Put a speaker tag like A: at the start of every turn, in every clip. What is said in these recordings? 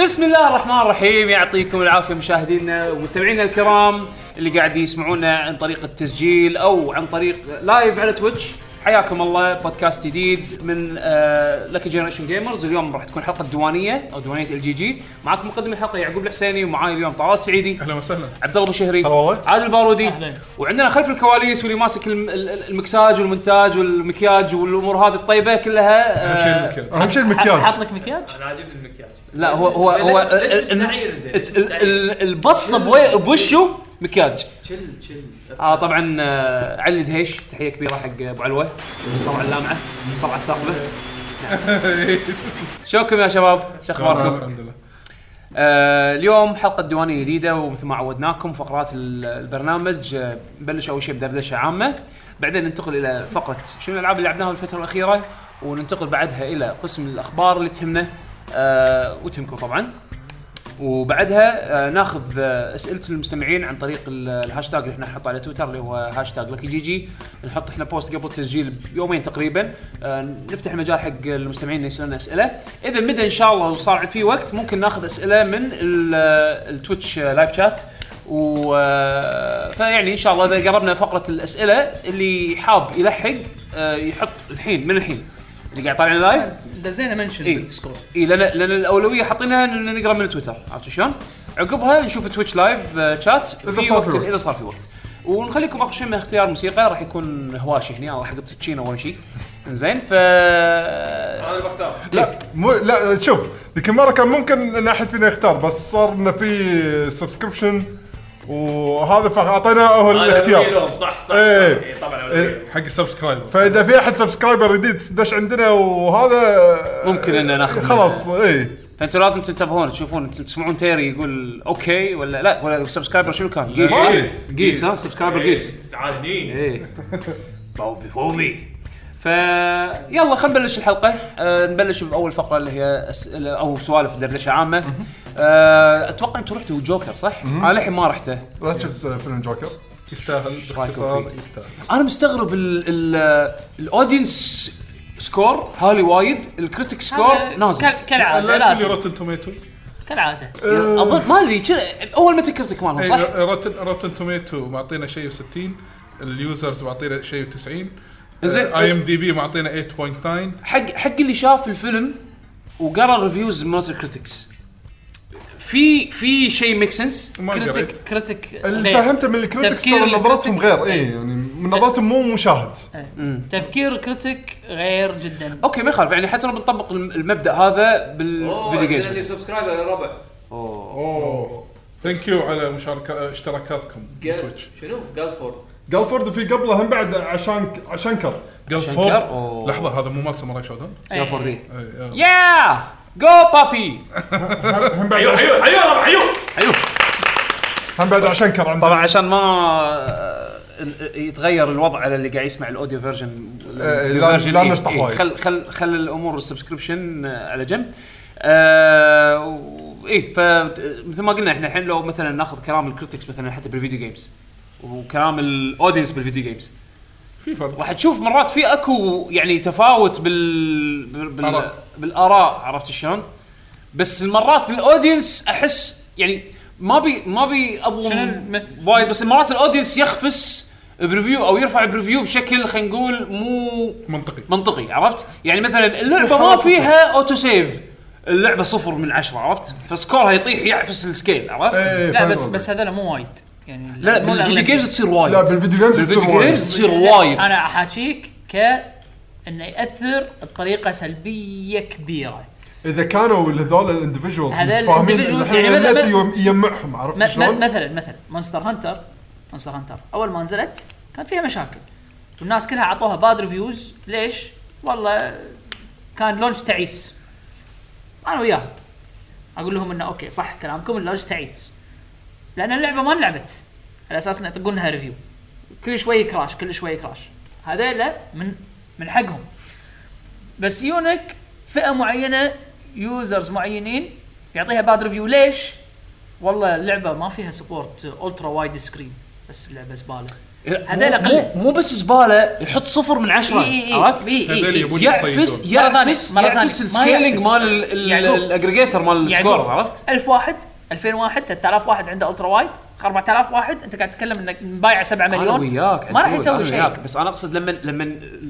A: بسم الله الرحمن الرحيم يعطيكم العافيه مشاهدينا ومستمعينا الكرام اللي قاعد يسمعونا عن طريق التسجيل او عن طريق لايف على تويتش حياكم الله بودكاست جديد من آه، لك جنريشن جيمرز اليوم راح تكون حلقه الديوانيه او ديوانيه ال جي جي معاكم مقدم الحلقه يعقوب الحسيني ومعاي اليوم طلال السعيدي
B: اهلا وسهلا
A: عبد الله بشهري
C: هلا والله.
A: عادل البارودي وعندنا خلف الكواليس واللي ماسك الم- ال- ال- المكساج والمونتاج والمكياج والامور هذه الطيبه كلها
B: اهم
A: آه،
B: شيء المكياج
C: اهم شيء
D: حاط
C: المكياج
D: لك مكياج؟
E: انا عاجبني المكياج
A: لا هو هو
E: زين،
A: هو
E: ليش- ليش
A: ال-
E: مستعير زين؟ ليش
A: ال- ال-
E: مستعير؟
A: البصه بوي- بوشه مكياج
E: تشل تشل
A: اه طبعا آه، علي دهيش تحيه كبيره حق ابو علوه الصرعه اللامعه الصرعه الثاقبه شوكم يا شباب شو اخباركم؟
B: الحمد لله
A: آه اليوم حلقه ديوانيه جديده ومثل ما عودناكم فقرات ال- البرنامج آه، نبلش اول شيء بدردشه عامه بعدين ننتقل الى فقره شنو الالعاب اللي لعبناها الفتره الاخيره وننتقل بعدها الى قسم الاخبار اللي تهمنا آه وتهمكم طبعا وبعدها آه ناخذ آه اسئله المستمعين عن طريق ال- الهاشتاج اللي احنا نحطه على تويتر اللي هو هاشتاج لكي جي جي نحط احنا بوست قبل التسجيل بيومين تقريبا آه نفتح مجال حق المستمعين اللي يسالون اسئله اذا مدى ان شاء الله وصار في وقت ممكن ناخذ اسئله من ال- آه، التويتش آه، لايف شات و آه، فيعني ان شاء الله اذا قربنا فقره الاسئله اللي حاب يلحق آه، يحط الحين من الحين اللي قاعد طالعين لايف
D: دزينا منشن
A: إيه.
D: بالديسكورد
A: اي لان لان الاولويه حاطينها ان نقرا من تويتر عرفت شلون؟ عقبها نشوف تويتش لايف آه، شات
C: إذا
A: في
C: صار
A: وقت
C: في وقت.
A: اذا صار في وقت ونخليكم اخر شيء من اختيار موسيقى راح يكون هواشي هنا انا راح احط تشينا اول شيء زين ف
E: انا اللي بختار
B: لا
C: مو لا شوف ذيك المره كان ممكن ان احد فينا يختار بس صار انه في سبسكربشن وهذا فاعطيناه هو
E: أنا
C: الاختيار
E: لهم، صح صح
C: إيه.
E: صح. إيه، طبعا أنا
C: إيه.
E: لهم.
B: حق السبسكرايبر
C: فاذا في احد سبسكرايبر جديد دش عندنا وهذا
A: ممكن إن ناخذ منه.
C: خلاص إيه. اي
A: فانتم لازم تنتبهون تشوفون تسمعون تيري يقول اوكي ولا لا ولا سبسكرايبر شنو كان؟ قيس
B: لا،
A: ها؟
B: قيس.
A: قيس ها سبسكرايبر قيس
E: إيه، تعال هني
A: ايه بوبي بوبي ف يلا خلينا نبلش الحلقه أه نبلش باول فقره اللي هي أسئلة او سوالف دردشه عامه أه اتوقع انتم رحتوا جوكر صح؟ انا للحين ما رحته
C: لا شفت فيلم جوكر
B: يستاهل باختصار
A: رأيكم
B: يستاهل
A: انا مستغرب ال- ال- الاودينس سكور هالي وايد الكريتيك سكور نازل
D: ك- كالعاده
B: لا تقولي
D: لازم
B: روتن توميتو
D: كالعاده
A: اظن ما ادري كنا- اول متى الكريتيك مالهم صح؟
B: روتن روتن توميتو معطينا شيء و60 اليوزرز معطينا شيء آه، و90
A: زين.
B: اي ام دي بي معطينا 8.9
A: حق حق اللي شاف الفيلم وقرا ريفيوز مالت الكريتكس في في شيء ميك سنس
B: ما قريت
D: كريتيك كريتيك
C: اللي
D: غير.
C: فهمته من الكريتكس
D: إيه. تفكير
C: ترى نظرتهم
D: الكريتيك-
C: غير اي يعني من نظرتهم مو مشاهد
D: تفكير كريتيك غير جدا
A: اوكي ما يخالف يعني حتى لو بنطبق الم- المبدا هذا بالفيديو جيمز
F: يعني-
E: اللي سبسكرايبر ربع
B: اوه ثانك يو على مشاركه اشتراكاتكم
E: قال-
B: بتويتش
E: شنو؟ جالفورد
C: جالفورد في قبله هم بعد عشان عشان كر
B: قال فورد
A: شنكر؟ أوه.
B: لحظه هذا مو مال ساموراي شودون
A: يا فوري
B: إيه، آه.
A: يا جو بابي
C: هم بعد
E: حيو حيو حيو ربع حيو
A: حلو
C: أيوه. هم بعد عشان كر عندنا
A: طبعا عشان ما آه، يتغير الوضع على اللي قاعد يسمع الاوديو فيرجن
C: إيه، لا- لا نشطح وايد.
A: خل خل خل الامور السبسكريبشن آه، على جنب آه و- ايه فمثل ما قلنا احنا الحين لو مثلا ناخذ كلام الكريتكس مثلا حتى بالفيديو جيمز وكلام الاودينس بالفيديو جيمز
B: في فرق
A: راح تشوف مرات في اكو يعني تفاوت بال, بال... بال...
B: آراء.
A: بالاراء عرفت شلون؟ بس مرات الاودينس احس يعني ما بي ما بي
D: شنو
A: اظلم
D: الم-
A: وايد بس مرات الاودينس يخفس بريفيو او يرفع بريفيو بشكل خلينا نقول مو
B: منطقي
A: منطقي عرفت؟ يعني مثلا اللعبه ما فيها اوتو سيف اللعبه صفر من عشرة عرفت؟ فسكورها يطيح يعفس السكيل عرفت؟
C: إيه،
D: لا
C: فاهم
D: بس
C: قصدك.
D: بس هذول مو وايد يعني
A: لا
D: مو الأغلبية.
A: بالفيديو جيمز تصير وايد
C: لا بالفيديو جيمز تصير
A: بالفيديو
C: وايد.
A: جيمز تصير
D: لا،
A: وايد
D: انا احاكيك ك انه ياثر بطريقه سلبيه كبيره
C: اذا كانوا هذول الاندفجوالز
D: هذول
C: متفاهمين
D: individuals
C: الحين
D: يعني
C: النت
D: مثل-
C: يم- يجمعهم عرفت
D: م- م-
C: شلون؟
D: مثلا مثلا مونستر هانتر مونستر هانتر اول ما نزلت كان فيها مشاكل والناس كلها اعطوها باد ريفيوز ليش؟ والله كان لونش تعيس انا وياهم اقول لهم انه اوكي صح كلامكم اللونش تعيس لان اللعبه ما انلعبت على اساس انه يطقون لها ريفيو كل شوي كراش كل شوي كراش هذيلا من من حقهم بس يونك فئه معينه يوزرز معينين يعطيها باد ريفيو ليش؟ والله اللعبه ما فيها سبورت الترا وايد سكرين بس اللعبه زباله هذيلا
A: هذول
D: قلة.
A: مو بس زباله يحط صفر من عشره
D: إي إي إي.
A: عرفت؟
D: إي إي
B: هذول
D: إي.
B: يبون
A: يعفس
B: يصيدون
D: مرة ثانية،
A: يعفس
D: مرة ثانية.
A: يعفس
D: ما
A: السكيلينج
D: يعفس.
A: مال ال- ال-
D: يعقوب.
A: الاجريجيتر مال
D: يعقوب.
A: السكور عرفت؟
D: 1000 واحد 2000 واحد 3000 واحد عنده الترا وايد 4000 واحد انت قاعد تتكلم انك مبايع 7
A: انا
D: مليون
A: وياك
D: ما راح
A: عدول،
D: يسوي
A: أنا
D: شيء.
A: وياك. بس انا اقصد لما لما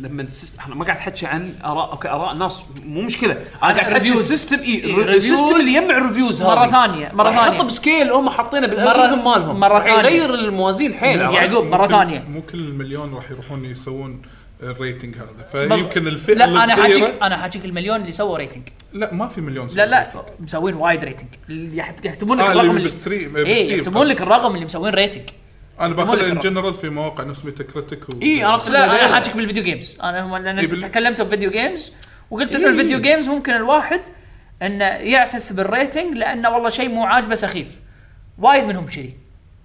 A: لما السيستم احنا ما قاعد احكي عن اراء اوكي اراء الناس مو مشكله انا قاعد احكي
D: الريفيوز.
A: السيستم اي
D: إي،
A: الر- السيستم
D: الريفيوز.
A: اللي يجمع الريفيوز هذه
D: مرة ثانية، مرة
A: راح
D: ثانية.
A: يحطه بسكيل هم حاطينه بالالغوريثم مالهم
D: مرة
A: راح
D: ثانية.
A: يغير الموازين حيل عرفت؟
D: يعقوب
B: مو
D: مره
B: كل-
D: ثانيه
B: مو كل المليون راح يروحون يسوون الريتنج هذا
D: بل-
B: فيمكن الفئه
D: لا انا
B: الصغيرة-
D: حاجيك انا حاجيك المليون اللي سووا ريتنج
B: لا ما في مليون
D: لا
B: سووا
D: لا
B: ريتنج.
D: مسوين وايد ريتنج اللي يحت- يكتبون
A: آه،
D: لك
B: اه
D: الرقم
B: اللي
D: اللي
B: بستريم
D: ايه
B: بستيم
D: يكتبون لك الرقم اللي مسوين ريتنج
B: انا
D: يكتبون لك
B: باخذها ان
D: الرقم.
B: جنرال في مواقع نفس ميتا كريتيك و...
A: اي انا اقصد
D: لا انا
A: هذيلا.
D: حاجيك بالفيديو جيمز انا هم- لان
B: إيه،
D: انت
B: بال- إيه.
D: تكلمت بفيديو جيمز وقلت انه الفيديو جيمز ممكن الواحد انه يعفس بالريتنج لانه والله شيء مو عاجبه سخيف وايد منهم كذي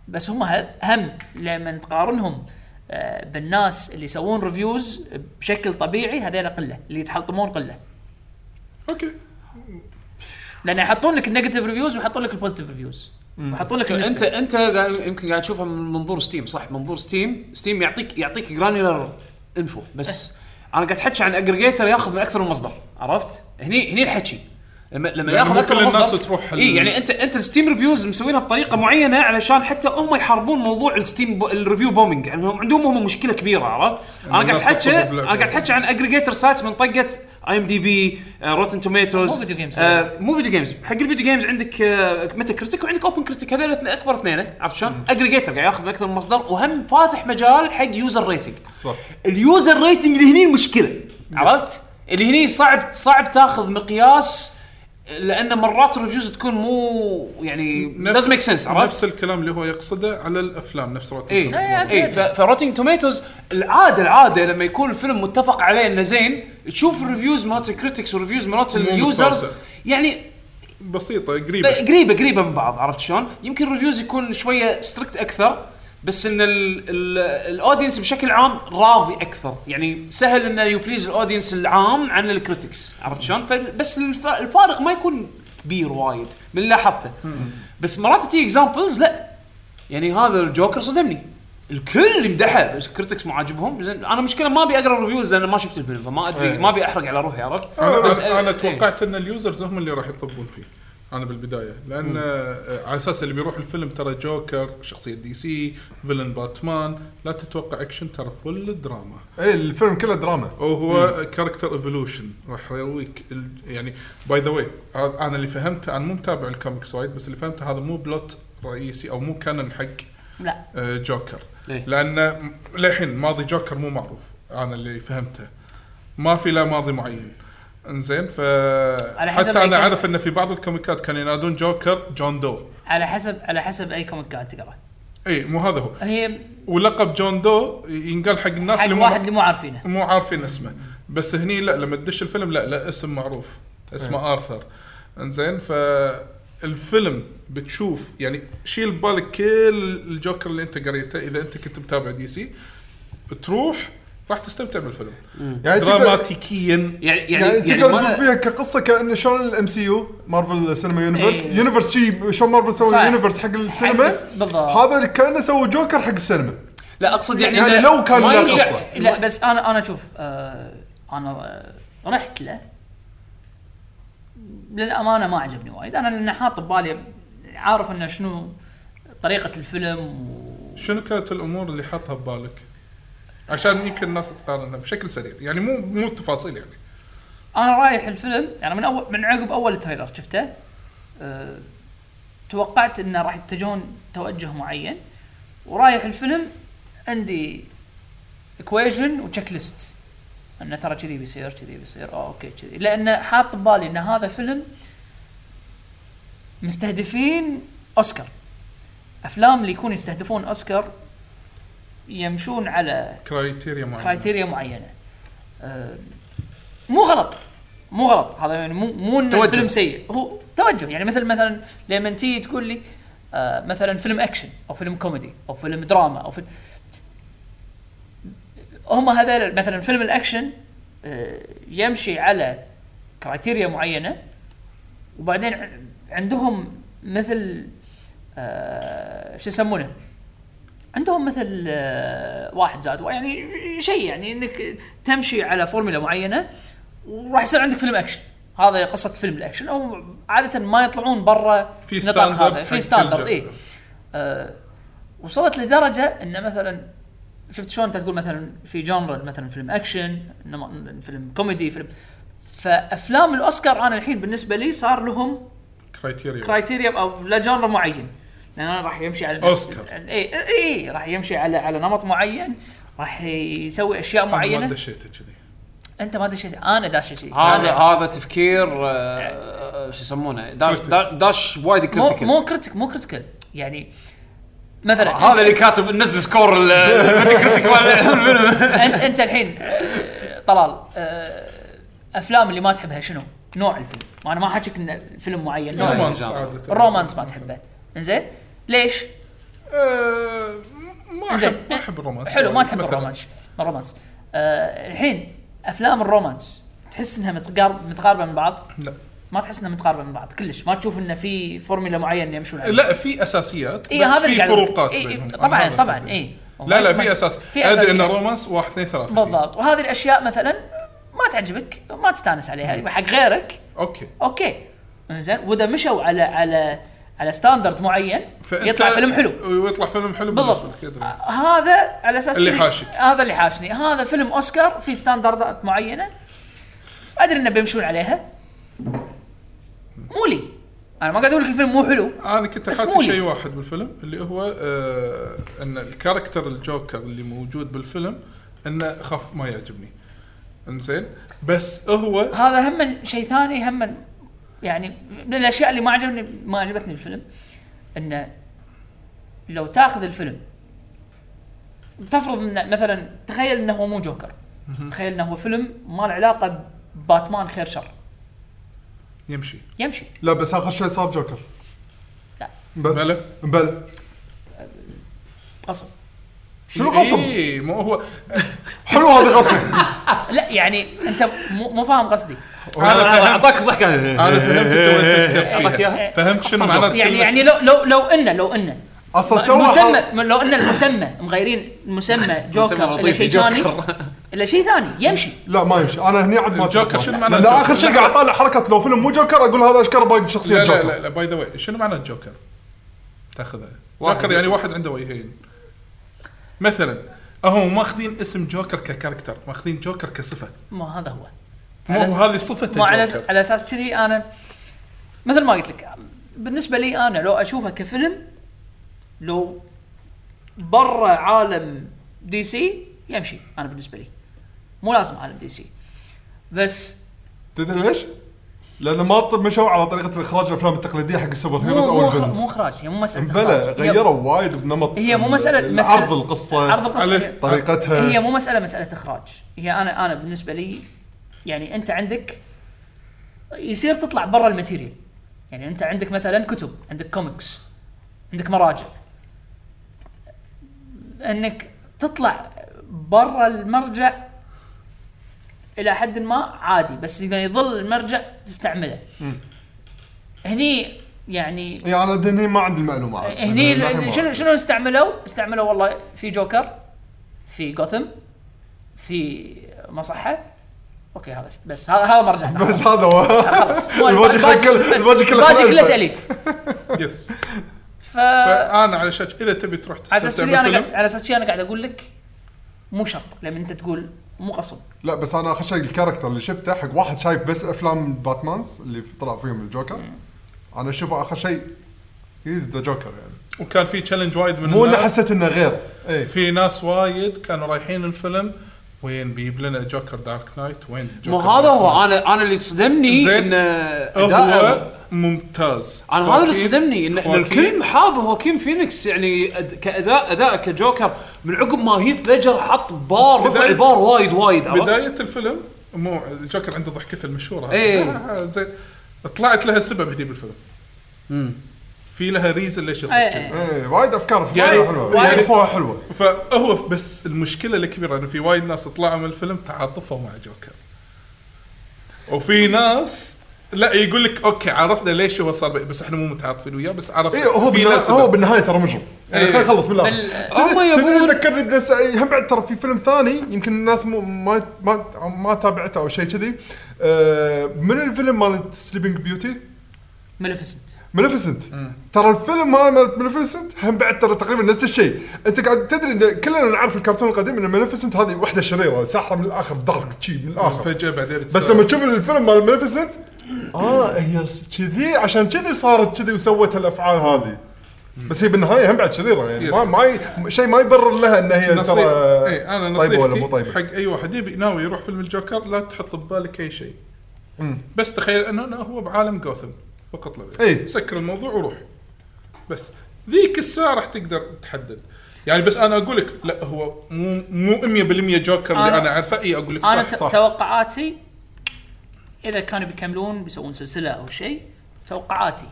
D: بس هم ه- هم لما تقارنهم آه، بالناس اللي يسوون ريفيوز بشكل طبيعي هذول قله اللي يتحلطمون قله
B: اوكي
D: لان يحطون لك النيجاتيف ريفيوز ويحطون لك البوزيتيف ريفيوز ويحطون لك
A: انت
D: النسبة.
A: انت قاعد- يمكن قاعد تشوفها من منظور ستيم صح منظور ستيم ستيم يعطيك يعطيك جرانيولر انفو بس انا قاعد احكي عن اجريجيتر ياخذ من اكثر من مصدر عرفت؟ هني هني الحكي لما لما
B: لأن
A: ياخذ
B: يعني مو
A: اكثر
B: كل
A: من
B: الناس
A: مصدر
B: تروح ال-
A: اي يعني انت انت الستيم ريفيوز مسوينها بطريقه معينه علشان حتى هم يحاربون موضوع الستيم بو الريفيو بومينج يعني هم عندهم هم مشكله كبيره عرفت؟ انا قاعد
B: الناس
A: احكي
B: تطلب
A: انا
B: لك-
A: قاعد احكي عن اجريجيتر سايتس من طقه اي ام دي بي روتن توميتوز
D: مو فيديو جيمز.
A: آه، مو فيديو جيمز حق الفيديو جيمز عندك ميتا كريتيك وعندك اوبن كريتيك هذول الاثنين- اكبر اثنين إيه؟ عرفت شلون؟ اجريجيتر قاعد ياخذ من اكثر من مصدر وهم فاتح مجال حق يوزر ريتنج
B: صح
A: اليوزر ريتنج اللي هني المشكله عرفت؟ اللي هني صعب صعب تاخذ مقياس لان مرات الريفيوز تكون مو يعني
B: نفس-
A: doesn't ميك سنس عرفت؟
B: نفس الكلام اللي هو يقصده على الافلام نفس روتين
A: اي
B: توميتو.
D: لا،
A: اي فروتنج توميتوز العاده العاده لما يكون الفيلم متفق عليه انه زين تشوف الريفيوز مالت الكريتكس والريفيوز مالت
B: مو
A: اليوزرز
B: متوازن.
A: يعني
B: بسيطه قريبه
A: ب- قريبه قريبه من بعض عرفت شلون؟ يمكن الريفيوز يكون شويه ستريكت اكثر بس ان الاودينس بشكل عام راضي اكثر يعني سهل انه يبليز الاودينس العام عن الكريتكس عرفت شلون؟ فال- بس الف- الفارق ما يكون كبير وايد من اللي لاحظته بس مرات تجي اكزامبلز لا يعني هذا الجوكر صدمني الكل مدحه بس كريتكس مو عاجبهم زين، انا مشكله ما ابي اقرا ريفيوز لان ما شفت الفيلم فما
C: إيه.
A: ادري ما ابي احرق على روحي عرفت؟
B: انا
A: بس-
B: بس انا
A: إيه.
B: توقعت ان اليوزرز هم اللي راح يطبون فيه انا بالبدايه لان آه، على اساس اللي بيروح الفيلم ترى جوكر شخصيه دي سي فيلن باتمان لا تتوقع اكشن ترى فل دراما
C: اي إيه، الفيلم كله دراما
B: وهو كاركتر ايفولوشن راح يرويك ال- يعني باي ذا واي انا اللي فهمته انا مو متابع الكوميكس وايد بس اللي فهمته هذا مو بلوت رئيسي او مو كانن حق
D: لا
B: آه، جوكر
A: إيه.
B: لان م- للحين ماضي جوكر مو معروف انا اللي فهمته ما في له ماضي معين انزين ف
D: حسب
B: حتى انا
D: أي كوميك.
B: اعرف ان في بعض الكوميكات كانوا ينادون جوكر جون دو
D: على حسب على حسب اي كوميك قاعد تقرا
B: اي مو هذا هو
D: هي
B: ولقب جون دو ينقال حق الناس
D: حق
B: اللي
D: واحد اللي
B: مو
D: مو عارفينه
B: مو عارفين اسمه بس هني لا لما تدش الفيلم لا لا اسم معروف
D: إيه.
B: اسمه ارثر انزين فالفيلم بتشوف يعني شيل بالك كل الجوكر اللي انت قريته اذا انت كنت متابع دي سي تروح راح تستمتع بالفيلم
C: يعني تقدر
B: دراماتيكيا
A: يعني يعني
C: يعني
A: يعني
C: تقدر
A: ما-
C: تقول فيها كقصه كأنه شلون الام سي يو مارفل سينما يونيفرس
D: إيه.
C: يونيفرس شي شلون مارفل
D: صح.
C: سوى يونيفرس حق السينما
D: حق- بالضبط.
C: هذا كانه سوى جوكر حق السينما
A: لا اقصد يعني
C: يعني
A: إذا
C: لو كان
A: ما
C: له
A: يرجع-
C: قصة.
D: لا بس انا انا شوف آه انا آه رحت له للامانه ما عجبني وايد انا لان حاط ببالي عارف انه شنو طريقه الفيلم و...
B: شنو كانت الامور اللي حاطها ببالك؟ عشان يمكن الناس تقارنها بشكل سريع يعني مو مو تفاصيل يعني
D: انا رايح الفيلم يعني من اول من عقب اول تريلر شفته أه توقعت انه راح يتجهون توجه معين ورايح الفيلم عندي اكويجن وتشيك ليست انه ترى كذي بيصير كذي بيصير اه اوكي كذي لان حاط ببالي ان هذا فيلم مستهدفين اوسكار افلام اللي يكون يستهدفون اوسكار يمشون على
B: كرايتيريا معينه
D: كرايتيريا معينه أم، أه، مو غلط مو غلط هذا يعني مو مو ان
A: توجه.
D: الفيلم سيء هو توجه يعني مثل مثلا لما تيجي تقول لي آه، مثلا فيلم اكشن او فيلم كوميدي او فيلم دراما او فيلم هم هذا مثلا فيلم الاكشن آه، يمشي على كرايتيريا معينه وبعدين ع- عندهم مثل آه، شو يسمونه عندهم مثل آه، واحد زائد واحد، يعني شيء يعني انك تمشي على فورمولا معينه وراح يصير عندك فيلم اكشن هذا قصه فيلم الاكشن او عاده ما يطلعون برا
B: في
D: نطاق هذا.
B: standards حق
D: في إيه.
B: كل
D: ستاندرد
B: جو.
D: اي آه، وصلت لدرجه ان مثلا شفت شلون انت تقول مثلا في جونرا مثلا فيلم اكشن نم- فيلم كوميدي فيلم فافلام الاوسكار انا الحين بالنسبه لي صار لهم
B: كرايتيريا
D: كرايتيريا او لجانر معين لان انا راح يمشي على
B: أوسكار.
D: اي اي راح يمشي على على نمط معين راح يسوي اشياء
B: معينه ما
D: معينه
B: دشيته كذي
D: انت ما دشيت انا داش شيء
A: هذا هذا تفكير آه، آه، شو يسمونه داش داش- داش وايد
D: يعني. مو
A: كريتيكال
D: مو كريتيك مو كريتيكال يعني مثلا
A: هذا اللي كاتب نزل سكور ال- الميتاكريتيك مال الفيلم.
D: انت انت الحين آه، طلال آه، افلام اللي ما تحبها شنو؟ نوع الفيلم، ما انا ما حاكيك ان فيلم معين نوع الفيلم.
B: رومانس عاده
D: الرومانس ما تحبه زين ليش؟
B: آه، ما
D: زين.
B: احب ما احب الرومانس
D: حلو ما تحب
B: يعني مثلاً.
D: الرومانس الرومانس آه الحين افلام الرومانس تحس انها متقارب متقاربه من بعض
B: لا
D: ما تحس انها متقاربه من بعض كلش ما تشوف انه في فورمولا معين يمشون عليه
B: لا في اساسيات
D: إيه،
B: بس
D: هذا اللي
B: في
D: قاعد أقول لك.
B: فروقات
D: إيه، إيه،
B: بينهم. أنا
D: طبعا
B: هذا
D: طبعا
B: قصدي.
D: اي
B: لا لا في اساس
D: في
B: ادري ان
D: اساس
B: رومانس واحد اثنين ثلاثه
D: بالضبط وهذه الاشياء مثلا ما تعجبك ما تستانس عليها حق غيرك
B: اوكي
D: اوكي زين واذا مشوا على على على ستاندرد معين يطلع فيلم حلو
B: ويطلع أيوه، فيلم حلو بالنسبه
D: بالضبط
B: لك أدري.
D: آه، هذا على اساس
B: اللي
D: كذي-
B: حاشك.
D: هذا اللي حاشني هذا فيلم اوسكار في ستاندردات معينه ادري انه بيمشون عليها مو لي انا ما قاعد اقول لك الفيلم مو حلو
B: انا كنت
D: بس
B: حاطط
D: مو لي.
B: شيء واحد بالفيلم اللي هو آه ان الكاركتر الجوكر اللي موجود بالفيلم انه خاف ما يعجبني انزين بس هو
D: هذا هم شيء ثاني هم يعني من الاشياء اللي ما عجبني ما عجبتني بالفيلم انه لو تاخذ الفيلم تفرض ان مثلا تخيل انه هو مو جوكر تخيل انه هو فيلم ما له علاقه بباتمان خير شر
B: يمشي
D: يمشي
C: لا بس اخر شيء صار جوكر
D: لا.
C: بل
B: بلى
C: بل
D: قصد
C: شنو
D: إيه.
C: غصب؟
B: اي إيه، مو هو
C: حلو هذا غصب
D: لا يعني انت مو مو فاهم قصدي
B: انا فهمت
A: اعطاك ضحكه
B: انا فهمت أنت وين فكرت
A: أعطاك
B: فيها
A: إياها.
B: إيه. فهمت شنو
A: أصلاً.
B: معناته
D: إيه. يعني
B: كلمة-
D: يعني لو لو لو انه لو انه
C: اصلا سوى حرب.
D: المسمى لو ان المسمى مغيرين المسمى جوكر
A: لطيفي،
D: الى شيء ثاني
A: جوكر.
D: الى شيء ثاني يمشي
C: لا ما يمشي انا هني عاد ما
B: الجوكر
C: أتوقع.
B: شنو
C: لأن
B: معناته؟
C: لا اخر شيء قاعد اطالع حركه لو فيلم مو جوكر اقول هذا اشكر باقي شخصيه
B: لا لا
C: جوكر
B: لا, لا باي ذا واي شنو معنى الجوكر؟ تاخذها
A: واحد
B: جوكر يعني واحد عنده وجهين مثلا هم ماخذين اسم جوكر ككاركتر ماخذين جوكر كصفه
D: ما هذا هو
B: مو
D: على أس-
B: هذه صفه
D: ما على أس-
B: الجوكر
D: على اساس كذي انا مثل ما قلت لك بالنسبه لي انا لو اشوفه كفيلم لو برا عالم دي سي يمشي انا بالنسبه لي مو لازم عالم دي سي بس
C: تدري ليش؟ لان ما طب مشوا على طريقه الاخراج الافلام التقليديه حق السوبر هيروز
D: مو
C: او
D: مو إخراج-
C: الفيلنز
D: مو اخراج هي مو مساله
C: بلى
D: إخراج. هي-
C: غيروا وايد بنمط
D: هي مو
C: ال-
D: مسألة-
C: ال-
D: مسألة-
C: عرض القصه
D: عرض القصة
B: عليه.
D: هي-
C: طريقتها
D: هي مو مساله مساله اخراج هي انا انا بالنسبه لي يعني انت عندك يصير تطلع برا الماتيريال يعني انت عندك مثلا كتب عندك كوميكس عندك مراجع انك تطلع برا المرجع الى حد ما عادي بس اذا يظل المرجع تستعمله هني يعني
C: يعني انا هني ما عندي المعلومه عاد.
D: إيه، هني
C: ما- ما-
D: ال- شنو شنو استعملوا؟ استعملوا والله في جوكر في جوثم في مصحه اوكي هذا بس هذا هذا مرجعنا
C: بس هذا هو
D: خلاص
C: الوجه كله- الوجه كله
D: الوجه كله
C: خلفه.
D: تاليف
B: يس
D: ف على
B: فانا على شاش اذا تبي تروح
D: اساس
B: تستمتع
D: كذي انا قاعد-
B: بالفيلم
D: على اساس كذي انا قاعد اقول لك مو شرط لما انت تقول مو قصد
C: لا بس انا اخر شيء الكاركتر اللي شفته حق واحد شايف بس افلام باتمانز اللي طلع فيهم الجوكر انا اشوفه اخر شيء هيز ذا جوكر يعني
B: وكان في تشالنج وايد من
C: مو انه
B: الناس.
C: حسيت انه غير إيه. اي
B: في ناس وايد كانوا رايحين الفيلم وين بيجيب لنا جوكر دارك نايت وين جوكر
A: مو هذا
B: دارك
A: هو انا انا اللي صدمني
B: زين.
A: ان
B: نايت.
A: أداءه-
B: هو ممتاز
A: انا هذا اللي
B: خواكين-
A: صدمني ان, إن
B: خواكين
A: الكل محاب هو كيم فينيكس يعني أد... كاداء اداء كجوكر من عقب ما هيث ليجر حط بار رفع
B: بداية-
A: البار وايد وايد عرفت؟
B: بدايه الفيلم مو الجوكر عنده ضحكته المشهوره
A: إيه.
B: آه، زين طلعت لها سبب هدي بالفيلم
A: مم.
B: في لها ريزن ليش
D: إيه،
B: يضحك
D: إيه.
B: كذي.
C: اي وايد افكار
B: يعني-
C: حلوه حلوه
B: يعني-
C: يعني فوها حلوه
B: فهو بس المشكله الكبيره انه في وايد ناس طلعوا من الفيلم تعاطفوا مع جوكر وفي ناس لا يقول لك اوكي عرفنا ليش هو صار بي- بس احنا مو متعاطفين وياه بس عرفنا
C: اي إيه، هو
B: في له
C: بالنهايه هو
B: سبب.
C: بالنهايه ترى مجرم يعني
B: إيه.
C: خلينا نخلص من
D: بال-
C: الاخر
A: هم
C: تدري-
A: يبون-
C: تدري ذكرني بنفس هم بعد ترى في فيلم ثاني يمكن الناس مو ما ما ما تابعته او شيء كذي آه، من الفيلم مال سليبنج بيوتي
D: ملفسنت
C: ملفيسنت ترى الفيلم هذا مال ملفيسنت هم بعد ترى تقريبا نفس الشيء انت قاعد تدري إن كلنا نعرف الكرتون القديم ان ملفيسنت هذه وحده شريره ساحره من الاخر دارك شي من الاخر
B: فجاه بعدين
C: بس لما تشوف الفيلم مال ملفيسنت اه هي س- كذي عشان كذي صارت كذي وسوت الافعال هذه بس هي بالنهايه هم بعد شريره يعني ما
B: Yes.
C: ما ي- شيء ما يبرر لها ان هي ترى
B: اي انا
C: طيبه ولا مو
B: إيه، نصيحتي
C: طيبه
B: حق اي واحد يبي ناوي يروح فيلم الجوكر لا تحط ببالك اي شيء بس تخيل انه أنا هو بعالم جوثم فقط لا غير
C: إي.
B: سكر الموضوع وروح بس ذيك الساعه راح تقدر تحدد يعني بس انا اقول لك لا هو مو مو 100% جوكر
D: أنا-
B: اللي انا اعرفه اي اقول لك
D: انا
B: صح
D: ت-
C: صح.
D: توقعاتي اذا كانوا بيكملون بيسوون سلسله او شيء توقعاتي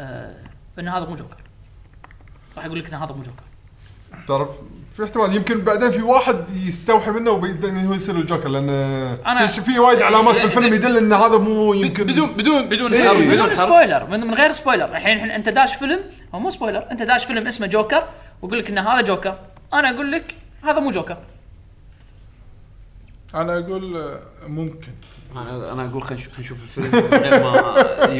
D: آه ان هذا مو جوكر راح اقول لك ان هذا مو جوكر
C: تعرف في احتمال يمكن بعدين في واحد يستوحي منه وبعدين هو يصير الجوكر لان
D: أنا-
C: في, في وايد علامات
D: زين-
C: بالفيلم
D: زين.
C: يدل ان هذا مو يمكن
A: يعني بدون بدون بدون
C: إيه.
A: حرق بدون
D: بدون
A: حرق
D: سبويلر من من غير سبويلر الحين إحنا- انت داش فيلم هو مو سبويلر انت داش فيلم اسمه جوكر واقول لك ان هذا جوكر انا اقول لك هذا مو جوكر
B: انا اقول آه، ممكن
A: انا انا اقول خلينا نشوف خلينا نشوف الفيلم من غير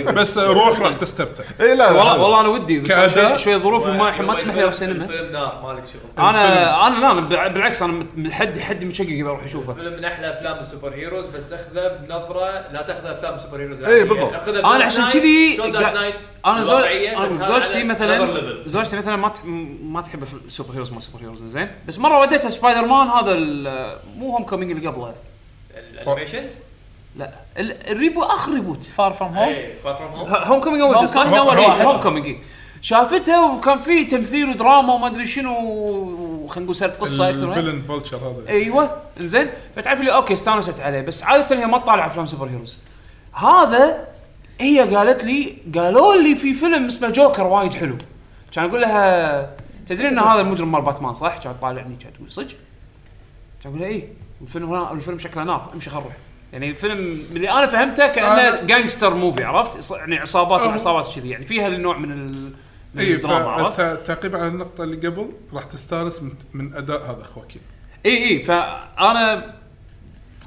A: ما
B: بس آه، روح راح تستمتع
C: اي لا لا،
A: والله
C: لا.
A: والله انا ودي بس
B: كأداء؟
A: شوي- شوي ظروف ما ما تسمح لي اروح سينما
E: الفيلم نار مالك شغل
A: انا انا لا أنا بع- بالعكس انا مت- من حد حد مشقق بروح اشوفه
E: فيلم من احلى افلام السوبر هيروز بس اخذه بنظره لا تاخذ افلام السوبر هيروز
C: إيه، بالضبط.
A: انا عشان كذي قاعد- انا زوج
E: زوجتي
A: انا زوجتي مثلا زوجتي مثلا ما تح- ما تحب الف- السوبر هيروز ما سوبر هيروز زين بس مره وديتها سبايدر مان هذا ال- مو هوم كومينج اللي قبله
E: الانيميشن
A: لا ال- الريبو اخر ريبوت
D: فار فروم هوم
C: إيه.
E: اي فار فروم هوم
A: هوم كومينج اول
D: إيه. Homecoming
A: جزء، صح؟
D: أول
A: إيه،
D: واحد.
A: Homecoming، إيه. شافتها وكان في تمثيل ودراما وما ادري شنو وخلينا نقول سرد قصه اكثر من-
B: الفيلن فولتشر
D: إيه،
B: هذا
A: ايوه انزين فتعرف لي اوكي استانست عليه بس عاده هي ما تطالع افلام سوبر هيروز هذا هي قالت لي قالوا لي في فيلم اسمه جوكر وايد حلو كان اقول لها تدري ان هذا المجرم مال باتمان صح؟ كانت تطالعني كانت تقول صدق؟ كان اقول لها اي والفيلم هنا الفيلم شكله نار امشي خرح يعني الفيلم من اللي انا فهمته كانه
B: أنا-
A: جانجستر موفي عرفت؟ ص- يعني عصابات
B: أه.
A: وعصابات كذي يعني فيها النوع من ال من
B: اي
A: الدراما عرفت؟
B: فتعقيب إيه، على النقطه اللي قبل راح تستانس من, من اداء هذا خواكين
A: اي اي فانا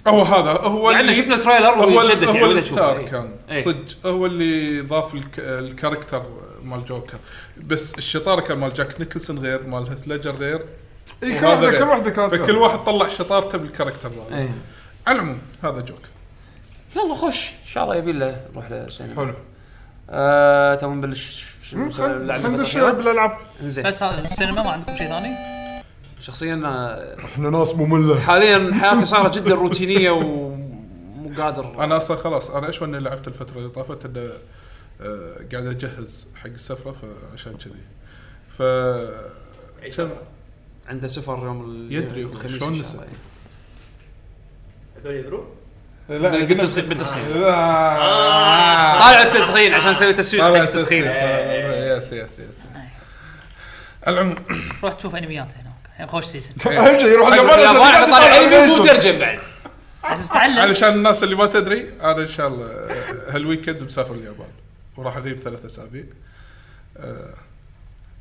B: هو هذا هو
A: مع ان
B: اللي-
A: شفنا تريلر
B: هو
A: وشدت
B: ال-
A: يعني
B: هو
A: ودي أشوفه.
B: الستار
A: إي.
B: كان
A: إي.
B: صدق هو اللي ضاف الك- الكاركتر مال جوكر بس الشطاره كان مال جاك نيكلسون غير مال هيث ليجر غير
C: إيه، كل
B: وهذا
C: واحده
B: غير.
C: كل واحده كانت
B: فكل واحد طلع شطارته بالكاركتر
A: إيه.
B: ماله على العموم هذا جوكر
A: يلا خش ان شاء الله يبي له نروح للسينما
C: حلو
A: آه تو نبلش شنو
C: مم،
A: مسلسل-
C: خل-
A: اللعبة
C: خلينا نشوف
A: الأخيرة؟
C: بالالعاب
A: زين
D: بس هذا السينما ما عندكم شيء ثاني
A: شخصيا آه،
C: احنا ناس ممله
A: حاليا حياتي صارت جدا روتينيه ومو قادر
B: انا اصلا خلاص انا ايش اني لعبت الفتره اللي طافت انه آه، قاعد اجهز حق السفره فعشان كذي ف
A: عنده سفر يوم ال-
B: يدري
A: الخميس
B: شلون
A: إن شاء
B: نسى.
A: الله.
E: هذول يدرون
B: لا
A: بالتسخين- بالتسخين. آه،
B: لا.
A: طالع التسخين عشان اسوي تسويق حق
B: طالع
A: التسخين إيه.
B: آه، يس يس يس يس. على العموم
D: روح تشوف انميات هناك الحين خوش سيزون
C: اهم شيء يروح
A: أيوة.
C: اليابان عشان
A: اليابان
C: يقعد
A: إحنا طالع
C: يطالع
A: انمي
C: animation.
A: ومترجم بعد
D: بس تتعلم
B: علشان الناس اللي ما تدري انا ان شاء الله آه، هالويكند مسافر اليابان وراح اغيب ثلاث اسابيع آه،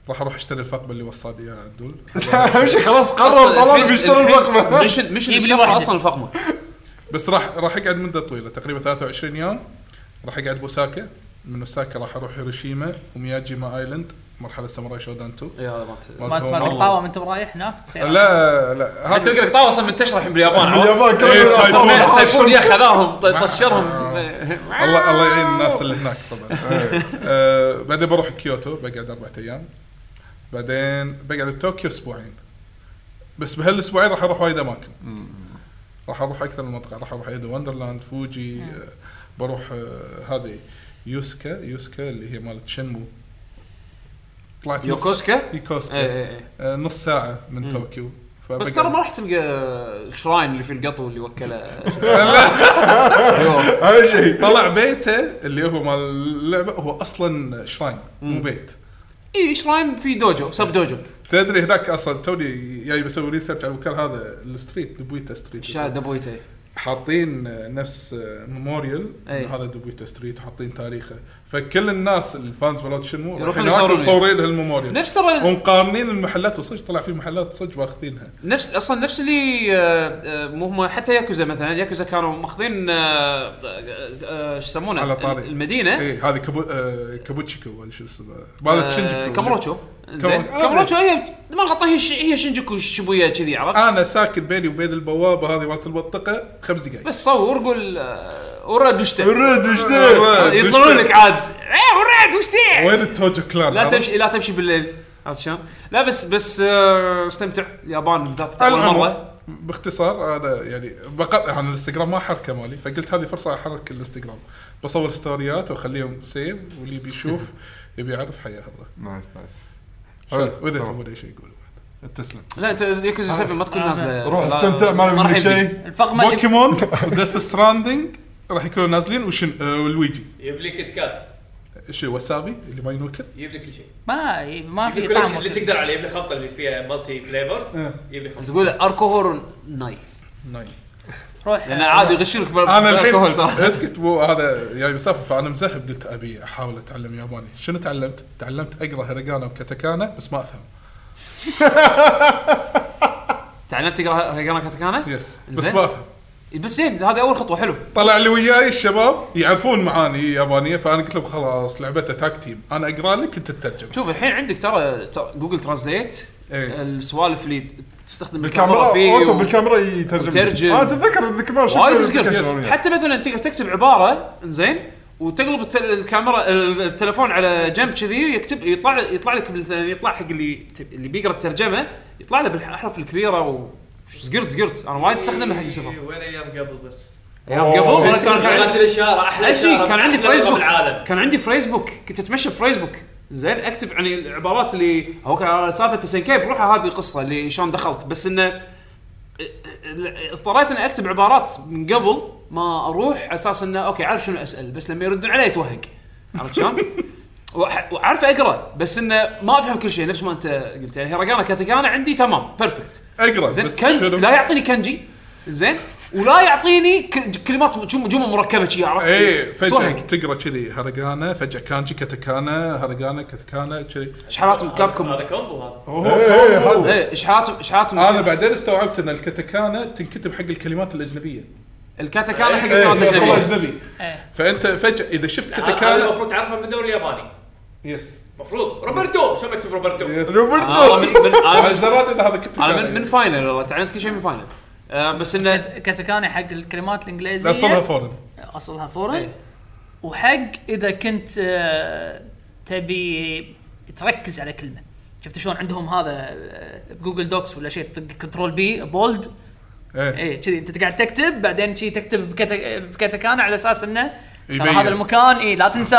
B: راح اروح اشتري الفقبه اللي وصاني اياها عدول
C: اهم شيء خلاص قرر طلال بيشتري
A: أيوة.
C: الرقمه
A: مشن مشن
D: يبي لي
A: السفر
D: واحدة.
A: اصلا الفقمه
B: بس راح راح اقعد مده طويله تقريبا 23 يوم راح اقعد بوساكا من اوساكا راح اروح هيروشيما ومياجيما ايلاند مرحله ساموراي شودان 2
A: اي هذا مالت
D: ما
B: مالت
D: ما
B: هوم.
D: تقاوم انت برايح هناك سيارة.
B: لا لا
A: حتى
B: هذا
A: تلقى لك طاوله اصلا منتشره الحين باليابان عرفت؟
C: اليابان
B: إيه،
C: كلها
B: تايفون.
C: أصلاً
A: تايفون يا
C: عاشوا.
A: خذاهم طشرهم
B: الله الله يعين الناس اللي هناك طبعا آه بعدين بروح كيوتو بقعد اربعة ايام بعدين بقعد بطوكيو اسبوعين بس بهالاسبوعين راح اروح وايد اماكن راح اروح اكثر من منطقه راح اروح ايدو وندرلاند فوجي آه بروح آه هذه يوسكا يوسكا اللي هي مالت شنمو طلعت نص-
A: يوكوسكا؟
B: يوكوسكا
A: اي اي اي
B: آه نص ساعه من طوكيو
A: إيه، بس
B: فبقعد-
A: ترى ما راح تلقى الشراين اللي في القطو اللي وكله شو اسمه. أيوه.
C: اهم شيء
B: طلع بيته اللي هو مال اللعبه هو اصلا شراين مو بيت
A: اي إيه، شراين في دوجو سب دوجو
B: تدري هناك اصلا توني جاي بسوي ريسيرش على المكان هذا الستريت دبويتا ستريت
A: شاد ابويته
B: حاطين نفس ميموريال
A: أي.
B: هذا دوبيتا ستريت حاطين تاريخه فكل الناس الفانز مالت شنو
A: يروحون
B: يروحون
A: يصورون. يعني.
B: مصورين هالميموريال
A: نفس الر-
B: ومقارنين المحلات وصج طلع في محلات صج واخذينها
A: نفس اصلا نفس اللي آه، آه، مو هم حتى ياكوزا مثلا ياكوزا كانوا ماخذين آه، آه، آه، ايش يسمونه
B: على طاري.
A: المدينه
B: اي هذه كابو... آه كابوتشيكو هذا آه، شو اسمه مالت شنجكو
A: كامروتشو آه، زين
B: كامروتشو.
A: كامروتشو هي ما غلطان هي ش- هي شنجكو شبويا كذي عرفت
B: انا ساكن بيني وبين البوابه هذه مالت المنطقه خمس دقائق
A: بس صور قول آه، ورد وش تبي؟ آه،
C: الرد وش
B: الرد.
C: ذا؟
B: وش
A: يطلعون
B: تبي؟
A: لك عاد إيه، ورد وش تبي؟
B: وين التوجو كلان
A: لا
B: عرفت؟
A: تمشي لا تمشي بالليل عرفت شلون؟ لا بس بس آه، استمتع اليابان بالذات اول
B: العموم،
A: مره
B: باختصار انا يعني بقطع عن الانستغرام ما حركه مالي فقلت هذه فرصه احرك الانستغرام بصور ستوريات واخليهم سيف واللي بيشوف يبي يعرف حياه
C: نايس نايس
B: الله
C: حلو.
B: واذا
C: تمام.
B: تبون اي شيء يقولوا بعد.
C: تسلم
A: لا انت ياكوزا 7 ما تكون
D: آه،
A: نازله لا-
C: روح استمتع ما نبي
A: راح
C: منك
A: يبي.
C: شيء
D: الفقمه اللي
B: بوكيمون وديث ستراندنج راح يكونوا نازلين وشن آه، والويجي
E: يجيب لي كيت كات
B: شو وسابي اللي ما ينوكل
E: يجيب لي كل شيء
D: ما ما في
E: يجيب لي كل
D: طعم
E: شيء اللي تقدر عليه يجيب لي خلطه اللي فيها مالتي فليفرز
C: إيه.
E: يجيب لي خلطه
A: تقول اركوهول ناي
B: ناي
D: روح
A: لان عادي يغشونك بال-
B: انا
A: بالألكوهول
B: الحين
A: ترى
B: اسكت مو هذا جاي مسافه فانا مزهب قلت ابي احاول اتعلم ياباني شنو تعلمت؟ تعلمت اقرا هيرجانا وكاتاكانا بس ما افهم
A: تعلمت تقرا هيجانا كاتاكانا؟
B: يس بس
A: زين.
B: ما افهم
A: بس زين هذه اول خطوه حلو
B: طلع لي وياي الشباب يعرفون معاني يابانيه فانا قلت لهم خلاص لعبتها تاك تيم انا اقرا لك انت تترجم
A: شوف الحين عندك ترى ترى جوجل ترانزليت
B: إيه.
A: السوالف اللي تستخدم
C: بالكاميرا
A: فيه
C: اوتو
A: و-
C: بالكاميرا يترجم
A: وترجم.
C: اه تتذكر ذيك المره شفنا
A: وايد
C: الابلكيشن.
A: صقلت حتى مثلا تقدر تكتب عباره زين وتقلب الت- الكاميرا التلفون على جنب كذي يكتب يطلع يطلع لك مثلا يطلع حق اللي اللي بيقرا الترجمه يطلع له بالاحرف الكبيره وزقرت زقرت انا وايد استخدمها حق
E: إي،
A: السفر
E: إيه، وين ايام قبل بس
A: ايام قبل
E: إيه،
A: انا كان- كان
E: كانت
A: عندي
E: الاشاره احلى
A: لا شيء
E: إشارة
A: كان عندي
E: أحلى رقم
A: فيسبوك
E: العالم
A: كان عندي فيسبوك كنت اتمشى بفيسبوك زين اكتب يعني العبارات اللي هو كان سالفه سنكي بروحها هذه قصه اللي شلون دخلت بس انه اضطريت اني اكتب عبارات من قبل ما اروح على اساس انه اوكي عارف شنو اسال بس لما يردون علي اتوهق عرفت شلون؟ وأح- وعارف اقرا بس انه ما افهم كل شيء نفس ما انت قلت يعني هيراغانا كاتاكانا عندي تمام بيرفكت
B: اقرا
A: زين
B: بس
A: كنجي
B: شنو؟
A: لا يعطيني كنجي زين ولا يعطيني ك- كلمات جم- جمل مركبه شي عرفت؟
B: ايه فجاه
A: توهق.
B: تقرا كذي هرجانا فجاه كانجي كاتاكانا هرجانا كاتاكانا كذي
A: اشحارات من كابكم
E: هذا كومبو هذا
C: إيه، هذا.
A: ايه اشحارات اشحارات
B: انا
A: من
B: بعدين استوعبت ان الكاتاكانا تنكتب حق الكلمات الاجنبيه
A: الكاتاكانا حق
B: إيه،
A: الكلمات
B: كلمات
A: الاجنبيه
B: اجنبي
D: إيه.
B: فانت فجاه اذا شفت
E: هذا
B: كاتاكانا
E: المفروض تعرفه من الدوري الياباني
B: يس
E: المفروض روبرتو شو مكتوب روبرتو؟
B: يس
A: آه، من-
C: روبرتو
A: من-
B: أنا إيش
A: أنا-
B: دراني إن هذا
A: انا من من
B: كاتاكانا
A: فاينل والله تعلمت كل شيء من فاينل آه، بس انه
D: كت- كاتاكانا حق الكلمات الانجليزيه
B: لا صرها فورا
D: اصلها فورا
A: إيه.
D: وحق اذا كنت آه، تبي تركز على كلمه شفت شلون عندهم هذا آه، بجوجل دوكس ولا شيء تطق كنترول بي بولد
B: ايه
A: إيه.
D: اي إيه، كذي انت قاعد تكتب بعدين شي تكتب بكتا- بكاتاكانا على اساس انه ترى
B: يبين.
D: هذا المكان اي لا تنسى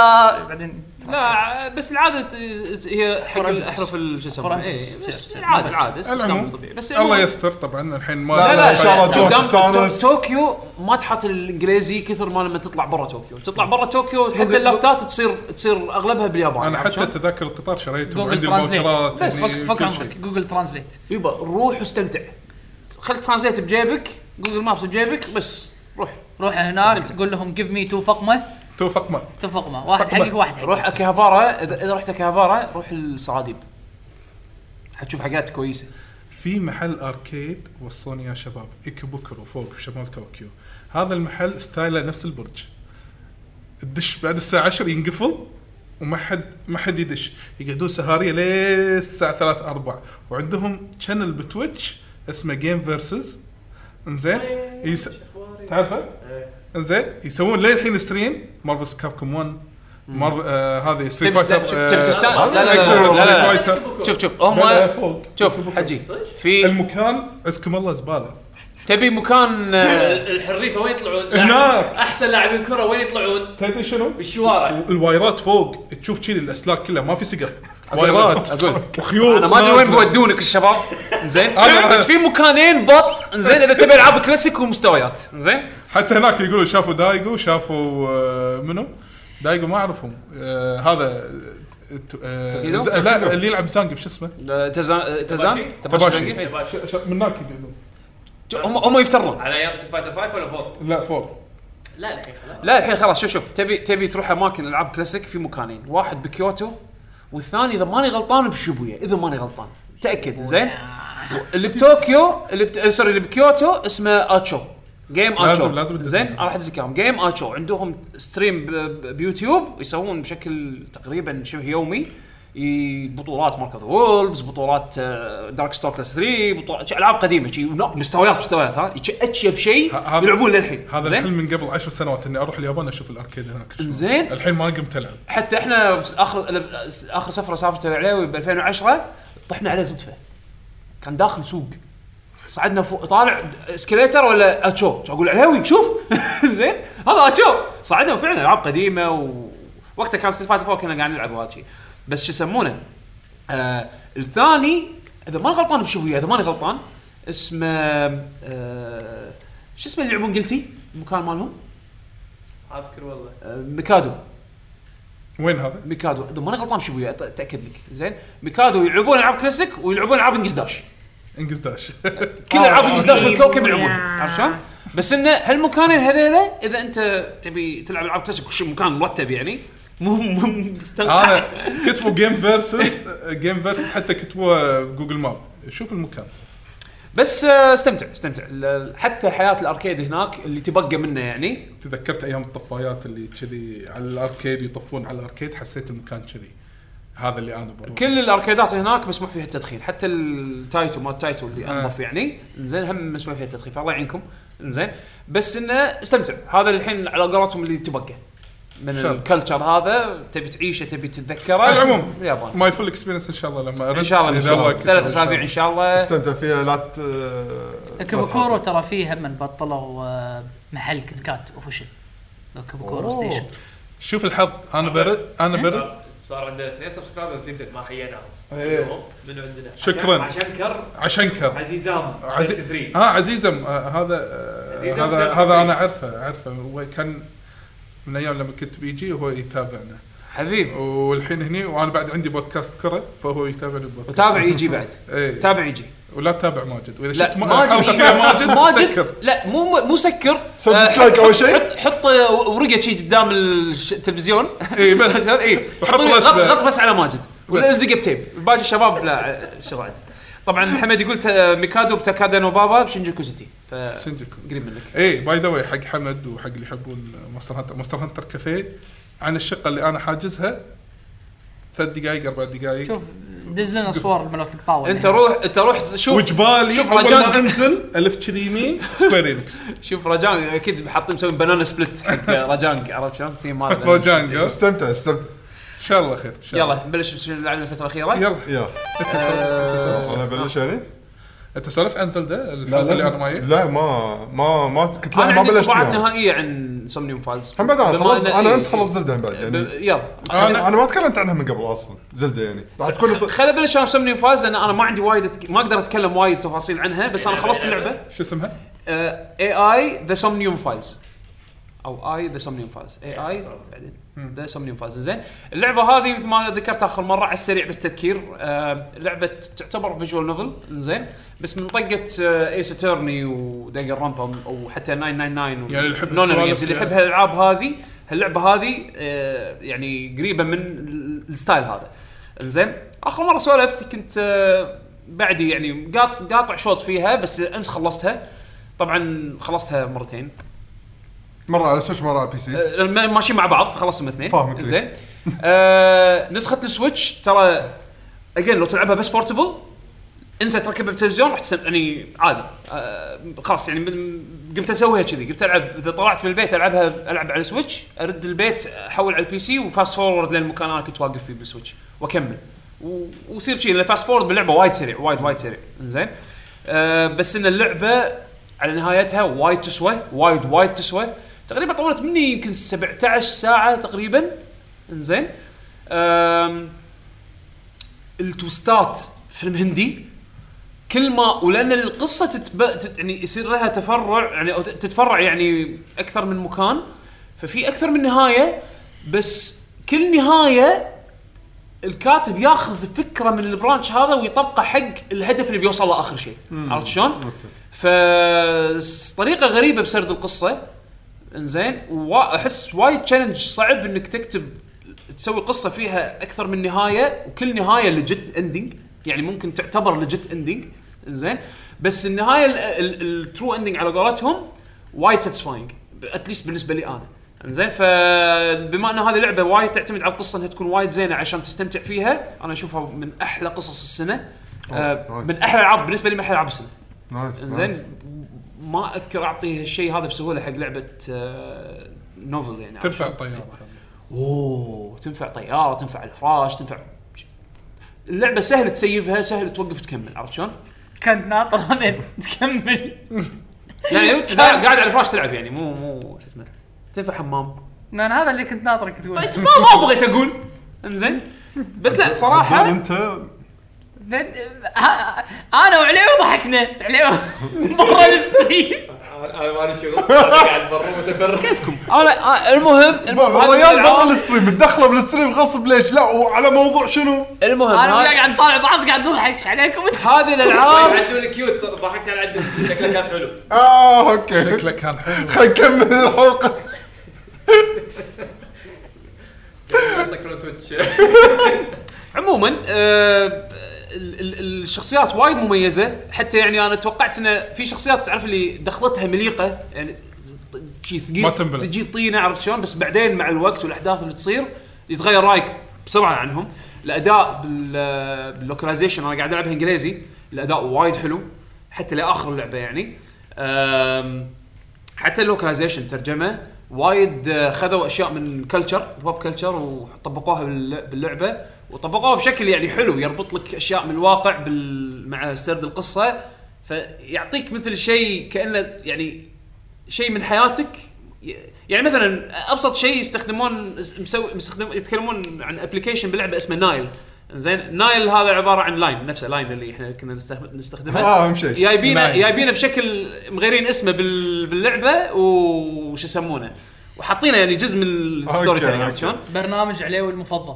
D: بعدين
A: لا بس العاده ت- ت- هي حق
D: فرنسيس.
A: الاحرف ال- شو يسمونه
D: فرنسيس.
A: إيه،
D: سير،
A: بس
D: سير.
A: العاده
D: بس.
A: العاده استخدام
B: العموم
A: طبيعي بس
B: الله
A: المهم-
B: يستر طبعا الحين ما
C: لا، لا، إن شاء الله
B: طبعاً.
C: تروح
A: قدام-
C: تستانس.
A: تو- طوكيو ما تحط الانجليزي كثر ما لما تطلع برا طوكيو تطلع برا طوكيو حتى اللافتات تصير تصير اغلبها باليابان
B: انا
A: عرفت
B: حتى
A: شلون؟
B: تذاكر القطار شريتهم
D: جوجل
B: وعندي
D: ترانزليت
B: الموترات
D: بس
B: يعني
D: فك
B: كل
D: عمرك
B: شيء.
D: جوجل ترانزليت
A: يبا روح واستمتع خل ترانزليت بجيبك جوجل مابس بجيبك بس روح
D: روح هناك تقول لهم جيف مي تو فقمه
B: تو فقمه
D: تو فقمه واحد
B: فقمة.
D: حقك واحد حقك
A: روح اكيهابارا اذا اذا رحت اكيهابارا روح الصعاديب حتشوف حاجات كويسه
B: في محل اركيد وصوني يا شباب ايكوبوكرو فوق بشمال طوكيو هذا المحل ستايله نفس البرج تدش بعد الساعه 10 ينقفل وما حد ما حد يدش يقعدون سهاريه للساعه 3 4 وعندهم شانل بتويتش اسمه جيم فيرسز انزين يس... تعرفه؟
E: إيه.
B: انزين يسوون للحين ستريم مارفلز كاب كوم 1 مارف... آه هذا ستريت
A: تبي-
B: فايتر
A: شوف- تبي تستان- لا،
B: آه،
A: لا، لا، لا،
B: Action
A: لا، لا،
B: Street
A: لا.
B: Fighter.
A: شوف شوف
B: بدأ
A: هم آه،
B: فوق
A: شوف حجي في
B: المكان عزكم الله زباله
A: تبي مكان آه،
E: الحريفه وين يطلعون؟
B: هناك.
E: احسن لاعبين كره وين يطلعون؟
B: تدري شنو؟
E: بالشوارع
B: الوايرات فوق تشوف كذي الاسلاك كلها ما في سقف وايرات
A: اقول
B: وخيوط
A: انا ما ادري وين
B: نازلة.
A: بودونك الشباب زين
B: أنا-
A: بس في مكانين بط زين اذا تبي العاب كلاسيك ومستويات زين
B: حتى هناك يقولوا شافوا دايجو شافوا آه، منو؟ دايجو ما اعرفهم آه، هذا آه، ت- آه،
A: توكيدو؟
B: ز- لا
A: أه،
B: اللي يلعب زانجب شو اسمه؟
A: تزان تزان
E: تباشي؟
A: تباشي
B: ش- ش- من هناك يقولون.
A: هم هم يفترون
E: على ايام ست فايتر 5 ولا فور؟
B: لا فور
E: لا لا يا أخي، لا
A: لا الحين خلاص شوف شوف تبي تبي تروح اماكن العاب كلاسيك في مكانين واحد بكيوتو والثاني اذا ماني غلطان بشيبويا اذا ماني غلطان تاكد زين اللي بطوكيو اللي بت... سوري اللي بكيوتو اسمه اتشو جيم اتشو
B: لازم- لازم تدزهم.
A: زين انا راح ادزك اياهم جيم اتشو عندهم ستريم ب... ب... بيوتيوب يسوون بشكل تقريبا شبه يومي ي- بطولات مارك اوف وولفز بطولات آه، دارك ستوكرز 3 بطولات شي العاب قديمه شي ونوع- مستويات مستويات ها شي اتشيب شيء
B: ه- هذا-
A: يلعبون للحين
B: هذا
A: زين؟
B: الحلم من قبل عشر سنوات اني اروح اليابان اشوف الاركيد هناك شلون.
A: زين.
B: الحين ما قمت العب
A: حتى احنا بس- اخر اخر سفره سافرت ويا العلاوي ب 2010 طحنا عليه صدفه كان داخل سوق صعدنا فوق طالع اسكليتر ولا اتشو شو اقول العلاوي شوف زين هذا اتشو صعدنا فعلا العاب قديمه ووقتها كان ستريت فايتر 4 كنا قاعدين نلعب وهذا الشيء بس شو يسمونه آه الثاني اذا ما غلطان بشوية اذا ماني غلطان اسمه آه شو اسمه اللي يلعبون قلتي المكان مالهم
E: اذكر والله
A: آه ميكادو
B: وين هذا؟
A: ميكادو اذا ماني غلطان شيبويا أت- اتاكد لك زين ميكادو يلعبون العاب كلاسيك ويلعبون العاب انجز داش
B: انجز داش
A: كل العاب انجز داش
D: شيبويا.
A: بالكوكب يلعبونها عرفت شلون؟ بس انه هالمكانين هذيلا اذا انت تبي تلعب العاب كلاسيك وش مكان مرتب يعني مو مو مستنقع
B: انا كتبوا جيم فيرسز جيم فيرسز حتى كتبوا جوجل ماب شوف المكان
A: بس آه، استمتع استمتع ال- حتى حياه الاركيد هناك اللي تبقى منه يعني
B: تذكرت ايام الطفايات اللي كذي على الاركيد يطفون على الاركيد حسيت المكان كذي هذا اللي انا بروح
A: كل الاركيدات هناك مسموح فيها التدخين حتى التايتو مال التايتو اللي
B: آه.
A: انظف يعني زين هم مسموح فيها التدخين فالله يعينكم زين بس انه استمتع هذا الحين على قولتهم اللي تبقى من
B: شاء الله.
A: الكلتشر هذا تبي تعيشه تبي تتذكره
B: على العموم.
A: اليابان
B: ماي فول اكسبيرينس ان شاء الله لما
A: ان شاء الله إن
B: إذا
A: شاء الله
B: الله كتب
A: ثلاث اسابيع ان شاء الله
C: استمتع فيها لا ت لا
D: كوبكورو
C: تخاف.
D: ترى فيه هم بطلوا آه، محل كت كات اوفشل كوبكورو ستيشن
B: شوف الحظ انا برد انا برد
E: صار- صار عندنا اثنين سبسكرايبرز جدد ما حييناهم
B: إيه.
E: اليوم من عندنا
B: شكراً.
E: عشان عشان كر
B: عشان كر
E: عزيزام
B: عزي...
E: 33
B: ها عزيزم آه هذا آه
E: عزيزم
B: هذا
E: ثلاثة
B: هذا
E: وثلاثين.
B: انا اعرفه اعرفه هو كان من ايام لما كنت بيجي وهو يتابعنا
A: حبيب
B: والحين هني وانا بعد عندي بودكاست كره فهو يتابعني بودكاست
A: وتابع يجي بعد
B: ايه
A: تابع يجي
B: ولا تتابع ماجد واذا
A: لا
B: شفت ما- حلقه فيها ماجد سكر
A: لا مو مو سكر
C: سوي
A: آه،
C: dislike
A: حط-
C: أول شيء.
A: حط حط ورقه شي قدام الش- التلفزيون
B: إي بس.
A: اي
B: وحط
A: حط
B: الأسماء.
A: غط, غط بس على ماجد
B: بس.
A: والزقه بتيب باقي الشباب لا شغل عادي طبعا محمد يقول تا- ميكادو بتاكادا نوبابا بشنجوكو سيتي ف
B: شنجكو
A: قريب منك
B: اي باي ذا واي حق حمد وحق اللي يحبون مونستر هانتر مونستر هانتر كافيه عن الشقه اللي انا حاجزها ثلاث دقائق اربع دقائق
D: شوف دز لنا صور ملوك الطاوله
A: انت
B: يعني.
A: روح انت روح شوف
B: وجبالي
A: شوف
B: اول
A: رجاء.
B: ما انزل الف كذي يمين سكوير انكس
A: شوف رجانج اكيد حاطين مسوي بنانا سبلت حق رجانج عرفت شلون؟ اثنين مال بنانا
B: روجانج
A: سبلت.
B: ها؟
C: استمتع استمتع
B: ان شاء الله خير إن شاء
A: يلا
B: الله.
A: نبلش بشنو لعبنا الفتره الاخيره
B: يلا
C: يلا
B: انت
A: آه،
B: سولف
C: انا بلش يعني؟
B: انت سولف عن زلده الحلقه اللي انا مايل
C: لا ما ما ما كنت
A: انا
C: لا ما
A: عندي
C: بلشت
A: انطباعات
C: فيها
A: نهائيه عن سومنيوم فالز
C: هم بعد انا
A: بما
C: خلصت
A: إن-
C: انا
A: إيه.
C: امس خلصت زلده بعد يعني
A: ب- يلا
C: انا
B: انا
C: انا ما تكلمت عنها من قبل اصلا زلده يعني راح تكون
A: خل- خل ابلش عن سومنيوم فالز لان انا ما عندي وايد أتك... ما اقدر اتكلم وايد تفاصيل عنها بس انا خلصت آه، اللعبه
B: شو اسمها؟
A: اي اي ذا سومنيوم فالز او اي ذا سومنيوم فالز اي اي بعدين ذا سومنيوم فالز زين اللعبه هذه مثل ما ذكرت اخر مره على السريع بس تذكير آه لعبه تعتبر فيجوال نوفل زين بس من آه، طقه ايس اتورني ودنجر رامبا او حتى 999 و
B: يعني اللي يحب
A: نونو
B: السوالف
A: جيمز اللي
B: يعني.
A: يحب هالالعاب هذه هاللعبه هذه آه، يعني قريبه من ال- الستايل هذا زين اخر مره سولفت كنت آه، بعدي يعني قاط- قاطع شوط فيها بس امس خلصتها طبعا خلصتها مرتين
C: مره على سويتش مره على بي سي
A: آه، ما- ماشيين مع بعض خلصهم اثنين
C: فاهمك.
A: زين آه نسخه السويتش ترى اجين لو تلعبها بس بورتبل انسى تركبها بالتلفزيون راح تسم... يعني عادي آه خلاص يعني من- قمت اسويها كذي قمت العب اذا طلعت من البيت العبها العب على السويتش ارد البيت احول على البي سي وفاست فورورد للمكان اللي انا كنت واقف فيه بالسويتش واكمل و- ويصير شيء لان فاست فورورد باللعبه وايد سريع وايد وايد سريع زين آه بس ان اللعبه على نهايتها وايد تسوى وايد وايد تسوى تقريبا طولت مني يمكن 17 ساعه تقريبا انزين أم، التوستات فيلم هندي كل ما ولان القصه تتب... تت... يعني يصير لها تفرع يعني او ت- تتفرع يعني اكثر من مكان ففي اكثر من نهايه بس كل نهايه الكاتب ياخذ فكره من البرانش هذا ويطبقه حق الهدف اللي بيوصل له اخر شيء عرفت شلون؟ فطريقه غريبه بسرد القصه انزين واحس وايد تشالنج صعب انك تكتب تسوي قصه فيها اكثر من نهايه وكل نهايه لجت اندنج يعني ممكن تعتبر لجت اندنج انزين بس النهايه الترو اندنج على قولتهم وايد ساتيسفاينج اتليست بالنسبه لي انا انزين فبما ان هذه لعبه وايد تعتمد على القصه انها تكون وايد زينه عشان تستمتع فيها انا اشوفها من احلى قصص السنه آه
C: نايس.
A: من احلى العاب بالنسبه لي من احلى العاب السنه
C: نايس نايس.
A: زين ما اذكر اعطيه الشيء هذا بسهوله حق لعبه آه، نوفل يعني
B: تنفع الطياره
A: اوه تنفع طياره تنفع الفراش تنفع اللعبه سهل تسيفها سهل توقف تكمل عرفت شلون؟
D: كنت ناطر لين تكمل
A: يعني أنت قاعد على الفراش تلعب يعني مو مو شو اسمه تنفع حمام
D: انا هذا اللي كنت ناطرك تقول
A: ما ما بغيت اقول انزين بس لا
C: صراحه
A: صراحه
C: انت
D: بعد- ها- انا وعليو ضحكنا عليو برا الستريم
E: انا أنا مالي شغل أنا قاعد برا متفرج
A: انا آه، المهم المهم هذه من
C: الرجال برا
A: الألعاب-
C: الستريم متدخله بالستريم غصب ليش لا وعلى موضوع شنو؟
A: المهم
D: انا وياه
A: هذه-
D: قاعد نطالع بعض قاعد نضحك ايش عليكم انت
A: هذه الالعاب
E: عدل الكيوت صار ضحكت على عدل شكله كان حلو
C: اه اوكي
B: شكله كان حلو
C: خلينا نكمل الحلقه
E: سكروا تويتش
A: عموما آه، ال- ال- الشخصيات وايد مميزه حتى يعني انا توقعت ان في شخصيات تعرف اللي دخلتها مليقه يعني ط- شي ثقيل
B: ما تنبلع.
A: تجي طينه عرفت شلون بس بعدين مع الوقت والاحداث اللي تصير يتغير رايك بسرعه عنهم الاداء بال- باللوكلايزيشن انا قاعد العبها انجليزي الاداء وايد حلو حتى لاخر اللعبه يعني أم، حتى اللوكلايزيشن ترجمه وايد آه، خذوا اشياء من كلتشر بوب كلتشر وطبقوها بالل- باللعبه وطبقوها بشكل يعني حلو يربط لك اشياء من الواقع بال... مع سرد القصه فيعطيك مثل شيء كانه يعني شيء من حياتك ي- يعني مثلا ابسط شيء يستخدمون مسوي مستخدم يتكلمون عن ابلكيشن بلعبه اسمه نايل زين نايل هذا عباره عن لاين نفسه لاين اللي احنا كنا نستخدم- نستخدمه
C: اه اهم شيء
A: جايبينه
B: نايم.
A: جايبينه بشكل مغيرين اسمه بال- باللعبه و- وش يسمونه وحاطينه يعني جزء من الستوري
C: أوكي،
A: تيلينج عرفت
C: أوكي.
A: شلون؟
D: برنامج عليو المفضل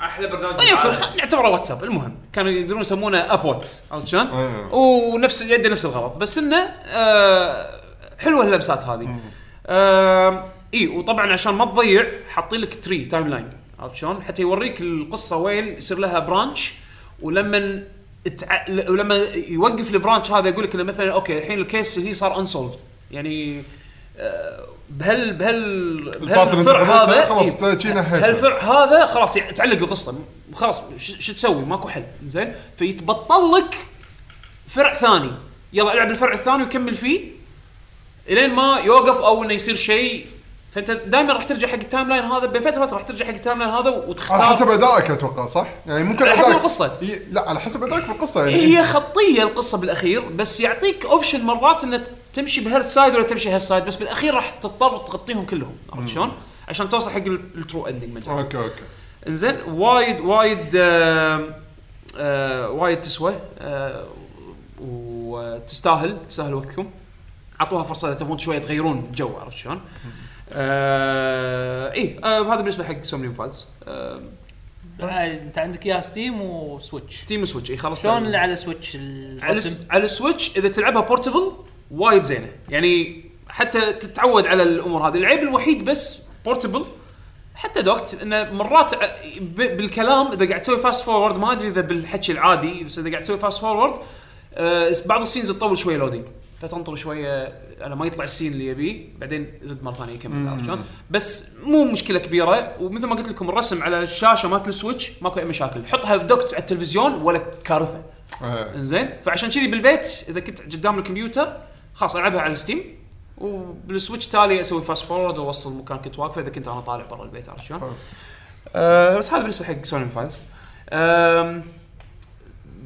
E: احلى برنامج
A: وليكن
E: بالعالم.
A: خ- نعتبره واتساب المهم كانوا يقدرون يسمونه اب واتس عرفت شلون؟
C: أيوة.
A: ونفس يده نفس الغلط بس انه آه حلوه اللمسات هذه. آه اي وطبعا عشان ما تضيع حاطين لك تري تايم لاين عرفت شلون؟ حتى يوريك القصه وين يصير لها برانش ولما تع... ل- ولما يوقف البرانش هذا يقول لك انه مثلا اوكي الحين الكيس هي صار انسولفد يعني آه، بهال بهال
C: الباطل اللي
A: بهالفرع
C: انت خذيته
A: هذا إيه.
C: خلاص
A: إي.
C: تجينا حيته.
A: هالفرع هذا خلاص يعني تعلق القصه خلاص ش- شو تسوي ماكو حل زين فيتبطل لك فرع ثاني يلا العب الفرع الثاني وكمل فيه الين ما يوقف او انه يصير شيء فانت دائما راح ترجع حق التايم لاين هذا بين فتره راح ترجع حق التايم لاين هذا
C: على حسب
A: وتختار
C: ادائك اتوقع صح؟ يعني ممكن
A: على حسب
C: أدائك-
A: القصة. إيه.
C: إي، لا على حسب ادائك بالقصه يعني
A: هي خطيه القصه بالاخير بس يعطيك اوبشن مرات انك تمشي بهالسايد ولا تمشي هالسايد بس بالاخير راح تضطر تغطيهم كلهم عرفت شلون؟ عشان توصل حق ال- الترو اندنج مجال
C: اوكي اوكي
A: انزين وايد وايد آم، آه، وايد تسوى آه، وتستاهل تستاهل وقتكم اعطوها فرصه اذا تبون شويه تغيرون الجو عرفت شلون؟ آه اي آه هذا بالنسبه حق سومنيوم فاز آه
D: انت عندك يا ستيم وسويتش
A: ستيم وسويتش اي إيه، خلاص
D: شلون
A: تعال.
D: اللي على سويتش
A: على,
D: الرسم
A: على السويتش اذا تلعبها بورتبل وايد زينه يعني حتى تتعود على الامور هذه العيب الوحيد بس بورتبل حتى دوكت انه مرات ع- ب- بالكلام اذا قاعد تسوي فاست فورورد ما ادري اذا بالحكي العادي بس اذا قاعد تسوي فاست فورورد آه بعض السينز تطول شويه لودينج فتنطر شويه على ما يطلع السين اللي يبيه بعدين زد مره ثانيه يكمل عرفت شلون؟ بس مو مشكله كبيره ومثل ما قلت لكم الرسم على الشاشه مالت السويتش ماكو اي مشاكل حطها بدوكت على التلفزيون ولا كارثه
C: إيه.
A: انزين فعشان كذي بالبيت اذا كنت قدام الكمبيوتر خلاص العبها على ستيم وبالسويتش تالي اسوي فاست فورورد واوصل مكان كنت واقفه اذا كنت انا طالع برا البيت عرفت شلون؟ آه بس هذا بالنسبه حق سوني فايلز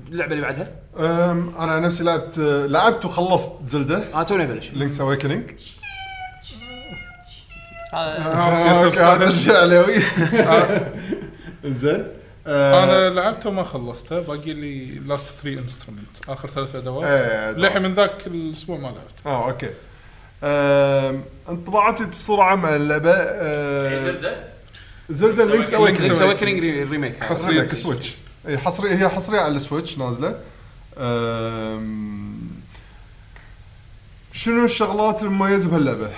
A: اللعبه اللي بعدها
C: أم، انا نفسي لعبت لعبت وخلصت زلده
A: انا آه، توني بلش
C: لينكس اويكننج آه،
D: هذا
A: آه،
C: ترجع عليوي زين آه.
B: انا لعبته وما خلصته باقي لي لاست 3 انسترومنت اخر ثلاث
C: آه.
B: ادوات للحين من ذاك الاسبوع ما لعبت
C: اه اوكي أم، انطباعاتي بسرعه مع اللعبه أم،
E: زبدة
C: زلدا آه، لينكس اويكننج
A: لينكس اويكننج ريميك هذا.
B: حصرية
C: حصريه سويتش اي حصريه هي حصريه على السويتش نازله أم، شنو الشغلات المميزه بهاللعبه؟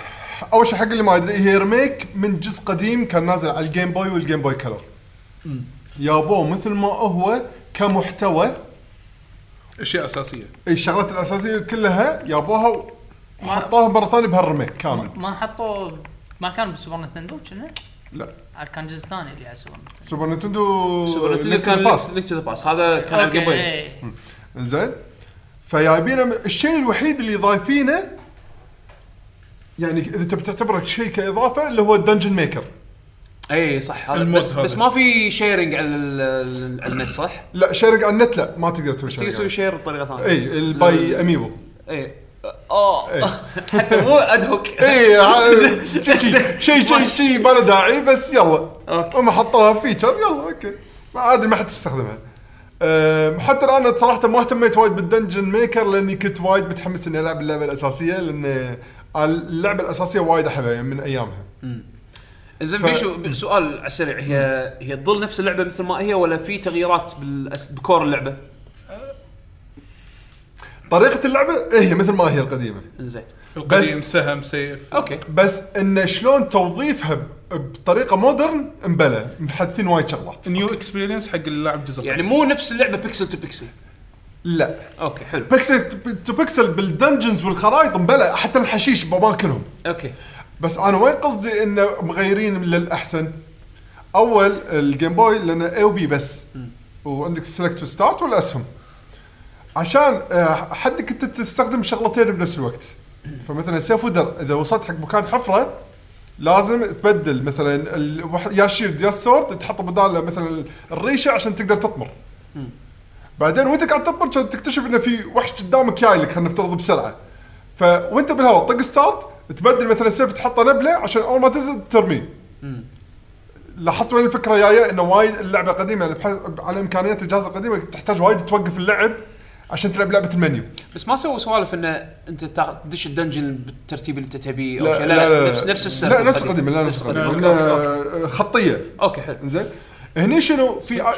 C: اول شيء حق اللي ما يدري هي ريميك من جزء قديم كان نازل على الجيم بوي والجيم بوي كلر يابوه مثل ما هو كمحتوى
B: اشياء اساسيه
C: الشغلات الاساسيه كلها يابوها وحطوها مره ثانيه بهالريميك كامل
D: ما حطوا ما كان بالسوبر نتندو كنا
C: لا
D: عاد كان جزء ثاني اللي على السوبر نتندو
C: سوبر نتندو
A: سوبر نتندو
C: لينك
A: كان
C: باست.
A: لينك تو ذا باس هذا كان على الجيم بوي
D: إيه.
C: زين فجايبينه م- الشيء الوحيد اللي ضايفينه يعني اذا تبي تعتبره شيء كاضافه اللي هو الدنجن ميكر
A: اي إيه، صح هذا
B: المود
A: بس
B: هذا.
A: بس ما في شيرنج على ال- ال- على النت صح؟
C: لا شارك على النت لا ما تقدر إيه. تسوي
A: تقدر
C: يعني. شارك
A: تسوي شير بطريقه ثانيه
C: اي الباي اميبو
A: اي اه
C: إيه.
A: حتى مو ادهوك
C: اي ع- إيه، شي- شي- شي شي شي بلا داعي بس يلا
A: أوكي.
C: هم حطوها فيتشر يلا اوكي ما عادي ما حد يستخدمها أم، حتى الان أنا صراحه ما اهتميت وايد بالدنجن ميكر لاني كنت وايد متحمس اني العب اللعبه الاساسيه لان اللعبه الاساسيه وايد احبها يعني من ايامها
A: زين
C: ف-
A: بيشو سؤال على السريع هي هي تظل نفس اللعبه مثل ما هي ولا في تغييرات بالأس- بكور اللعبه؟
C: طريقه اللعبه إيه هي مثل ما هي القديمه
A: زين
B: القديم سهم سيف
A: اوكي
C: بس ان شلون توظيفها ب- بطريقه مودرن مبلى محدثين وايد شغلات
B: نيو اكسبيرينس حق اللاعب جزء
A: يعني مو نفس اللعبه بيكسل تو بيكسل
C: لا
A: اوكي حلو
C: بيكسل تو بيكسل بالدنجنز والخرايط مبلى حتى الحشيش باماكنهم
A: اوكي
C: بس انا وين قصدي انه مغيرين للاحسن اول الجيم بوي لان اي وبي بس وعندك سلكت تو ستارت والاسهم عشان آه، حدك انت تستخدم شغلتين بنفس الوقت فمثلا سيف ودر اذا وصلت حق مكان حفره لازم تبدل مثلا الوح- يا الشيلد يا السورد تحط بداله مثلا الريشه عشان تقدر تطمر بعدين وانت قاعد تطمر كان تكتشف انه في وحش قدامك جاي لك خلينا نفترض بسرعه فوانت بالهواء طق ستارت تبدل مثلا السيف تحطه نبله عشان اول ما تنزل ترميه لاحظت وين الفكره جايه انه وايد اللعبه قديمه يعني بح- على امكانيات الجهاز القديمه تحتاج وايد توقف اللعب عشان تلعب لعبه المنيو
A: بس ما سووا سوالف انه انت تاخ- تدش الدنجن بالترتيب اللي انت تبيه او
C: لا-
A: شيء
C: لا- لا- لا.
A: نفس نفس السر
C: لا نفس القديمه لا نفس القديمه
A: أوكي، أوكي، أوكي.
C: لأن- خطيه
A: اوكي حلو
C: زين هني شنو في ع-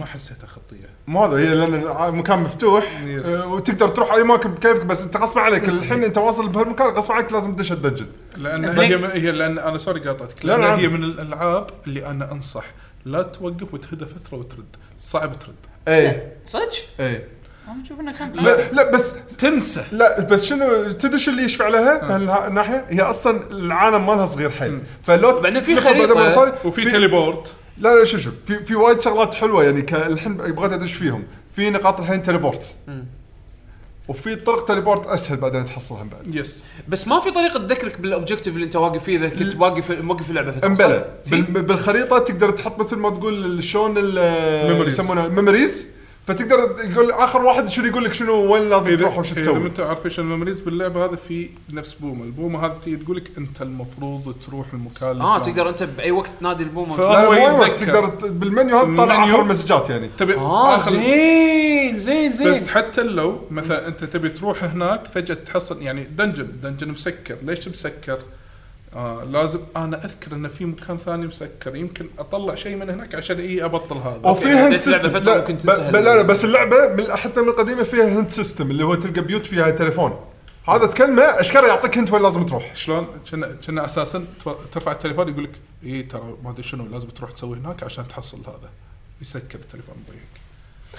B: ما حسيتها خطيه
C: ما هذا هي لان الع- مكان مفتوح
B: Yes.
C: آه، وتقدر تروح اي مكان بكيفك بس انت غصب عليك الحين انت واصل بهالمكان غصب عليك لازم تدش الدجل
B: لان
A: بس-
B: هي هي لان انا سوري قاطعتك
C: لا،
B: لان
C: لا.
B: هي من الالعاب اللي انا انصح لا توقف وتهدى فتره وترد صعب ترد
C: اي
D: صدق؟
C: اي
D: انا اشوف انه كان
C: لا إيه، لا بس
B: تنسى
C: لا بس شنو تدش اللي يشفع لها بهالناحيه هي اصلا العالم مالها صغير حيل
B: آه. مم.
C: فلو
A: بعدين في
C: تلفها بعدين مرة
A: خريطة
C: ثانية،
B: وفي تليبورت
C: لا لا شوف شوف في في وايد شغلات حلوه يعني ك- الحين بغيت ادش فيهم في نقاط الحين تليبورت وفي طرق تليبورت اسهل بعدين تحصلها بعد
B: يس
A: بس ما في طريقه تذكرك بالاوبجيكتيف اللي انت واقف فيه اذا كنت واقف موقف اللعبه فتره
C: امبلى
A: صح؟
C: بال-
A: في-
C: بالخريطه تقدر تحط مثل ما تقول ال- شلون ال-
B: Memories.
C: يسمونها ميموريز فتقدر يقول اخر واحد شنو يقول لك شنو وين لازم
B: اذا
C: تروح وش
B: اذا
C: تسوي
B: انت عارف ايش الميموريز باللعبه هذا في نفس بومه البومه هذه تيجي تقول لك انت المفروض تروح المكان
A: اه
B: الفلاني.
A: تقدر انت باي وقت تنادي البومه
B: ف-
C: لا،
B: هو
C: مو أي وقت،
B: يتذكر.
C: تقدر ت- بالمنيو هذا تطلع
B: المنيو.
C: اخر مسجات يعني
B: تبي
A: اه
B: آخر-
A: زين زين زين
B: بس حتى لو مثلا انت تبي تروح هناك فجاه تحصل يعني دنجن دنجن مسكر ليش مسكر؟ آه لازم انا اذكر ان في مكان ثاني مسكر يمكن اطلع شيء من هناك عشان اي ابطل هذا
A: أوكي،
C: وفيها هنت
A: بديت لعبة
C: سيستم
A: فترة
C: لا,
A: ممكن
C: ب-
A: تنسى
C: ب- لا, لا
A: هال-
C: بس اللعبه من حتى من القديمه فيها هنت سيستم اللي هو تلقى بيوت فيها تليفون هذا تكلمه اشكره يعطيك هنت وين لازم تروح
B: شلون كنا كنا اساسا تو- ترفع التليفون يقول لك اي ترى ما ادري شنو لازم تروح تسوي هناك عشان تحصل هذا يسكر التليفون ضيق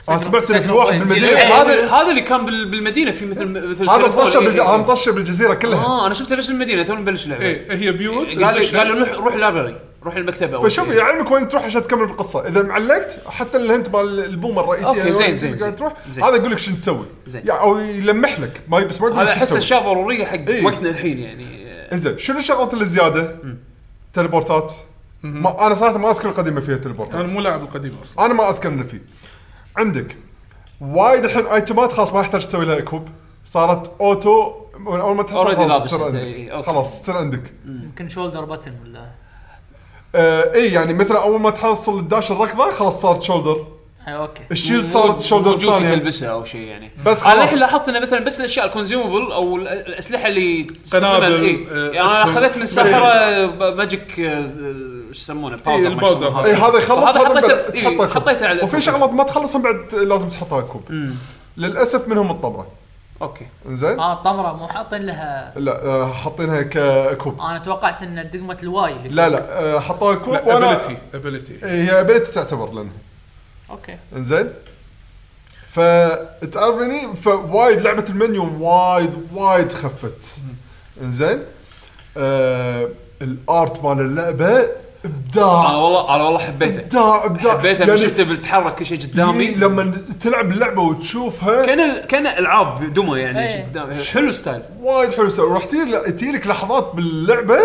C: انا سمعت ان في
D: سكر
C: واحد
D: وين؟
C: بالمدينه
A: إيه، هذا
C: هذا
A: هذا اللي كان بال- بالمدينه في مثل مثل
C: هذا
A: سيرفر،
C: مطشه
A: إيه،
C: بالج-
A: إيه،
C: هذا
A: إيه.
C: مطشه بالجزيره كلها
A: اه انا شفته بس بالمدينه تو نبلش اللعبه
B: ايه هي بيوت
A: قال
B: الدشة-
A: قالوا روح روح لابري روح المكتبه أول
C: فشوف يعني
A: شيء.
C: يعلمك وين تروح عشان تكمل القصه اذا معلقت حتى الهنت مال البومه الرئيسيه
A: أوكي،
C: وين
A: زين، زين،
C: قاعد
A: زين.
C: تروح
A: زين.
C: هذا يقول لك شنو تسوي
A: زين.
C: يعني او يلمح لك ما ي- بس ما يقول
A: هذا
C: لك شنو
A: احس
C: تسوي
A: اشياء ضروريه حق
C: إيه.
A: وقتنا الحين يعني
C: انزين شنو الشغلات اللي زياده؟ تليبورتات ما انا صراحه ما اذكر القديمه فيها تليبورتات
B: انا مو لاعب القديم اصلا
C: انا ما اذكر انه في عندك وايد الحين ايتمات خلاص ما يحتاج تسوي لها اكوب صارت اوتو من اول ما تحصل
A: Already
C: خلاص
A: لابس
C: تصير
A: أنت، إي،
C: عندك
A: أوكي.
C: خلاص تصير عندك
D: يمكن شولدر بتن ولا
C: آه اي يعني مثلا اول ما تحصل الداش الركضه خلاص صارت شولدر
D: اي اوكي
C: الشيلد صارت شولدر
A: موجود في
C: ثانيه
A: تلبسها او شيء يعني
C: بس
A: انا
C: خلاص.
A: الحين لاحظت انه مثلا بس الاشياء الكونسيومبل او ال- الاسلحه اللي
B: قنابل،
A: إيه.
B: آه،
A: يعني انا
B: أسهم.
A: اخذت من الساحره ماجيك آه، شو يسمونه
B: إيه،
A: باودر ما
B: الباودر.
A: يسمونه
C: اي
A: هذا.
C: هذا يخلص
A: فهذا
C: هذا
A: حطيته-
C: بعد
A: إي،
C: تحطه كوب.
A: حطيته على-
C: وفي شغلات ما تخلصها بعد لازم تحطها كوب
A: أمم،
C: للاسف منهم الطبره
A: اوكي
C: انزين
A: آه.
D: اه الطمره مو حاطين لها
C: لا آه، حاطينها ككوب
D: انا توقعت ان دقمه الواي اللي
C: لا لا آه، حطوها كوب
B: لا ابيلتي ابيلتي
C: إيه، هي ابيلتي تعتبر لنا
D: اوكي
C: انزين فتعرفني فوايد لعبه المنيو وايد وايد خفت انزين آه الارت مال اللعبه
A: انا
C: ابداع
A: والله انا والله حبيته
C: ابداع ابداع
A: حبيته يعني شفته بيتحرك كل شيء قدامي
C: إيه، لما تلعب اللعبه وتشوفها
A: كان ال- كان العاب دمى يعني
D: إيه.
A: شي قدامي حلو ستايل
C: وايد حلو سوى راح تي- تجي لك لحظات باللعبه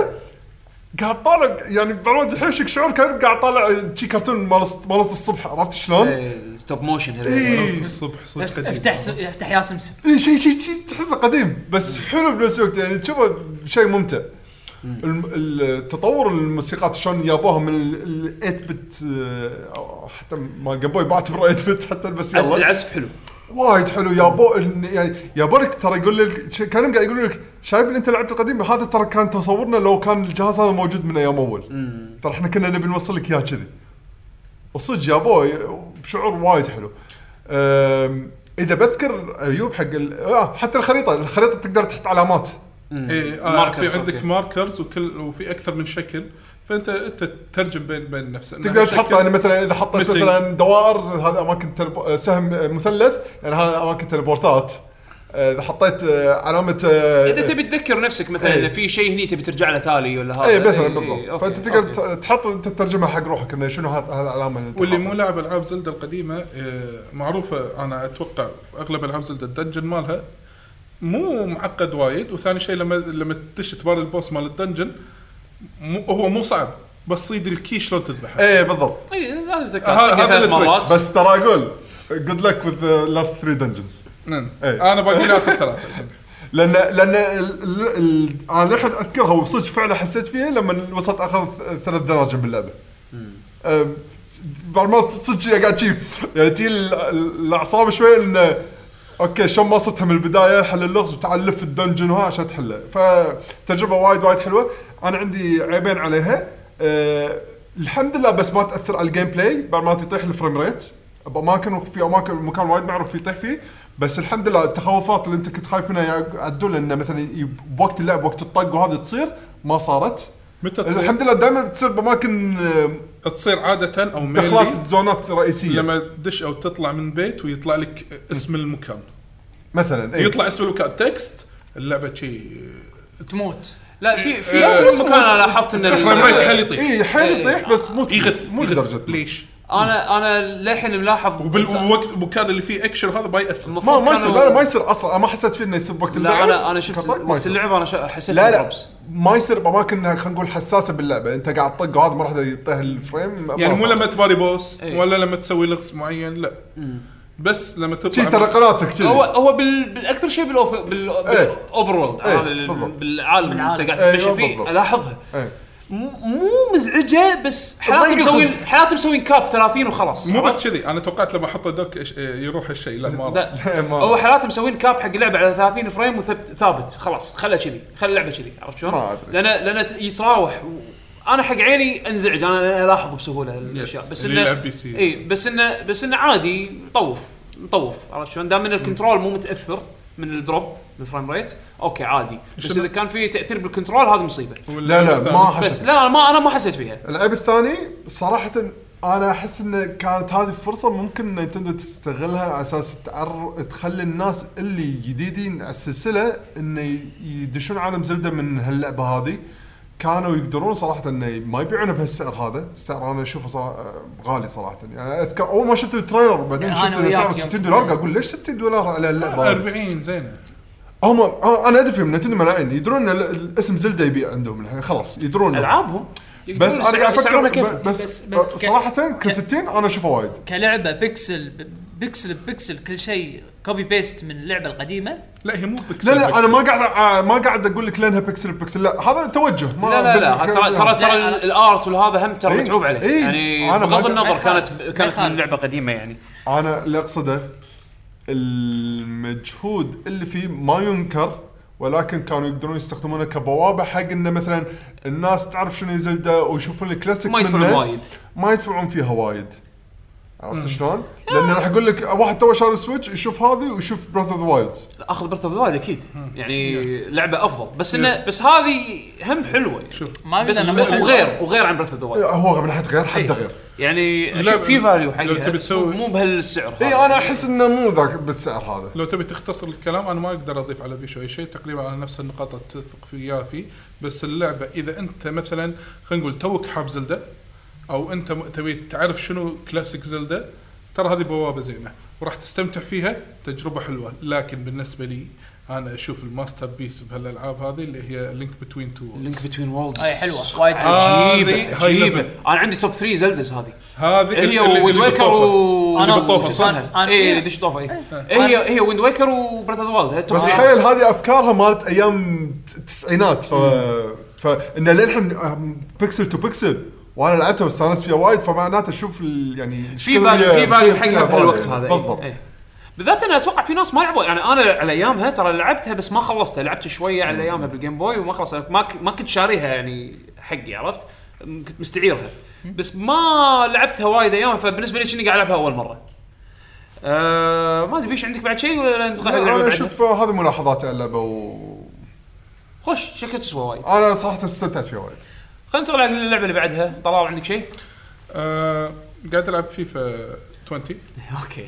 C: قاعد طالع يعني بعد يحوشك شعور كان قاعد طالع شي كرتون مال مالت الصبح عرفت شلون؟ اي
A: إيه، ستوب موشن هذول.
C: إيه.
B: إيه. الصبح صدق
D: اف-
B: قديم.
D: افتح س- افتح ياسم سب
C: شيء شيء إيه، شي تحسه قديم بس حلو بنفس الوقت يعني تشوفه شيء ممتع. الم- التطور الموسيقات شلون جابوها من ال 8 بت أو حتى ما قبل ما بعتبره 8 بت حتى بس
A: عزف-
C: يلا
A: العزف حلو
C: وايد حلو يا بو إن- يعني يا بورك ترى يقول لك ش- كانوا قاعد يقولون لك شايف اللي انت لعبت القديم هذا ترى كان تصورنا لو كان الجهاز هذا موجود من ايام اول
A: أمم.
C: ترى احنا كنا نبي نوصل لك اياه كذي وصدق يا بو ي- شعور وايد حلو أم، اذا بذكر عيوب حق ال- آه، حتى الخريطه الخريطه تقدر تحط علامات
A: أمم.
B: اي آه
A: Markers،
B: في عندك
A: أوكي.
B: ماركرز وكل وفي اكثر من شكل فانت انت تترجم بين بين نفسك
C: تقدر تحط يعني مثلا اذا حطيت
B: missing.
C: مثلا دوائر هذا اماكن تلب... سهم مثلث يعني هذا اماكن تلبورتات اذا حطيت آه، علامه آه،
A: اذا تبي تذكر نفسك مثلا
C: إيه.
A: إن في شيء هني تبي ترجع له تالي ولا هذا
C: اي مثلا
A: إيه، إيه،
C: بالضبط
A: أوكي،
C: فانت تقدر
A: أوكي.
C: ت- تحط انت تترجمها حق روحك انه شنو هال- هالعلامه اللي أنت
B: واللي
C: حاطها.
B: مو لاعب العاب زلدة القديمه آه، معروفه انا اتوقع اغلب العاب زلدة الدنجن مالها مو معقد وايد وثاني شيء لما لما تدش تباري البوس مال الدنجن مو هو مو صعب بس صيد الكي شلون
A: إيه.
B: تذبحه
C: اي بالضبط
A: اي هذا ذكرت
B: هذا- هذا
A: ثلاث
B: التريك.
A: مرات
C: بس ترى اقول جود لك وذ لاست 3 دنجنز
B: نعم.
C: إيه.
B: انا باقي لي اخر ثلاثه
A: إيه.
C: لان لان ال... ال... ال... انا لحد اذكرها وصدق فعلا حسيت فيها لما وصلت اخر ث- ثلاث دراجم باللعبه أم، بعض المرات صدق قاعد شي يعني تجي ال- ال- الاعصاب شوي انه اوكي شلون ما صدتها من البدايه حل اللغز وتعال لف الدنجن وها عشان تحله فتجربه وايد وايد حلوه انا عندي عيبين عليها أه الحمد لله بس ما تاثر على الجيم بلاي بعد ما تطيح الفريم ريت باماكن في اماكن مكان وايد معروف يطيح فيه بس الحمد لله التخوفات اللي انت كنت خايف منها يا عدول انه مثلا ي- بوقت اللعب وقت الطق وهذه تصير ما صارت
B: متى تصير
C: الحمد لله دائما بتصير باماكن آه،
B: تصير عاده او
C: دخلات
B: mainly
C: الزونات الرئيسيه
B: لما تدش او تطلع من بيت ويطلع لك اسم المكان
C: مثلا اي
B: يطلع اسم المكان تكست اللعبه شي
D: تموت
A: لا في في
C: إيه.
B: آه،
A: في مكان انا لاحظت ان
B: فريم ريت
A: ال-
B: حيل يطيح
C: اي
A: إيه،
C: حيل إيه، يطيح بس مو
B: يغث
C: مو
B: يغث.
C: لدرجه
B: ليش؟
A: انا انا للحين ملاحظ
B: وبالوقت المكان اللي فيه اكشن هذا ما ياثر
C: ما
A: المفروض
C: ما يصير
A: كانوا-
C: لا لا ما يصير اصلا أنا ما حسيت فيه انه يصير وقت
A: لا
C: اللعب
A: انا انا شفت
C: كطق ما
A: وقت
C: يصير.
A: اللعبه انا شا- حسيت
C: لا لا
A: بالدروبس.
C: ما يصير باماكن خلينا نقول حساسه باللعبه انت قاعد تطق وهذا ما راح يطيح الفريم
B: يعني مو لما تباري بوس
A: إيه.
B: ولا لما تسوي لغز معين لا بس لما
C: شي
B: تطلع من-
C: ترقلاتك شي
A: هو هو بال... بالاكثر شيء بالاوف بال...
C: إيه.
A: بالاوفر وورلد
C: إيه،
A: هذا ال-
C: بالضبط.
A: بالعالم اللي انت قاعد
C: أيوه،
A: تتمشى
C: بالضبط.
A: فيه الاحظها
C: إيه.
A: م- مو مزعجه بس حالات
C: الضيق
A: مسوين
C: الخ-
A: حالات مسوين كاب 30 وخلاص
B: مو بس كذي انا توقعت لما احط دوك إيش- إيه، يروح الشيء لا ما راح.
A: لا
C: ما-
A: هو حالات مسوين كاب حق لعبه على 30 فريم وثابت خلاص خله كذي خله اللعبه كذي عرفت شلون؟
C: ما أدري.
A: لان لان ت- يتراوح و... انا حق عيني انزعج انا الاحظ بسهوله الاشياء بس
B: اللي يلعب بي سي.
A: اي بس انه بس انه عادي طوف نطوف عرفت شلون؟ دام ان الكنترول مو متاثر من الدروب من الفريم ريت اوكي عادي بس
B: شنو-
A: اذا كان في تاثير بالكنترول هذا مصيبه
C: لا لا
B: والثاني.
C: ما
A: بس
C: حسيت
A: لا انا ما انا ما حسيت فيها
C: العيب الثاني صراحه انا احس ان كانت هذه الفرصه ممكن نينتندو تستغلها على اساس تعر... تخلي الناس اللي جديدين على السلسله انه ي- يدشون عالم زلده من هاللعبه هذه كانوا يقدرون صراحه انه ما يبيعونه بهالسعر هذا، السعر انا اشوفه صراحة غالي صراحه، يعني اذكر اول ما شفت التريلر بعدين
D: يعني أنا
C: شفت إنه
D: وياك
C: سعره
D: يوم
C: 60
D: شفت
C: دولار قاعد
D: التريلر.
C: اقول ليش 60 دولار على اللعبه؟ هذه؟
B: 40 زينه
C: هم آه، انا ادري من نتندو منعين يدرون ان ال- الاسم زلده يبيع عندهم الحين خلاص يدرون
A: العابهم
C: بس انا قاعد
A: يسعرونه
C: افكر
A: كيف
C: ب- بس, أه،
D: بس-
C: بس,
D: بس ك-
C: صراحه ك 60 انا اشوفه وايد
D: كلعبه بيكسل ب- بيكسل بيكسل كل شيء كوبي بيست من اللعبه القديمه
B: لا هي مو بكسل
C: لا لا انا
B: بكسل.
C: ما قاعد آه، ما قاعد اقول لك لانها بكسل بكسل لا هذا توجه ما يعني.
A: لا لا لا
C: بال-
A: ترى ترى
D: لا،
A: ترى
D: أنا-
A: الارت والهذا هم ترى
C: إيه،
A: متعوب عليه
C: إيه،
A: يعني
C: أنا ما
A: بغض
C: قل-
A: النظر
D: ما يخالف،
A: كانت
D: ما
A: كانت من
D: يخالف.
A: لعبه قديمه يعني
C: انا اللي اقصده المجهود اللي فيه ما ينكر ولكن كانوا يقدرون يستخدمونه كبوابه حق انه مثلا الناس تعرف شنو زلده ويشوفون الكلاسيك
A: ما يدفعون
C: منه.
A: وايد
C: ما يدفعون فيها وايد عرفت شلون؟ لان راح اقول لك واحد تو شاري سويتش يشوف هذه ويشوف براذر اوف وايلد
A: اخذ بريث اوف ذا اكيد يعني لعبه افضل بس انه بس هذه هم حلوه يعني.
B: شوف
D: ما
A: بس
D: قلنا إنه مو حلو.
A: وغير وغير عن بريث اوف ذا
C: هو من ناحيه غير حد غير
A: يعني
B: لا،
A: اشوف في فاليو
B: لو
A: حقها
B: تبي تسوي-
A: مو بهالسعر هذا.
C: اي انا احس انه مو ذاك بالسعر هذا
B: لو تبي تختصر الكلام انا ما اقدر اضيف على بيشو اي شيء تقريبا على نفس النقاط اتفق فيها فيه بس اللعبه اذا انت مثلا خلينا نقول توك حاب زلده او انت م- تبي تعرف شنو كلاسيك زلده ترى هذه بوابه زينه وراح تستمتع فيها تجربه حلوه لكن بالنسبه لي انا اشوف الماستر بيس بهالالعاب هذه اللي هي لينك بتوين تو
A: لينك بتوين وولدز
D: هاي حلوه
C: آه،
D: وايد حلوه
A: عجيبه
B: هذه high
A: عجيبه
B: level.
A: انا عندي توب 3 زلدز هذه
B: هذه
A: هي
B: اللي-
A: ويند
B: اللي
A: ويكر
B: بالطوفة.
A: إيه، و
D: أنا-
A: بالطوفة، صح؟
D: أنا- أنا-
A: اي دش طوفه اي هي هي ويند ويكر وبريث اوف ذا وايلد هي التوب
C: بس
A: three.
C: تخيل هذه افكارها مالت ايام التسعينات ف فانه للحين آه، بيكسل تو بيكسل وانا لعبتها واستانست فيها وايد فمعناته اشوف ال- يعني إيش
A: في
C: كثر
A: فاليو
C: هي-
A: في فاليو
C: فيها- فيها
A: حقها بهالوقت
C: value.
A: هذا إي.
C: بالضبط
A: إي. بالذات انا اتوقع في ناس ما لعبوا يعني انا على ايامها ترى لعبتها بس ما خلصتها لعبت شويه على ايامها بالجيم بوي وما خلصت ما ك- ما كنت شاريها يعني حقي عرفت م- كنت مستعيرها بس ما لعبتها وايد ايامها فبالنسبه لي كني قاعد العبها اول مره أه ما ادري بيش عندك بعد شيء ولا ننتقل حق
C: لا،
A: اللعبه
C: انا
A: بعدها
C: اشوف هذه ملاحظات على اللعبه وانا
A: خش شكلها تسوى وايد
C: صراحه استمتعت فيها وايد
A: خلينا ننتقل على اللعبه اللي بعدها طلال عندك شيء؟
B: آه، قاعد العب فيفا 20
A: اوكي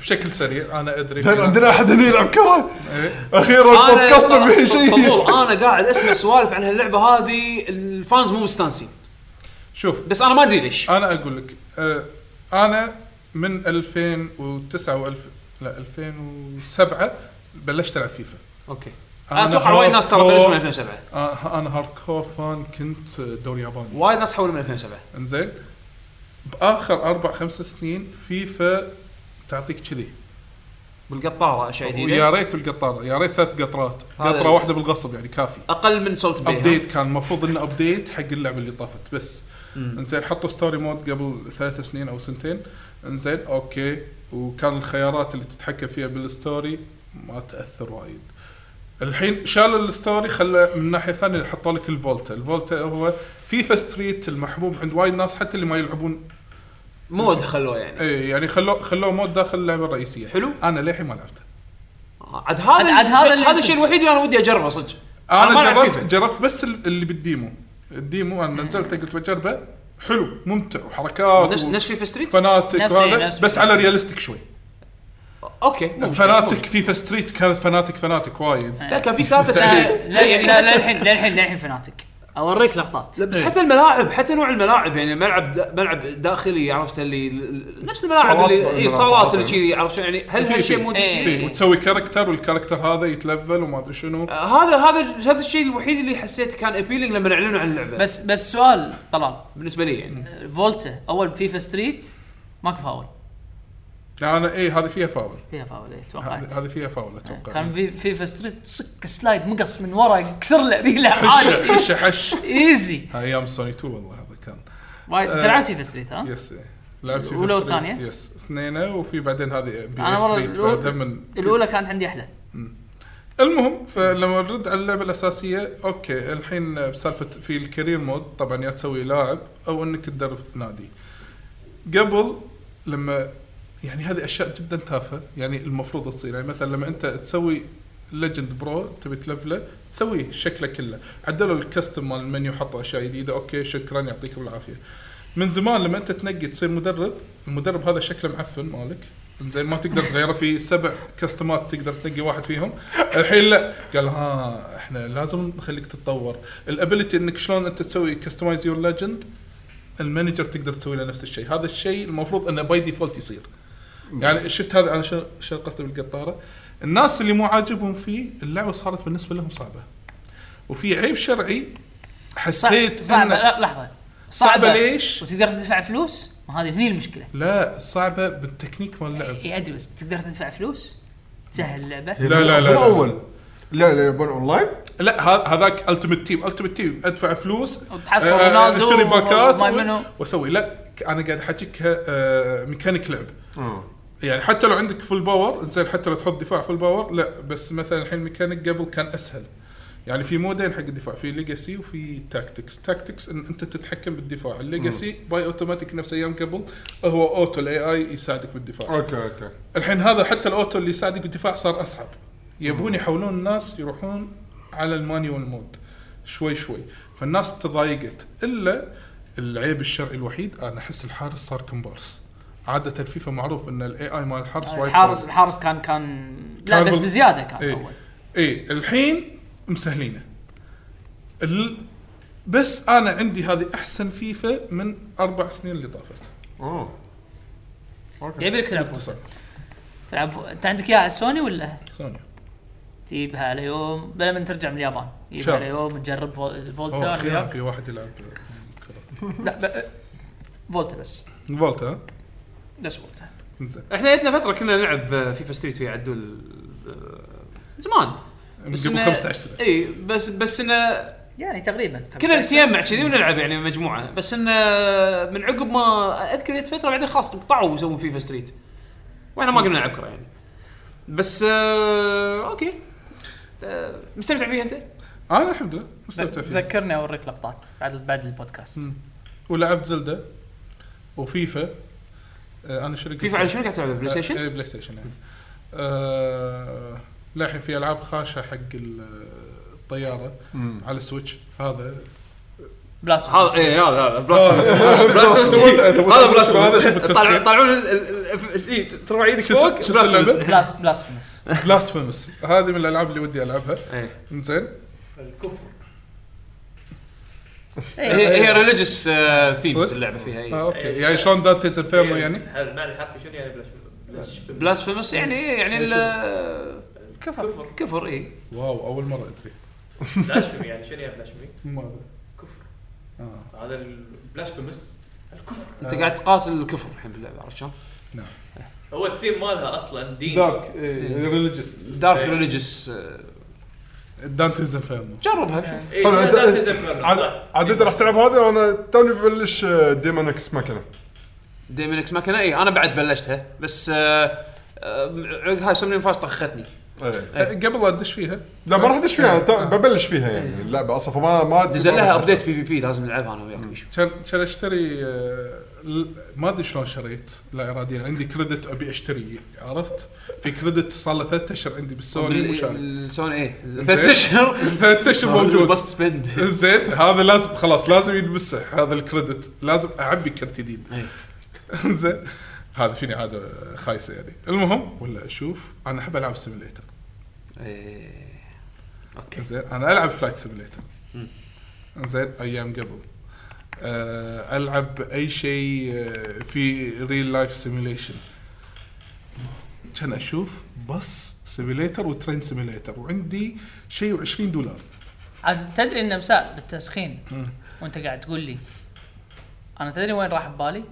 B: بشكل سريع انا ادري
C: زين عندنا احد هنا يلعب كره
B: إيه.
C: اخيرا بودكاستنا
A: طلع-
C: فيه شيء
A: طلول، انا قاعد اسمع سوالف عن هاللعبه هذه الفانز مو مستانسين
B: شوف
A: بس انا ما ادري ليش
B: انا اقول لك آه، انا من 2009 و2000 لا 2007 بلشت العب فيفا
A: اوكي انا اتوقع
B: hardcore-
A: وايد ناس ترى بلشوا من 2007
B: آه، انا هارد كور فان كنت دوري ياباني
A: وايد ناس حولوا من 2007
B: انزين باخر اربع خمس سنين فيفا تعطيك كذي
A: بالقطاره اشياء
B: ويا
A: جديده
B: ريت القطار يا ريت ثلاث قطرات
A: هذا
B: قطره
A: ال-
B: واحده بالغصب يعني كافي
A: اقل من سولت بي ها؟
B: ابديت كان المفروض انه ابديت حق اللعبه اللي طافت بس انزين حطوا ستوري مود قبل ثلاث سنين او سنتين انزين اوكي وكان الخيارات اللي تتحكم فيها بالستوري ما تاثر وايد الحين شالوا الستوري خلى من ناحيه ثانيه حطوا لك الفولتا، الفولتا هو فيفا ستريت المحبوب عند وايد ناس حتى اللي ما يلعبون
A: مود خلوه يعني
B: اي يعني خلوه خلوه مود داخل اللعبه الرئيسيه.
A: حلو.
B: انا للحين ما لعبته.
A: عاد هذا
D: عاد- عاد هذا اللي
A: هذا الشيء
D: يصير.
A: الوحيد اللي انا ودي اجربه صدق ما
B: انا
A: ألعب
B: جربت
A: فيفا.
B: جربت بس ال- اللي بالديمو، الديمو انا نزلته قلت بجربه حلو ممتع وحركات
A: نفس
B: و-
A: نفس فيفا ستريت
B: فناتك
D: نفس-
B: وهذا
D: نفس
B: بس على ريالستيك شوي
A: اوكي مو مشكلة، مو
B: فناتك
A: مشكلة.
B: فيفا ستريت كانت فناتك فناتك وايد
D: إيه.
A: لا كان في سالفه
D: لا
A: تعريف.
D: لا يعني لا للحين للحين للحين فناتك اوريك لقطات
A: لا بس حتى الملاعب حتى نوع الملاعب يعني ملعب دا ملعب داخلي عرفت اللي نفس الملاعب
C: صالات-
A: اللي اي
C: ملاعب
A: صالات
C: صالات.
A: اللي كذي عرفت شلون؟ يعني هل
B: في-
A: هالشيء
B: في.
A: موجود
D: إيه.
A: كذي؟
B: فيه وتسوي كاركتر والكاركتر هذا يتلفل وما ادري شنو
A: آه، هذا هذا هذا الشيء الوحيد اللي حسيت كان ابيلينج لما اعلنوا عن اللعبه بس
D: بس بس سؤال طلال
A: بالنسبه لي يعني
D: فولتا اول فيفا ستريت ماكو فاول
B: انا اي يعني إيه، هذه فيها فاول
D: فيها فاول اي توقعت إيه،
B: هذه هذه فيها يعني فاول اتوقع
D: Oh, كان في فيفا ستريت سك سلايد مقص من ورا كسر له ريله عادي
B: حش حش حش
D: ايزي
B: هاي ايام سوني 2 والله هذا كان
D: وايد انت
B: آه.
D: لعبت فيفا ستريت ها؟
B: يس إيه. لعبت فيفا
D: الأولى
B: ستريت.
D: والثانية؟
B: يس اثنين وفي بعدين هذه بي
D: أنا
B: اس
D: والله
B: ستريت
D: الأولى-
B: بعدها من
D: الاولى كانت عندي احلى
B: المهم فلما نرد على اللعبه الاساسيه اوكي الحين بسالفه في الكارير مود طبعا يا تسوي لاعب او انك تدرب نادي قبل لما يعني هذه اشياء جدا تافهه يعني المفروض تصير يعني مثلا لما انت تسوي ليجند برو تبي تلفله تسوي شكله كله عدلوا الكستم مال المنيو حطوا اشياء جديده اوكي شكرا يعطيكم العافيه من زمان لما انت تنقي تصير مدرب المدرب هذا شكله معفن مالك زين ما تقدر تغيره في سبع كستمات تقدر تنقي واحد فيهم الحين لا قال ها احنا لازم نخليك تتطور الابيلتي انك شلون انت تسوي كستمايز يور ليجند المانجر تقدر تسوي له نفس الشيء هذا الشيء المفروض انه باي ديفولت يصير يعني شفت هذا انا شو- شو قصدي بالقطاره الناس اللي مو عاجبهم فيه اللعبه صارت بالنسبه لهم صعبه وفي عيب شرعي حسيت
D: صعبه
B: انه
D: لا، لحظه
B: صعبه ليش؟
D: وتقدر تدفع فلوس ما هذه هني المشكله
B: لا صعبه بالتكنيك مال اللعب
D: اي ادري بس تقدر تدفع فلوس تسهل اللعبه
B: لا، لا، لا، لا.
C: بالاول لا لا يبون اونلاين
B: لا ه- هذاك التيمت تيم التيمت تيم ادفع فلوس
D: وتحصل
B: آه،
D: رونالدو
B: اشتري باكات
D: وما
B: و-
D: منو.
B: واسوي لا ك- انا قاعد احكيك آه، ميكانيك لعب يعني حتى لو عندك فول باور زين حتى لو تحط دفاع فول باور لا بس مثلا الحين ميكانيك قبل كان اسهل يعني في مودين حق الدفاع في ليجاسي وفي تاكتكس تاكتكس ان انت تتحكم بالدفاع الليجاسي باي اوتوماتيك نفس ايام قبل هو اوتو الاي اي يساعدك بالدفاع
C: اوكي اوكي
B: الحين هذا حتى الاوتو اللي يساعدك بالدفاع صار اصعب يبون يحولون الناس يروحون على المانيوال مود شوي شوي فالناس تضايقت الا العيب الشرعي الوحيد انا احس الحارس صار كومبارس عاده فيفا معروف ان الاي اي مال الحارس وايد
D: الحارس
B: قوي.
D: الحارس كان كان لا
B: كان
D: بس
B: بال- إيه.
D: بزياده كان
B: اي
D: اول
B: اي الحين مسهلينه ال... بس انا عندي هذه احسن فيفا من اربع سنين اللي طافت
C: اوه
D: يبي لك تلعب
B: باختصار
D: تلعب انت عندك اياها على السوني ولا
B: سوني
D: تجيبها اليوم بلا من ترجع من اليابان تجيبها
B: شاء.
D: اليوم تجرب فول-
B: اوه
D: فولتا
B: اخيرا
D: وياك.
B: في واحد يلعب
D: لا ب- فولتا بس
B: فولتا ها؟
D: بس فولتا
B: زين
A: احنا جتنا فتره كنا نلعب آه، فيفا ستريت ويا عدول آه، زمان بس
B: قبل
A: إنه-
B: 15 سنه
A: اي بس بس انه
D: يعني تقريبا
A: كنا نتجمع كذي ونلعب يعني مجموعه بس انه من عقب ما اذكر جت فتره بعدين خلاص قطعوا وسووا فيفا ستريت واحنا ما قمنا نلعب كره يعني بس آه اوكي آه، مستمتع فيها انت؟
B: انا آه، الحمد لله مستمتع فيها
D: ذكرني اوريك لقطات بعد بعد البودكاست
B: مم. ولعبت زلدة وفيفا آه انا شركه
A: فيفا على شنو قاعد تلعب بلاي ستيشن؟
B: اي بلاي ستيشن يعني آه للحين في العاب خاشه حق ال- الطياره على سويتش هذا
D: بلاس
A: هذا
B: إيه.
D: فيروس.
A: اي هذا هذا بلاسفيمس
B: آه،
A: بلاسفيمس هذا بلاسفيمس طالعون طالعون ال- ال- ال- إيه، إي، ترفع ايدك
B: شو اسم-
A: فوق
B: شو اسم اللعبة؟
A: بلاسفيمس
D: بلاس بلاسفيمس
B: بلاسفيمس هذه من الالعاب اللي ودي آه، العبها
A: إي.
B: زين
E: الكفر
A: هي
D: إيه.
A: هي ريليجيوس ثيمز
B: صدق؟
A: اللعبه فيها إيه.
B: آه
A: اي
B: اوكي يعني شلون دانتيز انفيرمو
A: إيه.
B: يعني
E: هل المعنى الحرفي شنو يعني بلاش بلاش
A: بلاسفيمس يعني إيه، يعني ال- كفر كفر إيه. اي
B: واو اول مره ادري
E: بلاشفيمي يعني شنو يعني بلاشفيمي؟
B: ما
E: كفر
B: آه.
E: هذا البلاشفيمس الكفر
A: انت قاعد تقاتل الكفر الحين باللعبه عرفت شلون؟
E: هو الثيم مالها اصلا دين
B: دارك ريليجيوس
A: دارك
E: إيه.
A: ريليجيوس
B: دانتيز انفيرمو
A: آه، جربها
F: إيه.
A: شوف
E: اي
C: حلو، أنت-
E: ذات زفر
C: عاد عاد راح تلعب هذا وانا توني ببلش آه، ديمون اكس ماكينه
A: ديمين اكس ماكينه اي انا إيه، بعد بلشتها بس آه، آه، عقب هاي سمنين فاست طختني
C: إيه.
B: قبل لا ادش فيها
C: لا ما راح ادش فيها تو- ببلش فيها يعني اللعبه اصلا فما ما
A: نزل لها ابديت بي في بي لازم نلعبها انا وياك بيشو
B: كان كان اشتري آه، ل- ما ادري شلون شريت لا اراديا عندي كريدت ابي اشتري عرفت في كريدت صار له ثلاث اشهر عندي بالسوني وشاري
A: السوني اي ثلاث اشهر
B: ثلاث اشهر موجود
A: بس سبند
B: زين هذا لازم خلاص لازم ينمسح هذا الكريدت لازم اعبي كرت جديد
A: إيه.
B: زين هذا فيني عاده خايسه يعني المهم ولا اشوف انا احب العب سيميليتر
A: إيه. اوكي
B: زين انا العب فلايت سيميليتر زين ايام قبل آه، العب اي شيء آه، في ريل لايف سيميليشن كان اشوف بس سيميليتر وترين سيميليتر وعندي شيء و20 دولار
D: عاد تدري انه مساء بالتسخين وانت قاعد تقول لي انا تدري وين راح ببالي؟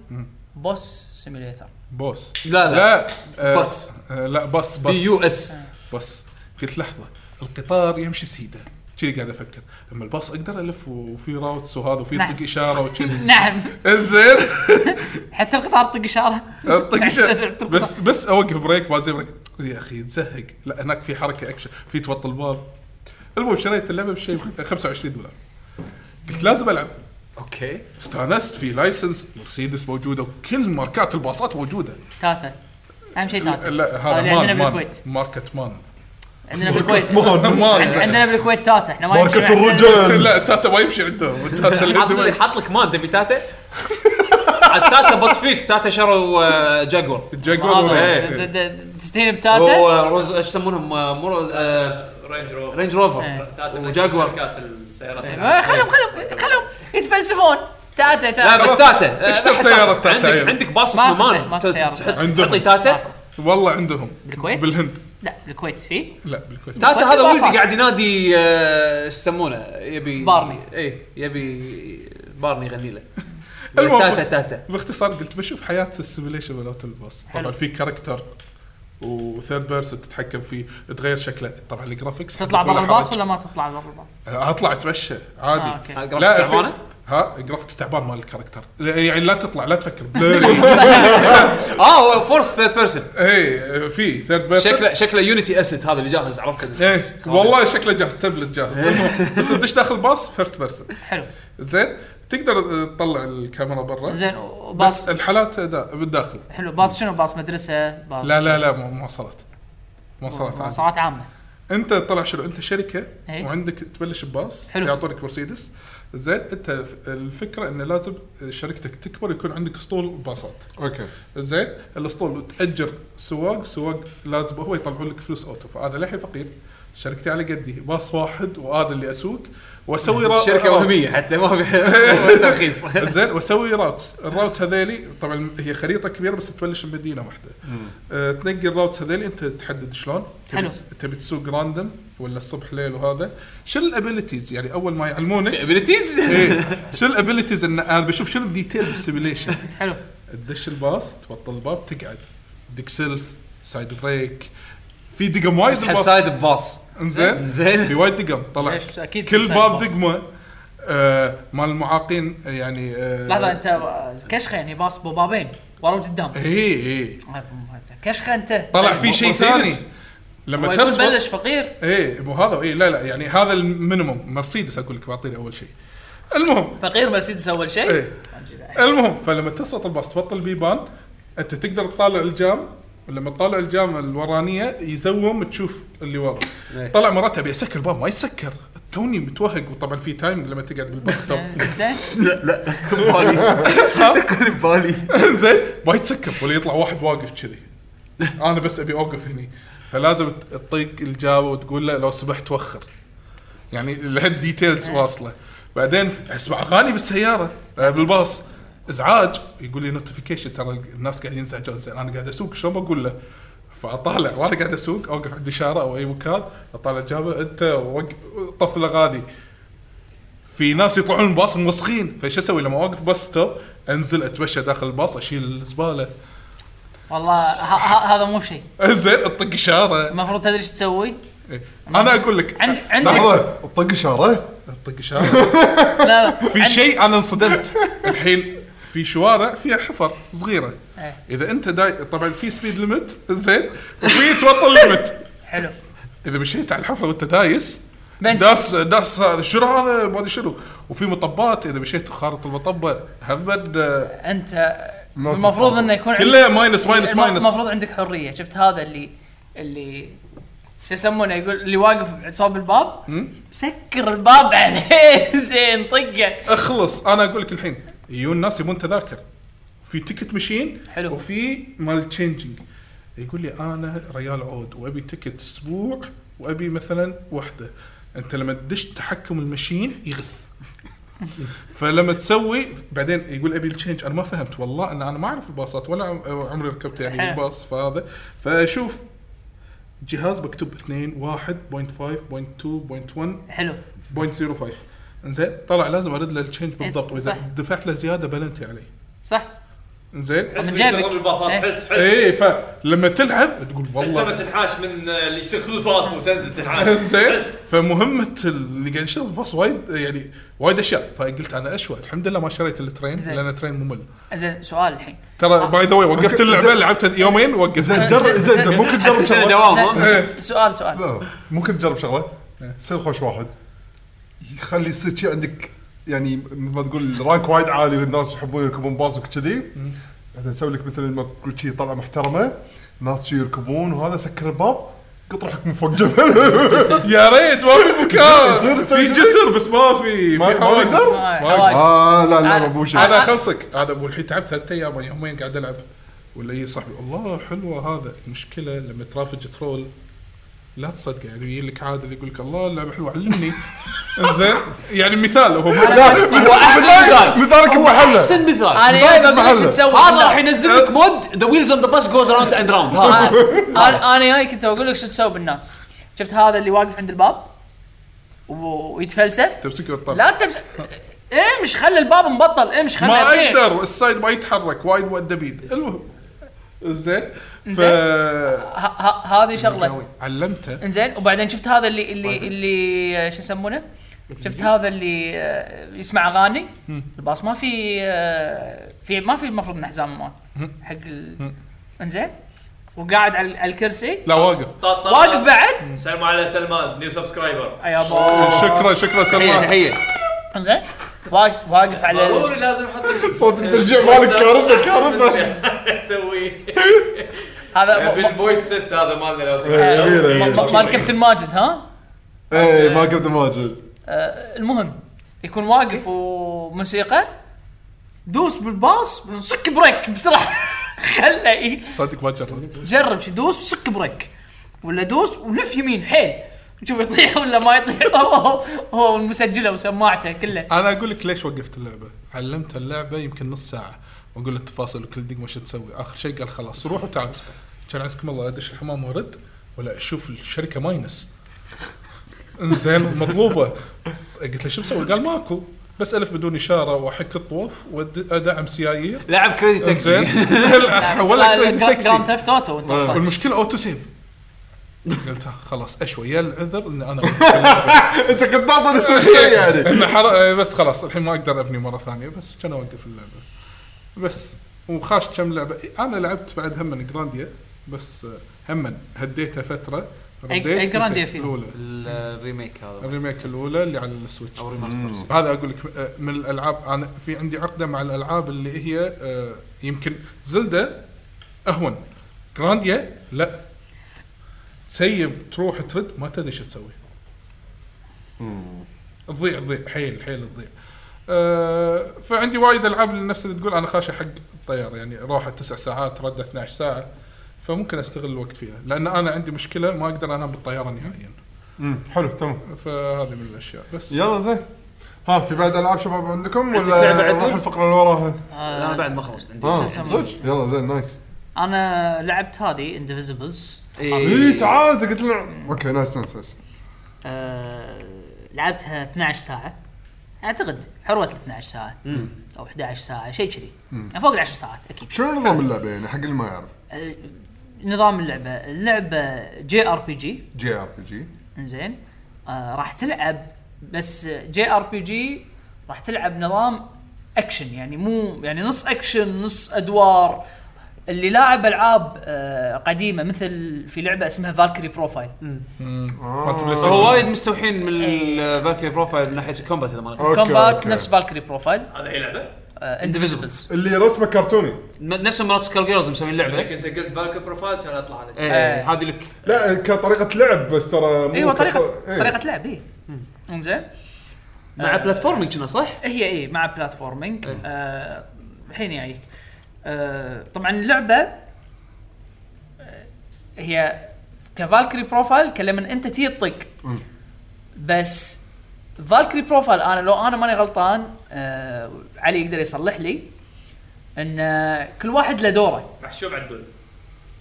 D: بوس سيميليتر
B: بوس
A: لا، لا.
B: آه،
A: بس.
B: آه، لا بس بس
A: بي يو اس
B: بس قلت لحظه القطار يمشي سيده كذي قاعد افكر اما الباص اقدر الف وفي راوتس وهذا وفي
D: نعم.
B: يطلق اشاره وكذي
D: نعم
B: انزين
D: حتى القطار طق اشاره
B: اطق شيء.
D: أطق
B: بس بس اوقف بريك ما زي بريك يا اخي تزهق لا هناك في حركه اكشن في توطي الباب المهم شريت اللعبه بشيء ب 25 دولار قلت لازم العب
A: اوكي
B: استانست في لايسنس مرسيدس موجوده وكل ماركات الباصات موجوده
D: تاتا اهم شيء
B: لا
D: تاتا اللي
B: هذا
D: عندنا
B: مان مان
D: بالكويت.
B: ماركت مان
D: عندنا بالكويت
B: مان
D: عندنا بالكويت تاتا احنا ما
C: ماركة
D: يمشي معنا.
C: الرجال
B: لا تاتا ما يمشي عندهم تاتا اللي
A: حاط لي
B: عندهم
A: حاط لك مان تبي تاتا عاد تاتا بط فيك تاتا شروا آه، جاكور
B: جاكور
D: هذا،
B: ولا-
A: إيه.
D: د- د- تستهين بتاتا
A: ورز ايش يسمونهم آه، مو- آه،
E: رينج روفر
A: رينج إيه. روفر
D: إيه.
E: تاتا
A: وجاكور.
E: شركات السيارات
D: آه، خلهم خلهم خلهم يتفلسفون تاتا
A: لا
D: تاتا
A: بس تاتا
B: اشتر سيارة تاتا،
A: عندك
B: أيوة.
A: عندك باص
D: ماكو
A: اسمه
D: شيء،
A: مان
D: ماكو سيارة.
A: تحط-
B: عندهم.
A: تعطي تاتا
B: والله عندهم
D: بالكويت؟
B: بالهند
D: لا بالكويت في
B: لا بالكويت
A: تاتا هذا
D: باصات.
A: ولدي قاعد ينادي آه، ايش يسمونه يبي
D: بارني.
A: اي يبي بارني يغني له
B: المهم.
A: تاتا تاتا
B: باختصار قلت بشوف حياه السيميليشن مالت الباص طبعا
D: حلو.
B: في كاركتر وثيرد بيرسون تتحكم فيه تغير شكله طبعا الجرافكس
D: تطلع
B: حدث
D: برا الباص
B: حرج.
D: ولا ما تطلع برا الباص؟
B: اطلع اتمشى عادي
D: آه، أوكي.
A: ها، جرافيكس
B: في-
A: تعبانة؟
B: ها جرافيكس تعبان مال الكاركتر لا- يعني لا تطلع لا تفكر بلوري
A: اه فورس ثيرد بيرسون
B: اي إيه، في ثيرد بيرسون
A: شكله شكله يونيتي اسيت هذا اللي جاهز عرفت
B: ايه والله شكله جاهز تبلت جاهز
D: إيه.
B: بس تدش داخل باص فيرست بيرسون
D: حلو
B: زين تقدر تطلع الكاميرا برا
D: زين وباص
B: بس الحالات دا بالداخل
D: حلو باص شنو باص مدرسه باص
B: لا لا لا ما ما وصلت ما وصلت عادي.
D: مواصلات عامه
B: انت طلع شنو انت شركه
D: ايه.
B: وعندك تبلش بباص
D: حلو.
B: يعطونك مرسيدس زين انت ف- الفكره انه لازم شركتك تكبر يكون عندك اسطول باصات
C: اوكي
B: زين الاسطول تاجر سواق سواق لازم هو يطلعون لك فلوس اوتو فانا للحين فقير شركتي على قدي باص واحد وانا اللي اسوق واسوي را-
A: شركه
B: راوتس.
A: وهميه حتى ما في ترخيص
B: زين واسوي راوتس الراوتس هذيلي طبعا هي خريطه كبيره بس تبلش بمدينه واحده أه تنقي الراوتس هذيلي انت تحدد شلون تبي
D: حلو.
B: تس- تبي تسوق راندم ولا الصبح ليل وهذا شنو الابيلتيز يعني اول ما يعلمونك
A: ابيلتيز
B: ايه شنو الابيلتيز ان انا بشوف شنو الديتيل بالسيميليشن
D: حلو
B: تدش الباص تبطل الباب تقعد دق سيلف سايد بريك في دقم وايد
A: تسحب سايد بباص
B: انزين في
A: زين
B: وايد دقم طلع
D: إيش، أكيد في
B: كل
D: side
B: باب
D: bus.
B: دقمه آه مال المعاقين يعني آه
D: لحظه انت كشخه يعني باص ببابين ورا وقدام آه،
B: اي اي
D: كشخه انت
B: إيه، طلع في شيء ثاني
A: مرسيدس.
B: لما
D: ما تسوق
B: تسوق
D: بلش فقير
B: اي مو هذا اي لا لا يعني هذا المينيموم مرسيدس اقول لك بعطيني اول شيء المهم
D: فقير مرسيدس اول شيء
B: اي المهم فلما تسقط الباص تبطل بيبان انت تقدر تطالع الجام ولما تطالع الجام الورانيه يزوم تشوف اللي ورا
A: إيه.
B: طلع مرات ابي اسكر الباب ما يسكر توني متوهق وطبعا في تايم لما تقعد بالباص ستوب
D: زين
A: ببالي كل ببالي
B: زين ما يتسكب ولا يطلع واحد واقف كذي انا بس ابي اوقف هني فلازم ت- تطيق الجابه وتقول له لو سمحت وخر يعني لهالديتيلز واصله بعدين اسمع اغاني بالسياره آه، بالباص ازعاج يقول لي نوتيفيكيشن ترى الناس قاعدين ينزعجون زين انا قاعد اسوق شلون بقول له فاطالع وانا قاعد اسوق اوقف عند اشاره او اي مكان اطالع الجابه انت وق- طف الاغاني في ناس يطلعون من الباص موسخين فايش اسوي لما اوقف باص ستوب انزل اتمشى داخل الباص اشيل الزباله
D: والله ه- ه- هذا مو شيء
B: انزل اطق اشاره
D: المفروض تدري ايش تسوي
B: إيه. انا اقول لك
D: عند عندك
C: لحظه طق اشاره
B: اطق اشاره
D: لا لا
B: في شيء انا انصدمت الحين في شوارع فيها حفر صغيره
D: إيه.
B: اذا انت داي طبعا في سبيد ليمت زين وفي توطى ليمت
D: حلو
B: اذا مشيت على الحفره وانت دايس
D: بنش.
B: داس داس هذا شنو هذا ما ادري شنو وفي مطبات اذا مشيت خارطه المطبه هم آه،
D: انت المفروض انه يكون عندك
B: كله ماينس ماينس
D: الم-
B: ماينس
D: المفروض عندك حريه شفت هذا اللي اللي شو يسمونه يقول اللي واقف صوب الباب سكر الباب عليه زين طقه
B: اخلص انا اقول لك الحين يجون الناس يبون تذاكر في تيكت مشين
D: حلو.
B: وفي مال تشينجينج يقول لي انا ريال عود وابي تيكت اسبوع وابي مثلا وحده انت لما تدش تحكم المشين يغث فلما تسوي بعدين يقول ابي التشينج انا ما فهمت والله ان انا ما اعرف الباصات ولا عم- عمري ركبت يعني
D: حلو.
B: الباص فهذا فاشوف جهاز مكتوب 2 1.5.2.1
D: حلو
B: 0.05 انزين طلع لازم ارد له التشينج بالضبط واذا
D: صح.
B: دفعت له زياده بلنتي عليه
D: صح
B: انزين
D: من جيبك.
E: الباصات
D: إيه.
E: حس حس
B: اي فلما تلعب تقول
E: بس لما
B: والله
E: تنحاش من آه، اللي يشتغل الباص وتنزل تنحاش
B: زين
E: حس.
B: فمهمه اللي قاعد يشتغل باص وايد يعني وايد اشياء فقلت انا اشوى الحمد لله ما شريت الترين
D: زين.
B: لان الترين ممل
D: زين سؤال الحين
B: ترى باي ذا واي وقفت
C: أوكي،
B: اللعبه
C: زين.
B: لعبتها يومين
C: زين
B: وقفت
C: جرب زين زين ممكن تجرب
A: حسيت إنه
C: شغله
A: دوام ها؟
B: إيه.
D: زين، سؤال سؤال
C: لا ممكن تجرب شغله سير خوش واحد يخلي يصير شي عندك يعني مثل ما تقول رانك وايد عالي والناس يحبون يركبون باصك كذي بعدين نسوي لك مثل ما تقول شي طلعه محترمه ناس شي يركبون وهذا سكر الباب قط روحك من فوق جبل
B: يا ريت ما في مكان
C: زين،
B: في
C: زين.
B: جسر بس ما في
C: ما-
B: في
C: ما
B: حواجز.
C: نقدر؟
D: آه،
B: ما-
D: حواجز.
C: اه لا لا
D: تعال.
C: مو شيء
B: انا اخلصك انا ابو الحين تعبت ثلاث ايام يومين قاعد العب ولا يجي صاحبي الله حلوه هذا المشكله لما ترافج ترول لا تصدق يعني يجي لك عادل يقول لك الله اللعبه حلوه علمني زين يعني مثال هو
C: لا،
D: أنا-
A: هو احسن مثال
C: مثالك
A: هو
C: بمحله
A: احسن مثال
D: انا يا
C: محله.
D: بقول ايش تسوي
A: هذا
D: بالناس.
A: راح ينزل لك مود ذا ويلز اون ذا باس جوز راوند اند راوند هذا
D: أنا- انا انا جاي كنت اقول لك شو تسوي بالناس شفت هذا اللي واقف عند الباب و- ويتفلسف
B: تمسك وتطلع
D: لا تمس امش خلي الباب مبطل امش خلي
B: ما
D: يطيح.
B: اقدر السايد ما يتحرك وايد مؤدبين المهم زين ف
D: ه- ه- هذه شغله
B: علمته
D: e, انزين وبعدين شفت هذا اللي اللي اللي شو يسمونه شفت هذا اللي آه، يسمع اغاني الباص ما في آه، في ما في المفروض انه حزام مال حق ال... انزين وقاعد على على الكرسي
B: لا واقف
E: طاط طاط.
D: واقف بعد
E: سلموا على سلمان نيو سبسكرايبر
D: يا با
B: شكرا شكرا
A: تحيه
D: إيه.
B: سلمان
A: تحيه
D: انزين واق- واقف على ال-
E: ضروري لازم احط
C: صوت الترجيع مالك كارثه كارثه
E: اسويه
B: يعني
D: هذا ما-
E: بالفويس سيت هذا مالنا لو
C: إيه،
E: سمحت.
C: جميلة،
D: أه، ما-
A: يعني.
D: ما- مال كابتن ماجد ها
C: اي ما قبل ماجد
D: المهم يكون واقف وموسيقى دوس بالباص سك بريك بسرعه خله إيه.
B: صدق ما جربت
D: جرب شي دوس سك بريك ولا دوس ولف يمين حيل شوف يطيح ولا ما يطيح هو هو المسجله وسماعته كله
B: انا اقول لك ليش وقفت اللعبه علمت اللعبه يمكن نص ساعه واقول له التفاصيل وكل دقيقه وش تسوي اخر شيء قال خلاص روح وتعال كان عزكم الله ادش الحمام وارد ولا اشوف الشركه ماينس انزين مطلوبه قلت له شو مسوي؟ قال ماكو بس الف بدون اشاره واحك الطوف وادعم سيايير
A: لاعب كريزي
B: انزين
A: تاكسي
B: إيه. ولا كريزي
D: جراند
B: تاكسي
D: ثيفت اوتو انت
A: آه.
D: الصح.
B: والمشكله اوتو سيف قلت ها، خلاص اشوي يا العذر ان انا
C: انت كنت ناطر سنتين يعني
B: انه إيه. حر... بس خلاص الحين ما اقدر ابني مره ثانيه بس كان اوقف اللعبه بس وخاش كم لعبه انا لعبت بعد هم من جرانديا بس آه، هم هديتها فتره
D: أي
B: رديت
D: Grandia
B: مسكت
D: فيها؟
B: الاولى
A: الريميك هذا
B: الريميك الاولى اللي على السويتش
A: او ريماستر
B: هذا اقول لك آه، من الالعاب انا في عندي عقده مع الالعاب اللي هي آه، يمكن زلدة اهون جرانديا لا تسيب تروح ترد ما تدري شو تسوي تضيع تضيع حيل حيل تضيع آه، فعندي وايد العاب نفس اللي تقول انا خاشه حق الطيار يعني روحه تسع ساعات رده 12 ساعه فممكن استغل الوقت فيها لان انا عندي مشكله ما اقدر انام بالطياره نهائيا
C: حلو تمام
B: فهذه من الاشياء بس
C: يلا زين ها في بعد العاب شباب عندكم
A: عندك لعبة
C: ولا
A: عدل؟
C: نروح الفقره اللي وراها؟
A: انا بعد ما
D: آه.
A: خلصت عندي
C: اه
D: يسمونه؟
C: صدق يلا زين نايس
D: انا لعبت هذه اندفيزبلز
A: إيه.
C: اي تعال أنت قلت لنا اوكي نايس نايس نايس
D: آه، لعبتها 12 ساعه اعتقد حروه ال 12 ساعه او 11 ساعه شيء كذي يعني فوق ال 10 ساعات اكيد
C: شنو نظام اللعبه يعني حق اللي ما يعرف؟
D: آه، نظام اللعبه اللعبه جي ار بي جي
C: جي ار بي جي
D: انزين آه راح تلعب بس جي ار بي جي راح تلعب نظام اكشن يعني مو يعني نص اكشن نص ادوار اللي لاعب العاب آه قديمه مثل في لعبه اسمها فالكري بروفايل
B: مالت بلاي ستيشن
A: هو وايد مستوحين من الفالكري بروفايل من ناحيه الكومبات اذا ماني غلطان.
C: أوكي،
D: كومبات
C: أوكي.
D: نفس آه، فالكري بروفايل
E: هذا إيه اي لعبه؟
D: اندفيزبلز
C: اللي رسمه كرتوني
A: م- نفس مرات سكال جيرلز مسويين
E: لك
A: لعبه
E: انت قلت بالك بروفايل كان اطلع عليك
A: إيه، هذه لك
C: لا كطريقه لعب بس ترى مو
D: ايوه طريقه
C: كط- إيه.
D: طريقه لعب اي انزين
A: مع بلاتفورمينج كنا صح؟
D: هي اي مع بلاتفورمينج آه، الحين يعني آه طبعا اللعبه آه، هي كفالكري بروفايل كلمن انت تي تطق بس فالكري بروفايل انا لو انا ماني غلطان آه علي يقدر يصلح لي ان آه، كل واحد له دوره
E: محشوم على الدول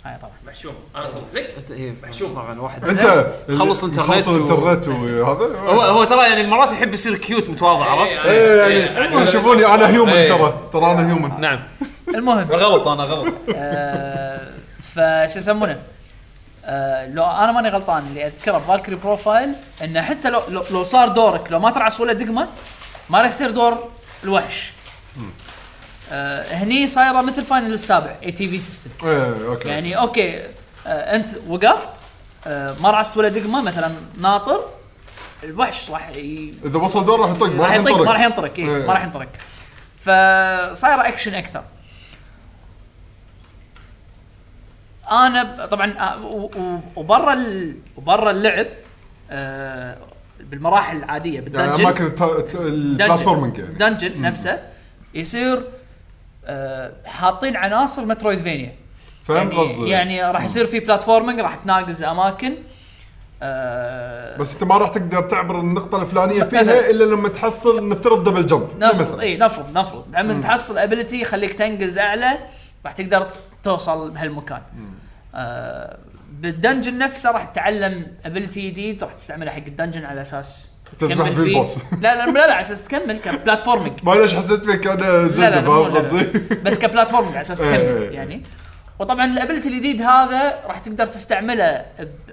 D: هاي طبعا
E: محشوم انا صلح لك
A: أنت- إيه،
E: محشوم.
A: طبعا واحد إيه.
C: انت
A: زين.
C: اللي
A: خلص انترنت
C: مخلص
A: و-
C: إيه. الانترنت وهذا
A: هو هو ترى يعني مرات يحب يصير كيوت متواضع عرفت؟
D: إيه،
C: ايه يعني والله شوفوني انا هيومن
A: إيه.
C: ترى ترى انا هيومن
A: نعم
D: المهم
E: غلط انا غلط
D: آه، فش يسمونه آه، لو انا ماني غلطان اللي اذكره بفالكري بروفايل انه حتى لو لو, لو صار دورك لو ما ترعس ولا دقمه ما راح يصير دور الوحش. آه، هني صايره مثل فاينل السابع اي تي في سيستم
C: ايه اوكي
D: يعني اوكي آه، انت وقفت آه، ما رعست ولا دقمه مثلا ناطر الوحش راح ي-
C: اذا وصل دور راح يطق ما
D: راح
C: راح
D: ينطرك ما راح
C: ينطرق
D: ينطرك إيه
C: إيه.
D: ما راح ينطرك فصايره اكشن اكثر انا ب- طبعا آه، و- و- وبرا ال- وبرا اللعب آه، بالمراحل العاديه
C: يعني
D: بالدنجن
C: اماكن الت- الت- البلاتفورمينج يعني
D: دنجن نفسه يصير آه، حاطين عناصر مترويدفينيا
C: فهمت
D: يعني-
C: قصدي
D: يعني راح يصير في بلاتفورمينج راح تناقز اماكن آه،
C: بس انت ما راح تقدر تعبر النقطه الفلانيه
D: مثلاً.
C: فيها الا لما تحصل نفترض دبل جمب
D: نفرض
C: مثلا
D: اي نفرض نفرض لما تحصل ابيلتي يخليك تنقز اعلى راح تقدر ت- توصل بهالمكان آه بالدنجن نفسه راح تتعلم ابيلتي جديد راح تستعمله حق الدنجن على اساس
C: تذبح
D: تكمل
C: فيه البوس.
D: لا لا لا لا على اساس تكمل كبلاتفورمينج
C: ما ليش حسيت فيك انا
D: لا
C: زلده
D: مو-
C: فاهم قصدي؟
D: بس كبلاتفورم على اساس
C: إيه،
D: تكمل
C: إيه.
D: يعني وطبعا الابيلتي الجديد هذا راح تقدر تستعمله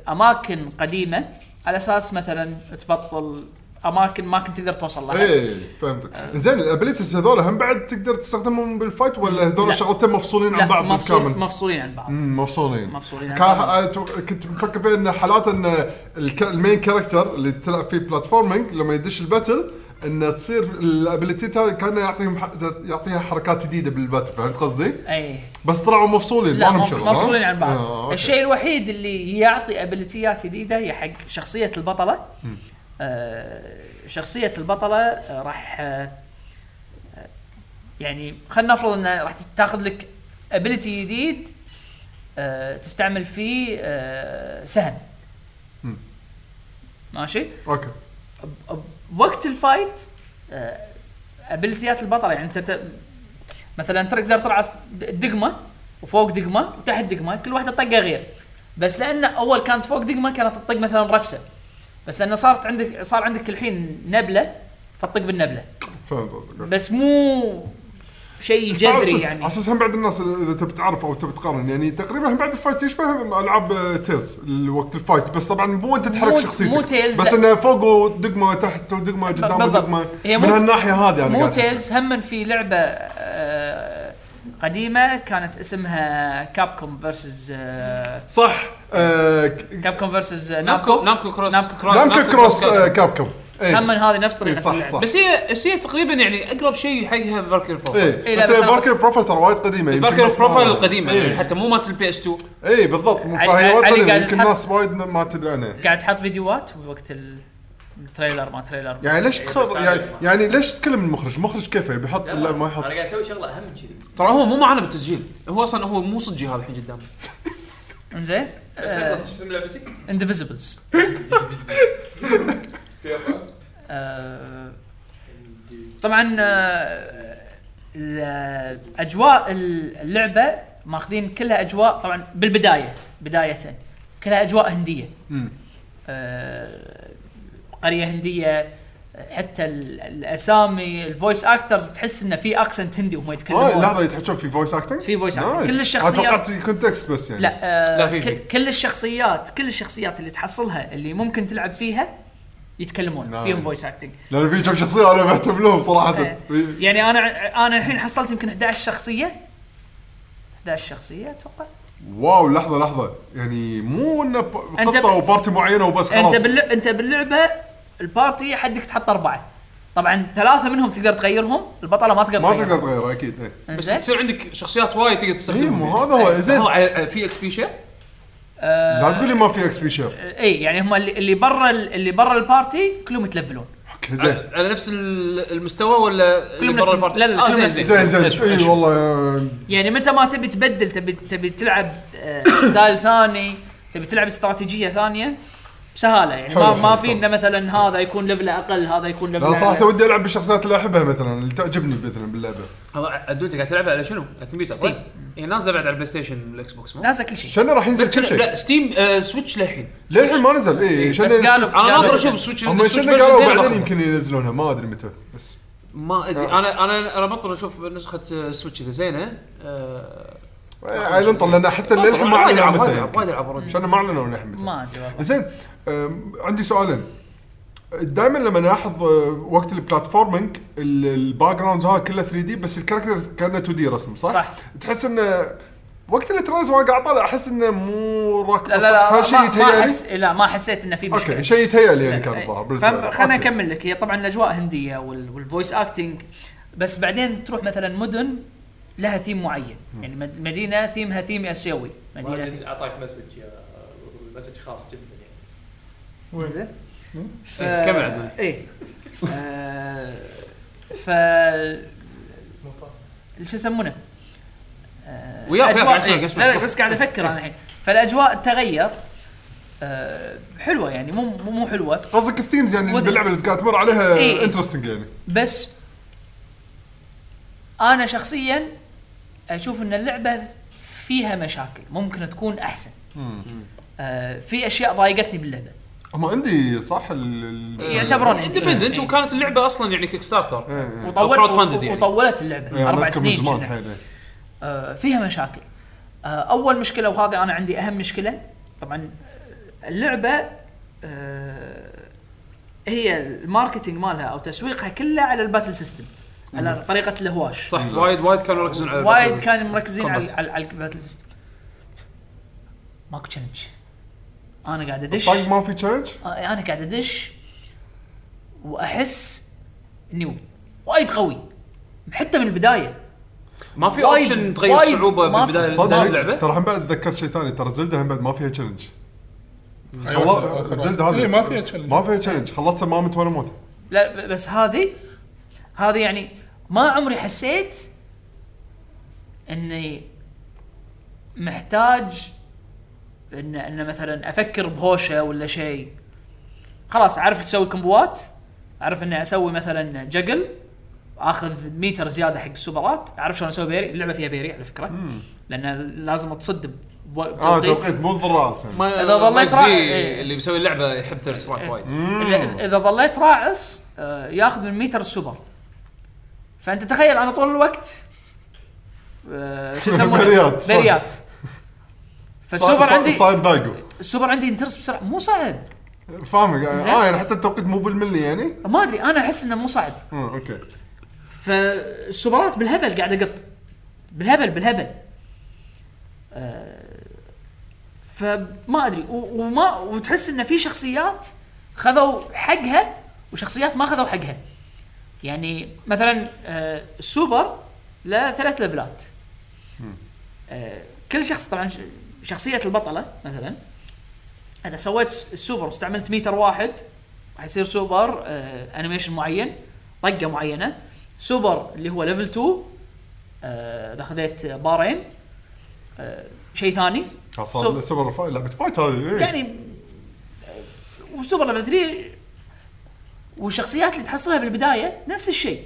D: باماكن قديمه على اساس مثلا تبطل اماكن ما كنت تقدر توصل لها
C: ايه فهمتك زين الابيلتيز هذول هم بعد تقدر تستخدمهم بالفايت ولا هذول
D: لا.
C: شغلتين مفصولين
D: لا
C: عن بعض
D: مفصول
C: بالكامل
D: مفصولين عن بعض
C: مم، مفصولين
D: مفصولين عن
C: كان
D: بعض.
C: أتوقع- كنت مفكر فيه ان حالات ان الك- المين كاركتر اللي تلعب فيه بلاتفورمينج لما يدش الباتل ان تصير الابيلتي تاعه كانه يعطيهم ح- يعطيها حركات جديده بالباتل فهمت قصدي؟
D: اي
C: بس طلعوا مفصولين
D: إيه. لا
C: ما لهم
D: مف-
C: شغل ها؟
D: مفصولين عن بعض
C: آه، أوكي.
D: الشيء الوحيد اللي يعطي ابيلتيات جديده هي حق شخصيه البطله آه شخصيه البطله آه، راح آه آه، يعني خلينا نفرض انها راح تاخذ لك ابيلتي جديد آه تستعمل فيه آه سهم ماشي
C: اوكي
D: ب- بوقت الفايت آه، ابيلتيات البطل يعني انت ت... مثلا تقدر ترعس دقمه وفوق دقمه وتحت دقمه كل واحده طقه غير بس لان اول كانت فوق دقمه كانت تطق مثلا رفسه بس لان صارت عندك صار عندك الحين نبله فتطق بالنبله
C: فهمت قصدك
D: بس مو شيء جذري يعني
C: على اساس هم بعد الناس اذا تبي تعرف او تبي تقارن يعني تقريبا هم بعد الفايت يشبه العاب تيلز وقت الفايت بس طبعا مو انت
D: مو-
C: تحرك شخصيتك
D: مو Tales،
C: بس
D: لا.
C: انه فوق ودقمه تحت ودقمه قدام
D: بالضبط.
C: ودقمه
D: هي
C: من
D: مو-
C: هالناحيه هذه انا
D: مو
C: قاعد أحكي.
D: تيلز هم في لعبه آه، قديمه كانت اسمها كابكوم فيرسز
C: صح آه، ك-
D: كابكوم فيرسز
A: نامكو
D: نامكو
A: نامكو كروس
D: نامكو كروس.
C: نامكو كروس آه، كابكم
D: نعم، هم من هذه نفس طريقه
C: إيه، صح،
D: اللعب.
C: صح.
A: بس هي بس هي تقريبا يعني اقرب شيء حقها فالكير بروفايل
C: ايه
D: إيه، لا،
C: بس
D: بس أنا
C: فالكير
D: بس-
C: بروفايل ترى وايد قديمه يمكن
A: فالكير
C: الناس ما-
A: بروفايل القديمه يعني
C: ايه
A: حتى مو مالت البي اس 2
C: ايه بالضبط مو-
D: علي-
C: فهي وايد
D: علي
C: قديمه
D: قاعد
C: يمكن
D: يتحط-
C: الناس وايد ما تدري عنها
D: قاعد تحط فيديوهات وقت ال- التريلر ما تريلر
C: يعني ليش تخرب
E: بس
C: يعني,
E: عادي.
C: يعني ليش تكلم المخرج؟ المخرج كيفه بيحط
E: لا،
C: لا ما
E: انا
C: يحط
E: قاعد اسوي شغله اهم من كذي
A: ترى هو مو معنا بالتسجيل هو اصلا هو مو صجي هذا الحين قدامي
D: انزين
E: بس اخلص شو اسم لعبتك؟
D: آه، اندفيزبلز
E: فيصل
D: طبعا آه، ال- اجواء ال- اللعبه ماخذين كلها اجواء طبعا بالبدايه بدايه كلها اجواء هنديه
C: مم.
D: آه، قريه هنديه حتى ال- الاسامي الفويس اكترز تحس انه في اكسنت هندي وهم
C: اه
D: يتكلمون
C: لحظه يتحكون في فويس اكتنج؟
D: في voice acting. كل الشخصيات-
C: توقعت يكون تكست بس يعني
D: لا, آه
A: لا، في- في.
D: كل, كل الشخصيات كل الشخصيات اللي تحصلها اللي ممكن تلعب فيها يتكلمون
C: نايس.
D: فيهم فويس اكتنج
C: لان في كم شخصيه انا مهتم لهم صراحه في-
D: يعني انا انا الحين حصلت يمكن 11 شخصيه 11 شخصيه اتوقع
C: واو لحظه لحظه يعني مو انه ب-
D: أنت
C: قصه
D: ب-
C: وبارتي معينه وبس خلاص
D: انت باللعبه انت باللعبه البارتي حدك تحط اربعه طبعا ثلاثه منهم تقدر تغيرهم البطله ما تقدر
C: ما
D: تغيرها
C: تقدر تغيره اكيد ايه
A: بس
D: إنزين؟
A: تصير عندك شخصيات وايد تقدر
C: اي
A: تستخدمها
C: إيه، مو هذا هو زين
A: هو ع- في اكس بي شير
D: آه،
C: لا تقول لي ما في اكس بي شير
D: اي يعني هم اللي اللي برا ال- اللي برا البارتي كلهم يتلفلون
C: اوكي زين
D: آه.
A: على على نفس ال- المستوى ولا
D: كلهم
A: اللي برا
D: نفس-
A: البارت؟
D: لا، لا،
A: آه،
D: كلهم
A: زين
D: نفس-
A: زين
C: زين
A: زين
C: زين
A: حلو، حلو.
C: اي والله آه،
D: يعني متى ما تبي تبدل تبي تبي تلعب آه، ستايل ثاني تبي تلعب استراتيجيه ثانيه بسهاله يعني ما,
C: حلو،
D: ما
C: حلو،
D: في
C: طبعا.
D: انه مثلا هذا يكون ليفله اقل هذا يكون ليفله
C: لا صراحه
D: أعلى.
C: ودي العب بالشخصيات اللي احبها مثلا اللي تعجبني مثلا باللعبه
A: هذا عدو انت قاعد تلعبها على شنو؟ على الكمبيوتر
D: ستيم.
A: صح؟ هي نازله بعد على البلاي ستيشن والاكس بوكس مو؟
D: ناسا كل شيء
C: شنو راح ينزل
A: بس
C: كل
A: كنا-
C: شيء
A: لا ستيم آه، سويتش للحين
C: للحين ما نزل إيه، اي
D: بس قالوا
A: انا ناطر
D: قالوا-
A: اشوف السويتش
C: هم
A: السويتش
C: شنو
A: version
C: قالوا
A: زين
C: بعدين
A: أبغى.
C: يمكن ينزلونها ما ادري متى بس
A: ما ادري
C: آه.
A: انا انا انا بطل اشوف نسخه سويتش اذا زينه آه،
C: عيلن لان حتى
A: بطل.
C: للحين ما
A: وايد
C: اعلنوا
A: ألعب، وايد
C: متى
A: ألعب،
C: يمكن.
A: وايد العاب اوريدي
C: عشان ما اعلنوا للحين متى
D: ما ادري والله
C: زين أم، عندي سؤالين دائما لما نلاحظ أه، وقت البلاتفورمينج ال- الباك جراوندز هذا كله 3 دي بس الكاركتر كانه 2 دي رسم صح؟
D: صح.
C: تحس انه وقت الترايز وانا قاعد طالع احس انه مو راكب
D: لا لا لا ما,
C: شيء
D: ما,
C: يتهيأ لي؟
D: حس لا ما حسيت انه في مشكله
C: اوكي شيء يتهيأ لي يعني
D: لا،
C: كان
D: إي.
C: الظاهر
D: فم-
C: بالفعل.
D: خلنا
C: أوكي.
D: اكمل لك هي طبعا الاجواء هنديه وال- والفويس اكتنج بس بعدين تروح مثلا مدن لها ثيم معين يعني مد- مدينه ثيمها ثيم اسيوي مدينه
E: واجد اعطاك مسج يا مسج خاص جدا يعني
D: زين
A: إيه، كمل عدل.
D: اي آه، ف شو يسمونه؟ آه،
A: وياك،
D: الأجواء-
A: وياك، قاعد أسمعك،
D: إيه،
A: أسمعك.
D: لا لا بس قاعد افكر انا الحين فالاجواء تغير آه، حلوه يعني مو مو مو حلوه
C: قصدك الثيمز يعني
D: وذ-
C: باللعبه اللي قاعد تمر عليها
D: إي.
C: انترستنج يعني
D: بس انا شخصيا اشوف ان اللعبه فيها مشاكل ممكن تكون احسن آه في اشياء ضايقتني باللعبه
C: هم عندي صح ال- ال-
D: يعتبرون
A: اندبندنت
D: إيه.
A: وكانت اللعبه اصلا يعني كيك ستارتر
C: إي، إي.
A: crowd funded
D: وطولت
A: يعني.
D: وطولت اللعبه
C: يعني
D: اربع
C: إيه. أذكر من
D: سنين
C: زمان
D: كنا.
C: حيل إي.
D: آه، فيها مشاكل آه، اول مشكله وهذا انا عندي اهم مشكله طبعا آه، اللعبه آه، هي الماركتينج مالها او تسويقها كله على الباتل سيستم على طريقه الهواش
A: صح وايد وايد كانوا يركزون على
D: وايد
A: الباتل.
D: كانوا مركزين على
A: Combat.
D: على على الباتل سيستم ماكو تشالنج انا قاعد ادش
A: طيب،
C: طق طيب، ما في تشالنج
D: انا قاعد ادش واحس اني وايد قوي حتى من البدايه
A: ما في
D: وايد-
A: اوبشن تغير
D: وايد
A: صعوبه
D: ما في
A: بالبدايه
C: صدق
A: بداية اللعبه
C: ترى هم بعد تذكرت شيء ثاني ترى زلده هم بعد ما فيها تشالنج
B: أيوة،
C: خلاص
B: آخر
C: زلده
B: واحد.
C: هذه
B: إيه، ما فيها تشالنج
C: ما فيها تشالنج خلصت ما مت ولا موت
D: لا ب- بس هذه هذه يعني ما عمري حسيت اني محتاج ان ان مثلا افكر بهوشه ولا شيء خلاص اعرف اسوي كمبوات اعرف اني اسوي مثلا جقل اخذ ميتر زياده حق السوبرات اعرف شلون اسوي بيري اللعبه فيها بيري على فكره لان لازم تصد بو-
C: اه
D: بتوقيت.
C: توقيت مو الضراء اصلا
A: ما
D: إذا ظليت
A: مايك زي
D: راح- إيه.
A: اللي مسوي اللعبه يحب ثيرد سترايك وايد
D: إذا- اذا ظليت راعس آه، ياخذ من ميتر السوبر فانت تخيل انا طول الوقت آه، شو يسمونه
C: بريات، صح.
D: بريات فالسوبر
C: صار-
D: عندي
C: صاير دايجو
D: السوبر عندي ينترس بسرعه مو صعب
C: فاهمك
D: زين.
C: اه يعني حتى التوقيت مو بالملي يعني
D: ما ادري انا احس انه مو صعب
C: امم اوكي
D: فالسوبرات بالهبل قاعد اقط بالهبل بالهبل آه، فما ادري و- وما وتحس ان في شخصيات خذوا حقها وشخصيات ما خذوا حقها يعني مثلا آه، السوبر له ثلاث ليفلات آه، كل شخص طبعا ش- شخصيه البطله مثلا اذا سويت س- السوبر واستعملت ميتر واحد حيصير سوبر آه، انيميشن معين طقه معينه سوبر اللي هو ليفل 2 آه، اذا خذيت بارين آه، شيء ثاني
C: آه، صار
D: سو-
C: سوبر فايت لعبه فايت هذه إيه.
D: يعني آه، وسوبر ليفل 3 والشخصيات اللي تحصلها بالبدايه نفس الشيء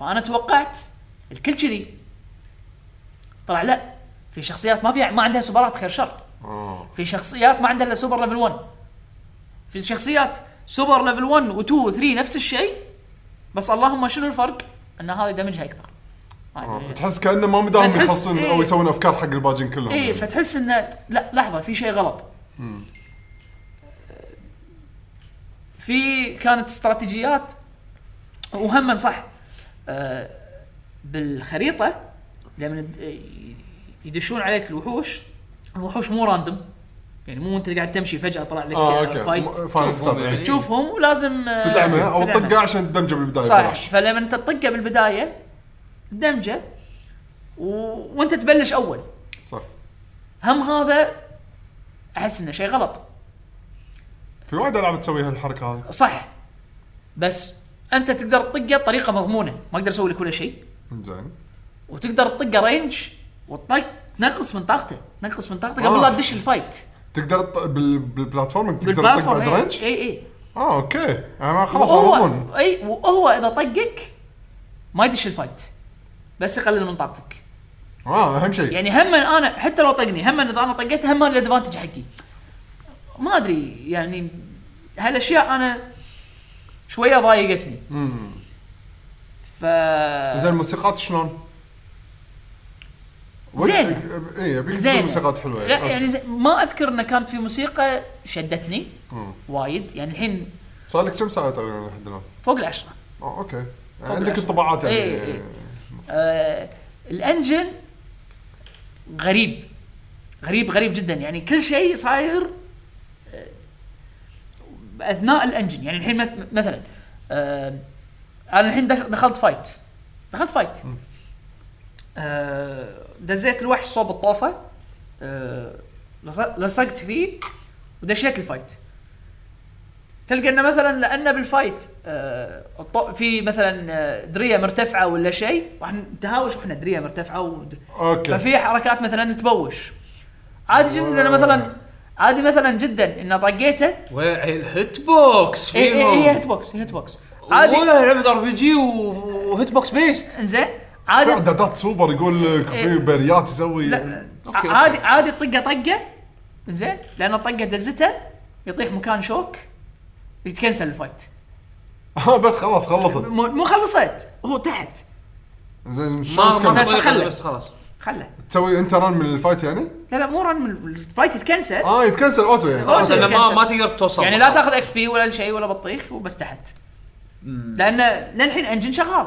D: فانا توقعت الكل كذي طلع لا في شخصيات ما فيها ما عندها سوبرات خير شر
C: آه.
D: في شخصيات ما عندها الا سوبر ليفل 1 في شخصيات سوبر ليفل 1 و2 و3 نفس الشيء بس اللهم شنو الفرق؟ ان هذه دمجها اكثر ما أدري.
C: آه. تحس كانه ما مدام
D: فتحس-
C: يخلصون
D: إيه.
C: او يسوون افكار حق الباجين كلهم
D: اي
C: يعني.
D: إيه، فتحس انه لا لحظه في شيء غلط في كانت استراتيجيات وهم صح آه، بالخريطه لما ند- يدشون عليك الوحوش الوحوش مو راندوم يعني مو انت قاعد تمشي فجاه طلع لك
C: اه
D: آه،
C: اوكي
D: فايت
C: م- فايت
A: تشوفهم
C: سابع.
A: يعني.
D: تشوفهم ولازم آه،
C: تدعمها او
D: تدعمها.
C: تطقه عشان تدمجه بالبدايه
D: صح
C: بلاش.
D: فلما انت تطقه بالبدايه دمجه و... وانت تبلش اول
C: صح
D: هم هذا احس انه شيء غلط
C: في وايد العاب تسوي هالحركه هذه
D: صح بس انت تقدر تطقه بطريقه مضمونه ما اقدر اسوي لك ولا شيء
C: زين
D: وتقدر تطقه رينج والطق تنقص من طاقته تنقص من طاقته قبل
C: آه.
D: لا تدش الفايت
C: تقدر تط- بال- بالبلاتفورم تقدر تطق
D: بالبلاتفورم إيه.
C: بعد
D: اي
C: رنج
D: اي, اي.
C: اه اوكي انا خلاص اضمن
D: وهو اي وهو اذا طقك ما يدش الفايت بس يقلل من طاقتك
C: اه اهم شيء
D: يعني هم انا حتى لو طقني هم اذا انا طقيت هم الادفانتج حقي ما ادري يعني هالاشياء انا شويه ضايقتني
C: مم.
D: ف
C: زين الموسيقات شلون؟
D: زينة.
C: اي ابيك إيه، تقول
D: زينة.
C: موسيقات حلوه
D: لا
C: أوكي.
D: يعني زي ما اذكر انه كان في موسيقى شدتني
C: مم.
D: وايد يعني الحين
C: صار لك كم ساعه تقريبا لحد الان؟
D: فوق العشرة
C: اه اوكي
D: فوق
C: عندك
D: العشرة.
C: انطباعات يعني
D: إيه، إيه. آه الانجن غريب غريب غريب جدا يعني كل شيء صاير آه، اثناء الانجن يعني الحين مث- مثلا آه انا الحين دخ- دخلت فايت دخلت فايت آه دزيت الوحش صوب الطوفه آه لص- لصقت فيه ودشيت الفايت تلقى انه مثلا لانه بالفايت آه الط- في مثلا آه، دريه مرتفعه ولا شيء راح نتهاوش واحنا دريه مرتفعه ود...
C: اوكي
D: ففي حركات مثلا تبوش عادي جدا انا مثلا عادي مثلا جدا ان طقيته
A: والهيت بوكس
D: اي اي اي هيت
A: فيهم
D: بوكس هيت بوكس
A: عادي
D: عادي
A: لعبه ار بي جي وهيت بوكس بيست
D: انزين
C: في
D: عادي
C: اعدادات سوبر يقول لك في
D: إيه.
C: بريات يسوي
D: لا
A: أوكي،
D: عادي عادي طقه طقه زين لان الطقه دزته يطيح مكان شوك يتكنسل الفايت
C: اه بس خلاص خلصت
D: مو مو خلصت هو تحت
C: زين
A: ما
C: شلون
A: ما
C: تكمل؟
D: بس خله.
A: بس خلاص
D: خله
C: تسوي انت رن من الفايت يعني؟
D: لا لا مو رن من الفايت يتكنسل
C: اه يتكنسل اوتو يعني
D: أوتو.
A: بس انه ما ما تقدر توصل
D: يعني لا تاخذ اكس بي ولا شيء ولا بطيخ وبس تحت لان للحين انجن شغال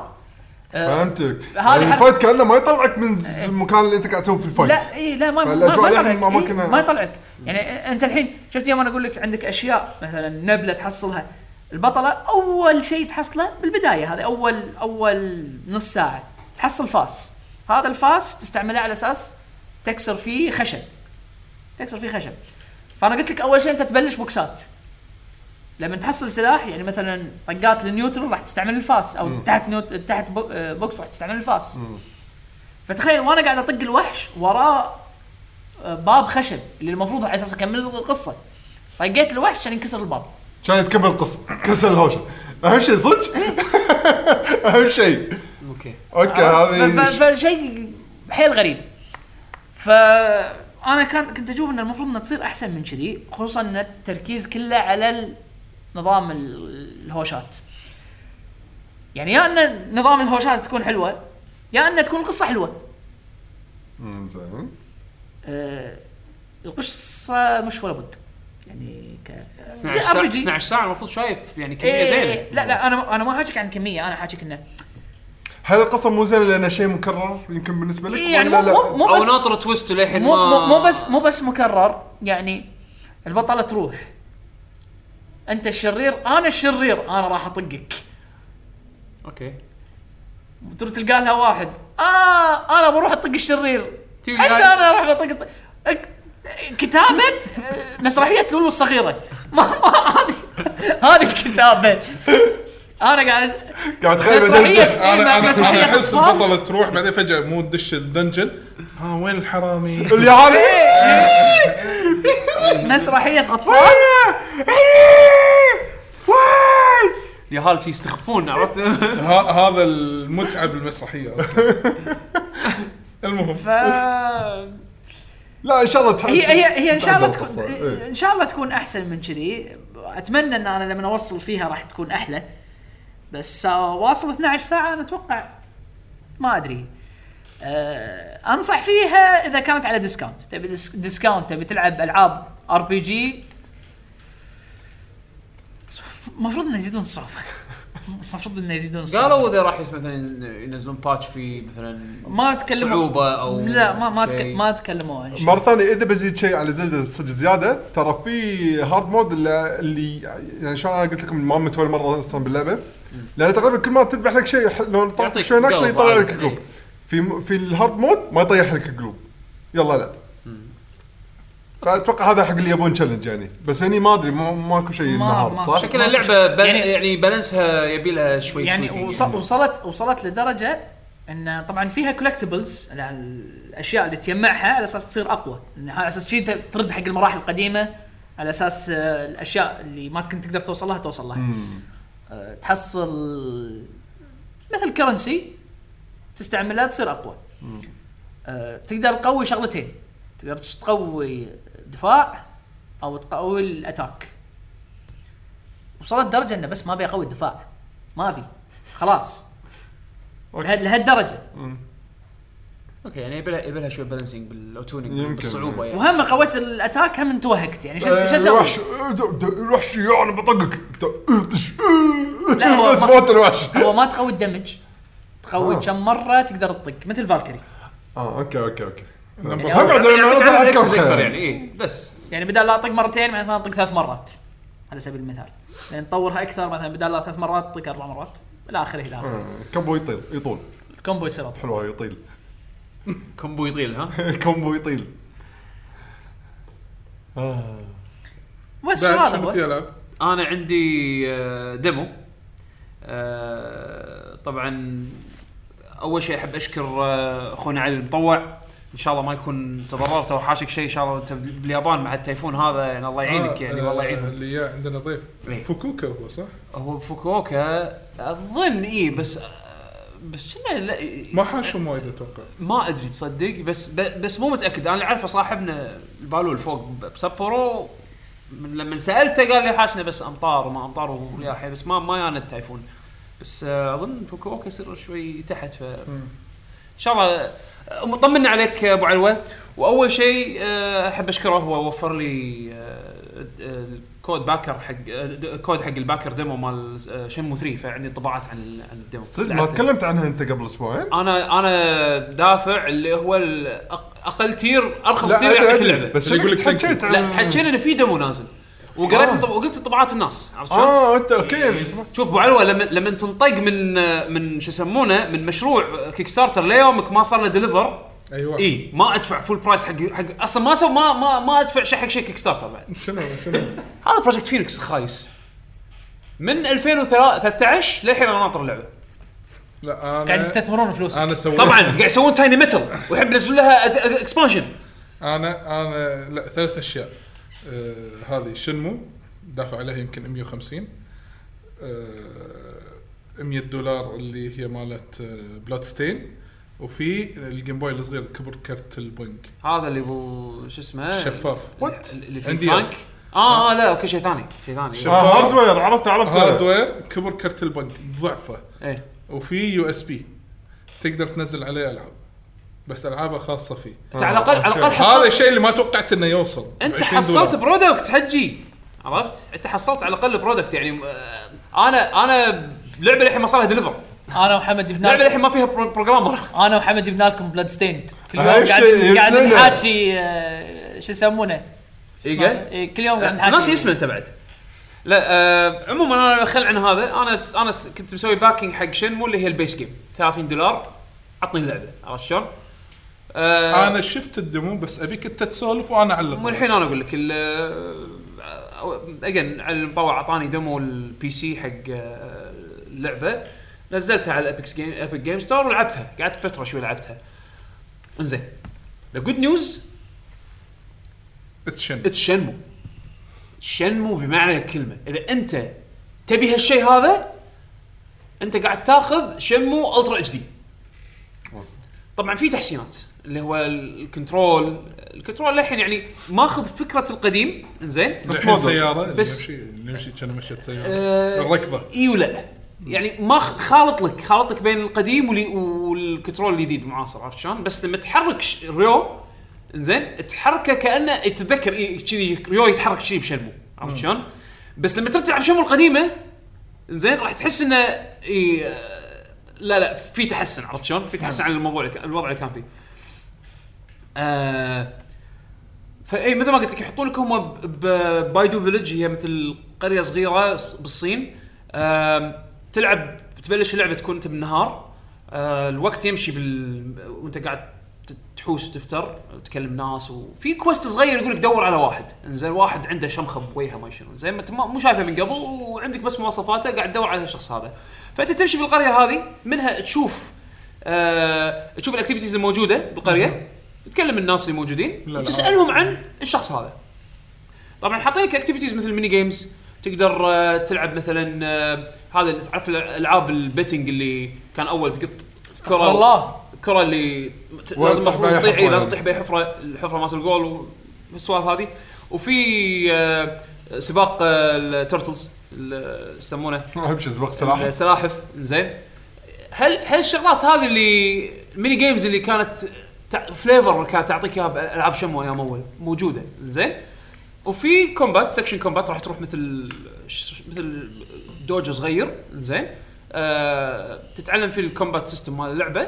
D: آه،
C: فهمتك
D: هذه
C: يعني الفايت كانه ما يطلعك من ز- المكان اللي انت قاعد تسوي في الفايت
D: لا اي لا ما ما, ما
C: فالأجواء
D: يطلعك
C: يعني ما- ما
D: إيه،
C: كنا-
D: ما يطلعك يعني انت الحين شفت يوم انا اقول لك عندك اشياء مثلا نبله تحصلها البطله اول شيء تحصله بالبدايه هذا اول اول نص ساعه تحصل فاس هذا الفاس تستعمله على اساس تكسر فيه خشب تكسر فيه خشب فانا قلت لك اول شيء انت تبلش بوكسات لما تحصل سلاح يعني مثلا طقات النيوترال راح تستعمل الفاس او تحت نوت... تحت بو- آه، بوكس راح تستعمل الفاس فتخيل وانا قاعد اطق الوحش وراه آه، باب خشب اللي المفروض على اساس اكمل القصه طقيت الوحش طيب عشان ينكسر الباب
C: عشان تكمل القصه كسر الهوشه اهم شيء صدق اهم شيء
A: اوكي
C: اوكي
D: آه، ف- ف-
C: هذه
D: فشيء حيل غريب فانا كان كنت اشوف ان المفروض انها تصير احسن من كذي خصوصا ان التركيز كله على نظام الهوشات يعني يا ان نظام الهوشات تكون حلوه يا ان تكون القصه حلوه
C: مم، زين
D: آه، القصه مش ولا بد يعني ك
A: 12 ساعه 12 ساعه المفروض شايف يعني كميه
D: إيه
A: زينه
D: لا لا انا انا ما حاجيك عن كميه انا حاجيك انه
C: هل القصه مو زينه لانها شيء مكرر يمكن بالنسبه لك
D: إيه، يعني
C: ولا
D: مو-
C: لا؟
D: مو- مو-
A: او
D: بس-
A: ناطر تويست للحين
D: مو
A: ما
D: مو مو بس مو بس مكرر يعني البطله تروح انت الشرير انا الشرير انا راح اطقك
A: اوكي
D: تروح تلقى لها واحد اه انا بروح اطق الشرير
A: تيجي
D: حتى
A: هاي.
D: انا راح بطق أك- كتابة آه، مسرحية لولو الصغيرة ما ما هذه هذه الكتابة انا قاعد
C: قاعد يعني تخيل
D: مسرحية.
C: بعدين-
D: إيه،
B: انا
D: بس
B: انا
D: حياة
B: انا احس
D: أطفال.
B: البطله تروح بعدين فجاه مو تدش الدنجن ها وين الحرامي؟
C: اللي
D: إيه.
C: هذا
D: مسرحية اطفال
A: اليهال شي يستخفون عرفت
B: ه- هذا المتعه بالمسرحيه اصلا المهم
D: ف
C: لا ان شاء الله تح-
D: هي هي هي ان شاء الله
C: تحضر
D: تكون
C: القصة. إيه.
D: ان شاء الله تكون احسن من كذي اتمنى ان انا لما اوصل فيها راح تكون احلى بس آه، واصل 12 ساعة انا اتوقع ما ادري أه انصح فيها اذا كانت على ديسكاونت تبي ديس- ديسكاونت تبي تلعب العاب ار بي جي المفروض انه يزيدون الصعوبة المفروض انه يزيدون الصعوبة
A: قالوا اذا راح يس- مثلا ينزلون باتش في مثلا
D: ما تكلموا
A: صعوبه او
D: لا ما ما تك...
A: شيء.
D: ما تكلموا عن شيء
C: مره ثانيه اذا بزيد شيء على زلده صدق زياده ترى في هارد مود اللي, اللي يعني شلون انا قلت لكم ما مت ولا مره اصلا باللعبه لان تقريبا كل ما تذبح لك شيء ح- لو طلعت لك
A: يعطيك
C: شوي ناقصه
A: قلب
C: يطلع
A: عادي.
C: لك قلوب في م- في الهارد مود ما يطيح لك قلوب يلا لا فاتوقع هذا حق اللي يبون تشالنج يعني بس هني ما ادري ما- ماكو شيء
D: ما-
C: النهارد
D: ما-
C: صح؟
A: شكلها اللعبه بل...
D: يعني-
A: يعني, يعني بالانسها يبي لها شوي
D: يعني
A: tweaking
D: وص... وصلت وصلت لدرجه ان طبعا فيها كولكتبلز الاشياء اللي تجمعها على اساس تصير اقوى إن على اساس شي ت- ترد حق المراحل القديمه على اساس آه، الاشياء اللي ما كنت تقدر توصل لها توصل لها
C: مم.
D: آه، تحصل مثل كرنسي تستعملها تصير اقوى آه، تقدر تقوي شغلتين تقدر تقوي دفاع او تقوي الاتاك وصلت درجه انه بس ما ابي اقوي الدفاع ما ابي خلاص
C: أوكي.
D: لها- لهالدرجه
A: اوكي يعني يبي لها يبي لها شوي بالانسنج بالاوتونينج
C: يمكن.
A: بالصعوبه يعني
D: وهم قويت الاتاك هم انتوهقت يعني شو شو
C: آه،
D: اسوي؟
C: الوحش آه، د- د- الوحش يعني بطقك
D: لا، هو
C: بس
D: ما-
C: موت الوحش
D: هو ما تقوي الدمج تقوي
C: آه.
D: كم مره تقدر تطق مثل فالكري
C: اه اوكي اوكي اوكي هم
D: يعني
C: بعد
A: يعني
C: لما
A: بتعرف
C: نطلع
A: ال
C: كم
A: actions اكثر
C: خير
A: يعني اي بس
D: يعني بدل لا اطق مرتين مثلا اطق ثلاث مرات على سبيل المثال لان تطورها اكثر مثلا بدل لا ثلاث مرات تطق اربع مرات الى اخره الى اخره
C: آه، كمبو يطيل يطول
D: الكومبو يصير اطول
C: حلوه يطيل
A: كومبو يطيل ها
C: كومبو يطيل
D: بس
B: بعد
D: هذا
B: شنو
D: هو
B: في العاب؟
A: انا عندي آه، ديمو آه، طبعا اول شيء احب اشكر آه، اخونا علي المطوع ان شاء الله ما يكون تضررت او حاشك شيء ان شاء الله انت باليابان مع التيفون هذا يعني الله يعينك
B: آه،
A: يعني
B: آه،
A: والله يعينهم
B: اللي جاء عندنا ضيف
A: إيه.
B: فكوكا هو صح؟
A: هو فوكوكا اظن اي بس آه، بس شنو لا
B: ما حاشهم وايد اتوقع
A: ما ادري تصدق بس ب- بس مو متاكد انا اللي اعرفه صاحبنا البالو الفوق ب- بسبورو من لما سالته قال لي حاشنا بس امطار وما امطار ورياح بس ما ما يانا التايفون بس آه، اظن فوكوكا يصير شوي تحت ف ان شاء الله مطمنا عليك يا ابو علوه واول شيء آه، احب اشكره هو وفر لي آه، آه، الكود باكر حق آه، د- كود حق الباكر ديمو مال آه، شنمو 3 فعندي طباعات عن ال- عن الديمو
C: صدق ما
A: لعبته.
C: تكلمت عنها انت قبل اسبوعين؟
A: انا انا دافع اللي هو الأق- اقل تير ارخص
C: لا،
A: تير
C: أدري-
A: يعطيك
C: أدري.
A: اللعبه
C: بس
B: اللي
C: يقول
B: يقول
C: لك
B: لك
C: حكيت عن
A: لا تحكينا ان في ديمو نازل وقريت
C: آه.
A: انطب- وقلت انطباعات الناس عرفت شلون؟
C: اه انت اوكي
A: شوف ابو علوه لما لما تنطق من من شو يسمونه من مشروع كيك ستارتر ليومك ما صار له ديليفر
B: ايوه
A: اي ما ادفع فول برايس حق حق اصلا ما سو ما ما, ما ادفع شيء حق شيء كيك ستارتر بعد
B: شنو شنو
A: هذا بروجكت فينيكس خايس من 2013 للحين انا ناطر اللعبه
B: لا
D: قاعد
B: انا
D: يستثمرون فلوسك
B: انا سويت
A: طبعا قاعد يسوون تايني ميتل ويحب ينزلون لها اكسبانشن
B: انا انا لا ثلاث اشياء آه هذه شنمو دافع عليها يمكن 150 آه 100 دولار اللي هي مالت آه بلاد ستين وفي الجيم بوي الصغير كبر كرت البنك
A: هذا اللي ابو شو اسمه
B: شفاف.
A: وات اللي فيه
B: عندي آه.
A: تانك اه اه لا اوكي شيء ثاني شيء ثاني
B: شوف.
C: آه هاردوير عرفت عرفت
B: هاردوير كبر كرت البنك ضعفه
A: ايه
B: وفي يو اس بي تقدر تنزل عليه العاب بس العابه خاصه فيه
A: انت على الاقل على الاقل
B: هذا
A: حصلت
B: الشيء اللي ما توقعت انه يوصل
A: انت
B: 20
A: حصلت
B: دولار.
A: برودكت حجي عرفت؟ انت حصلت على الاقل برودكت يعني آه، انا انا لعبه الحين ما صار لها ديليفر،
D: انا وحمد جبنا
A: لعبه
D: لكم-
A: الحين ما فيها برو- بروجرامر
D: انا وحمد جبنا لكم بلاد ستيند كل يوم
C: أهم
D: قاعد
C: شيء
D: قاعد
C: يبنونه.
D: نحاكي آه، شو يسمونه؟
A: ايجا
D: إيه، كل يوم قاعد نحاكي
A: ناسي اسمه انت بعد لا آه عموما انا خل عن هذا انا انا س- كنت مسوي باكينج حق شنمو اللي هي البيس جيم 30 دولار عطني اللعبه عرفت شلون؟ آه
B: انا شفت الدمو بس ابيك انت تسولف وانا اعلق
A: مو الحين انا اقول لك اجين المطور اعطاني ديمو البي سي حق آه، اللعبه نزلتها على ابيكس جيم ابيك جيم ستور ولعبتها قعدت فتره شوي لعبتها انزين ذا جود نيوز
B: اتشن
A: اتس شنمو شنمو بمعنى الكلمه اذا انت تبي هالشيء هذا انت قاعد تاخذ شنمو الترا اتش دي طبعا في تحسينات اللي هو الكنترول الكنترول للحين يعني ماخذ فكره القديم انزين
B: بس
C: مو
B: مو
C: ضد.
B: سياره
A: بس-
B: بس نمشي نمشي كان مشيت سياره
A: آه،
B: الركضه
A: اي ولا يعني ما خ- خالط لك خالط لك بين القديم واللي- والكنترول الجديد المعاصر عرفت شلون؟ بس لما تحرك ش- ريو زين تحركه كانه يتذكر إي- كذي ريو يتحرك كذي بشنمو عرفت شلون؟ بس لما ترجع بشنمو القديمه زين راح تحس انه إي، آه، لا لا في تحسن عرفت شلون؟ في تحسن على الموضوع اللي كان- الوضع اللي كان فيه. آه فاي مثل ما قلت لك يحطون لك هم ب- ب- بايدو فيلج هي مثل قريه صغيره ص- بالصين آم، تلعب تبلش اللعبه تكون انت بالنهار آه، الوقت يمشي بال وانت قاعد ت- تحوس وتفتر وتكلم ناس وفي كويست صغير يقول لك دور على واحد انزين واحد عنده شمخه بوجهه ما شنو زين ما انت ما- مو شايفه من قبل وعندك بس مواصفاته قاعد تدور على الشخص هذا فانت تمشي بالقريه هذه منها تشوف آه تشوف الاكتيفيتيز الموجوده بالقريه تتكلم الناس اللي موجودين
B: لا، لا.
A: وتسالهم عن الشخص هذا طبعا حاطين لك اكتيفيتيز مثل ميني جيمز تقدر آه، تلعب مثلا آه، هذا اللي تعرف الالعاب البيتنج اللي كان اول تقط
D: استغفر الله
A: الكره اللي ت-
C: ولا
A: لازم
C: تطيح
A: المفروض تطيح إيه،
C: بأي حفرة
A: لازم
C: يعني.
A: تطيح بأي حفره الحفره مالت الجول والسوالف هذه وفي آه، سباق آه، التورتلز ال- يسمونه
C: راح امشي اسبق
A: إيه.
C: سلاحف
A: سلاحف زين هل هل الشغلات هذه اللي الميني جيمز اللي كانت تع- فليفر كانت تعطيك اياها بالعاب شمو ايام اول موجوده زين وفي كومبات سكشن كومبات راح تروح مثل ش- مثل دوجو صغير زين آه تتعلم في الكومبات سيستم مال اللعبه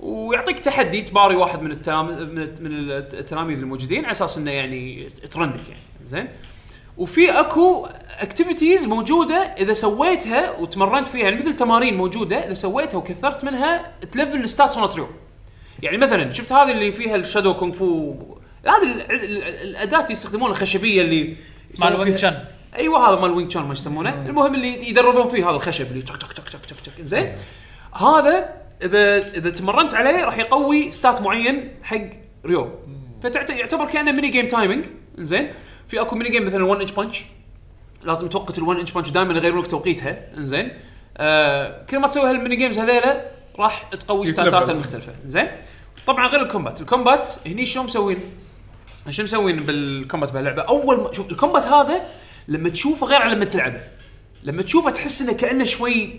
A: ويعطيك تحدي تباري واحد من التلام من الت- من التلاميذ الموجودين على اساس انه يعني ترنك يعني زين وفي اكو اكتيفيتيز موجوده اذا سويتها وتمرنت فيها يعني مثل تمارين موجوده اذا سويتها وكثرت منها تلفل الستاتس مالت اليوم. يعني مثلا شفت هذه اللي فيها الشادو كونغ فو هذه ال- ال- ال- الاداه اللي يستخدمونها الخشبيه اللي
D: مع
A: يسوون
D: الوينج
A: فيها-
D: تشن
A: ايوه هذا مال وينج تشان ما يسمونه المهم اللي يدربون فيه هذا الخشب اللي تشك تشك تشك تشك تشك تشك زين هذا اذا اذا تمرنت عليه راح يقوي ستات معين حق ريو فيعتبر كانه ميني جيم تايمينج زين في اكو ميني جيم مثلا 1 انش بانش لازم توقت ال1 انش بانش ودائما يغيرون لك توقيتها انزين آه كل ما تسوي هالميني جيمز هذيلا راح تقوي
B: يتلبل.
A: ستاتات المختلفه زين طبعا غير الكومبات الكومبات هني شو مسوين شو مسوين بالكومبات بهاللعبه اول ما شوف الكومبات هذا لما تشوفه غير عن لما تلعبه لما تشوفه تحس انه كانه شوي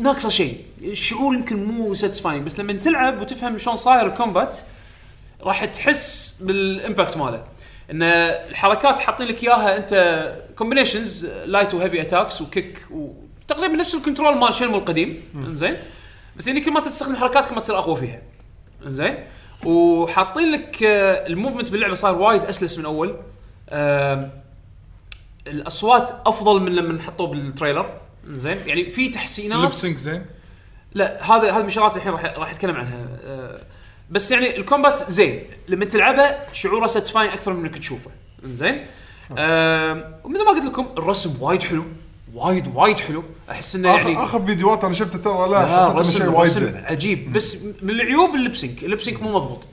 A: ناقصه شيء الشعور يمكن مو ساتسفاين بس لما تلعب وتفهم شلون صاير الكومبات راح تحس بالامباكت ماله ان الحركات حاطين لك اياها انت كومبينيشنز لايت وهيفي اتاكس وكيك وتقريبا نفس الكنترول مال شنمو القديم انزين بس يعني كل ما تستخدم حركاتك ما تصير اقوى فيها انزين وحاطين لك آه، الموفمنت باللعبه صار وايد اسلس من اول آم، الاصوات افضل من لما حطوه بالتريلر زين يعني في تحسينات
B: لبسنج زين
A: لا هذا هذه من الشغلات الحين راح راح اتكلم عنها أه بس يعني الكومبات زين لما تلعبه شعوره ساتسفاين اكثر من انك تشوفه زين
C: آه.
A: أه ومثل ما قلت لكم الرسم وايد حلو وايد وايد حلو احس انه
C: اخر
A: يعني
C: اخر فيديوهات انا شفته ترى لا
A: لا،
C: حسيت انه شيء وايد
A: رسم
C: زين
A: عجيب بس من العيوب اللبسنك اللبسنك مو مضبوط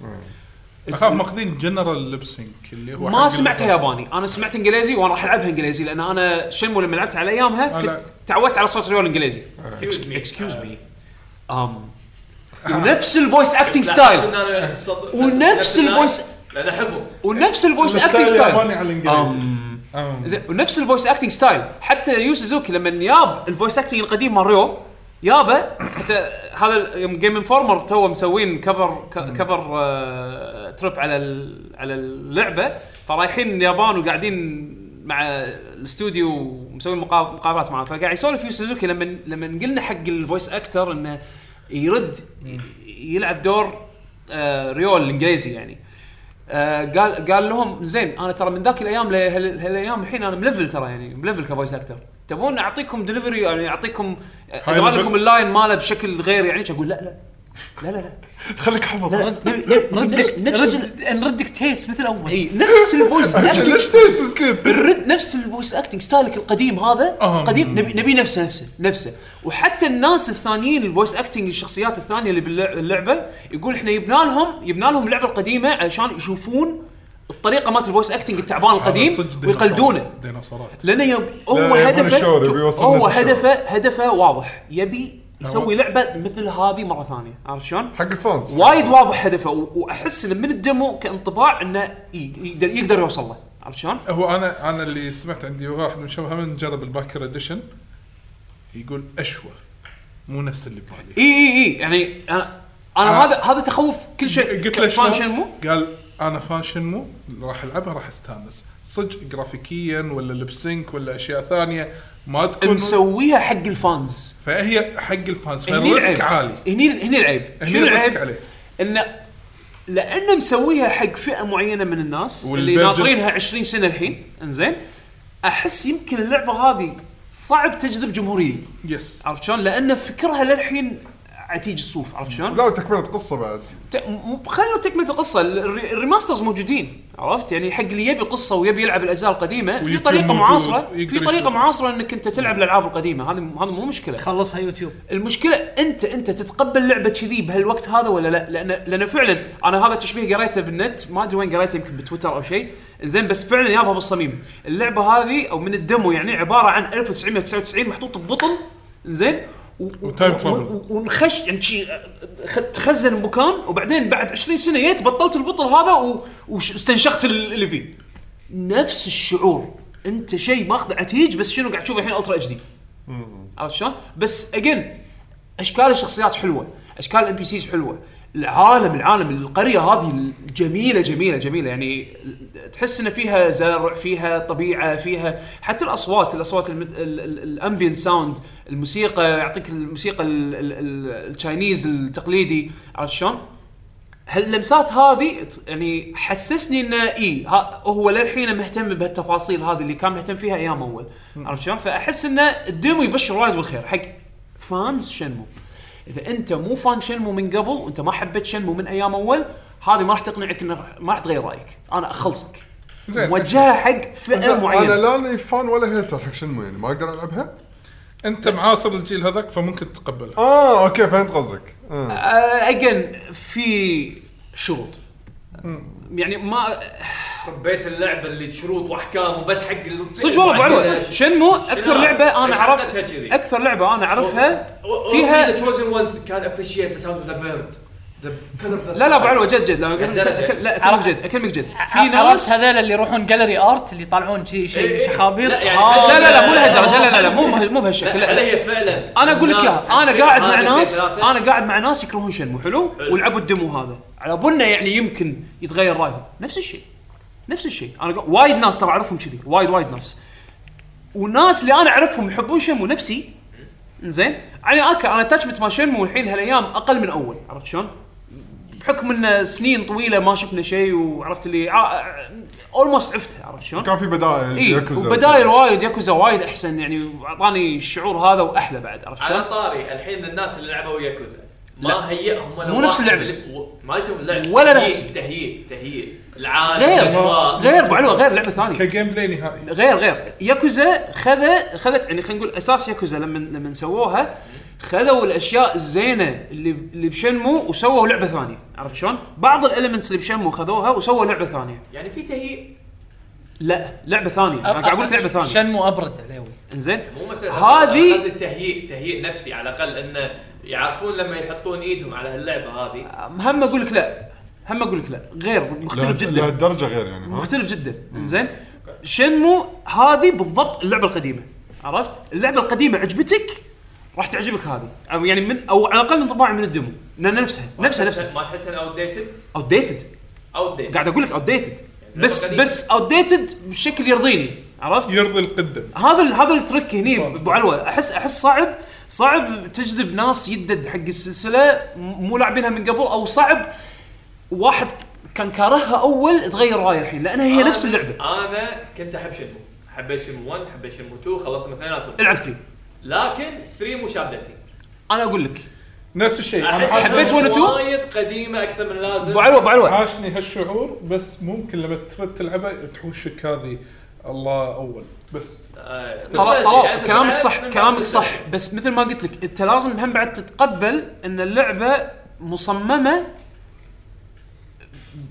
B: اخاف ماخذين جنرال لبسنج اللي هو
A: ما سمعتها ياباني انا سمعت انجليزي وانا راح العبها انجليزي لان انا شنمو لما لعبت على ايامها
B: آه، لا.
A: كنت تعودت على صوت ريول انجليزي
E: Excuse me.
A: اكسكيوز مي ام ونفس الفويس اكتنج ستايل ونفس الفويس
E: لانه حفظ
A: ونفس الفويس اكتنج ستايل أم. زين، ونفس الفويس اكتنج ستايل حتى يو سوزوكي لما ياب الفويس اكتنج القديم مال ريو يابه حتى هذا يوم جيم انفورمر تو مسوين كفر ك- كفر آه، تريب على ال- على اللعبه فرايحين اليابان وقاعدين مع الاستوديو ومسوين مقا- مقابلات معاه فقاعد يسولف يو سوزوكي لما لما قلنا حق الفويس اكتر انه يرد يلعب دور آه، ريو الانجليزي يعني آه، قال قال لهم زين انا ترى من ذاك الايام لهال- هالايام الحين انا ملفل ترى يعني ملفل كفويس اكتر تبون اعطيكم دليفري يعني اعطيكم اقرا
B: level.
A: لكم اللاين ماله بشكل غير يعني اقول لا لا لا لا لا
C: خليك حفظ
A: لا، لا لا نفس- نفس ال-
D: ردك نردك تيس مثل اول
A: اي نفس الفويس acting.
C: ليش تيس مسكين
A: الرد نفس الفويس اكتنج ستايلك القديم هذا
B: أهم.
A: قديم نبي نبي نفسه نفسه نفسه وحتى الناس الثانيين الفويس اكتنج الشخصيات الثانيه اللي باللعبه يقول احنا جبنا لهم جبنا لهم اللعبه القديمه عشان يشوفون الطريقه مالت الفويس اكتنج التعبان القديم ويقلدونه
B: ديناصورات
A: لانه يب... هو
C: يبون
A: هدفه
C: الشعور، يبي
A: شوف،
C: يوصل
A: هو
C: نفس الشعور.
A: هدفه هدفه واضح يبي يسوي
B: هو-
A: لعبه مثل هذه مره ثانيه عرفت شلون؟
C: حق الفانز
A: وايد واضح هدفه و- واحس إنه من الديمو كانطباع انه ي- يقدر يقدر يوصل له عرفت شلون؟
B: هو انا انا اللي سمعت عندي واحد من شباب هم جرب الباكر اديشن يقول اشوى مو نفس اللي ببالي
A: اي اي اي يعني انا انا
B: آه.
A: هذا هذا تخوف كل شيء
B: قلت له
A: فان
B: شلون؟
A: شنمو
B: قال انا فان شنمو راح العبها راح استانس صدق جرافيكيا ولا لبسينك ولا اشياء ثانيه ما تكون
A: مسويها حق الفانز
B: فهي حق الفانز
A: هني العيب
B: فالريسك عالي
A: هني هني العيب
B: هني
A: شنو
B: الريسك
A: العيب؟
B: عليه
A: انه لانه مسويها حق فئه معينه من الناس اللي
B: والبرجر-
A: ناطرينها 20 سنه الحين انزين احس يمكن اللعبه هذه صعب تجذب جمهوريه
B: يس
A: عرفت شلون؟ لان فكرها للحين عتيج الصوف عرفت شلون؟
C: لا وتكمله قصه بعد
A: ت- م- خلوا تكمله القصه الري- الريماسترز موجودين عرفت يعني حق اللي يبي قصه ويبي يلعب الاجزاء القديمه في
B: ويوتيوب
A: طريقه
B: موجود،
A: معاصره في
B: يقدر
A: طريقه
B: يشوفه.
A: معاصره انك انت تلعب الالعاب القديمه هذه هذا مو مشكله
D: خلصها يوتيوب
A: المشكله انت انت تتقبل لعبه كذي بهالوقت هذا ولا لا لان لان فعلا انا هذا تشبيه قريته بالنت ما ادري وين قريته يمكن بتويتر او شيء زين بس فعلا يابها بالصميم اللعبه هذه او من الدمو يعني عباره عن 1999 محطوط ببطن زين و-
B: وتايم
A: و-
B: ترافل.
A: و- ونخش يعني شي خ- تخزن بمكان وبعدين بعد 20 سنه جيت بطلت البطل هذا و- وش- واستنشقت ال- اللي فيه نفس الشعور انت شيء ماخذ عتيج بس شنو قاعد تشوفه الحين الترا اتش دي عرفت شلون؟ بس اجين اشكال الشخصيات حلوه، اشكال الام بي سيز حلوه، العالم العالم القريه هذه جميله جميله جميله يعني تحس ان فيها زرع، فيها طبيعه، فيها حتى الاصوات الاصوات المت... الامبيان ساوند، الموسيقى يعطيك الموسيقى ال- ال- ال- التشاينيز التقليدي، عرفت شلون؟ هاللمسات هذه ت- يعني حسسني انه اي ها- هو للحين مهتم بهالتفاصيل هذه اللي كان مهتم فيها ايام اول عرفت شلون؟ فاحس انه الديمو يبشر وايد بالخير حق فانز شنمو اذا انت مو فان شنمو من قبل وانت ما حبيت شنمو من ايام اول هذه ما راح تقنعك انه راح- ما راح تغير رايك انا اخلصك
B: زين.
A: موجهه حق فئه
C: انا
A: معينه
C: لا فان ولا هيتر حق شنمو يعني ما اقدر العبها
B: انت معاصر الجيل هذاك فممكن تتقبلها
C: اه اوكي فهمت قصدك آه.
A: اجين في شروط يعني ما
E: حبيت اللعبه اللي بشروط واحكام وبس حق ال-
A: صدق والله ابو علوي شنمو اكثر
E: شنو؟
A: لعبه انا
E: ليش
A: عرفت
E: حطيتها كذي؟
A: اكثر لعبه انا اعرفها
E: صوت- و- و-
A: فيها-
E: The chosen ones can appreciate the sound of the bird
A: لا لا ابو علوه جد جد لا
E: الدرجة.
A: أكلمك- لا اكلمك جد اكلمك جد في
D: عرفت
A: ناس
D: هذول اللي يروحون جاليري ارت اللي يطلعون شيء شيء
E: إيه.
D: شخابيط
E: لا، يعني
D: آه،
A: لا لا لا مو لهالدرجه لا لا لا مو مو بهالشكل لا،
E: لا
A: لا.
E: هي فعلا
A: انا اقول لك
E: الناس
A: اياها انا قاعد مع
E: هذه
A: ناس
E: الثلاثة-
A: انا قاعد مع ناس يكرهون شنمو حلو
E: حلو.
A: ولعبوا الدمو هذا على بالنا يعني يمكن يتغير رايهم نفس الشيء نفس الشيء انا قا- وايد ناس ترى اعرفهم كذي وايد وايد ناس وناس اللي انا اعرفهم يحبون شنمو نفسي زين يعني اكا انا اتاتشمنت مال شنمو الحين هالايام اقل من اول عرفت شلون؟ بحكم ان سنين طويله ما شفنا شيء وعرفت اللي آه، اولموست عفتها عرفت شلون؟
C: كان في بدائل
A: اي
C: ياكوزا.
A: وبدايل إيه، وايد ياكوزا وايد احسن يعني اعطاني الشعور هذا واحلى بعد عرفت شلون؟
E: على طاري الحين الناس اللي لعبوا ياكوزا
A: لا.
E: ما هيئهم ولا
A: مو نفس
E: واحد
A: اللعبة.
E: بال- و- ما يشوف اللعبه
A: ولا
E: تهيئ-
A: نفس.
E: تهيئ تهيئ العالم
A: غير
E: الأجواء.
A: غير ابو علوه غير لعبه ثانيه
B: كجيم بلاي نهائي
A: غير غير ياكوزا خذ خذت يعني خلينا نقول اساس ياكوزا لما لما سووها خذوا الاشياء الزينه اللي اللي بشنمو وسووا لعبه ثانيه عرفت شلون؟ بعض الالمنتس اللي بشنمو خذوها وسووا لعبه ثانيه
E: يعني في تهيئ
A: لا لعبه ثانيه انا قاعد اقول لك لعبه ثانيه
D: شنمو ابرد عليوي
A: انزين
E: مو مساله
A: هذه-
E: قصدي تهيئ تهيئ نفسي على الاقل انه يعرفون لما يحطون ايدهم على هاللعبه هذه
A: هم اقول لك لا هم اقول لك لا غير مختلف
C: لا-
A: جدا
C: لهالدرجه غير يعني ها؟
A: مختلف جدا زين شنمو هذه بالضبط اللعبه القديمه عرفت اللعبه القديمه عجبتك راح تعجبك هذه او يعني من او على الاقل انطباعي من الدمو لان نفسها نفسها نفسها
E: ما تحسها اوت ديتد
A: اوت ديتد
E: اوت ديتد
A: قاعد اقول لك اوت ديتد بس
E: قديمة.
A: بس اوت ديتد بشكل يرضيني عرفت
B: يرضي القدم
A: هذا ال- هذا الترك هني ابو علوه احس احس صعب صعب تجذب ناس يدد حق السلسله م- مو لاعبينها من قبل او صعب واحد كان كارهها اول تغير رايه الحين لانها
F: آه.
A: هي نفس اللعبه
E: انا كنت احب شنمو حبيت شنمو 1 حبيت شنمو 2 خلصنا اثنيناتهم
A: العب فيه
E: لكن 3 مو شادتني
A: انا اقول لك
B: نفس الشيء
E: أحس
B: انا
A: حبيت
E: إنها
A: one and two؟
E: وايد قديمه اكثر من اللازم
A: ابو علوه ابو علوه
B: عاشني هالشعور بس ممكن لما تفت تلعبه تحوشك هذه الله اول بس
E: آه،
A: طلع
E: بس
A: طلع
E: يعني أنت
A: كلامك
E: بعد
A: صح
E: من
A: كلامك
E: بعد
A: صح بس مثل ما قلت لك انت لازم هم بعد تتقبل ان اللعبه مصممه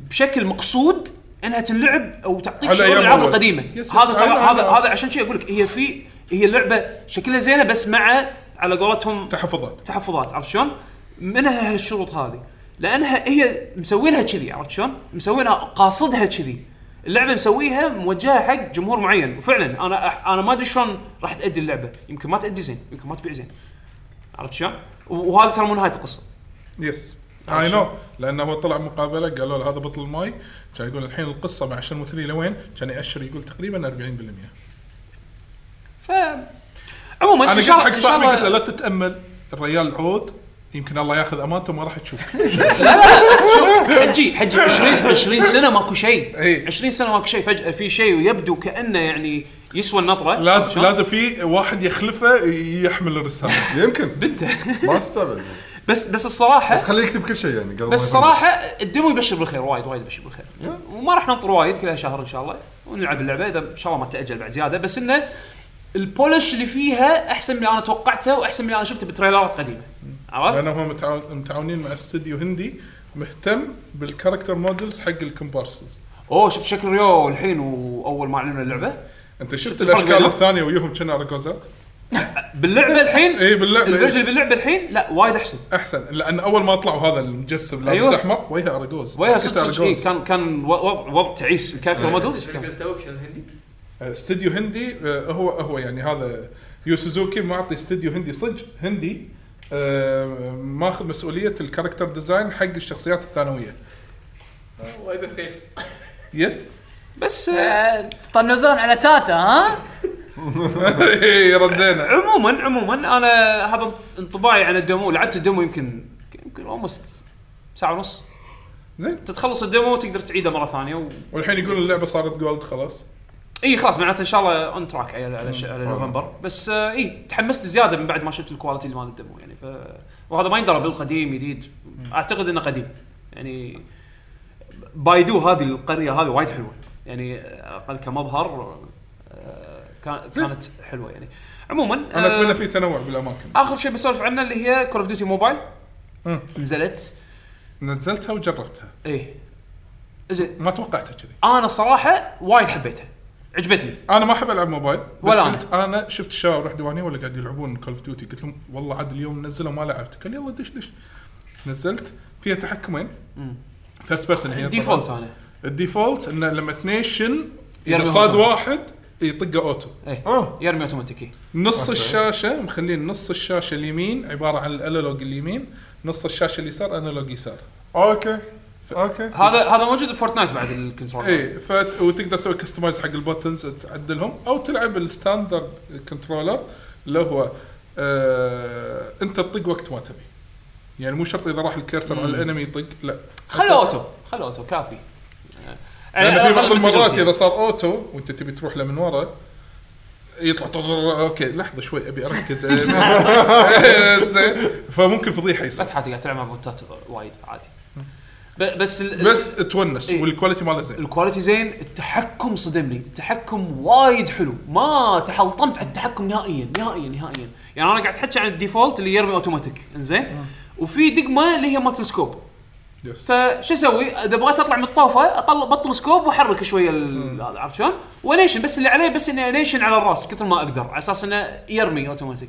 A: بشكل مقصود انها تنلعب او تعطيك
B: على
A: شعور
B: أيام
A: الالعاب
B: أول.
A: القديمه
B: يس،
A: هذا
B: يس،
A: طبعا
B: أنا-
A: هذا
B: أنا-
A: هذا عشان شيء اقول لك هي في هي اللعبه شكلها زينه بس مع على قولتهم
B: تحفظات
A: تحفظات عرفت شلون؟ منها هالشروط هذه لانها هي مسوينها كذي عرفت شلون؟ مسوينها قاصدها كذي اللعبه مسويها موجهه حق جمهور معين وفعلا انا أح- انا ما ادري شلون راح تادي اللعبه يمكن ما تادي زين يمكن ما تبيع زين عرفت شلون؟ و- وهذا ترى مو نهايه القصه
B: يس اي نو لانه هو طلع مقابله قالوا له هذا بطل الماي كان يقول الحين القصه مع شنمو 3 لوين كان ياشر يقول تقريبا 40%
A: ف عموما
B: انا
A: إن
B: قلت
A: شاء الله-
B: حق
A: إن شاء
B: صاحبي
A: الله-
B: قلت له لا تتامل الريال عود يمكن الله ياخذ امانته ما راح تشوف
A: حجي حجي 20 20 سنه ماكو شيء
B: إي.
A: 20 سنه ماكو شيء فجاه في شيء ويبدو كانه يعني يسوى النطره عرفت
B: لازم
A: شلون؟
B: لازم في واحد يخلفه يحمل الرساله
C: يمكن بنته ما استبعد
A: بس بس الصراحه
C: خليه يكتب كل شيء يعني قبل ما
A: بس
C: يفهم.
A: صراحه الدمو يبشر بالخير وايد وايد يبشر بالخير وما راح ننطر وايد كلها شهر ان شاء الله ونلعب اللعبه اذا ان شاء الله ما تاجل بعد زياده بس انه البولش اللي فيها احسن من اللي انا توقعته واحسن من اللي انا شفته بتريلرات قديمه عرفت؟
B: لانهم متعاون- متعاونين مع استوديو هندي مهتم بالكاركتر مودلز حق الكومبارسز
A: اوه شفت شكل ريو الحين واول ما اعلنوا اللعبه
B: انت شفت
A: الفرق
B: الاشكال
A: بينهم؟
B: الثانيه ويهم كنا رقوزات
A: باللعبه الحين
B: اي باللعبه
A: الفيرجن
B: إيه.
A: اللي باللعبه الحين لا وايد احسن
B: احسن لان اول ما طلعوا هذا المجسم لابس
A: أيوه.
B: احمر وجهه ارجوز
A: وياها
B: كنت
A: صدق صدق إيه،
B: أرجوز.
A: كان كان و- وضع وضع تعيس الكاركتر مودلز
E: شنو
A: كان
E: قلت توك شنو الهندي؟
B: استوديو هندي آه، هو هو يعني هذا يو سوزوكي معطي استوديو هندي صدق هندي آه، ماخذ مسؤوليه الكاركتر ديزاين حق الشخصيات الثانويه
E: آه، وايد رخيص
B: يس
A: بس آه،
D: آه، تطنزون على تاتا ها
B: إيه، ردينا
A: عموما عموما انا هذا انطباعي عن الدمو لعبت الدمو يمكن يمكن اولموست ساعه ونص
B: زين
A: تتخلص الدمو وتقدر تعيده مره ثانيه و...
B: والحين يقول اللعبه صارت جولد خلاص
A: اي خلاص معناته ان شاء الله اون تراك على على, ش... على نوفمبر بس آه اي تحمست زياده من بعد ما شفت الكواليتي اللي مال الدمو يعني ف وهذا ما يندرى بالقديم جديد اعتقد انه قديم يعني بايدو هذه القريه هذه وايد حلوه يعني آه، اقل كمظهر آه، كان- كانت حلوه يعني عموما
B: انا
A: آه،
B: اتمنى في تنوع بالاماكن
A: اخر شيء بسولف عنه اللي هي كول اوف ديوتي موبايل
B: مم.
A: نزلت
B: نزلتها وجربتها
A: ايه زين
B: ما توقعتها كذي
A: انا صراحه وايد حبيتها عجبتني
B: انا ما احب العب موبايل بس
A: ولا
B: ولا
A: أنا.
B: قلت انا, أنا شفت الشباب راح ديوانيه ولا قاعد يلعبون كول اوف ديوتي قلت لهم والله عاد اليوم نزله ما لعبت قال يلا دش دش نزلت فيها تحكمين
A: مم.
B: فيرست بيرسون هي
A: ديفولت انا
B: الديفولت انه لما تنيشن اذا
A: يرمي
B: صاد
A: أوتو.
B: واحد يطقه اوتو
A: ايه
C: اه
A: يرمي اوتوماتيكي
B: نص الشاشه مخلين نص الشاشه اليمين عباره عن الانالوج اليمين نص الشاشه اليسار انالوج يسار
C: اوكي اوكي
A: هذا هذا موجود بفورتنايت بعد الكنترول
B: اي إيه، فت... وتقدر تسوي كستمايز حق البوتنز تعدلهم او تلعب الستاندرد كنترولر اللي هو آه... انت تطق وقت ما تبي يعني مو شرط اذا راح الكيرسر على الانمي يطق لا
A: خلوا اوتو خلوا اوتو كافي أنا-
B: لان
A: أنا يعني.
B: في بعض
A: أغلب
B: المرات
A: تجربتي.
B: اذا صار اوتو وانت تبي تروح له من ورا يطلع طررر، اوكي لحظه شوي ابي اركز زين فممكن فضيحه يصير
A: فتحاتي قاعد تلعب مع بوتات وايد عادي ب- بس ال-
B: بس تونس
A: إيه.
B: والكواليتي ماله زين
A: الكواليتي زين التحكم صدمني التحكم وايد حلو ما تحلطمت على التحكم نهائيا نهائيا نهائيا يعني انا قاعد احكي عن الديفولت اللي يرمي اوتوماتيك انزين وفي دقمه اللي هي مالت السكوب
B: يس.
A: فشو اسوي؟ اذا بغيت اطلع من الطوفه اطلع بطل سكوب واحرك شويه ال- هذا عرفت شلون؟ وانيشن بس اللي عليه بس اني انيشن على الراس كثر ما اقدر على اساس انه يرمي اوتوماتيك.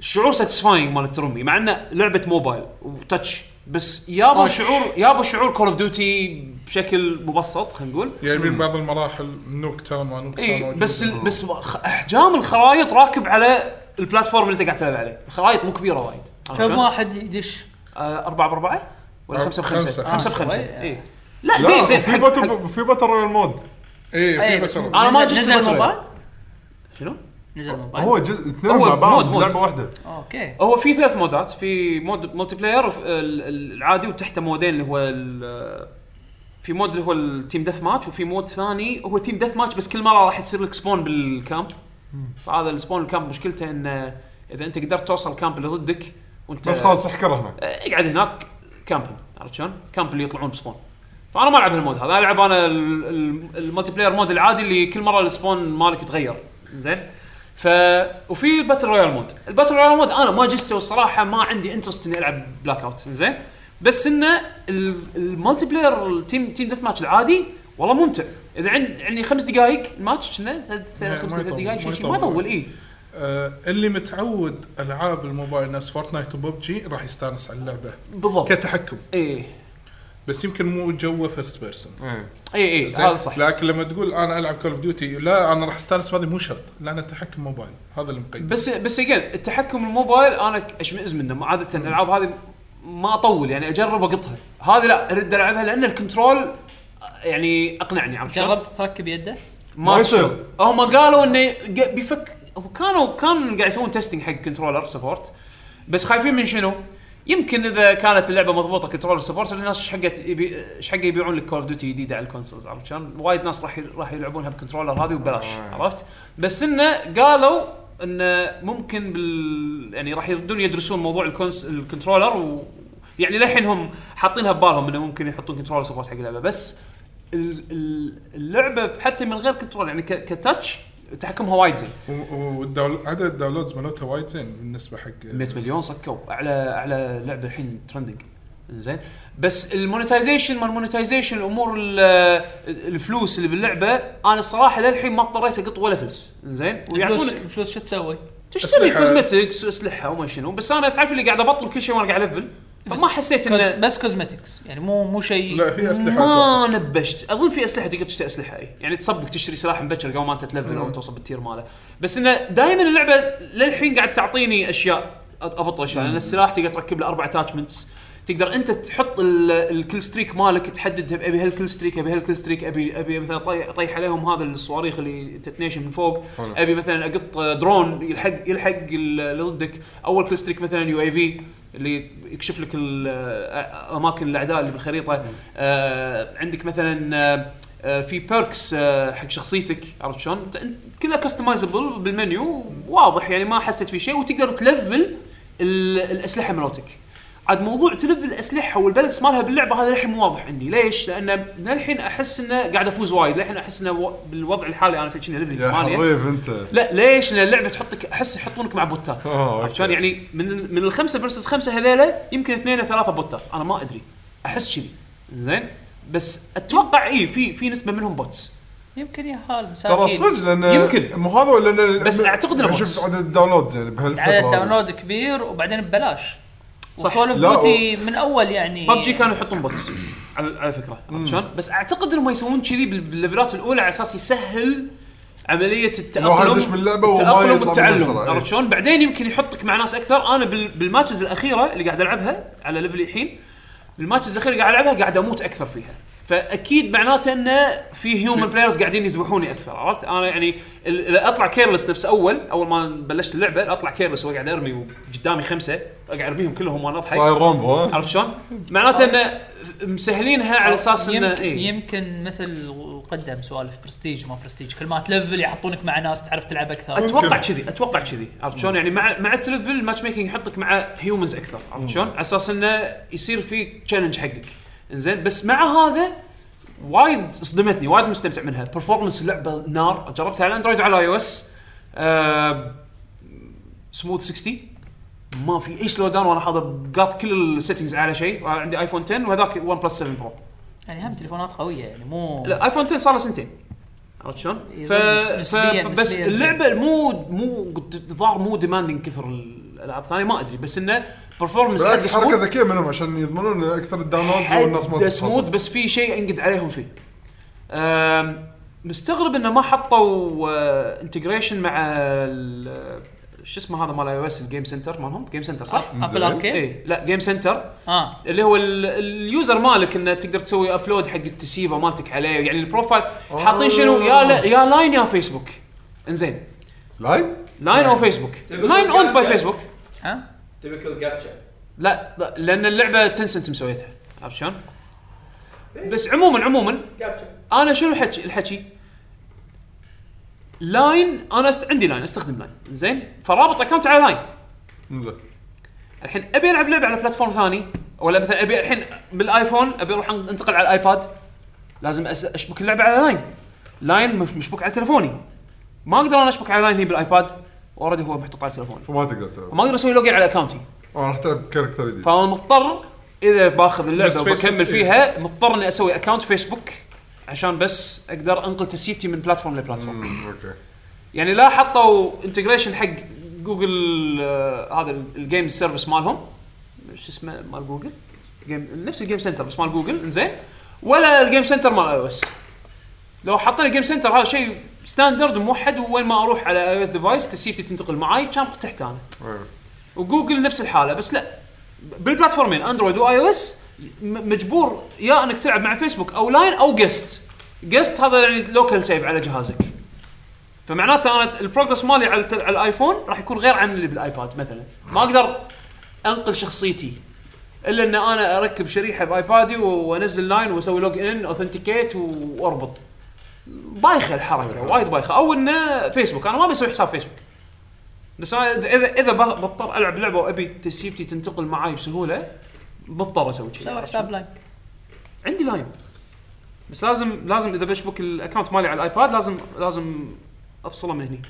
A: الشعور ساتسفاينج مال الترمي مع انه لعبه موبايل وتاتش بس يابا
D: Touch.
A: شعور يابا شعور كول اوف ديوتي بشكل مبسط خلينا نقول
B: يعني بعض المراحل نوك تاون ما نوك تاون
A: اي
B: موجود.
A: إيه، بس ال- بس خ- احجام الخرائط راكب على البلاتفورم اللي انت قاعد تلعب عليه، الخرائط مو كبيره وايد. عرفت
B: طيب،
D: كم
A: شلون؟
D: واحد يدش
A: آه، أربعة بأربعة ولا
B: أر-
A: خمسة بخمسة؟
B: خمسة. يعني.
A: خمسة
D: آه،
A: بخمسة إيه.
D: شوي.
A: اي لا
C: لا،
A: زين زين
C: في
A: حق-
C: باتل
A: حق-
C: في باتل رويال مود
B: اي
D: إيه،
B: في بس
D: بس-
A: انا ما
D: نزل-
A: جست
D: نزل
A: باتل
D: موبايل؟
A: رويال. شنو؟
D: نزل موبايل
C: هو جزء اثنين
A: طيب. هو
C: مع
A: مود-
C: بعض
A: مود. طيب.
C: لعبه واحده
D: اوكي
A: هو في ثلاث مودات في مود ملتي بلاير وف- ال- ال- العادي وتحته مودين اللي هو ال- في مود اللي هو التيم دث ماتش وفي مود ثاني هو تيم دث ماتش بس كل مره راح يصير لك سبون بالكامب فهذا السبون الكامب مشكلته انه اذا انت قدرت توصل الكامب اللي ضدك وانت
C: بس خلاص احكر هناك
A: اقعد هناك كامبين عرفت شلون؟ كامب اللي يطلعون بسبون فانا ما العب هالمود هذا العب انا ال- ال- الملتي بلاير مود العادي اللي كل مره السبون مالك يتغير زين ف وفي الباتل رويال مود الباتل رويال مود انا ما جسته والصراحه ما عندي انترست اني العب بلاك اوت زين بس انه ال- الملتي بلاير التيم تيم ديث ماتش العادي والله ممتع اذا عند يعني خمس دقائق الماتش كنا ثلاث
B: ما-
A: خمس
B: ما
A: ثلاث
B: يطول-
A: دقائق
B: ما
A: شيء شيء ما
B: يطول.
A: يطول إيه. اي
B: آه اللي متعود العاب الموبايل ناس فورتنايت وببجي راح يستانس على اللعبه
A: بالضبط إيه،
B: كتحكم
A: اي
B: بس يمكن مو جوه فيرست بيرسون
C: إيه.
A: اي اي
B: زين؟
A: آه، هذا صح
B: لكن لما تقول انا العب كول اوف ديوتي لا انا راح استانس هذه مو شرط لان التحكم موبايل هذا اللي مقيد
A: بس بس اجين التحكم الموبايل انا اشمئز منه عاده الالعاب هذه ما اطول يعني اجرب اقطها هذه لا ارد العبها لان الكنترول يعني اقنعني عرفت شلون؟
D: جربت تركب يده؟
C: ما
A: تشوف.
C: يصير.
A: هم قالوا انه ق- بيفك هو كانوا كانوا قاعد يسوون تيستنج حق كنترولر سبورت بس خايفين من شنو؟ يمكن اذا كانت اللعبه مضبوطه كنترولر سبورت الناس ايش حقت يبي ايش حق يبيعون لك كول ديوتي جديده على الكونسولز عرفت شلون؟ وايد ناس راح ي- راح يلعبونها بكنترولر هذه وببلاش
C: آه.
A: عرفت؟ بس انه قالوا انه ممكن بال يعني راح يردون يدرسون موضوع الكونس الكنترولر و يعني للحين هم حاطينها ببالهم انه ممكن يحطون كنترولر سبورت حق اللعبه بس ال- ال- اللعبه حتى من غير كنترول يعني ك- كتاتش تحكمها وايد زين
B: وعدد الداونلودز مالتها وايد زين بالنسبه حق
A: 100 مليون صكوا اعلى اعلى لعبه الحين ترندنج زين بس المونتايزيشن ما المونتايزيشن الامور ال- الفلوس اللي باللعبه انا الصراحه للحين ما اضطريت اقط ولا فلس زين
D: الفلوس
A: ويعطونك
D: الفلوس شو تسوي؟
A: تشتري
B: أسلحة.
A: كوزمتكس واسلحه وما شنو بس انا تعرف اللي قاعد ابطل كل شيء وانا قاعد الفل
D: بس-
A: فما حسيت
D: كوز-
A: انه
D: بس كوزمتكس يعني مو مو شيء
B: لا في اسلحه
A: ما نبشت اظن في اسلحه تقدر تشتري اسلحه اي يعني تصبك تشتري سلاح مبكر قبل ما انت تلفل او توصل بالتير ماله بس انه دائما اللعبه للحين قاعد تعطيني اشياء أ- ابطل اشياء لان يعني السلاح تقدر تركب له اربع اتاتشمنتس تقدر انت تحط ال- الكل ستريك مالك تحدد ابي هالكل ستريك ابي هالكل ستريك ابي ابي مثلا طي- طيح عليهم هذا الصواريخ اللي تتنيشن من فوق
C: حلو.
A: ابي مثلا اقط درون يلحق يلحق ال- اللي ضدك اول كل ستريك مثلا يو اي في اللي يكشف لك ال- اماكن الاعداء اللي بالخريطه آه، عندك مثلا آه، آه، في بيركس حق شخصيتك عرفت شلون؟ أنت- أنت- كلها كستمايزبل بالمنيو واضح يعني ما حسيت في شيء وتقدر تلفل ال- الاسلحه مالتك. عاد موضوع تلفل الاسلحه والبالانس مالها باللعبه هذا للحين مو واضح عندي، ليش؟ لان للحين احس انه قاعد افوز وايد، للحين احس انه و- بالوضع الحالي انا في شنو ليفل
C: يا
A: 8
C: حريف انت
A: لا ليش؟ لان اللعبه تحطك احس يحطونك مع بوتات
C: آه، أوكي.
A: عرفت شلون؟ يعني من من الخمسه فيرسز خمسه هذيلا يمكن اثنين أو ثلاثه بوتات انا ما ادري احس كذي زين بس اتوقع اي في في نسبه منهم بوتس
D: يمكن يا حال
C: ترى
D: مساكين
C: صدق لان
A: يمكن.
C: مو هذا ولا لأن-
A: بس أعتقد إنه
C: أنا
A: بوتس.
C: شفت عدد الداونلودز يعني بهالفتره
D: عدد
C: هذه.
D: داونلود كبير وبعدين ببلاش
A: صح.
D: كول اوف
C: لا،
D: ديوتي من اول يعني
A: ببجي كانوا يحطون بوتس على, على فكره عرفت شلون؟ بس اعتقد انهم يسوون كذي بال- بالليفلات الاولى على اساس يسهل عمليه التاقلم
C: لو حد يدش باللعبة وما يطلع
A: التاقلم
C: منها
A: والتعلم
C: بسرعة، إيه.
A: عرفت شلون؟ بعدين يمكن يحطك مع ناس اكثر انا بال- بالماتشز الاخيره اللي قاعد العبها على ليفلي الحين الماتشز الاخيره اللي قاعد العبها قاعد اموت اكثر فيها فاكيد معناته انه في هيومن بلايرز قاعدين يذبحوني اكثر عرفت انا يعني ال- اذا اطلع كيرلس نفس اول اول ما بلشت اللعبه اطلع كيرلس واقعد ارمي قدامي خمسه اقعد ارميهم كلهم وانا اضحك
C: صاير رومبو ها
A: عرفت شلون؟ معناته انه مسهلينها على إيه. اساس
D: يمكن,
A: انه اي
D: يمكن مثل قدم سوالف برستيج ما برستيج كل ما تلفل يحطونك مع ناس تعرف تلعب اكثر
A: اتوقع كذي اتوقع كذي عرفت شلون؟ يعني مع مع التلفل الماتش ميكنج يحطك مع هيومنز اكثر عرفت شلون؟ على اساس انه يصير في تشالنج حقك انزين بس مع هذا وايد صدمتني وايد مستمتع منها برفورمنس اللعبه نار جربتها على اندرويد وعلى اي او اس سموث 60 ما في اي سلو داون وانا حاضر قاط كل السيتنجز على شيء وأنا عندي ايفون 10 وهذاك 1 بلس 7 برو
D: يعني هم تليفونات قويه يعني مو
A: لا ايفون 10 صار له سنتين عرفت شلون؟ ف...
D: يظل
A: ف...
D: إيه، نسبياً-
A: بس
D: نسبياً زين.
A: اللعبه مو مو الظاهر مو ديماندنج كثر الالعاب الثانيه ما ادري بس انه برفورمنس
C: بالعكس حركه ذكيه منهم عشان يضمنون اكثر الداونلودز والناس ما
A: سموث
C: تتخبط.
A: بس في شيء انقد عليهم فيه. أم... مستغرب انه ما حطوا انتجريشن مع ال- شو اسمه هذا مال اي او اس الجيم سنتر مالهم جيم سنتر صح؟ إيه.
D: ابل اركيد
A: اي لا جيم سنتر
D: اه
A: اللي هو ال- اليوزر مالك انه تقدر تسوي ابلود حق التسيفه مالتك عليه يعني البروفايل حاطين شنو يا لا يا لاين يا فيسبوك انزين
C: لاين
A: لاين او فيسبوك
E: تبي
A: لاين اوند باي
E: تقول-
A: فيسبوك
D: ها
E: تبكل جاتشا
A: لا لا، لان اللعبه تنسنت مسويتها عرفت شلون؟ بس عموما عموما
E: جاتشا
A: انا شنو الحكي الحكي لاين انا است... عندي لاين استخدم لاين زين فرابط اكونت على لاين
C: انزين
A: الحين ابي العب لعبه على بلاتفورم ثاني ولا مثلا ابي الحين بالايفون ابي اروح انتقل على الايباد لازم أس- اشبك اللعبه على لاين لاين مش- مشبوك على تلفوني ما اقدر انا اشبك على لاين هي بالايباد اوريدي هو محطوط على تلفوني
C: فما تقدر تلعب
A: وما اقدر اسوي لوجين على اكونتي
C: أو راح تلعب كاركتر جديد
A: فانا مضطر اذا باخذ
B: بس
A: اللعبه
B: فيسبوك
A: وبكمل
B: إيه.
A: فيها مضطر اني اسوي اكونت فيسبوك عشان بس اقدر انقل تسيفتي من بلاتفورم لبلاتفورم
C: أمم، اوكي
A: يعني لا حطوا انتجريشن حق جوجل آه، هذا الجيم سيرفيس مالهم شو اسمه مال جوجل جيم نفس الجيم سنتر بس مال جوجل انزين ولا الجيم سنتر مال اي او اس لو حطينا جيم سنتر هذا شيء ستاندرد موحد وين ما اروح على اي او اس ديفايس تسيفتي تنتقل معاي كان ارتحت انا
C: أيوة.
A: وجوجل نفس الحاله بس لا بالبلاتفورمين اندرويد واي او اس م- مجبور يا انك تلعب مع فيسبوك او لاين او جست جست هذا يعني لوكال سيف على جهازك فمعناته انا البروجرس مالي على, التل- على الايفون راح يكون غير عن اللي بالايباد مثلا ما اقدر انقل شخصيتي الا ان انا اركب شريحه بايبادي و- وانزل لاين واسوي لوج ان اوثنتيكيت واربط بايخه الحركه وايد بايخه او انه فيسبوك انا ما بسوي حساب فيسبوك بس انا إذا- اذا اذا ب- بضطر العب لعبه وابي تسيفتي تنتقل معاي بسهوله بضطر اسوي
D: سوي
A: كذي
D: حساب لاين
A: عندي لاين بس لازم لازم اذا بشبك الاكونت مالي على الايباد لازم لازم افصله من هني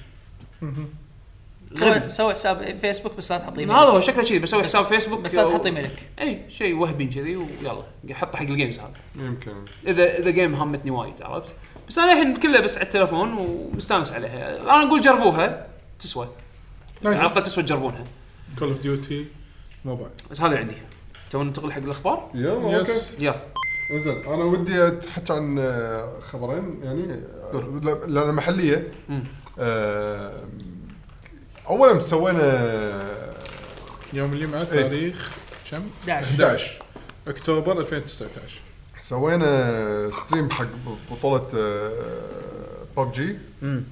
A: غبي.
D: سوي- سوي حساب فيسبوك بس لا تحط
A: هذا هو
D: ايميلك
A: شكله كذي بسوي
D: بس-
A: حساب فيسبوك
D: بس لا
A: أو-
D: تحط ايميلك
A: اي شيء وهمي كذي ويلا حط حق الجيمز هذا
C: يمكن
A: اذا اذا جيم همتني وايد عرفت بس انا الحين كله بس على التلفون ومستانس عليها انا اقول جربوها تسوى على الاقل تسوى تجربونها
B: كول اوف ديوتي موبايل
A: بس هذا اللي عندي تو ننتقل حق الاخبار
C: يلا اوكي
B: يس
A: يلا
C: زين انا ودي اتحكي عن آه، خبرين يعني آه، لا- لان محليه
A: مم.
C: آه، اولا سوينا
B: يوم الجمعه تاريخ كم؟
D: 11
B: 11 اكتوبر 2019
C: سوينا ستريم حق بطوله ببجي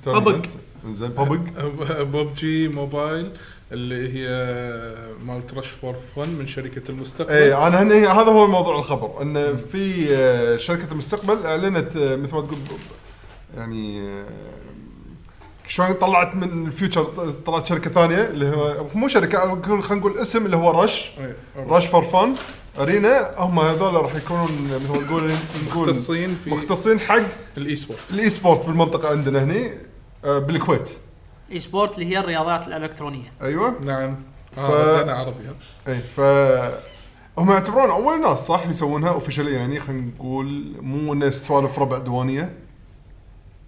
A: ببج.
C: زين ببج
B: ببجي موبايل اللي هي مال ترش فور فن من شركه المستقبل
C: اي انا إيه، يعني هني هذا هو موضوع الخبر ان في آه، شركه المستقبل اعلنت آه، مثل ما تقول يعني آه، شلون طلعت من الفيوتشر طلعت شركه ثانيه اللي هو مو شركه أو نقول- خلينا نقول اسم اللي هو رش
B: إيه، أوكي.
C: رش فور فان ارينا هم هذول راح يكونون مثل ما نقول نقول
B: مختصين في
C: مختصين حق
B: الاي سبورت
C: الاي سبورت بالمنطقه عندنا هني آه، بالكويت
D: اي سبورت اللي هي الرياضات الالكترونيه
C: ايوه
B: نعم
C: ف-
B: اه انا عربي ها.
C: اي إيه، ف هم يعتبرون اول ناس صح يسوونها اوفشلي يعني خلينا نقول مو انه سوالف ربع ديوانيه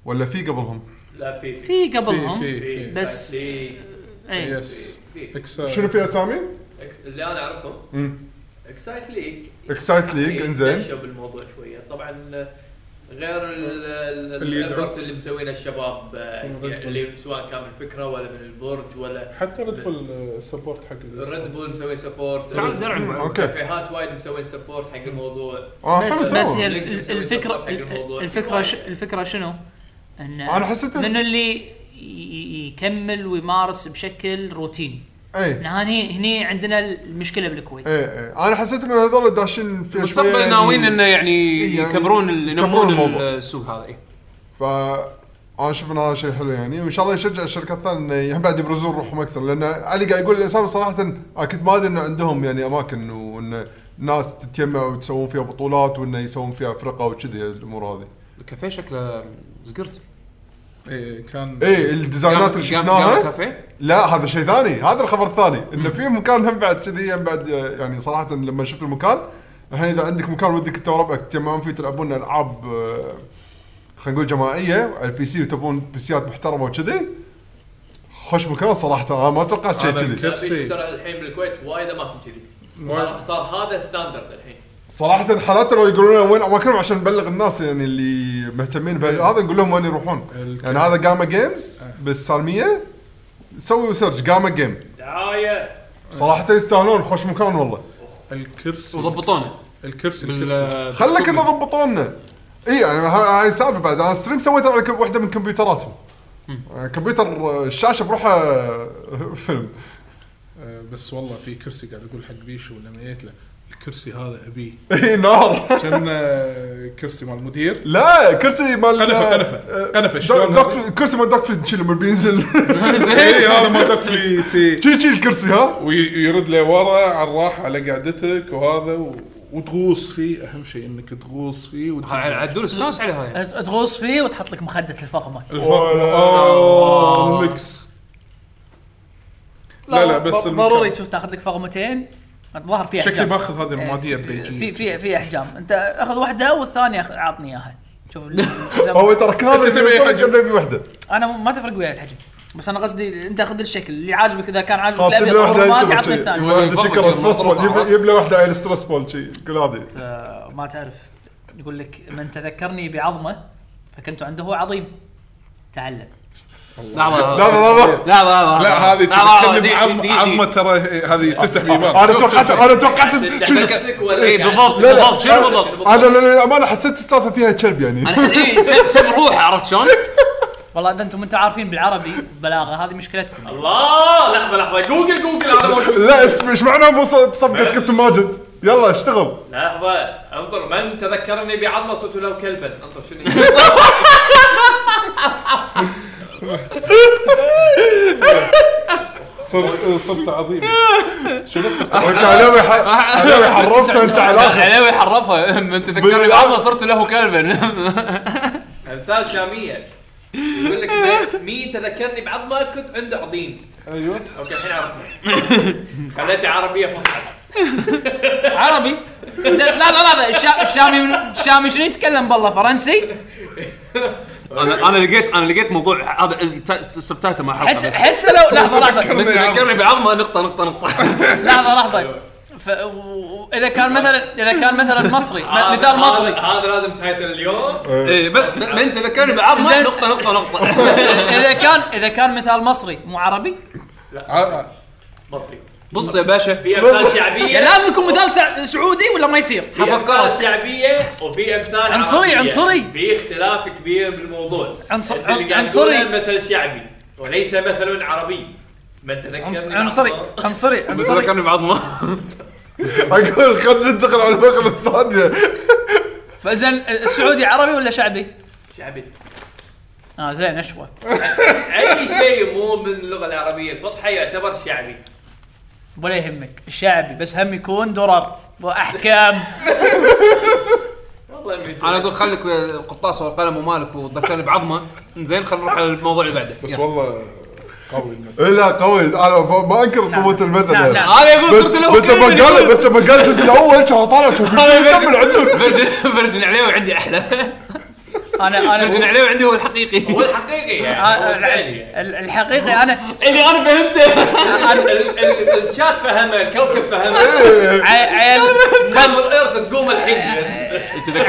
C: ولا في قبلهم
E: لا في
D: في
B: في
D: قبلهم إيه.
B: في في
D: بس-
E: في
D: اي
B: يس
E: في-
B: اكسر
C: شنو في اسامي؟
F: إكس- اللي انا اعرفهم
C: مم.
F: اكسايت ليج
C: Excite League، إنزين.
F: دشوا بالموضوع شويه طبعا غير ال- ال-
B: اللي يدعو.
F: الافورت اللي مسوينه الشباب آه،
B: من Red Bull.
F: اللي سواء كان من الفكره ولا من البرج ولا
B: حتى ريد بول سبورت حق
F: الريد بول مسوي آه، سبورت
A: تعال درع الموضوع.
C: أوكي.
F: كافيهات وايد مسوي سبورت حق الموضوع
C: اه
D: بس
C: حلو
D: بس
C: تو.
D: هي
F: لينك
D: ال-
F: مسوي
D: الفكره
F: سبورت حق الموضوع.
D: الفكره ش- الفكره شنو؟ ان
C: أنا حسيت إن-
D: من اللي ي- يكمل ويمارس بشكل روتيني
C: اي
D: إن هني هني عندنا المشكله بالكويت
C: اي اي انا إيه، حسيت انه هذول داشين فيها شوية
A: مستقبل
C: يعني-
A: ناويين انه يعني
C: يعني
A: يكبرون ال-
C: يكبرون
A: ينمون
C: الموضوع.
A: السوق هذا إيه.
C: ف انا اشوف ان هذا شيء حلو يعني وان شاء الله يشجع الشركات الثانيه انه يعني بعد يبرزون روحهم اكثر لان علي قاعد يقول لي اسامه صراحه انا كنت ما ادري انه عندهم يعني اماكن وان ناس تتجمع وتسوون فيها بطولات وانه يسوون فيها فرقه وكذي الامور هذه.
A: الكافيه شكله زقرت
B: اي إيه، كان
C: اي إيه، الديزاينات اللي شفناها
A: كافيه
C: لا هذا شيء ثاني هذا الخبر الثاني انه في مكان هم بعد كذي هم بعد يعني صراحه لما شفت المكان الحين اذا عندك مكان ودك انت وربعك تجمعون فيه تلعبون العاب آه، خلينا نقول جماعيه على البي سي وتبون بيسيات محترمه وكذي خوش مكان صراحه انا ما توقعت شيء
B: أنا
C: كذي
B: كيف سي؟
F: كرسي ترى الحين بالكويت وايد اماكن كذي
B: وايد.
F: صار, صار هذا ستاندرد الحين
C: صراحه حالات لو يقولون لنا وين اماكنهم عشان نبلغ الناس يعني اللي مهتمين بهذا نقول لهم وين يروحون
B: الك-
C: يعني هذا جاما جيمز بالسالميه سووا سيرش جاما جيم
F: دعايه
C: صراحه يستاهلون خوش مكان والله
B: الكرسي
A: وضبطونه
B: الكرسي الكرسي
A: بال-
C: خلك انه ضبطونا اي يعني ه- هاي السالفه بعد انا ستريم سويته على كم- وحده من كمبيوتراتهم آه، كمبيوتر آه، الشاشه بروحه آه، فيلم
B: آه، بس والله في كرسي قاعد اقول حق بيشو لما جيت له الكرسي هذا ابيه
C: اي نار
B: كان آه، كرسي مال مدير
C: لا كرسي مال
B: قنفه
C: آه،
B: قنفه قنفه
C: دوك-
B: شلون
C: دوك
B: هذا؟
C: فريد- كرسي مال دوك فريد تشيله من بينزل
B: اي إيه، هذا مال دوك فري
C: شيل شيل الكرسي ها
B: ويرد لي ورا على الراحه على قعدتك وهذا و... وتغوص فيه اهم شيء انك تغوص فيه وت...
A: هاي عدول استانس عليها هاي
D: ت- تغوص فيه وتحط لك مخده الفقمه
C: ولا-
B: اوه المكس لا، لا، بس
D: ض-
B: المكان.
D: ضروري تشوف تاخذ لك فقمتين الظاهر في
B: شكلي
D: احجام
B: باخذ هذه الرماديه ببيجين
D: في في في احجام انت اخذ واحده والثانيه أخ- عطني اياها شوف ال- شو يسمونه.
C: هو ترى كان
B: أنت تبي حجم.
C: نبي وحده
D: انا م- ما تفرق وياي الحجم بس انا قصدي انت خذ الشكل اللي عاجبك اذا كان عاجبك
C: خلاص يبي
D: الابيض
C: له وحده
D: والأحمر ما
C: يكتب
D: تعطني
C: شي. يبي
D: الثاني
C: له وحده
A: والله
C: تشكل
A: يضبط
C: ستريس بول
A: المضبوط.
C: يبي- يبي له وحده عيل ستريس بول شي كل هذه
D: آه، ما تعرف يقول لك من تذكرني بعظمه فكنت عنده عظيم تعلم
A: لحظه
C: لا لا لا لا
A: لحظه لحظه
B: لا هذه تتكلم عظم- عظمه
A: عظمه
B: ترى هذه تفتح بيبان
C: انا توقعت انا توقعت شوف-
A: اي بالضبط
C: لا لا
A: بالضبط شنو بالضبط
C: انا للامانه حسيت السالفه فيها كلب يعني
A: انا الحين إيه، سب سب روحه عرفت شلون؟
D: والله اذا انتم انتم عارفين بالعربي بلاغه هذه مشكلتكم
F: الله لحظه لحظه جوجل جوجل هذا موجود
C: لا اسم ايش معنى مو ص- صفقه كابتن ماجد يلا اشتغل
F: لحظه انظر من تذكرني بعظمه صرت له كلبا انظر شنو
B: صرت صرت عظيم شنو صرت
C: انت عليوي ح- عليوي حرفته انت على الاخر
A: عليوي حرفها من تذكرني
C: بالعظمة.
A: بعظمه صرت له كلبا
F: امثال شاميه يقول لك إذا مين تذكرني بعظمه كنت عنده عظيم
B: ايوه
F: اوكي الحين عرفنا خليتها عربيه فصحى
D: عربي لا لا لا, لا الشا- الشامي من- الشامي شنو يتكلم بالله فرنسي
A: انا انا لقيت انا لقيت موضوع هذا السبتايتل مع
D: حتى
A: حلقه
D: حتى لو لحظه لحظه
A: من تذكرني بعظمه نقطه نقطه نقطه
D: لحظه لحظه ف... واذا كان مثلا اذا كان مثلا مصري
F: هذا-
D: م- مثال
F: هذا-
D: مصري
F: هذا لازم تايتل اليوم
A: إيه، بس من تذكرني بعظمه
D: زين.
A: نقطه نقطه نقطه
D: اذا كان اذا كان مثال مصري مو عربي
B: ع-
F: مصري
A: بص يا باشا
F: في امثال شعبيه
D: يعني لازم يكون مثال سع- سعودي ولا ما يصير
F: في امثال
A: فكرت.
F: شعبيه وفي امثال
D: عنصري،
F: عربية.
D: عنصري.
F: في اختلاف كبير بالموضوع
D: عنصر-
F: أنت اللي قاعد
D: عنصري.
F: تقوله مثل شعبي وليس مثل عربي من تذكرني
D: عنصري
F: بعظمة-
D: عنصري
A: من
D: عنصري
A: تذكرني بعظمه
C: اقول خلينا ننتقل على الفقره الثانيه
D: فاذا السعودي عربي ولا شعبي؟
F: شعبي
D: اه زين اشوى
F: اي شيء مو من اللغه العربيه الفصحى يعتبر شعبي
D: ولا يهمك الشعبي بس هم يكون درر واحكام
F: والله ميت.
A: انا اقول خليك القرطاس والقلم ومالك وتذكرني بعظمه زين خلينا نروح على الموضوع اللي بعده
B: بس
A: يلا.
B: والله قوي المثل
C: لا قوي انا ما ما انكر قوه المثل
D: نعم،
C: يعني.
D: نعم.
A: هذا يقول
C: بس
A: صرت له
C: بس لما
A: كلبا
C: قال
A: يقول-
C: بس لما قال الجزء الاول شو طالع شو
A: هذا
C: كمل عدول
A: فيرجن فيرجن عليه وعندي احلى
D: انا
A: نرجع
D: انا
A: عليه وعندي هو الحقيقي
E: هو الحقيقي يعني هو الفعلي يعني.
D: ال- الحقيقه انا
A: اللي انا فهمته
E: آه، ال- ال- ال- الشات فهمه الكوكب فهمه
D: عي- عيل
E: خل الارض تقوم الحين بس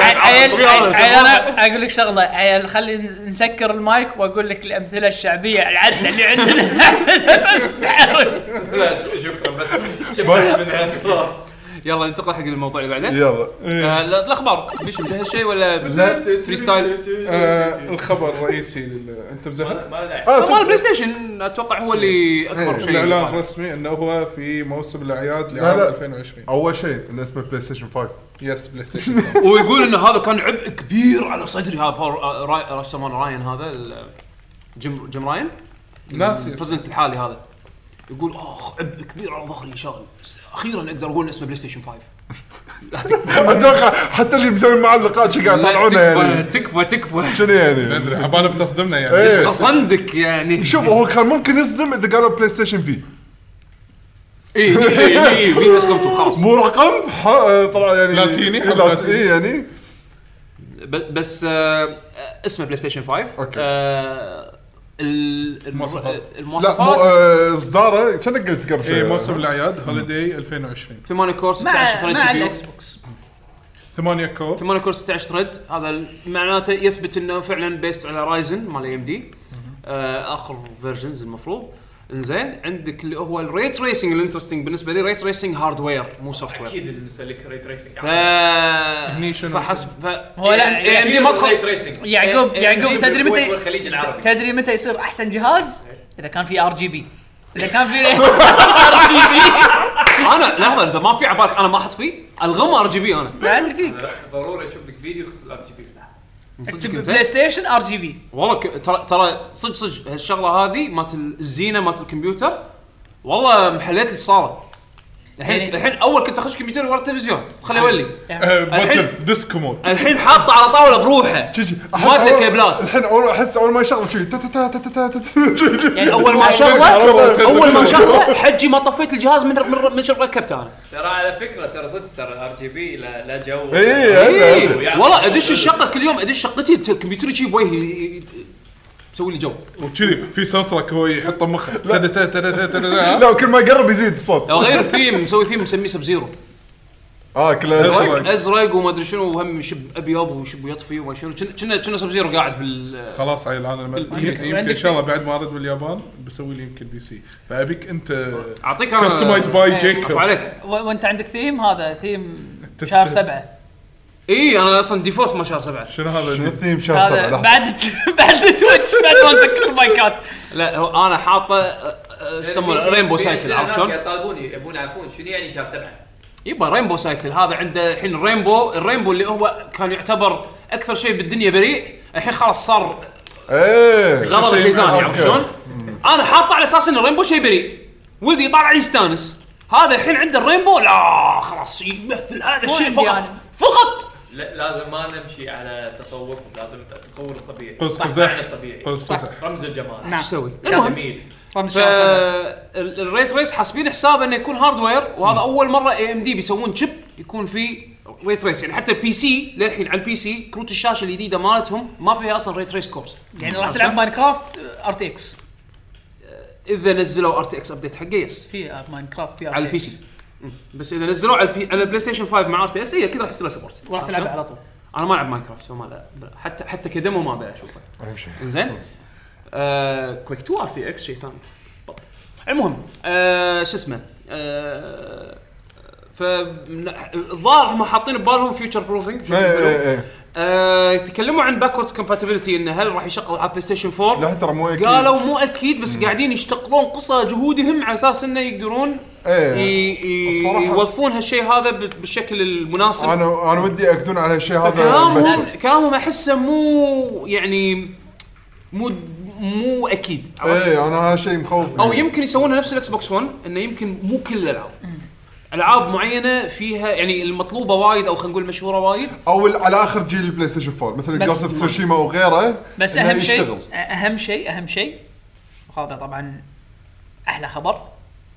D: عيل عيل عيل انا اقول لك شغله عيل خلي نس- نسكر المايك واقول لك الامثله الشعبيه العدله اللي عندنا اساس تعرف
E: لا، شكرا بس شكرا منها خلاص
A: يلا ننتقل حق الموضوع اللي بعده
C: يلا
A: آه، لا- الاخبار بيش مجهز شيء ولا
C: لا
A: فري ستايل
B: آه الخبر الرئيسي لل- انت
E: ما-
B: مزهر
E: ما داعي
C: آه،
A: طبعا
C: صدق.
A: البلاي ستيشن اتوقع هو
C: إيه.
A: اللي اكبر شيء
B: الاعلان الرسمي انه هو في موسم الاعياد
C: لا،
B: لعام
C: لا.
B: 2020
C: اول شيء انه اسمه بلاي ستيشن 5
B: يس بلاي ستيشن
A: ويقول ان هذا كان عبء كبير على صدري هذا باور آه، راي- راش يسمونه راين هذا ال- جيم جيم راين
B: ناس يس.
A: البرزنت الحالي هذا يقول اخ عبء كبير على ظهري شاغل اخيرا اقدر اقول إن اسمه بلاي ستيشن 5
C: اتوقع حتى اللي مسوي معاه اللقاء شي قاعد يطلعونه
A: لا،
C: يعني
A: تكفى تكفى تكفى
C: شنو يعني
B: ادري عبالي بتصدمنا يعني
C: إيه.
A: قصندك يعني
C: شوف هو كان ممكن يصدم اذا قالوا بلاي ستيشن في
A: اي اي إيه، في اسكمتو خلاص
C: مو رقم ح- آه، طبعا يعني
B: لاتيني، حرف
C: لات-
B: لاتيني.
C: إيه يعني
A: ب- بس آه، اسمه بلاي ستيشن 5
C: أوكي.
A: آه، ال-
B: مواصفات.
A: المر-
C: لا مو-
A: المواصفات
C: آه، اصداره كانك قلت قبل
B: اي
C: شوي
B: موسم الاعياد هوليداي 2020
A: 8 كور
D: مع
A: 16 ثريد
D: مع
A: سي بي يو
D: الاكس بوكس
B: 8 كور
A: 8 كور 16 ثريد هذا ال- معناته يثبت انه فعلا بيست على رايزن مال اي ام دي اخر فيرجنز آه، المفروض انزين عندك اللي هو الري تريسنج الانترستنج بالنسبه لي ري تريسنج هاردوير مو سوفت وير
E: اكيد المسلك ري تريسنج
A: ف
B: هني شنو
A: فحسب ف... يعني
D: هو لا،
A: اي ام دي ما
E: ري
A: دخل
E: تريسنج
D: يعقوب
E: إيه،
D: يعقوب
E: إيه،
D: تدري
E: بالكويت
D: متى
E: والخليج العربي.
D: تدري متى يصير احسن جهاز اذا كان في ار جي بي اذا كان في ار جي بي
A: انا لحظه اذا ما في عبالك انا ما احط فيه الغم ار جي بي انا
D: يعني في
E: لا، ضروري اشوف لك فيديو يخص الار جي بي
A: صدق
D: اكتب
A: إنت؟
D: بلاي ستيشن ار جي بي
A: والله ك- ترى ترى صدق صدق هالشغله هذه مالت الزينه مالت الكمبيوتر والله محليت اللي صارت الحين
D: يعني-
A: الحين اول كنت اخش كمبيوتر ورا التلفزيون خليه يولي
B: آه،
A: الحين-
B: بوتن ديسكو مود
A: الحين حاطه على طاوله بروحه
C: شي- شي. أحس
A: ما له
C: أول-
A: كيبلات
C: الحين اول احس اول ما يشغل شيء تا- تا- تا- تا- تا- تا- تا- شي.
D: يعني
A: اول ما شغله اول ما شغله حجي ما طفيت الجهاز من من من شر ركبته انا
E: ترى على فكره ترى صدق ترى الار جي بي لا لا جو
C: إيه، أدري،
A: إيه،
C: أدري.
E: يعني-
A: والله ادش الشقه كل يوم ادش شقتي الكمبيوتر يجي بوجهي ي- ي- يسوي لي جو
B: وكذي في ساوند تراك هو يحطه مخه تدا- تدا- تدا- تدا- تدا.
C: لا وكل ما يقرب يزيد الصوت
A: لو غير ثيم مسوي ثيم مسميه سب زيرو
C: اه كله
B: أزرق.
C: أزرق.
A: ازرق وما ادري شنو وهم شب ابيض وشب يطفي وما شنو كنا- كنا كنا سب زيرو قاعد بال
B: خلاص عيل انا لما- يمكن يمكن ان شاء الله بعد ما ارد من اليابان بسوي لي يمكن بي سي فابيك انت
A: اعطيك أنا-
B: كستمايز باي جيكوب
A: عفو آه. إيه. عليك
D: و- وانت عندك ثيم هذا ثيم
B: تست-
D: شهر سبعه
A: اي انا اصلا ديفولت ما شهر سبعه
B: شنو
C: شنو
B: هذا
C: الثيم شهر سبعه
D: هذا
C: لحظة.
D: بعد بعد تويتش بعد ما نسكر المايكات
A: لا هو انا حاطه أه، أه، شو يسمونه رينبو
E: في-
A: سايكل
E: في
A: عرفت
E: ناس
A: شلون؟
E: قاعد يطالبون يبون يعرفون شنو يعني شهر سبعه
A: يبا رينبو سايكل هذا عنده الحين الرينبو الرينبو اللي هو كان يعتبر اكثر شيء بالدنيا بريء الحين خلاص صار
C: ايه
A: غرض شيء ثاني عرفت
C: أوكي.
A: شلون؟ انا حاطه على اساس ان الرينبو شيء بريء ولدي طالع يستانس هذا الحين عنده الرينبو لا خلاص يمثل هذا الشيء
D: عندي
A: فقط
D: أنا.
A: فقط
E: لا- لازم ما نمشي على تصوركم لازم التصور الطبيعي
B: قوس
E: صح
B: قزح.
E: معنى الطبيعي
B: قوس
E: صح.
B: قزح.
E: رمز الجمال
D: نعم.
A: ايش اسوي؟ المهم
E: جميل
D: رمز شهر سبعه
A: فالريت ريس حاسبين حسابه انه يكون هاردوير وهذا اول مره اي ام دي بيسوون شيب يكون فيه ريت ريس يعني حتى البي سي للحين على البي سي كروت الشاشه الجديده مالتهم ما فيها اصلا ريت ريس كورس
D: يعني راح تلعب ماينكرافت ار تي اكس
A: اذا نزلوا ار تي اكس ابديت حقه يس
D: في آه، ماينكرافت في
A: على البي سي مم. بس اذا نزلوا على البي على البلاي ستيشن 5 مع ار تي اكس هي إيه، كذا راح يصير لها سبورت
D: وراح تلعب على طول
A: انا ما العب ماينكرافت وما لا حتى حتى كدمو ما ابي اشوفه
C: أهم شيء.
A: زين آه كويك 2 ار تي اكس شيء ثاني بط المهم آه شو اسمه آه ف الظاهر هم حاطين ببالهم فيوتشر بروفنج
C: ايه ايه ايه
A: آه تكلموا عن باكوردز كومباتيبلتي انه هل راح يشتغل على بلاي ستيشن 4
C: لا ترى مو اكيد
A: قالوا مو اكيد بس قاعدين يشتغلون قصى جهودهم على اساس انه يقدرون
C: إيه.
A: ي- ي-
C: الصراحة-
A: يوظفون هالشيء هذا بال- بالشكل المناسب
C: انا انا ودي اكدون على الشيء هذا
A: كلامهم
C: مبكر.
A: كلامهم احسه مو يعني مو مو اكيد عرفت؟
C: ايه انا هذا شيء مخوف
A: او يمكن يسوونها نفس الاكس بوكس 1 انه يمكن مو كل الالعاب العاب معينه فيها يعني المطلوبه وايد او خلينا نقول مشهوره وايد
C: او ال- على اخر جيل البلاي ستيشن 4 مثل
D: بس-
C: جوست اوف سوشيما وغيره
D: بس
C: إنه
D: اهم شيء
C: يشتغل.
D: اهم شيء اهم شيء وهذا طبعا احلى خبر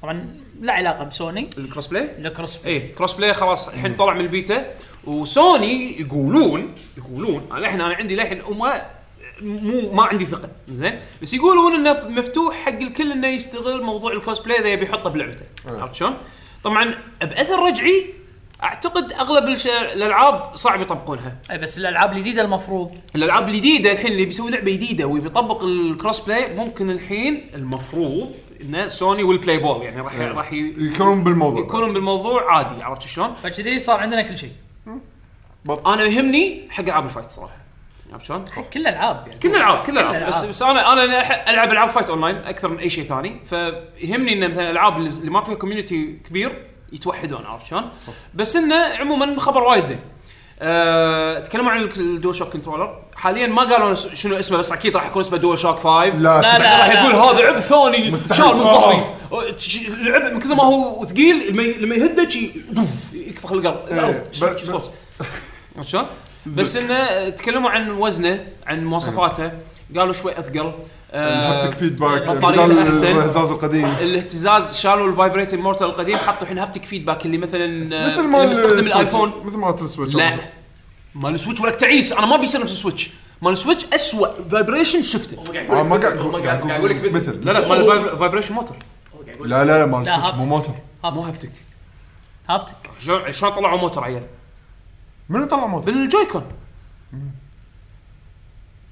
D: طبعا لا علاقه بسوني
A: الكروس بلاي
D: الكروس بلاي
A: اي كروس بلاي إيه، خلاص الحين طلع من البيتا وسوني يقولون يقولون انا الحين انا عندي للحين وما مو ما عندي ثقه زين بس يقولون انه مفتوح حق الكل انه يستغل موضوع الكروس بلاي اذا يبي يحطه بلعبته
C: آه.
A: عرفت شلون؟ طبعا باثر رجعي اعتقد اغلب الش- الالعاب صعب يطبقونها
D: اي إيه، بس الالعاب الجديده المفروض
A: الالعاب الجديده الحين اللي بيسوي لعبه جديده ويبي يطبق الكروس بلاي ممكن الحين المفروض انه سوني والبلاي بول يعني راح راح ي-
C: آه. يكونون بالموضوع
A: يكونون بالموضوع عادي عرفت شلون؟
D: فكذي صار عندنا كل شيء
A: انا يهمني حق العاب الفايت صراحه عرفت شلون؟
D: كل الالعاب يعني
A: كل الالعاب كل الالعاب بس,
D: الألعاب.
A: بس انا انا أح- العب العاب فايت اونلاين اكثر من اي شيء ثاني فيهمني ان مثلا الالعاب اللي اللي ما فيها كوميونتي كبير يتوحدون عرفت شلون؟ بس انه عموما خبر وايد زين. أه تكلموا عن الدول شوك كنترولر حاليا ما قالوا س- شنو اسمه بس اكيد راح يكون اسمه دول شوك 5
C: لا
D: لا،
C: لا
D: لا.
A: راح يقول هذا عب ثاني
C: مستحيل.
A: شال من
C: آه.
A: ظهري أه، تش- العب من كثر ما هو ثقيل لما ي- لما يهده شي دوف، يكفخ القلب
C: إيه،
A: شو-
C: بس-
A: شو صوت؟ عرفت شلون؟ بس انه تكلموا عن وزنه عن مواصفاته قالوا شوي اثقل آه،
C: هابتك فيدباك
A: بطاريته
C: بدل
A: أحسن. آه،
C: الهزاز القديم
A: الاهتزاز شالوا الفايبريت مورتال القديم حطوا الحين هابتك فيدباك اللي مثلا آه،
C: مثل ما
A: اللي مستخدم الايفون
C: مثل ما السويتش
A: لا مال السويتش ولك تعيس انا ما بيصير نفس السويتش مال السويتش اسوء فايبريشن شفته
C: آه، ما قاعد
E: هو
C: أقول-
E: قاعد قاعد يقول لك مثل
C: مثل
A: لا لا مال فايبريشن موتور
E: هو قاعد يقول لك
C: لا لا مال
D: لا،
C: السويتش مو موتر
D: هابتك.
A: مو
D: هابتك
A: هابتك
D: هابتك
A: شلون شلون طلعوا موتور عيال
C: منو طلع موتر؟
A: بالجويكون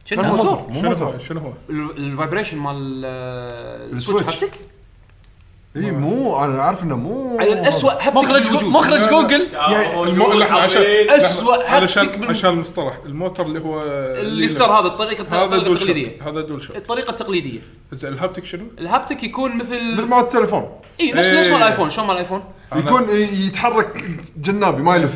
D: شنو
A: بالموتور.
D: هو؟
C: مو
B: شنو هو
C: موتر
B: شنو هو؟
A: ال- الفايبريشن مال آه، السويتش
C: السويتش.
A: هابتك
C: اي مو انا عارف انه مو
A: عيل اسوء هابتك
D: مخرج
A: موجود.
D: جو- مخرج جوجل
F: يعني
E: يا رجل
B: المو... لحظة، عشان
E: عظيم.
A: إيه. أسوأ
B: لحظة،
A: هابتك
B: علشان
A: بال-
B: عشان المصطلح الموتر اللي هو
A: اللي يفتر هذا الطريقه
B: هذا
A: الطريقه
B: دول شوك
A: التقليديه
B: هذا دول شوك
A: الطريقه التقليديه
B: زين الهابتك شنو؟
A: الهابتك يكون مثل
C: مثل ما التليفون
A: اي نفس
B: إيه.
A: نفس مال الايفون شلون مال الايفون
C: يكون ي- يتحرك جنابي ما يلف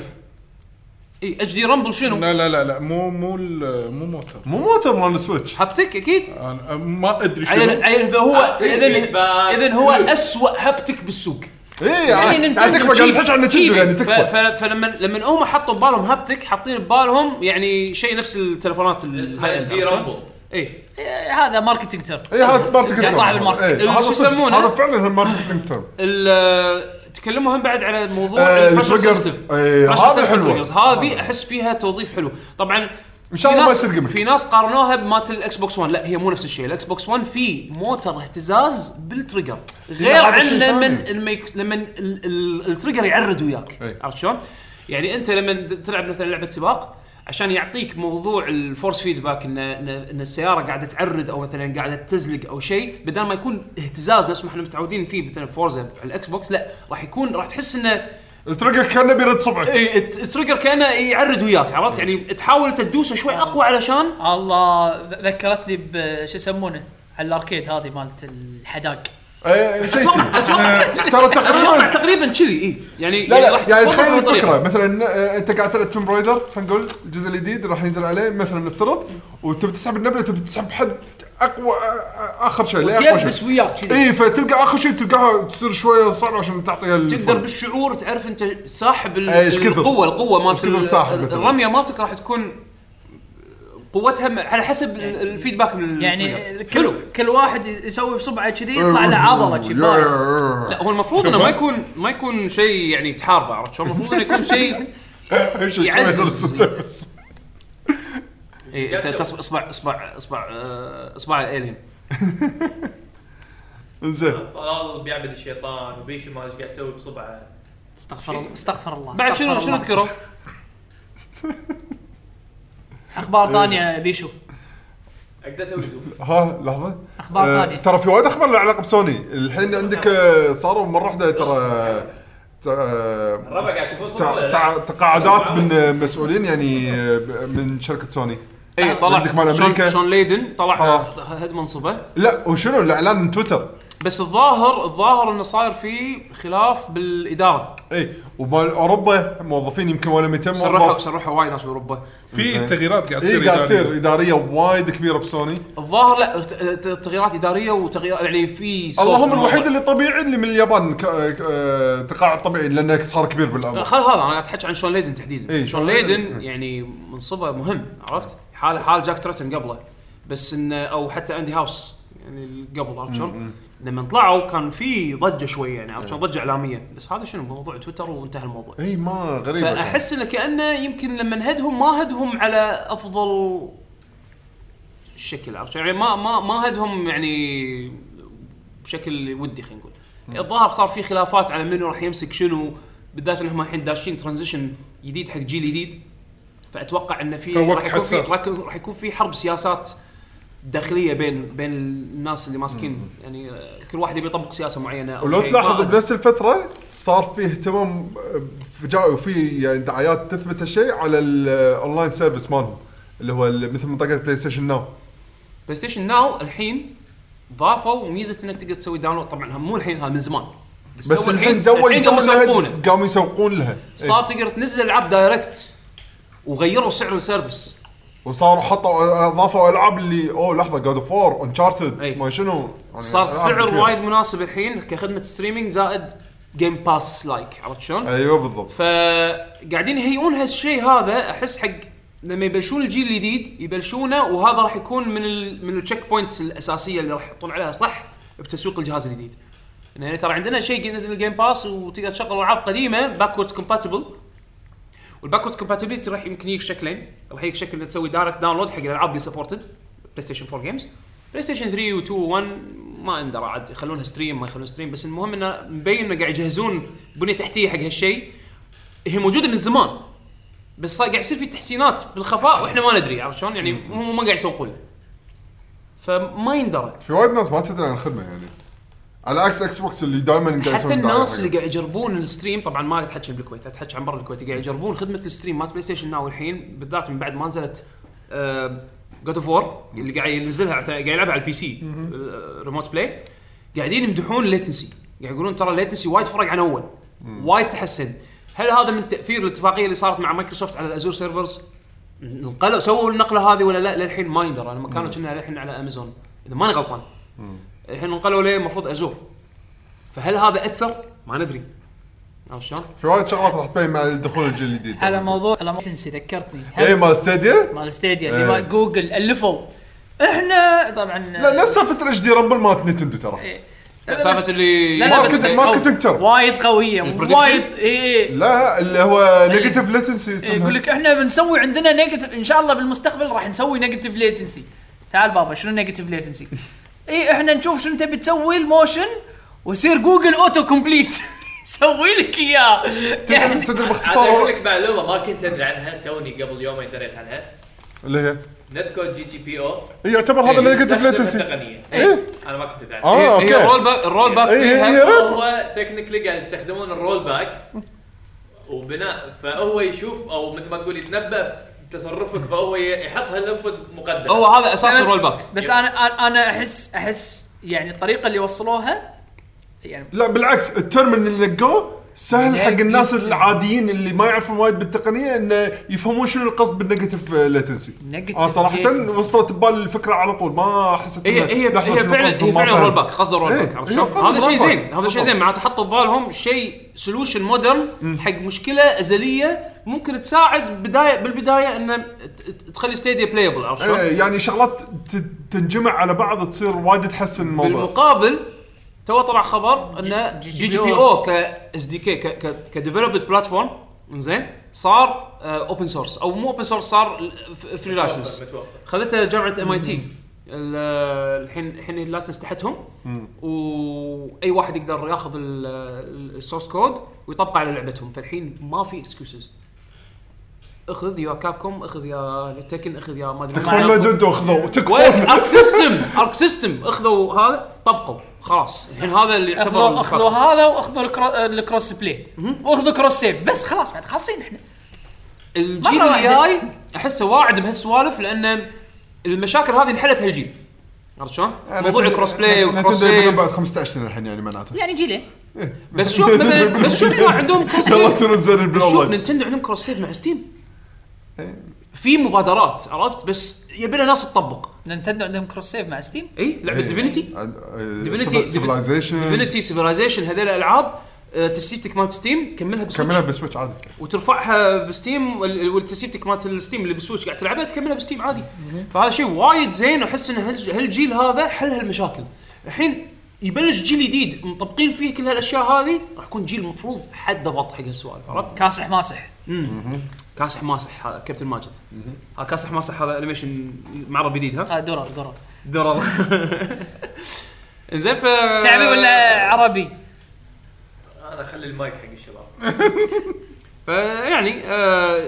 A: اي اتش دي رامبل شنو
B: لا لا لا لا مو مو ال- مو موتر
C: مو موتر مال السويتش
A: هابتك اكيد
B: انا ما ادري
A: عيل
B: شنو
A: عيل فهو
E: هابتك
A: اذا
E: feedback.
A: اذا هو اسوء هابتك بالسوق
C: اي يعني
D: نينتندو
C: تكفى قاعد
D: تشيب.
C: تحكي عن نتندو
D: تشيب.
C: يعني
A: ف-
C: تكفى
A: ف- فلما لما هم حطوا ببالهم هابتك حاطين ببالهم يعني شيء نفس التلفونات
E: اسمه اتش دي رامبل
A: اي
D: إيه، هذا ماركتنج تيرم
C: اي
A: يعني
C: هذا ماركتنج
D: يا صاحب الماركتينج.
A: شو يسمونه؟
C: هذا فعلا ماركتنج تيرم
A: ال- تكلموا هم بعد على موضوع
C: آه،
A: ال pressure
C: التريجرز.
A: sensitive.
C: إيه،
A: pressure
C: هذه
A: sensitive
C: حلوة.
A: triggers. هذه احس فيها توظيف حلو طبعا
C: إن شاء
A: في
C: الله ما
A: ناس-
C: يصير gimmick.
A: في ناس قارنوها بمات الاكس بوكس 1 لا هي مو نفس الشيء الاكس بوكس 1 في موتر اهتزاز بالتريجر غير
C: إيه، هذا
A: عن
C: شيء
A: لما
C: ثاني.
A: لما يك- لما ال- ال- التريجر يعرض وياك
C: إيه.
A: عرفت شلون؟ يعني انت لما د- تلعب مثلا لعبه سباق عشان يعطيك موضوع الفورس فيدباك ان ان إن السياره قاعده تعرض او مثلا قاعده تزلق او شيء بدل ما يكون اهتزاز نفس ما احنا متعودين فيه مثلا فورزا على الاكس بوكس لا راح يكون راح تحس انه
C: التريجر كانه بيرد صبعك
A: اي الت- التريجر كانه يعرض وياك عرفت يعني تحاول أنت تدوسه شوي اقوى علشان
D: الله ذ- ذكرتني بشو يسمونه على الاركيد هذه مالت الحداق
C: اي شيء
A: أتوقع-
C: كذي. آه،
A: اتوقع
C: ترى تقريبا
A: تقريبا كذي اي يعني
C: لا
A: راح
C: لا يعني
A: تتوقع
C: تخيل
A: بالطريقة.
C: الفكره مثلا آه، انت قاعد تلعب توم برايدر خلينا نقول الجزء الجديد راح ينزل عليه مثلا نفترض وتبي تسحب النبله تبي تسحب حد اقوى آه، آه، اخر شيء لا إيه. اقوى
D: تيبس
C: شيء
D: وياك كذي
C: اي فتلقى اخر شيء تلقاها تصير شويه صعبه عشان تعطيها
A: تقدر
C: الفرق.
A: بالشعور تعرف انت ساحب ال-
C: إيه، إيش كثر؟
A: القوه القوه
C: إيش كثر
A: مالت
C: ساحب
A: ال-
C: مثلاً؟
A: الرميه مالتك راح تكون قوتها م- على حسب ال- الفيدباك من
D: يعني
A: التريجر. حلو
D: كل كل واحد يسوي بصبعه كذي يطلع له عضله
C: يا-
D: كذي
C: إيه. يا-
D: بارد.
C: يا-
A: لا هو المفروض انه ما يكون ما يكون شيء يعني تحاربه عرفت شلون؟ المفروض انه يكون شيء
C: أي شيء
A: يعزز.
C: كويس.
A: اي انت تص- اصبع اصبع اصبع آه، اصبع الالين
C: انزين
E: طلال بيعبد الشيطان وبيشو ما ادري ايش قاعد يسوي بصبعه
D: استغفر الله استغفر الله
A: بعد شنو
D: استغفر
A: شنو
D: الله.
A: تذكره؟
C: إيه.
D: اخبار ثانيه بيشو
E: اقدر اسوي زوم
C: ها لحظه
D: أخبار
C: آه،
D: ثانية.
C: ترى في وايد اخبار له علاقه بسوني الحين عندك آه، صاروا مره واحده ترى آه،
E: الربع قاعد تشوفون صوره
C: تع-
E: ولا
C: تع-
E: لا؟
C: تقاعدات من مسؤولين يعني آه، من شركه سوني
A: اي إيه، طلع
C: عندك مال
A: شون-
C: أمريكا.
A: شون ليدن طلع
C: خلاص.
A: هد منصبه
C: لا وشنو الاعلان من تويتر
A: بس الظاهر الظاهر انه صاير في خلاف بالاداره
C: اي إيه، ومال اوروبا موظفين يمكن ولا 200
A: سرحوا
C: موظف
A: سرحوا وايد ناس باوروبا
B: في تغييرات قاعد تصير
C: اي إيه، قاعد
B: إدارية.
C: تصير اداريه وايد كبيره بسوني
A: الظاهر لا ت- ت- تغييرات اداريه وتغييرات يعني في صوت
C: اللهم
A: بالموضوع.
C: الوحيد اللي طبيعي اللي من اليابان ك- آه، تقاعد طبيعي لانه صار كبير بالعمر
A: خل هذا انا قاعد احكي عن شون ليدن تحديدا
C: إي،
A: شون
C: شون ليدن،
A: ليدن يعني منصبه مهم عرفت حال حال جاك تريتن قبله بس انه او حتى اندي هاوس يعني اللي قبل عرفت شلون؟ لما طلعوا كان في ضجه شويه يعني عرفت شلون؟ ضجه اعلاميه بس هذا شنو موضوع تويتر وانتهى الموضوع
C: اي إيه، ما غريبه كانت.
A: فاحس انه كانه يمكن لما نهدهم ما هدهم على افضل شكل عرفت يعني ما ما ما هدهم يعني بشكل ودي خلينا نقول الظاهر صار في خلافات على منو راح يمسك شنو بالذات انهم الحين داشين ترانزيشن جديد حق جيل جديد فاتوقع انه في
B: فوقت
A: راح يكون في-
B: حساس.
A: راح- راح يكون في حرب سياسات داخليه بين بين الناس اللي ماسكين يعني كل واحد يبي يطبق سياسه معينه أو
C: ولو
A: شيء.
C: تلاحظ
A: ما أدري.
C: بنفس الفتره صار في اهتمام فجاء وفي يعني دعايات تثبت هالشيء على الاونلاين سيرفيس مالهم اللي هو ال- مثل منطقه بلاي ستيشن ناو
A: بلاي ستيشن ناو الحين ضافوا ميزه انك تقدر تسوي داونلود طبعا هم مو الحين هذا من زمان
C: بس
A: هو
C: الحين إيه.
A: الحين
C: تو
A: قاموا
C: يسوون
A: يسوقونه
C: لها قاموا يسوقون لها إيه.
A: صار تقدر تنزل العاب دايركت وغيروا سعر السيرفس
C: وصاروا حطوا اضافوا العاب اللي اوه لحظه جاد اوف وور
A: أي.
C: انشارتد ما شنو يعني
A: إيه. صار
C: ألعاب
A: السعر
C: كثير.
A: وايد مناسب الحين كخدمه ستريمينج زائد جيم باس لايك عرفت شلون؟
C: ايوه بالضبط
A: فقاعدين يهيئون هالشيء هذا احس حق لما يبلشون الجيل الجديد يبلشونه وهذا راح يكون من ال من التشيك بوينتس الاساسيه اللي راح يحطون عليها صح بتسويق الجهاز الجديد. يعني ترى عندنا شيء مثل الجيم باس وتقدر تشغل العاب قديمه باكوردز كومباتبل والباكوردز كومباتبلتي راح يمكن يجيك شكلين راح يجيك شكل انك تسوي دايركت داونلود حق الالعاب اللي سبورتد بلاي ستيشن 4 جيمز بلاي ستيشن 3 و2 و1 ما اندرى عاد يخلونها ستريم ما يخلون ستريم بس المهم انه مبين انه قاعد يجهزون بنيه تحتيه حق هالشيء هي موجوده من زمان بس صار- قاعد يصير في تحسينات بالخفاء واحنا ما ندري عرفت شلون يعني هم ما قاعد يسوقون له فما يندرى
C: في وايد ناس ما تدري عن الخدمه يعني على عكس اكس بوكس اللي دائما قاعد
A: حتى
C: يسوون
A: الناس
C: دعاية.
A: اللي قاعد يجربون الستريم طبعا ما قاعد اتحكى بالكويت اتحكى عن برا الكويت قاعد يجربون خدمه الستريم مالت بلاي ستيشن ناو الحين بالذات من بعد ما نزلت آه، جود اوف وور اللي قاعد ينزلها على- قاعد يلعبها على البي سي ريموت بلاي قاعدين يمدحون الليتنسي قاعد يقولون ترى الليتنسي وايد فرق عن اول وايد تحسن هل هذا من تاثير الاتفاقيه اللي صارت مع مايكروسوفت على الازور سيرفرز انقلوا سووا النقله هذه ولا لا للحين ما يندرى لما كانوا كنا للحين على امازون اذا ماني غلطان الحين انقلوا ليه المفروض ازور فهل هذا اثر؟ ما ندري عرفت شلون؟
C: في وايد شغلات راح تبين مع دخول الجيل الجديد
D: على موضوع على موضوع تنسي ذكرتني
C: اي
D: هل-
C: مال ستاديا
D: مال ستيديا اللي
C: إيه.
D: مال جوجل الفوا احنا طبعا
C: لا نفس سالفه الاتش دي رامبل مالت نتندو ترى
D: إيه. لا، لا، بس-
A: سالفه اللي
D: لا، لا،
C: ما
D: بس-
C: كنت
D: بس
C: ما
D: قوي.
C: كنت اكتر
D: وايد قوية
A: البرودكشن؟
D: وايد إيه، اي
C: لا اللي هو نيجاتيف ليتنسي
D: إيه، يقول لك احنا بنسوي عندنا نيجاتيف ان شاء الله بالمستقبل راح نسوي نيجاتيف ليتنسي تعال بابا شنو نيجاتيف ليتنسي اي احنا نشوف شنو تبي تسوي الموشن ويصير جوجل اوتو كومبليت سوي لك اياه يعني
C: تدري
E: عاد اقول
C: باختصار
E: لك معلومه ما كنت ادري عنها توني قبل يومين دريت عنها
C: اللي هي
E: نتكو جي تي بي او
C: إيه، يعتبر هذا نيجاتيف
E: يستخدم
C: ليتنسي
E: التقنيه
A: إيه.
C: ايه
E: انا ما كنت ادري عنها
C: اه
A: هي الرول
C: اوكي
A: باك الرول باك
C: إيه،
A: فيها
C: هي- هي-
E: هو تكنيكلي قاعد يستخدمون الرول باك وبناء فهو يشوف او مثل ما تقول يتنبا تصرفك فهو يحط هالانبوت مقدم
A: هو هذا اساس
D: لا، بس-
A: الرول باك
D: بس انا انا أنا احس احس يعني الطريقه اللي وصلوها يعني
C: لا بالعكس الترم اللي لقوه سهل حق الناس
D: Negative.
C: العاديين اللي ما يعرفون وايد بالتقنيه انه يفهمون شنو القصد بالنيجاتيف ليتنسي
D: Negative
C: اه صراحه
D: latency.
C: وصلت ببال الفكره على طول ما حسيت
A: هي
C: إنه
A: هي
C: لحظة
A: هي
C: شنو
A: فعلا
C: قصدهم،
A: هي
C: ما
A: فعلا
C: فهمت.
A: رول باك قصد الرول
C: إيه،
A: باك عرفت
C: هي
A: شلون؟
C: قصد
A: هذا شيء
C: الرول باك.
A: زين هذا شيء زين معناته حطوا ببالهم شيء سولوشن مودرن حق مشكله ازليه ممكن تساعد بدايه بالبدايه ان ت- ت- تخلي ستيديا بلايبل عرفت شلون؟
C: إيه، يعني شغلات ت- تنجمع على بعض تصير وايد تحسن الموضوع
A: بالمقابل تو طلع خبر انه جي جي بي او كاس دي كي كديفلوبد بلاتفورم زين صار آه، اوبن سورس او مو اوبن سورس صار فري لايسنس
E: متوفر.
A: خذتها جامعه ام اي تي الحين الحين اللايسنس تحتهم واي واحد يقدر ياخذ السورس كود ويطبقه على لعبتهم فالحين ما في اكسكيوزز اخذ يا كابكوم اخذ يا تكن اخذ يا ما ادري
C: تكفون
A: مين.
C: نتندو خذوا
A: وين
C: تكفون
A: ارك سيستم ارك سيستم اخذوا هذا طبقوا خلاص الحين هذا اللي
D: اخذوا
A: يعتبر
D: اخذوا هذا واخذوا الكرو- الكروس بلاي واخذوا كروس سيف بس خلاص بعد خالصين احنا
A: الجيل
D: مرة واحدة.
A: الجاي احسه واعد بهالسوالف لان المشاكل هذه انحلت هالجيل عرفت شلون؟ موضوع الكروس بلاي والكروس
C: نتندو يبنون
A: سيف
C: بعد 15 سنه الحين يعني معناته
D: يعني جيلين
A: بس شوف مثلا بس شوف ما عندهم كروس
C: يلا
A: سيف
C: يصير الزر
A: بس شوف
C: بالاونلاين
A: نينتندو عندهم كروس سيف مع ستيم في مبادرات عرفت بس يبي لها ناس تطبق
D: نينتندو عندهم كروس سيف مع ستيم
C: إيه. آه،
A: اي لعبه ديفينيتي ديفينيتي
C: سيفلايزيشن
A: ديفينيتي سيفلايزيشن هذول الالعاب آه، تسيبتك مالت ستيم كملها بسويتش
C: كملها بالسويتش عادي
A: وترفعها بستيم وال- والتسيبتك مالت الستيم اللي بالسويتش قاعد تلعبها تكملها بستيم عادي فهذا شيء وايد زين واحس ان هالج- هالجيل هذا حل هالمشاكل الحين يبلش جيل جديد مطبقين فيه كل هالاشياء هذه راح يكون جيل المفروض حد ضبط حق هالسوالف عرفت؟
D: كاسح ماسح
A: كاسح ماسح هذا كابتن ماجد هذا كاسح ماسح هذا انيميشن معرض جديد ها
D: هذا درر درر
A: درر زين ف
D: شعبي ولا عربي؟
E: انا اخلي المايك حق الشباب
A: فيعني آه،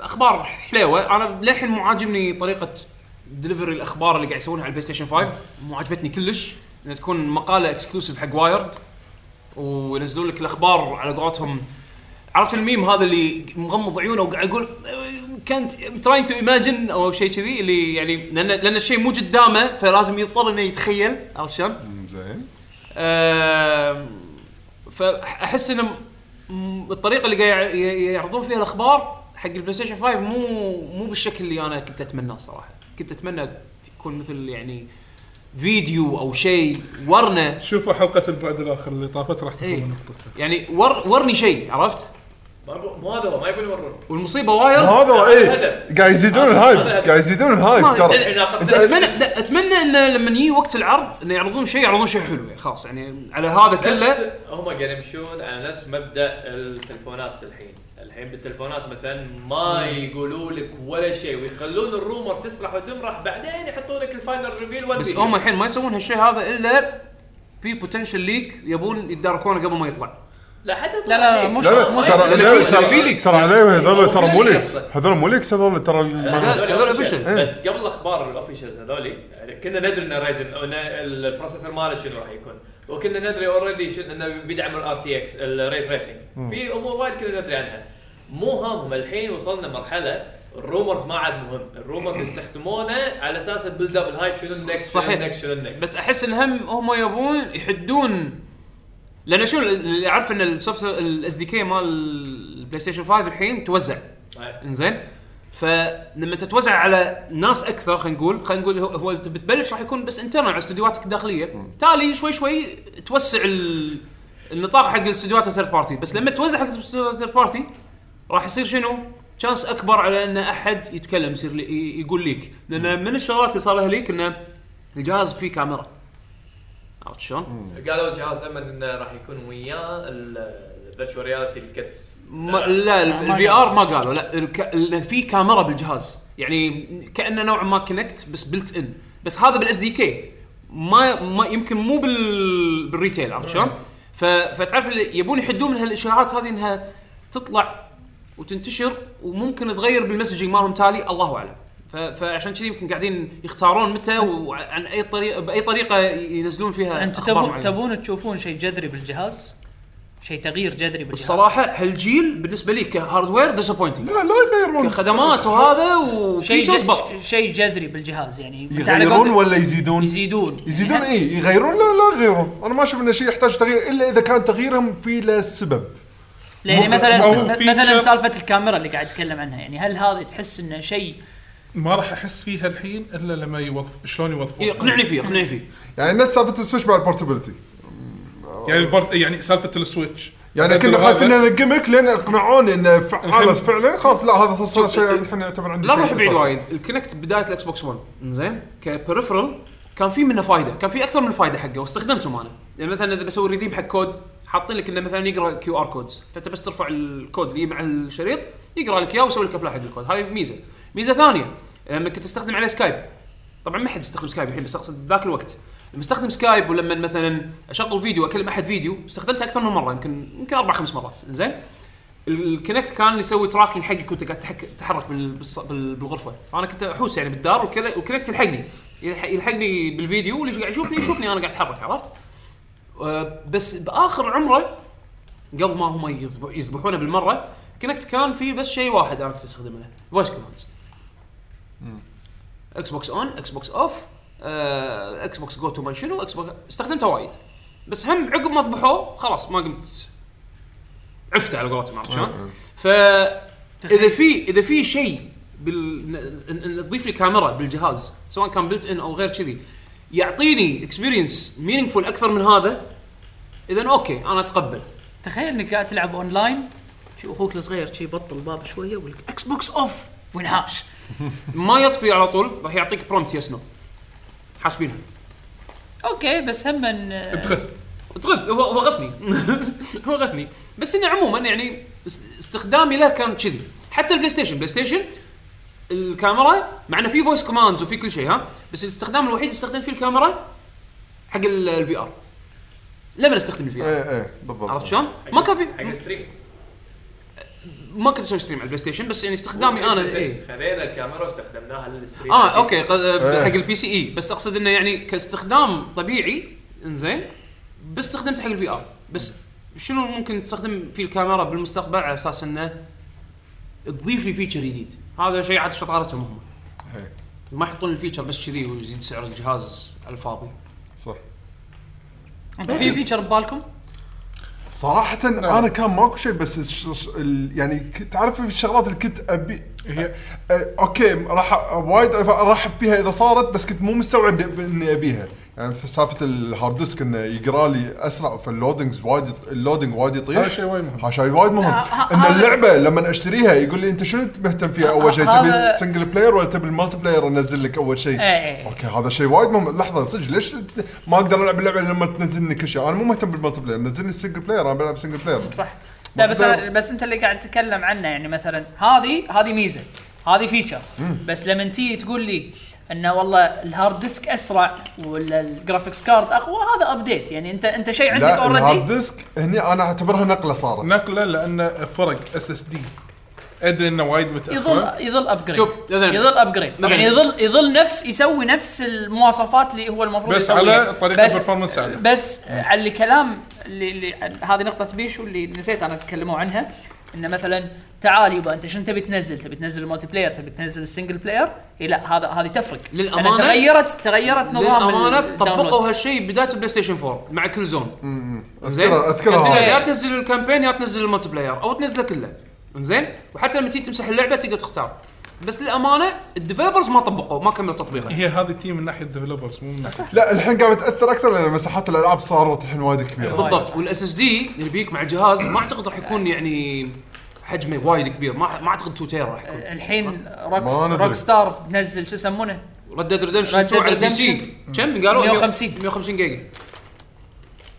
A: اخبار حليوه انا للحين مو عاجبني طريقه دليفري الاخبار اللي قاعد يسوونها على البلاي ستيشن 5 مو عجبتني كلش انها تكون مقاله اكسكلوسيف حق وايرد وينزلون لك الاخبار على قولتهم عرفت الميم هذا اللي مغمض عيونه وقاعد يقول كانت تراين تو ايماجن او شيء كذي اللي يعني لان لان الشيء مو قدامه فلازم يضطر انه يتخيل عرفت شلون؟
C: زين
A: آم، فاحس ان م- الطريقه اللي قاعد ي- ي- يعرضون فيها الاخبار حق البلاي ستيشن 5 مو مو بالشكل اللي انا كنت اتمناه صراحه كنت اتمنى يكون مثل يعني فيديو او شيء ورنا
B: شوفوا حلقه البعد الاخر اللي طافت راح
A: إيه.
B: تفهمون نقطته
A: يعني ور ورني شيء عرفت
E: ما يبو- مو هذا هو ما يبون يورون
A: والمصيبه وايرد
C: هذا ايه قاعد يزيدون الهايب قاعد يزيدون الهايب ترى
E: علاقه
C: أنت-
A: اتمنى لا اتمنى انه لما يجي وقت العرض انه يعرضون شيء يعرضون شيء حلو يعني خلاص يعني على هذا كله
E: نفس- هم قاعد يمشون على نفس مبدا التلفونات الحين الحين بالتلفونات مثلا ما يقولوا لك ولا شيء ويخلون الرومر تسرح وتمرح بعدين يحطون لك الفاينل ريفيل
A: بس
E: والفيديو.
A: هم الحين ما يسوون هالشيء هذا الا في بوتنشل ليك يبون يداركونه قبل ما يطلع
E: لا حتى
D: لا، لا، لا، مو
C: لا لا ترى
A: لأن
C: لا،
A: في-
C: ترى-
A: في ليكس.
C: ترى عليه هذول ترى مو
E: في
C: ليكس
E: ليكس.
C: هذول مو ليكس هذول ترى
A: لا،
C: ال-
A: هذول
E: هذول
A: official.
E: official. بس قبل اخبار الاوفيشلز هذول يعني كنا ندري ان رايزن ان البروسيسور ماله شنو راح يكون وكنا ندري اوريدي انه بيدعم الار تي اكس الريت ريسنج في امور وايد كنا ندري عنها مو هامهم الحين وصلنا مرحله الرومرز ما عاد مهم الرومرز يستخدمونه على اساس البيلد اب الهايب شنو النكست شنو
A: صحيح.
E: النكست شنو النكست
A: بس احس ان هم هم يبون يحدون لان شو اللي اعرف ان السوفت الاس دي كي مال البلاي ستيشن 5 الحين توزع
E: آه.
A: انزين فلما تتوزع على ناس اكثر خلينا نقول خلينا نقول هو- هو انت بتبلش راح يكون بس انترنال على استديوهاتك الداخليه تالي شوي شوي توسع ال... النطاق حق الاستديوهات الثيرد بارتي بس لما توزع حق الاستديوهات الثيرد بارتي راح يصير شنو؟ تشانس اكبر على ان احد يتكلم يصير لي... ي- يقول ليك لان من الشغلات اللي صار لها ليك انه الجهاز فيه كاميرا عرفت شلون؟
E: قالوا جهاز امن انه راح يكون وياه الفيرتشوال ريالتي الكت
A: ما...
F: آه،
A: لا
D: ما
A: الفي ار ما قالوا لا الك... ال- في كاميرا بالجهاز يعني كانه نوع ما كونكت بس بلت ان بس هذا بالاس دي كي ما ما يمكن مو بال... بالريتيل عرفت شلون؟ ف... فتعرف اللي يبون يحدون من هالاشاعات هذه انها تطلع وتنتشر وممكن تغير بالمسجنج مالهم تالي الله اعلم ف... فعشان كذي يمكن قاعدين يختارون متى وعن اي طريقه باي طريقه ينزلون فيها
D: انتم
A: أخبار
D: تبون
A: معينة.
D: تبون تشوفون شيء جذري بالجهاز؟ شيء تغيير جذري بالجهاز
A: الصراحه هالجيل بالنسبه لي كهاردوير ديسابوينتنج
C: لا لا يغيرون
A: خدمات وهذا وشيء
D: شيء
A: جاز بط
D: ج- شيء جذري بالجهاز يعني أنت على
C: يغيرون
D: قولتك-
C: ولا يزيدون؟
D: يزيدون
C: يزيدون إيه؟
D: يعني
C: اي يغيرون لا لا يغيرون انا ما اشوف انه شيء يحتاج تغيير الا اذا كان تغييرهم في له سبب
D: يعني
B: مو-
D: مثلا
B: أو
D: مث-
B: feature-
D: مثلا سالفه الكاميرا اللي قاعد اتكلم عنها يعني هل هذا تحس انه شيء
B: ما راح احس فيها الحين الا لما يوظف شلون يوظفون
A: يقنعني إيه، فيه يقنعني فيه
C: يعني نفس سالفه السويتش مع البورتبيلتي
B: يعني البرد يعني سالفه السويتش
C: يعني كنا
B: بدل
C: خايفين
B: هذا-
C: ان الجيمك لين اقنعوني انه فعال
B: الحين-
C: فعلا خلاص لا هذا صار شيء الحين يعتبر عندي
A: لا
C: شيء
A: نروح بعيد
C: أساسي.
A: وايد الكونكت بدايه الاكس بوكس 1 زين كبريفرال كان في منه فائده كان في اكثر من فائده حقه واستخدمتهم انا يعني مثلا اذا بسوي ريديم حق كود حاطين لك انه مثلا يقرا كيو ار كودز فانت بس ترفع الكود اللي مع الشريط يقرا لك اياه ويسوي لك ابلاي حق الكود هاي ميزه ميزه ثانيه لما كنت استخدم عليه سكايب طبعا ما حد يستخدم سكايب الحين بس اقصد ذاك الوقت لما استخدم سكايب ولما مثلا اشغل فيديو اكلم احد فيديو استخدمته اكثر من مره يمكن يمكن اربع خمس مرات زين الكونكت كان يسوي تراكنج حقك وانت قاعد تحك- تتحرك بال- بالص- بال- بالغرفه فانا كنت احوس يعني بالدار والكل- والكونكت يلحقني يلح- يلحقني بالفيديو واللي قاعد يشوفني يشوفني انا قاعد اتحرك عرفت؟ آه، بس باخر عمره قبل ما هم يذبح- يذبحونه بالمره كونكت كان في بس شيء واحد انا كنت استخدمه له فويس كوماندز اكس بوكس اون اكس بوكس اوف اكس بوكس جو تو ما شنو اكس بوكس استخدمته وايد بس هم عقب ما ذبحوه خلاص ما قمت عفت على قولتهم عرفت شلون؟ ف اذا في اذا في شيء بال ن- ن- ن- تضيف لي كاميرا بالجهاز سواء كان بلت ان او غير كذي يعطيني اكسبيرينس مينingful اكثر من هذا اذا اوكي انا اتقبل
D: تخيل انك قاعد تلعب اونلاين شي اخوك الصغير شي يبطل الباب شويه ويقول لك اكس بوكس اوف وينحاش
A: ما يطفي على طول راح يعطيك برومت يس نو حاسبينها
D: اوكي بس هم
B: تخث
A: تغث هو هو غثني هو غثني بس انه عموما يعني است- استخدامي له كان كذي حتى البلاي ستيشن بلاي ستيشن الكاميرا مع انه في فويس كوماندز وفي كل شيء ها بس الاستخدام الوحيد اللي استخدمت فيه الكاميرا حق الفي ار لما استخدم الفي ار
C: ايه ايه بالضبط
A: عرفت شلون؟ ما كان
E: حق
A: في
E: الستريم
A: ما كنت اسوي ستريم على البلاي ستيشن بس يعني استخدامي انا ايه
E: خذينا الكاميرا واستخدمناها للستريم
A: اه اوكي قد- آه،
C: إيه.
A: حق البي سي اي بس اقصد انه يعني كاستخدام طبيعي انزين بس استخدمت حق الفي ار بس شنو ممكن تستخدم فيه الكاميرا بالمستقبل على اساس انه تضيف لي فيتشر جديد هذا شيء عاد شطارتهم هم
C: إيه،
A: ما يحطون الفيتشر بس كذي ويزيد سعر الجهاز على الفاضي
C: صح
D: انت في
C: طيب.
D: فيتشر ببالكم؟
C: صراحة
B: نعم.
C: انا كان ماكو شيء بس الش- الش- ال- يعني ك- تعرف الشغلات اللي كنت ابي
B: هي
C: أه، اوكي راح أ- وايد أف- ارحب فيها اذا صارت بس كنت مو مستوعب إن- اني ابيها يعني في سالفه الهارد ديسك انه يقرا لي اسرع فاللودنجز وايد يط- اللودنج وايد يطيح
B: هذا شيء وايد مهم.
C: هذا شيء وايد مهم
D: ه- ه-
C: ان
D: هذا-
C: اللعبه لما اشتريها يقول لي انت شنو مهتم فيها اول شيء
D: هذا-
C: تبي سنجل بلاير ولا تبي المالتي بلاير انزل لك اول شيء
D: إيه.
C: اوكي هذا شيء وايد مهم لحظه صدق ليش ت- ما اقدر العب اللعبه لما تنزلني كل شيء انا مو مهتم بالمالتي بلاير نزل لي السنجل بلاير انا بلعب سنجل بلاير
D: صح لا بس
C: مطلوب.
D: أنا بس انت اللي قاعد تتكلم عنه يعني مثلا هذه هذه ميزه هذه فيتشر بس لما تيجي تقول لي انه والله الهارد ديسك اسرع ولا الجرافيكس كارد اقوى هذا ابديت يعني انت انت شيء عندك
C: لا الهارد
D: اوريدي
C: ديسك هني انا اعتبرها نقله صارت
B: نقله لان فرق اس اس دي ادري انه وايد متاخر
D: يظل يظل ابجريد
A: شوف، مثلاً-
D: يظل ابجريد
A: مثلاً-
D: يعني يظل يظل نفس يسوي نفس المواصفات اللي هو المفروض
B: بس
D: يسويها.
B: على طريقه
D: بس-
B: البرفورمانس اعلى
D: بس على الكلام اللي, اللي هذه نقطة بيشو اللي نسيت انا اتكلموا عنها انه مثلا تعال يبا انت شنو تبي تنزل؟ تبي تنزل المالتي بلاير، تبي تنزل السنجل بلاير؟ إي لا هذا هذه تفرق لأن
A: للأمانة-
D: تغيرت تغيرت نظام
A: للامانه
D: ال-
A: طبقوا
D: الداونلود.
A: هالشيء بدايه البلاي ستيشن 4 مع كل زون زين
C: اذكرها اذكرها
A: كنت
C: هذه.
A: يا تنزل الكامبين يا تنزل الملتي بلاير او تنزله كله زين وحتى لما تيجي تمسح اللعبه تقدر تختار بس للامانه الديفلوبرز ما طبقوا ما كملوا تطبيقه
B: هي هذه تيم من ناحيه الديفلوبرز مو من ناحيه
C: لا الحين قامت تاثر اكثر لان مساحات الالعاب صارت الحين وايد كبيره
A: بالضبط والاس اس دي اللي بيك مع الجهاز ما اعتقد راح يكون يعني حجمه وايد كبير ما ما اعتقد 2 تيرا راح يكون
D: الحين روكس
C: ما ندري.
D: روك ستار تنزل شو يسمونه؟
A: ريد ديد ريدمشن
D: Red
A: 2
D: Dead
A: على البي سي كم قالوا
D: 150.
A: 150 جيجا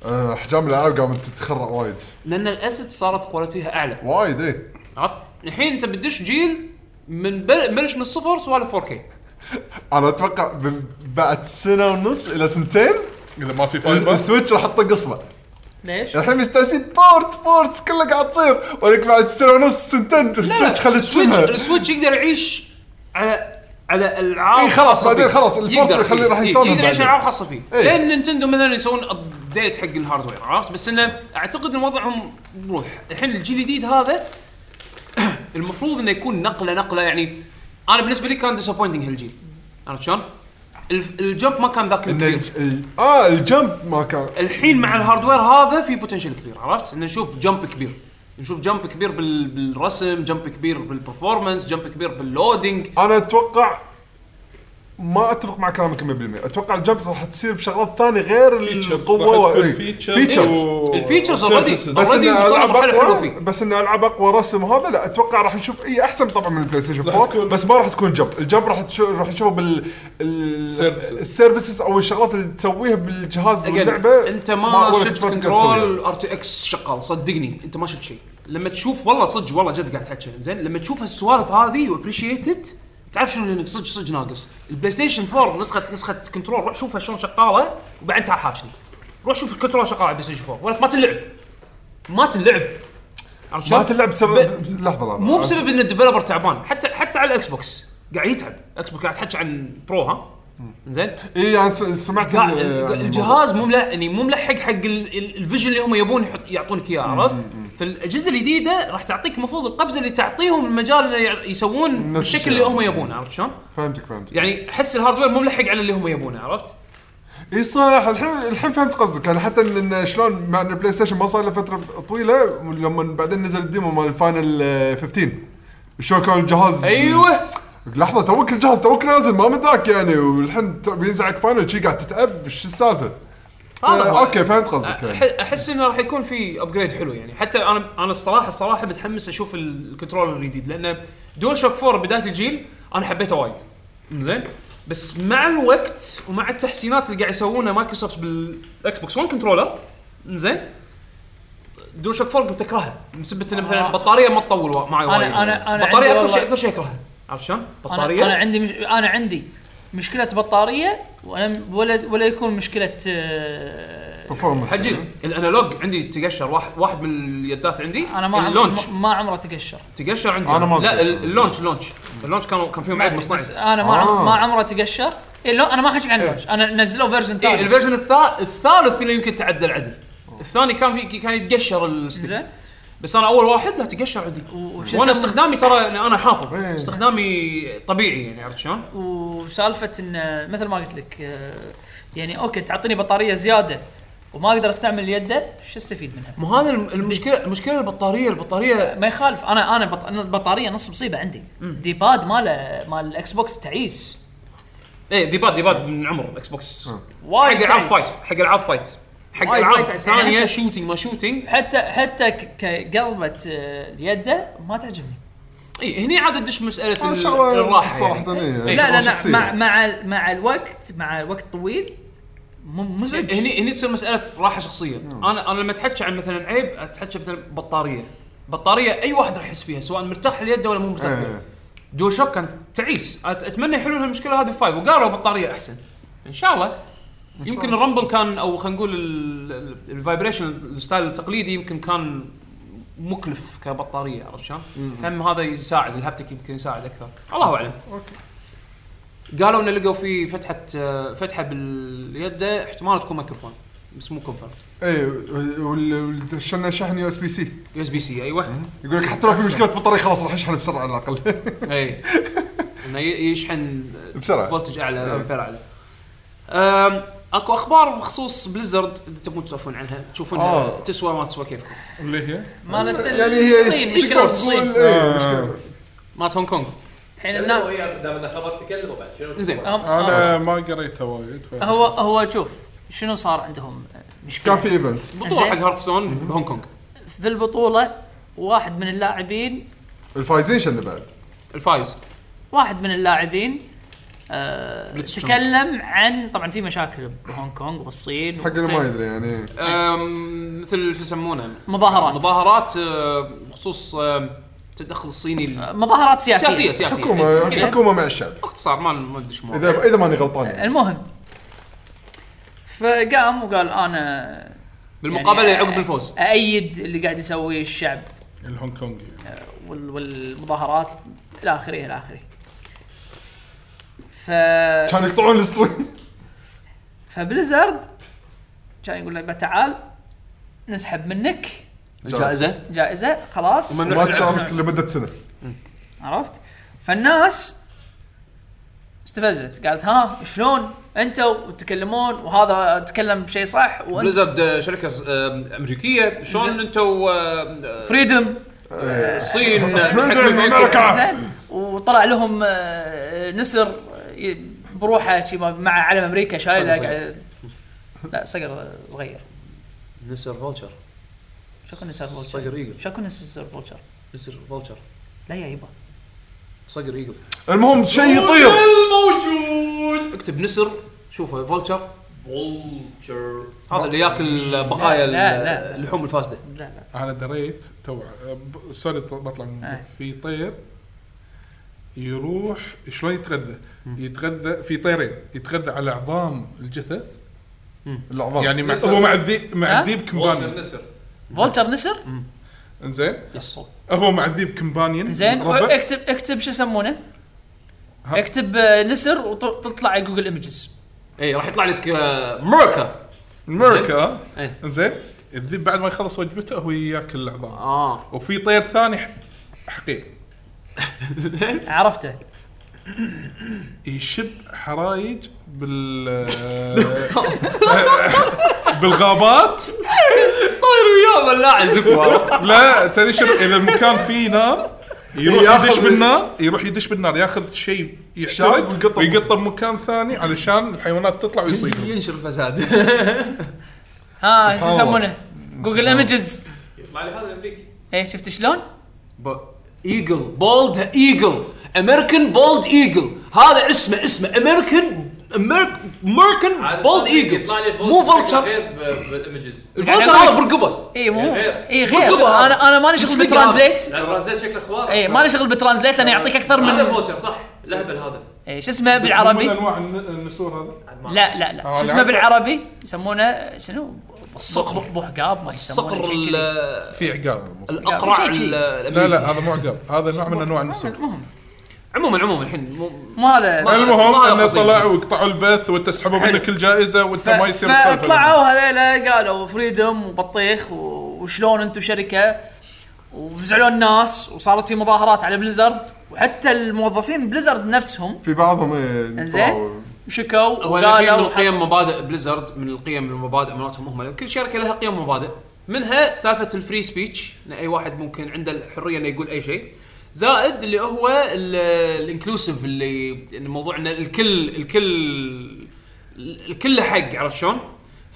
C: أه، احجام الالعاب قامت تتخرع وايد
A: لان الاسيت صارت كواليتيها اعلى
C: وايد ايه
A: عرفت الحين انت بتدش جيل من بل- بلش من الصفر سوالف 4K
C: انا اتوقع ب- بعد سنه ونص الى سنتين
B: اذا ما في
A: طيب.
C: ال-
B: فايبر
C: السويتش راح تطق اصبع
D: ليش؟
C: الحين مستانسين بورت بورت كله قاعد تصير ولك بعد سنه ونص سنتين السويتش خلت
A: السويتش
C: تشمها
A: السويتش يقدر يعيش على على العاب
C: إي إيه، خلاص،
A: خاصة
C: بعدين
A: فيه.
C: خلاص، البورت
A: يقدر-
C: يخلي- راح
A: إي-
C: يسولف
A: يقدر يعيش
C: بعدين.
A: على
C: إيه.
A: العاب خاصه فيه
C: إي.
A: لان نينتندو مثلا يسوون ابديت حق الهاردوير عرفت بس انه اعتقد ان وضعهم بروح الحين الجيل الجديد هذا المفروض انه يكون نقله نقله يعني انا بالنسبه لي كان ديسابوينتنج هالجيل عرفت شلون؟ الف- الجمب ما كان ذاك
C: إن
A: الكبير
C: ال- ال- اه الجمب ما كان
A: الحين مع الهاردوير هذا في بوتنشل كبير عرفت؟ انه نشوف جمب كبير نشوف جمب كبير بال- بالرسم، جمب كبير بالبرفورمانس، جمب كبير باللودينج،
C: انا اتوقع ما اتفق مع كلامك 100% اتوقع الجمبس راح تصير بشغلات ثانيه غير القوه إي. إيه. features.
A: الفيتشرز already-
C: بس ان
A: Already وصلنا
C: العاب
A: مرحلة حلوة
C: اقوى
A: فيه.
C: بس ان العاب اقوى رسم هذا لا اتوقع راح نشوف اي احسن طبعا من البلاي ستيشن
B: راح
C: 4
B: تكون-
C: بس ما راح تكون جمب الجمب راح تشو... راح نشوفه بال
B: Services.
C: السيرفيسز او الشغلات اللي تسويها بالجهاز
A: Again،
C: واللعبه
A: انت ما
C: ولا
A: شفت
C: تقدر تسويها.
A: كنترول ار تي اكس شغال صدقني انت ما شفت شيء لما تشوف والله صدق والله جد قاعد تحكي زين لما تشوف هالسوالف هذه وابريشيتد تعرف شنو لانك صدق صدق ناقص البلاي ستيشن 4 نسخه نسخه كنترول روح شوفها شلون شغاله وبعدين تعال حاشني روح شوف الكنترول شغاله على البلاي ستيشن 4 ولك ما تنلعب ما تنلعب عرفت شلون؟
C: ما تلعب بسبب
A: ب-
C: لحظه لحظه
A: مو بسبب ان الديفلوبر تعبان حتى حتى على الاكس بوكس قاعد يتعب اكس بوكس قاعد تحكي عن برو ها زين
C: اي يعني س- سمعت
A: لا
C: ال- عن الموضوع.
A: الجهاز مو ملحق يعني مو ملحق حق ال- ال- الفيجن اللي هم يبون يحط- يعطونك اياه عرفت؟ فالاجهزه الجديده راح تعطيك المفروض القفزه اللي تعطيهم المجال انه يع- يسوون
C: نفس
A: بالشكل
C: الشيء.
A: اللي هم يبونه عرفت شلون؟
C: فهمتك فهمتك
A: يعني احس الهاردوير مو ملحق على اللي هم يبونه عرفت؟
C: اي صراحه الحين الحين فهمت قصدك يعني حتى ان إن شلون مع ان البلاي ستيشن ما صار له فتره طويله لما بعدين نزل الديمو مال الفاينل آه، 15 شلون كان الجهاز
A: ايوه
C: آه، لحظه توك الجهاز توك نازل ما مداك يعني والحين ت- بينزعك فاينل شي قاعد تتعب شو السالفه؟
A: هذا هو. أه،
C: اوكي فهمت قصدك يعني.
A: أح- احس انه راح يكون في ابجريد حلو يعني حتى انا انا الصراحه الصراحه متحمس اشوف ال- الكنترولر الجديد لان دول شوك 4 بدايه الجيل انا حبيته وايد زين بس مع الوقت ومع التحسينات اللي قاعد يسوونها مايكروسوفت بالاكس بوكس 1 كنترولر زين دول شوك 4 كنت اكرهها بسبب انه مثلا
D: آه.
A: البطاريه ما تطول وا- معي
D: أنا-
A: وايد
D: أنا- أنا
A: بطاريه
D: عندي
A: اكثر شيء
D: والله-
A: اكثر شيء اكرهها عرفت شلون؟
D: انا
A: بطاريه
D: انا عندي مش... انا عندي مشكله بطاريه ولا ولا, ولا يكون مشكله آه،
C: performance.
A: حجي الانالوج عندي تقشر واحد واحد من اليدات عندي
D: انا ما
A: اللونش
D: عمري ما عمره تقشر
A: تقشر عندي
C: أنا ما
A: لا
C: أتقشر.
A: ال- اللونش اللونش اللونش كان كان فيهم عيب
D: بس
A: مصنعي
D: انا ما
C: آه.
D: آه. ما عمره تقشر إيه لو انا ما احكي عن اللونش انا نزلوا فيرجن
A: اي
D: ثاني
A: إيه، الفيرجن الثالث الثالث اللي يمكن تعدل عدل الثاني كان في كان يتقشر الستيك
D: زين
A: بس انا اول واحد لا تقشر عندي
D: وش
A: وانا
D: يسمون-
A: استخدامي ترى أنا- انا حافظ
C: إيه.
A: استخدامي طبيعي يعني عرفت شلون؟
D: وسالفه ان مثل ما قلت لك آه، يعني اوكي تعطيني بطاريه زياده وما اقدر استعمل يده شو استفيد منها؟
A: مو هذا الم- المشكله المشكله البطاريه البطاريه
D: ما يخالف انا انا بط... أنا البطاريه نص مصيبه عندي دي باد ماله مال الاكس بوكس تعيس
A: اي إيه، ديباد ديباد من عمر الاكس بوكس
C: آه.
A: حق
D: وايد
A: العاب
D: تعيس
A: فايت حق العاب فايت حق
D: وايد
A: العاب
D: وايد تعيس. يعني
A: ثانيه
D: حتى-
A: شوتنج ما شوتنج
D: حتى حتى ك- كقلبه آه، اليده ما تعجبني
A: اي إيه، هني عاد تدش مساله
C: أنا
A: ال-
C: شغلة
A: الراحه يعني.
C: صراحه إيه،
D: لا لا
C: شغلة
D: لا
C: شخصية.
D: مع مع ال- مع الوقت مع وقت طويل م-
C: إيه،
D: مزعج
A: هني هني تصير مساله راحه شخصيه انا انا لما اتحكى عن مثلا عيب اتحكى مثلا بطاريه بطاريه اي واحد راح يحس فيها سواء مرتاح اليد ولا مو مرتاح اليد
C: إيه.
A: دول شوك كان تعيس أت- اتمنى يحلون هالمشكله هذه فايف وقالوا بطاريه احسن ان شاء الله يمكن الرامبل كان او خلينا نقول ال- ال- الفايبريشن الستايل التقليدي يمكن كان مكلف كبطاريه عرفت شلون؟ هم هذا يساعد الهابتك يمكن يساعد اكثر الله اعلم قالوا انه لقوا فيه فتحه آه، فتحه باليد احتمال تكون ميكروفون بس مو كونفرت
C: اي والشنه شحن يو اس بي سي
A: يو اس بي سي ايوه
C: يقول لك حتى لو في مشكله بطاريه خلاص راح يشحن بسرعه على الاقل
A: اي انه إيه. ي- يشحن آه،
C: بسرعة.
A: فولتج اعلى
C: إيه.
A: امبير اعلى أم، اكو اخبار بخصوص بليزرد اذا تبون تسولفون عنها تشوفونها
C: آه.
A: تسوى ما تسوى كيفكم
B: اللي هي
D: مالت
C: يعني هي
D: الصين مشكله
C: تقدر
D: الصين
C: تقول
B: آه.
C: إيه، مشكلة.
A: مالت هونغ كونغ
D: الحين الناس
E: دام انه خبر تكلموا بعد شنو
A: زين.
E: تبغى؟
D: هم- آه،
B: انا ما قريتها وايد ف-
D: هو هو شوف شنو صار عندهم مشكله
C: كان في ايفنت
A: بطوله
D: زين.
A: حق هارتسون بهونغ كونغ
D: في البطوله واحد من اللاعبين
C: الفايزين شنو بعد
A: الفايز
D: واحد من اللاعبين آه
A: بليتستون.
D: تكلم عن طبعا في مشاكل بهونغ كونغ والصين
C: حق اللي
D: طيب.
C: ما يدري يعني
A: أم، مثل شو يسمونه
D: مظاهرات
A: مظاهرات آه، بخصوص آه، التدخل الصيني ال-
D: مظاهرات سياسيه
A: سياسيه سياسيه
C: حكومه
A: إيه.
C: حكومه مع الشعب
A: باختصار ما ما ادش موضوع.
C: اذا اذا ماني غلطان يعني
D: المهم فقام وقال انا
A: بالمقابله
D: يعني
A: عقب الفوز
D: ايد اللي قاعد يسويه الشعب
B: الهونغ كونغ يعني.
D: وال- والمظاهرات الى اخره الى اخره ف
C: كان يقطعون الستريم
D: فبليزرد كان يقول لك تعال نسحب منك
A: الجائزه
D: جائزه خلاص
A: ومن-
C: ما تشارك لمده سنه
D: عرفت فالناس استفزت قالت ها شلون انتوا تتكلمون وهذا تكلم بشيء صح وانت
A: بليزرد آه، شركه آه، امريكيه شلون
D: زين.
A: انتم آه،
D: فريدم
A: الصين آه،
C: Freedom
A: تحكموا فيكم.
C: America.
D: زين وطلع لهم آه، نسر آه، بروحه شي ما- مع علم امريكا شايله
A: صقر صقر.
D: قاعد- لا صقر صغير
A: نسر فولتشر
D: شكو نسر
A: صقر
D: فولتشر
A: ايجل
D: شكو نسر فولتشر
A: نسر فولتشر
D: لا يا يبا
A: صقر ايجل
C: المهم شيء يطير
E: الموجود
A: اكتب نسر شوفه فولتشر
E: فولتشر
A: هذا اللي ياكل بقايا
D: لا، لا، لا.
A: اللحوم الفاسده
D: لا لا
B: انا دريت تو ب- سوري ط- بطلع من الموضوع.
D: آه.
B: في طير يروح شلون يتغذى؟ يتغذى في طيرين يتغذى على عظام الجثث
C: العظام
B: يعني مع
E: نسر.
B: هو مع الذيب مع
D: ها؟
B: الذيب
E: فولتشر
B: كمبانيون
E: نسر
D: فولتشر نسر
B: انزين
A: يس
B: هو مع الذيب كمبانيون
D: زين
B: ربع.
D: اكتب اكتب شو يسمونه؟
B: ها.
D: اكتب آه، نسر وتطلع جوجل ايمجز
A: اي إيه، راح يطلع لك آه، ميركا
B: امريكا
A: إيه.
B: انزين الذيب بعد ما يخلص وجبته هو ياكل العظام
D: آه.
A: اه
B: وفي طير ثاني ح- حقير
D: عرفته
B: يشب حرايج بال بالغابات
A: طاير وياه بلاع زفوه
B: لا تدري شنو اذا المكان فيه نار يروح
C: ياخذ-
B: يدش بالنار يروح يدش بالنار ياخذ شيء يحترق
C: شاب ويقطه.
B: ويقطه بمكان ثاني علشان الحيوانات تطلع ويصيدهم
A: ينشر الفساد
D: ها شو
C: سبحان
D: يسمونه جوجل
C: سبحان
D: ايمجز
E: يطلع لي هذا الامريكي
D: ايه شفت شلون؟
A: ايجل بولد ايجل امريكان بولد ايجل هذا اسمه اسمه امريكان امريكان
E: عادة
A: بولد ايجل
E: يطلع لي يعني
A: مو فولتشر
E: غير ب- بالايمجز
A: الفولتشر هذا برقبه
D: اي إيه، مو
E: غير.
D: اي
A: بالضبط.
D: غير انا انا ماني شغل
A: مش لقى
D: بالترانزليت
E: لا ترانزليت شكله خوار
A: إيه،
D: اي ماني شغل بالترانزليت لانه يعطيك اكثر
E: هذا
D: من
E: الفولتشر صح الاهبل هذا
D: اي إيه، شو اسمه
B: من
D: بالعربي؟
B: انواع الن- النسور هذا
E: عاد ما أعرف.
D: لا لا لا
B: آه،
D: شو اسمه
B: العربي.
D: بالعربي يسمونه شنو؟
A: الصقر.
D: بوحقاب ما يسمونه
A: الصقر
D: شيء
A: ال-
D: كذي.
B: في عقاب
A: الاقرع
D: شيء شيء.
A: ال-
B: لا
A: الأمريكي.
B: لا هذا مو عقاب هذا نوع من انواع النسور
D: المهم
A: عموما عموما الحين مو
D: مو هذا
A: ما-
B: المهم
A: ما
B: انه
A: قصدي.
B: طلعوا وقطعوا البث وانت سحبوا منك الجائزه وانت ما يصير تسولف عنه.
D: فطلعوا هذيلا قالوا فريدم وبطيخ و- وشلون انتم شركه وزعلوا الناس وصارت في مظاهرات على بليزرد وحتى الموظفين بليزرد نفسهم
C: في بعضهم إيه،
D: إنزين.
C: طلعوا.
D: شكوا
A: هو الحين من
D: وقالوا
A: قيم مبادئ بليزرد من القيم المبادئ مالتهم هم يعني كل شركه لها قيم ومبادئ منها سالفه الفري سبيتش ان اي واحد ممكن عنده الحريه انه يقول اي شيء زائد اللي هو ال- الانكلوسيف اللي إن الموضوع ان الكل الكل الكل له حق عرفت شلون؟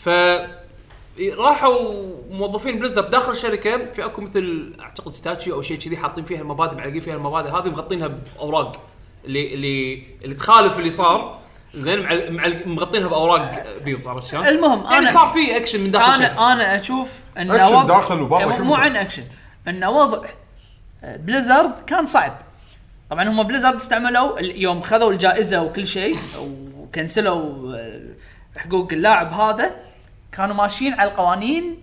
A: ف راحوا موظفين بليزرد داخل الشركه في اكو مثل اعتقد ستاتشي او شيء كذي حاطين فيها المبادئ معلقين فيها المبادئ هذه مغطينها باوراق اللي اللي اللي تخالف اللي صار زين معل- معل- مغطينها باوراق بيض عرفت شلون؟
D: المهم
A: يعني
D: أنا-
A: صار في اكشن من داخل الشركه
D: انا انا اشوف ان
C: أكشن
D: وضع-
C: داخل وبرا
D: إيه، مو- مو
C: كله.
D: عن اكشن ان وضع بليزرد كان صعب طبعا هم بليزرد استعملوا ال- يوم خذوا الجائزه وكل شيء وكنسلوا آه، حقوق اللاعب هذا كانوا ماشيين على القوانين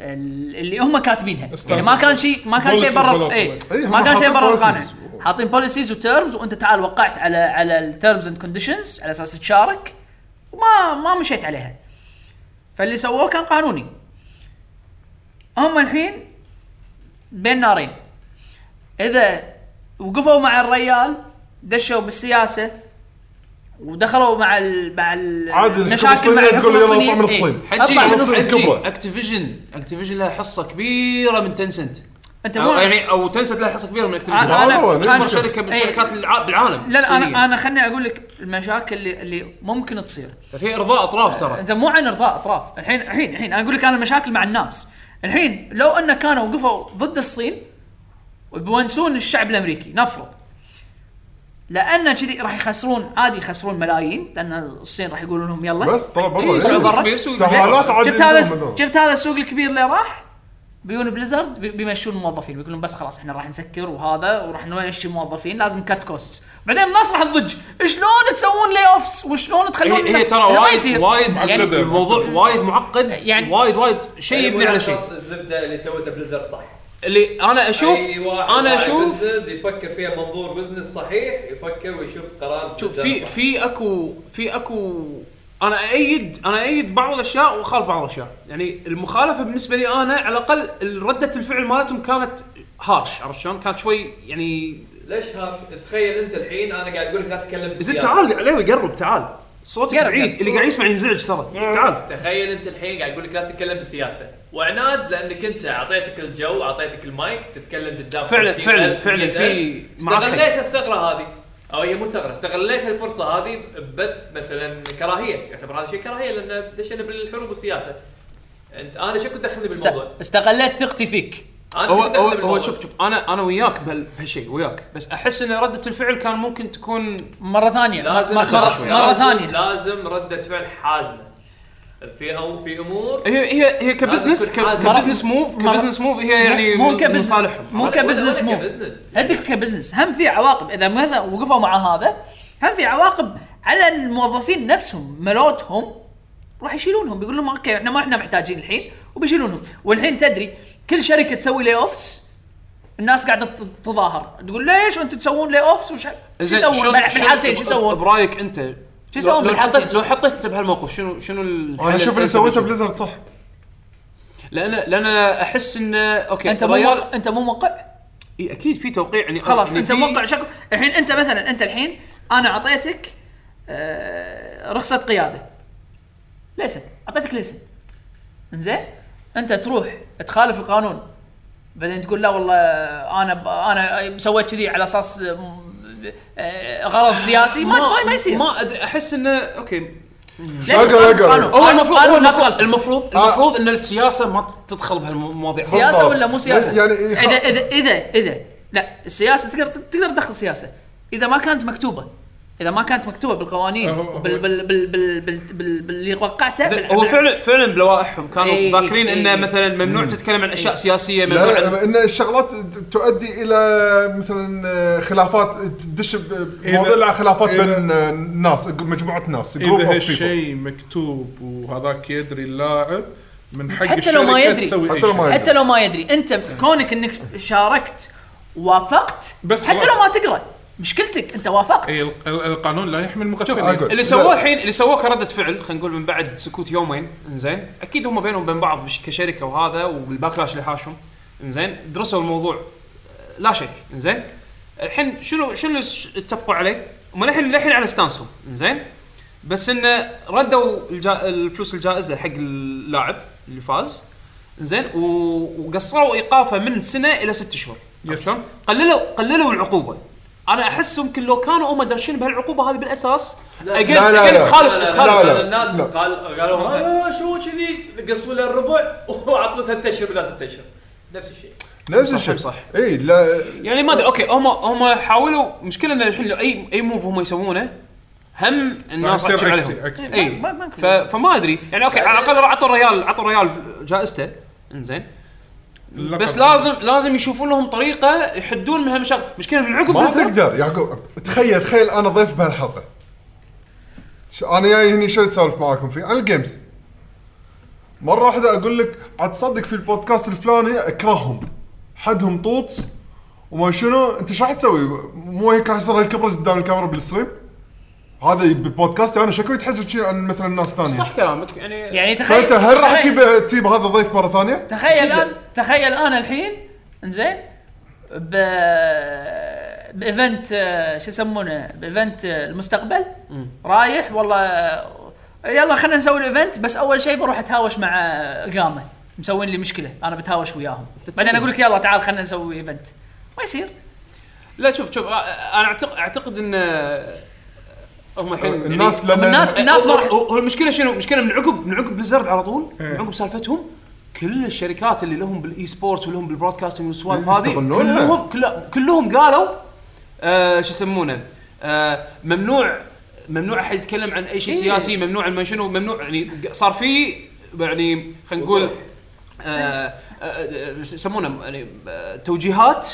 D: ال- اللي هم كاتبينها يعني ما كان شيء ما كان شيء
B: Policies
D: برا
B: بالوضع.
D: اي
C: إيه، هم
D: ما كان شيء
C: حاطين
D: برا
C: policies.
D: القانون حاطين بوليسيز وتيرمز وانت تعال وقعت على على التيرمز اند كونديشنز على اساس تشارك وما ما مشيت عليها فاللي سووه كان قانوني هم الحين بين نارين اذا وقفوا مع الريال دشوا بالسياسه ودخلوا مع ال مع ال-
C: عاد الحكومة
D: مشاكل مع
C: الصينية تقول يلا
D: الحكومه
C: اطلع من
D: الصينيه إيه.
C: الصين
A: حجي
D: اطلع من
C: الصين كبرى.
A: اكتيفيجن اكتيفيجن لها حصه كبيره من تنسنت
D: انت مو
A: او يعني او تنسنت لها حصه كبيره من اكتيفيجن
D: أنا-
C: هذا هو،
D: أنا-
A: اكبر
C: نفس الشيء.
A: شركه من
D: إيه.
A: الشركات الع- بالعالم
D: لا لا
A: الصينية.
D: انا انا خليني اقول لك المشاكل اللي اللي ممكن تصير
A: ففي ارضاء اطراف ترى
D: انت مو عن ارضاء اطراف الحين الحين الحين انا اقول لك انا المشاكل مع الناس الحين لو انه كانوا وقفوا ضد الصين وبيونسون الشعب الامريكي نفرض لان كذي راح يخسرون عادي يخسرون ملايين لان الصين راح يقولون لهم يلا
C: بس ترى برا
A: إيه،
C: إيه.
A: سوق كبير، سوق كبير.
C: سهالات عادي
D: شفت هذا
C: عندهم هذول.
D: شفت هذا السوق الكبير اللي راح بيون بليزرد بي- بيمشون الموظفين بيقولون بس خلاص احنا راح نسكر وهذا وراح نمشي موظفين لازم كات كوست بعدين الناس راح تضج شلون تسوون لاي اوفس وشلون تخلون
A: هي, هي ترى
D: لا ما
A: وايد
D: يصير.
A: وايد يعني
B: معقدة.
A: الموضوع وايد معقد يعني
D: يعني-
A: وايد وايد شيء
E: أيوة،
A: يبني على شيء
E: الزبده اللي سوته بليزرد صح
A: اللي انا اشوف
E: أي أيوة، واحد
A: انا
E: صاحب
A: اشوف
E: بزنس يفكر فيها منظور بزنس صحيح يفكر ويشوف قرار
A: شوف
E: بزنس
A: في
E: صح.
A: في اكو في اكو انا ايد انا ايد بعض الاشياء واخالف بعض الاشياء يعني المخالفه بالنسبه لي انا على الاقل رده الفعل مالتهم كانت هارش عرفت شلون كانت شوي يعني
E: ليش هاف تخيل انت الحين انا قاعد اقول لك لا تتكلم
A: زين
E: بالسياسة.
A: تعال عليوي قرب تعال صوتك
D: قرب،
A: بعيد
D: قرب.
A: اللي قاعد يسمع ينزعج ترى تعال
E: تخيل انت الحين قاعد اقول لك لا تتكلم بالسياسه وعناد لانك انت اعطيتك الجو اعطيتك المايك تتكلم قدام
A: فعلا-
E: 50,000
A: فعلا- فعلا
E: 100,000.
A: في- معك حق.
E: استغليت الثغره هذه او هي مو ثغره استغليت الفرصه هذه ببث مثلا كراهيه يعتبر هذا شيء كراهيه لان دشينا بالحروب والسياسه انت انا شو كنت دخلني
D: است-
E: بالموضوع؟
D: استغليت ثقتي فيك
E: انا شو
A: هو
E: كنت دخلني
A: هو, هو
E: بالموضوع؟
A: شوف شوف انا انا وياك بهال- بهالشيء وياك بس احس ان رده الفعل كان ممكن تكون
D: مره ثانيه
E: لازم
D: مرة, مرة, مرة
E: لازم-
D: ثانيه
E: لازم رده فعل حازمه في او في امور
A: هي هي هي كبزنس
E: تكون حازم.
A: كبزنس موف
D: مرة-
A: كبزنس موف هي يعني
D: مو
A: من- من
D: كبزنس-
A: صالحهم
D: مو كبزنس مو
E: كبزنس.
D: هدك كبزنس هم في عواقب اذا مثلا وقفوا مع هذا هم في عواقب على الموظفين نفسهم ملوتهم راح يشيلونهم بيقول لهم اوكي احنا ما احنا محتاجين الحين وبيشيلونهم والحين تدري كل شركه تسوي لي اوفس الناس قاعده تت- تتظاهر تقول ليش انتم تسوون لي اوفس وش شو
A: زين،
D: يسوون
A: شلون- شلون
D: بالحالتين شو
A: ب-
D: يسوون
A: برايك انت شو
D: يسوون
A: لو حطيت
D: بالحالتين؟
A: لو حطيت انت بهالموقف شنو شنو الحل
B: يعني
C: انا اشوف اللي
A: الفلسفي
C: سويته
A: شنو؟
C: بليزرد صح
A: لان لان احس انه اوكي
D: انت مو
A: ريال-
D: موقع انت مو موقع
A: إي، اكيد في توقيع يعني
D: خلاص
A: يعني
D: انت
A: في-
D: موقع شكو الحين انت مثلا انت الحين انا اعطيتك آه، رخصه قياده ليسن اعطيتك ليسن زين انت تروح تخالف القانون بعدين تقول لا والله انا ب... انا سويت كذي على اساس آه، آه، غرض سياسي ما ما, ما يصير
A: ما ادري احس انه اوكي
D: ليش
C: أقل- أقل.
D: قانون؟
A: هو المفروض هو
D: قانون ما
A: المفروض
D: تخالفه.
A: المفروض,
C: آه.
A: المفروض ان السياسه ما تدخل بهالمواضيع
D: سياسه
C: بالضبط.
D: ولا مو سياسه؟
C: يعني يخ-
D: اذا اذا اذا اذا لا السياسه تقدر تقدر تدخل سياسه اذا ما كانت مكتوبه اذا ما كانت مكتوبه بالقوانين
B: هو- هو-
D: بال بال بال بال بال بال باللي وقعته
A: زين،
D: بال-
A: هو
D: بال-
A: فعلا فعلا بلوائحهم كانوا
D: إيه،
A: ذاكرين
D: إيه.
A: انه مثلا ممنوع تتكلم عن اشياء سياسيه ممنوع
C: لا
A: عن-
C: لا، ان الشغلات تؤدي الى مثلا خلافات تدش بموضوع
B: إذا-
C: خلافات
B: إذا-
C: بين الناس مجموعه ناس group
B: اذا
C: of
B: هالشيء مكتوب وهذاك يدري اللاعب من حق
D: حتى لو ما
B: الشركة
D: يدري.
B: تسوي أي
C: حتى لو ما
B: شيء.
C: يدري.
D: حتى لو ما يدري انت كونك انك شاركت وافقت
B: بس
D: حتى
B: خلاص. إيه.
D: لو ما تقرا مشكلتك انت وافقت
B: اي ال- ال- القانون لا يحمي
C: أقول.
B: المغفلين
A: اللي سووه
C: لا.
A: الحين اللي سووه كرده فعل خلينا نقول من بعد سكوت يومين انزين اكيد هم بينهم وبين بعض بش- كشركه وهذا والباكلاش اللي حاشهم انزين درسوا الموضوع آه، لا شك انزين الحين شنو شنو اللي ش- اتفقوا عليه؟ هم الحين للحين على ستانسهم انزين بس انه ردوا الجا... الفلوس الجائزه حق اللاعب اللي فاز زين و... وقصروا ايقافه من سنه الى ست شهور عرفت
B: Yes.
A: شلون؟ قللوا قللوا العقوبه انا احس يمكن لو كانوا هم دارشين بهالعقوبه هذه بالاساس
E: لا.
A: أجين-
C: لا، لا،
A: أجين
C: لا.
A: تخالف
E: لا، لا،
A: تخالف
C: لا، لا.
E: الناس
C: لا.
E: قال قالوا هذا آه، شو كذي قصوا له الربع وعطوا ثلاث اشهر بدل ست اشهر نفس الشيء
C: people. نفس الشيء
A: صح.
C: اي لا
A: يعني ما ادري اوكي هم هم حاولوا مشكله ان الحين لو اي اي موف هم يسوونه هم الناس
B: يصير
A: راح تشيك
B: عكسي-
A: عليهم
B: عكسي.
A: اي
D: ما- ما-
A: ف... فما ادري يعني اوكي على الاقل عطوا الريال عطوا الريال جائزته انزين
B: اللقب.
A: بس لازم لازم يشوفون لهم طريقه يحدون من هالمشاكل مشكله بالعقب
C: ما
A: نفسها-
C: تقدر يعقوب تخيل تخيل انا ضيف بهالحلقه ش- انا جاي هني شو اسولف معاكم فيه عن الجيمز مره واحده اقول لك عاد تصدق في البودكاست الفلاني اكرههم حدهم طوط وما شنو انت ايش راح تسوي؟ مو هيك راح يصير هالكبره قدام الكاميرا بالستريم؟ هذا ببودكاستي انا شكوي يتحجج شي عن مثلا ناس ثانيه
A: صح كلامك يعني
D: يعني تخيل
C: فانت هل راح
D: تخيل-
C: تجيب تجيب هذا الضيف مره ثانيه؟
D: تخيل الان تخيل انا الحين انزين ب بايفنت آه، شو يسمونه بايفنت آه، المستقبل رايح والله آه، يلا خلينا نسوي الايفنت بس اول شيء بروح اتهاوش مع آه، قامه مسوين لي مشكله انا بتهاوش وياهم بعدين اقول لك يلا تعال خلينا نسوي ايفنت ما يصير
A: لا شوف شوف آه، انا اعتقد اعتقد ان آه، هم الحين يعني-
C: الناس لما
D: الناس الناس ما
A: هو-
D: راح
A: هو المشكله شنو؟ المشكله من عقب من عقب بليزرد على طول
D: إيه.
A: من عقب سالفتهم كل الشركات اللي لهم بالاي سبورت ولهم بالبرودكاستنج والسوالف هذه
C: يستغلونها.
A: كلهم كل- كلهم قالوا آه شو يسمونه آه ممنوع ممنوع احد يتكلم عن اي شيء
D: إيه.
A: سياسي ممنوع عن ما شنو ممنوع يعني صار في يعني خلينا نقول آه، آه، يسمونه يعني آه، توجيهات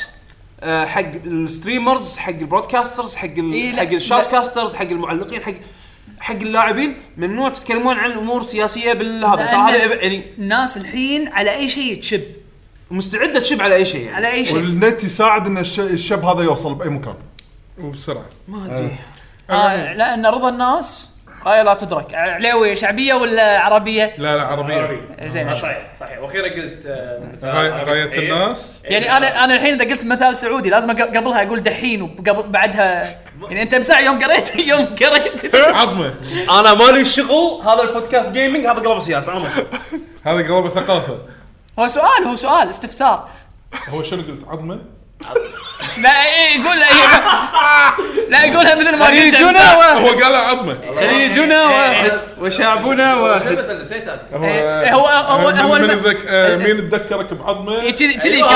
A: آه، حق الستريمرز حق البرودكاسترز حق ال-
D: إيه، لا،
A: حق الشارتكاسترز حق المعلقين حق حق اللاعبين ممنوع تتكلمون عن امور سياسيه بالهذا ترى
D: لأن-
A: هذا يعني
D: الناس الحين على اي شيء تشب
A: مستعده تشب على اي شيء يعني
D: على اي شيء
C: والنت يساعد ان الش- الشاب هذا يوصل باي مكان
B: وبسرعه
A: ما ادري
D: آه لان رضا الناس قايه لا تدرك عليوي شعبيه ولا عربيه
B: لا لا عربيه
D: زين.
E: آه، صحيح صحيح واخيرا قلت آه، مثال
B: غاية-
E: عربي
B: غاية
E: صحيح.
B: الناس.
E: إيه.
D: يعني انا انا الحين اذا قلت مثال سعودي لازم أق- قبلها اقول دحين وقبل بعدها يعني انت مساع يوم قريت يوم قريت
B: عظمه
A: انا مالي شغل هذا البودكاست جيمنج هذا قلب سياسه انا
B: هذا قلبه ثقافه
D: هو سؤال هو سؤال استفسار
B: هو شنو قلت عظمه؟
D: لا إيه، يقول لا يقولها مثل ما قلت
A: خليجنا
B: هو
D: أمس.
B: قال عظمه
A: خليجنا واحد وشعبنا إيه. واحد
E: شو نسيت هذا
B: هو أه،
D: إيه، هو- هو-
B: من-
D: هو
B: من
D: الم-
B: يتذك- آه، مين تذكرك بعظمه؟
D: إيه، كذي كذي
E: أيوة.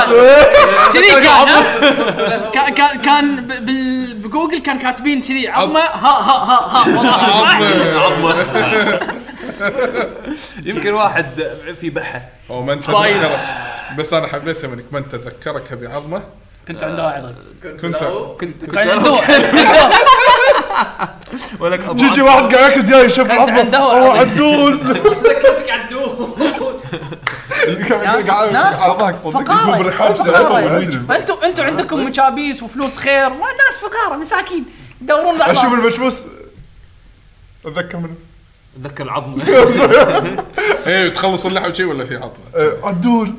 D: كان كذي كان ها؟ كان- كان كان ب- بال- بجوجل كان كاتبين كذي عظمه ها ها ها ها والله صح
B: عظمه
A: يمكن واحد في بحه
B: هو من
D: بايظ.
B: تذكرك بس انا حبيتها منك من تذكرك بعظمه
D: كنت عنده ايضا
B: كنت
A: كنت
D: كان عنده
A: ولك ابو
C: جي جي واحد قاعد ياكل دياي شاف
D: كانت
C: العظمه
D: عنده
C: هو
D: عظمة.
C: عدول
E: تذكرتك عدو
C: قاعد-
D: ناس
C: قاعد-
D: ناس
C: على ضحك صدق يقوم
D: فقاره
C: بالحبس
D: فقاره انتم انتم عندكم مشابيس وفلوس خير ما الناس فقاره مساكين يدورون
C: اشوف
D: لحظه
C: المشمس اتذكر منه
A: اتذكر العظمه
B: اي إيه، تخلص اللحم شي ولا في عظمه؟
C: آه، عدول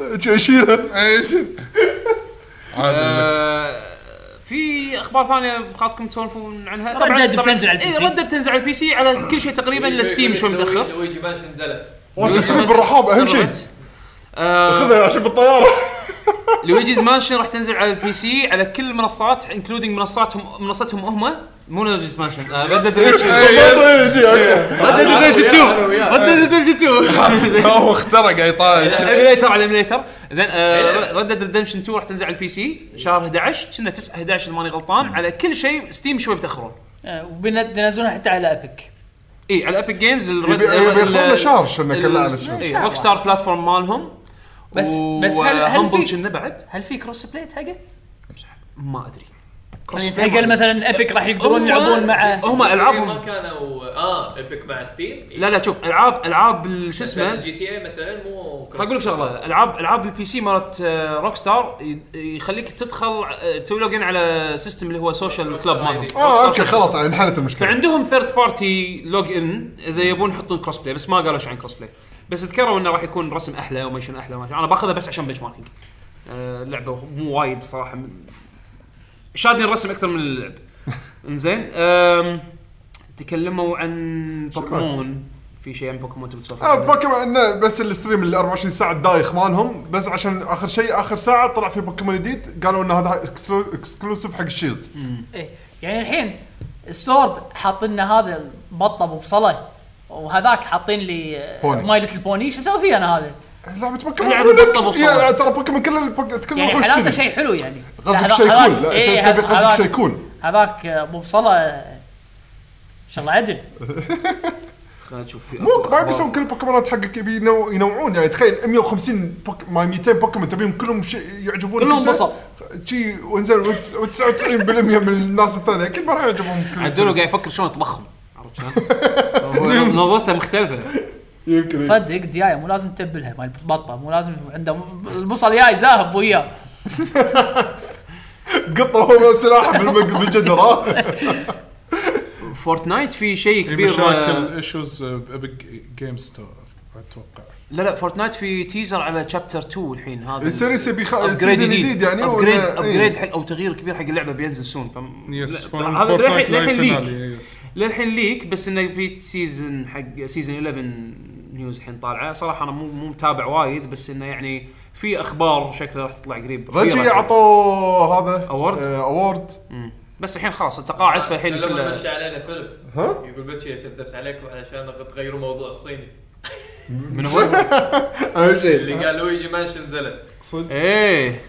C: آه، شي- شيله
B: ايش؟
A: أه،
B: عادل لك.
A: آه، في اخبار ثانيه بخاطركم تسولفون عنها
D: ردة بتنزل على البي سي.
A: اي ردة بتنزل على البي سي على كل شيء تقريبا الا ستيم شوي متاخر
E: لويجي مانشن نزلت
C: وانت تسلم بالرحاب اهم شيء
A: سرعت. آه،
C: خذها عشان بالطياره
A: لويجيز مانشن راح تنزل على البي سي على كل المنصات انكلودينج منصاتهم منصتهم هم مو نرجي سماش ريد ديد ريدمشن
C: يجي اوكي
A: ريد ديد ريدمشن 2 ريد ديد ريدمشن 2 زين
B: هو اخترق اي طاش
A: ايميليتر على ايميليتر زين آه،
D: إيه.
A: ريد ديد ريدمشن 2 راح تنزل على البي سي شهر 11 كنا 9 11 إذا ماني غلطان على كل شيء ستيم شوي متاخرون
D: وبينزلونها آه، حتى على ابيك
A: اي إيه، على ابيك جيمز
C: يبي- يبي يخلنا شهر شنو كله على شنو
D: شهر.
A: روك ستار بلاتفورم إيه، مالهم
D: بس بس هل هل
A: هامبل
D: في
A: كنا بعد
D: هل في كروس بلاي حقه؟
A: ما ادري
D: يعني حق مثلا ابيك راح يقدرون يلعبون مع
A: هم
G: ما
A: العابهم
G: كانوا اه ايبك مع ستيم
A: لا لا شوف العاب العاب ال- شو
G: مثلاً
A: اسمه
G: جي تي اي مثلا مو
A: راح اقول لك شغله العاب العاب البي سي مالت آه، روك ستار ي- يخليك تدخل آه، تسوي لوجن على سيستم اللي هو سوشيال
G: روك
A: كلاب
G: ستار
A: مالهم
G: ID.
C: اه اوكي خلاص يعني انحلت المشكله
A: فعندهم ثيرد بارتي لوج ان اذا يبون يحطون كروس بلاي بس ما قالوا ايش عن كروس بلاي بس ذكروا انه راح يكون رسم احلى وما شنو احلى وما شنو. انا باخذها بس عشان بنش ماركينج آه، اللعبه مو وايد صراحه م- شادني الرسم اكثر من اللعب انزين آم، تكلموا عن بوكيمون في شيء عن بوكيمون تبي تسولف
C: آه
A: عنه؟
C: بوكيمون انه بس الستريم ال 24 ساعه الدايخ مالهم بس عشان اخر شيء اخر ساعه طلع في بوكيمون جديد قالوا ان هذا اكسكلوسيف حق الشيلد
D: إيه. يعني الحين السورد حاطين لنا هذا البطه ابو بصله وهذاك حاطين لي آه،
C: بوني.
D: ماي ليتل بوني شو اسوي فيه انا هذا؟
C: لعبه بوكيمون
A: لعبة
C: يقول لك-
A: بالطبع صعبة.
C: يعني ترى بوكيمون كل البوك- كل
D: يعني
C: الوحوش
D: حالاته
C: كذي.
D: شيء حلو يعني
C: قصدك
D: هذا-
C: شيء
D: هذاك-
C: كول لا
D: إيه،
C: أنت- تبي قصدك
D: هذاك-
C: شيء كول
D: هذاك آه، ابو بصله آه، ان شاء الله عدل
A: خلينا نشوف في
C: مو
A: أكو
C: ما
A: أخبار.
C: بيسوون كل البوكيمونات حقك يبي ينو- ينوعون يعني تخيل 150 بوك... ما 200 بوكيمون تبيهم كلهم شيء يعجبونك
D: كلهم
C: أنت.
D: بصل.
C: شي وانزين وت- و99% من الناس الثانيه اكيد ما راح يعجبهم
A: عدلو
C: كلهم
A: قاعد يفكر شلون يطبخهم عرفت شلون؟ هو نظرته مختلفه
C: يمكن إيه.
D: صدق ديايه مو لازم تبلها مال بطه مو لازم عنده البصل جاي زاهب وياه
C: تقطه هو سلاحه بالمق- بالجدر ها
A: فورتنايت في شيء
B: في
A: كبير آه،
B: مشاكل ايشوز بابيك جيم ستور اتوقع
A: لا لا فورتنايت في تيزر على تشابتر 2 الحين هذا
C: السيريس يبي خ-
A: ابجريد
C: سيزن
A: جديد
C: جديد يعني ولا-
A: ابجريد
C: إيه.
A: ابجريد حق او تغيير كبير حق اللعبه بينزل سون فم...
B: يس
A: لا- هذا للحين- للحين ليك
B: يس
A: للحين ليك بس انه في سيزون حق سيزون 11 نيوز الحين طالعه صراحه انا مو مو متابع وايد بس انه يعني في اخبار شكلها راح تطلع قريب
C: رجي
A: كبيرة.
C: اعطوه هذا
A: Award.
C: آه، اوورد
A: مم. بس الحين خلاص التقاعد فالحين
G: كله
A: كله
G: مشى علينا فيلم
C: ها؟
G: يقول بتشي كذبت عليكم علشان تغيروا موضوع الصيني
A: من هو؟
C: اهم
G: اللي
C: شيء
G: قال لويجي مانشن نزلت
A: ايه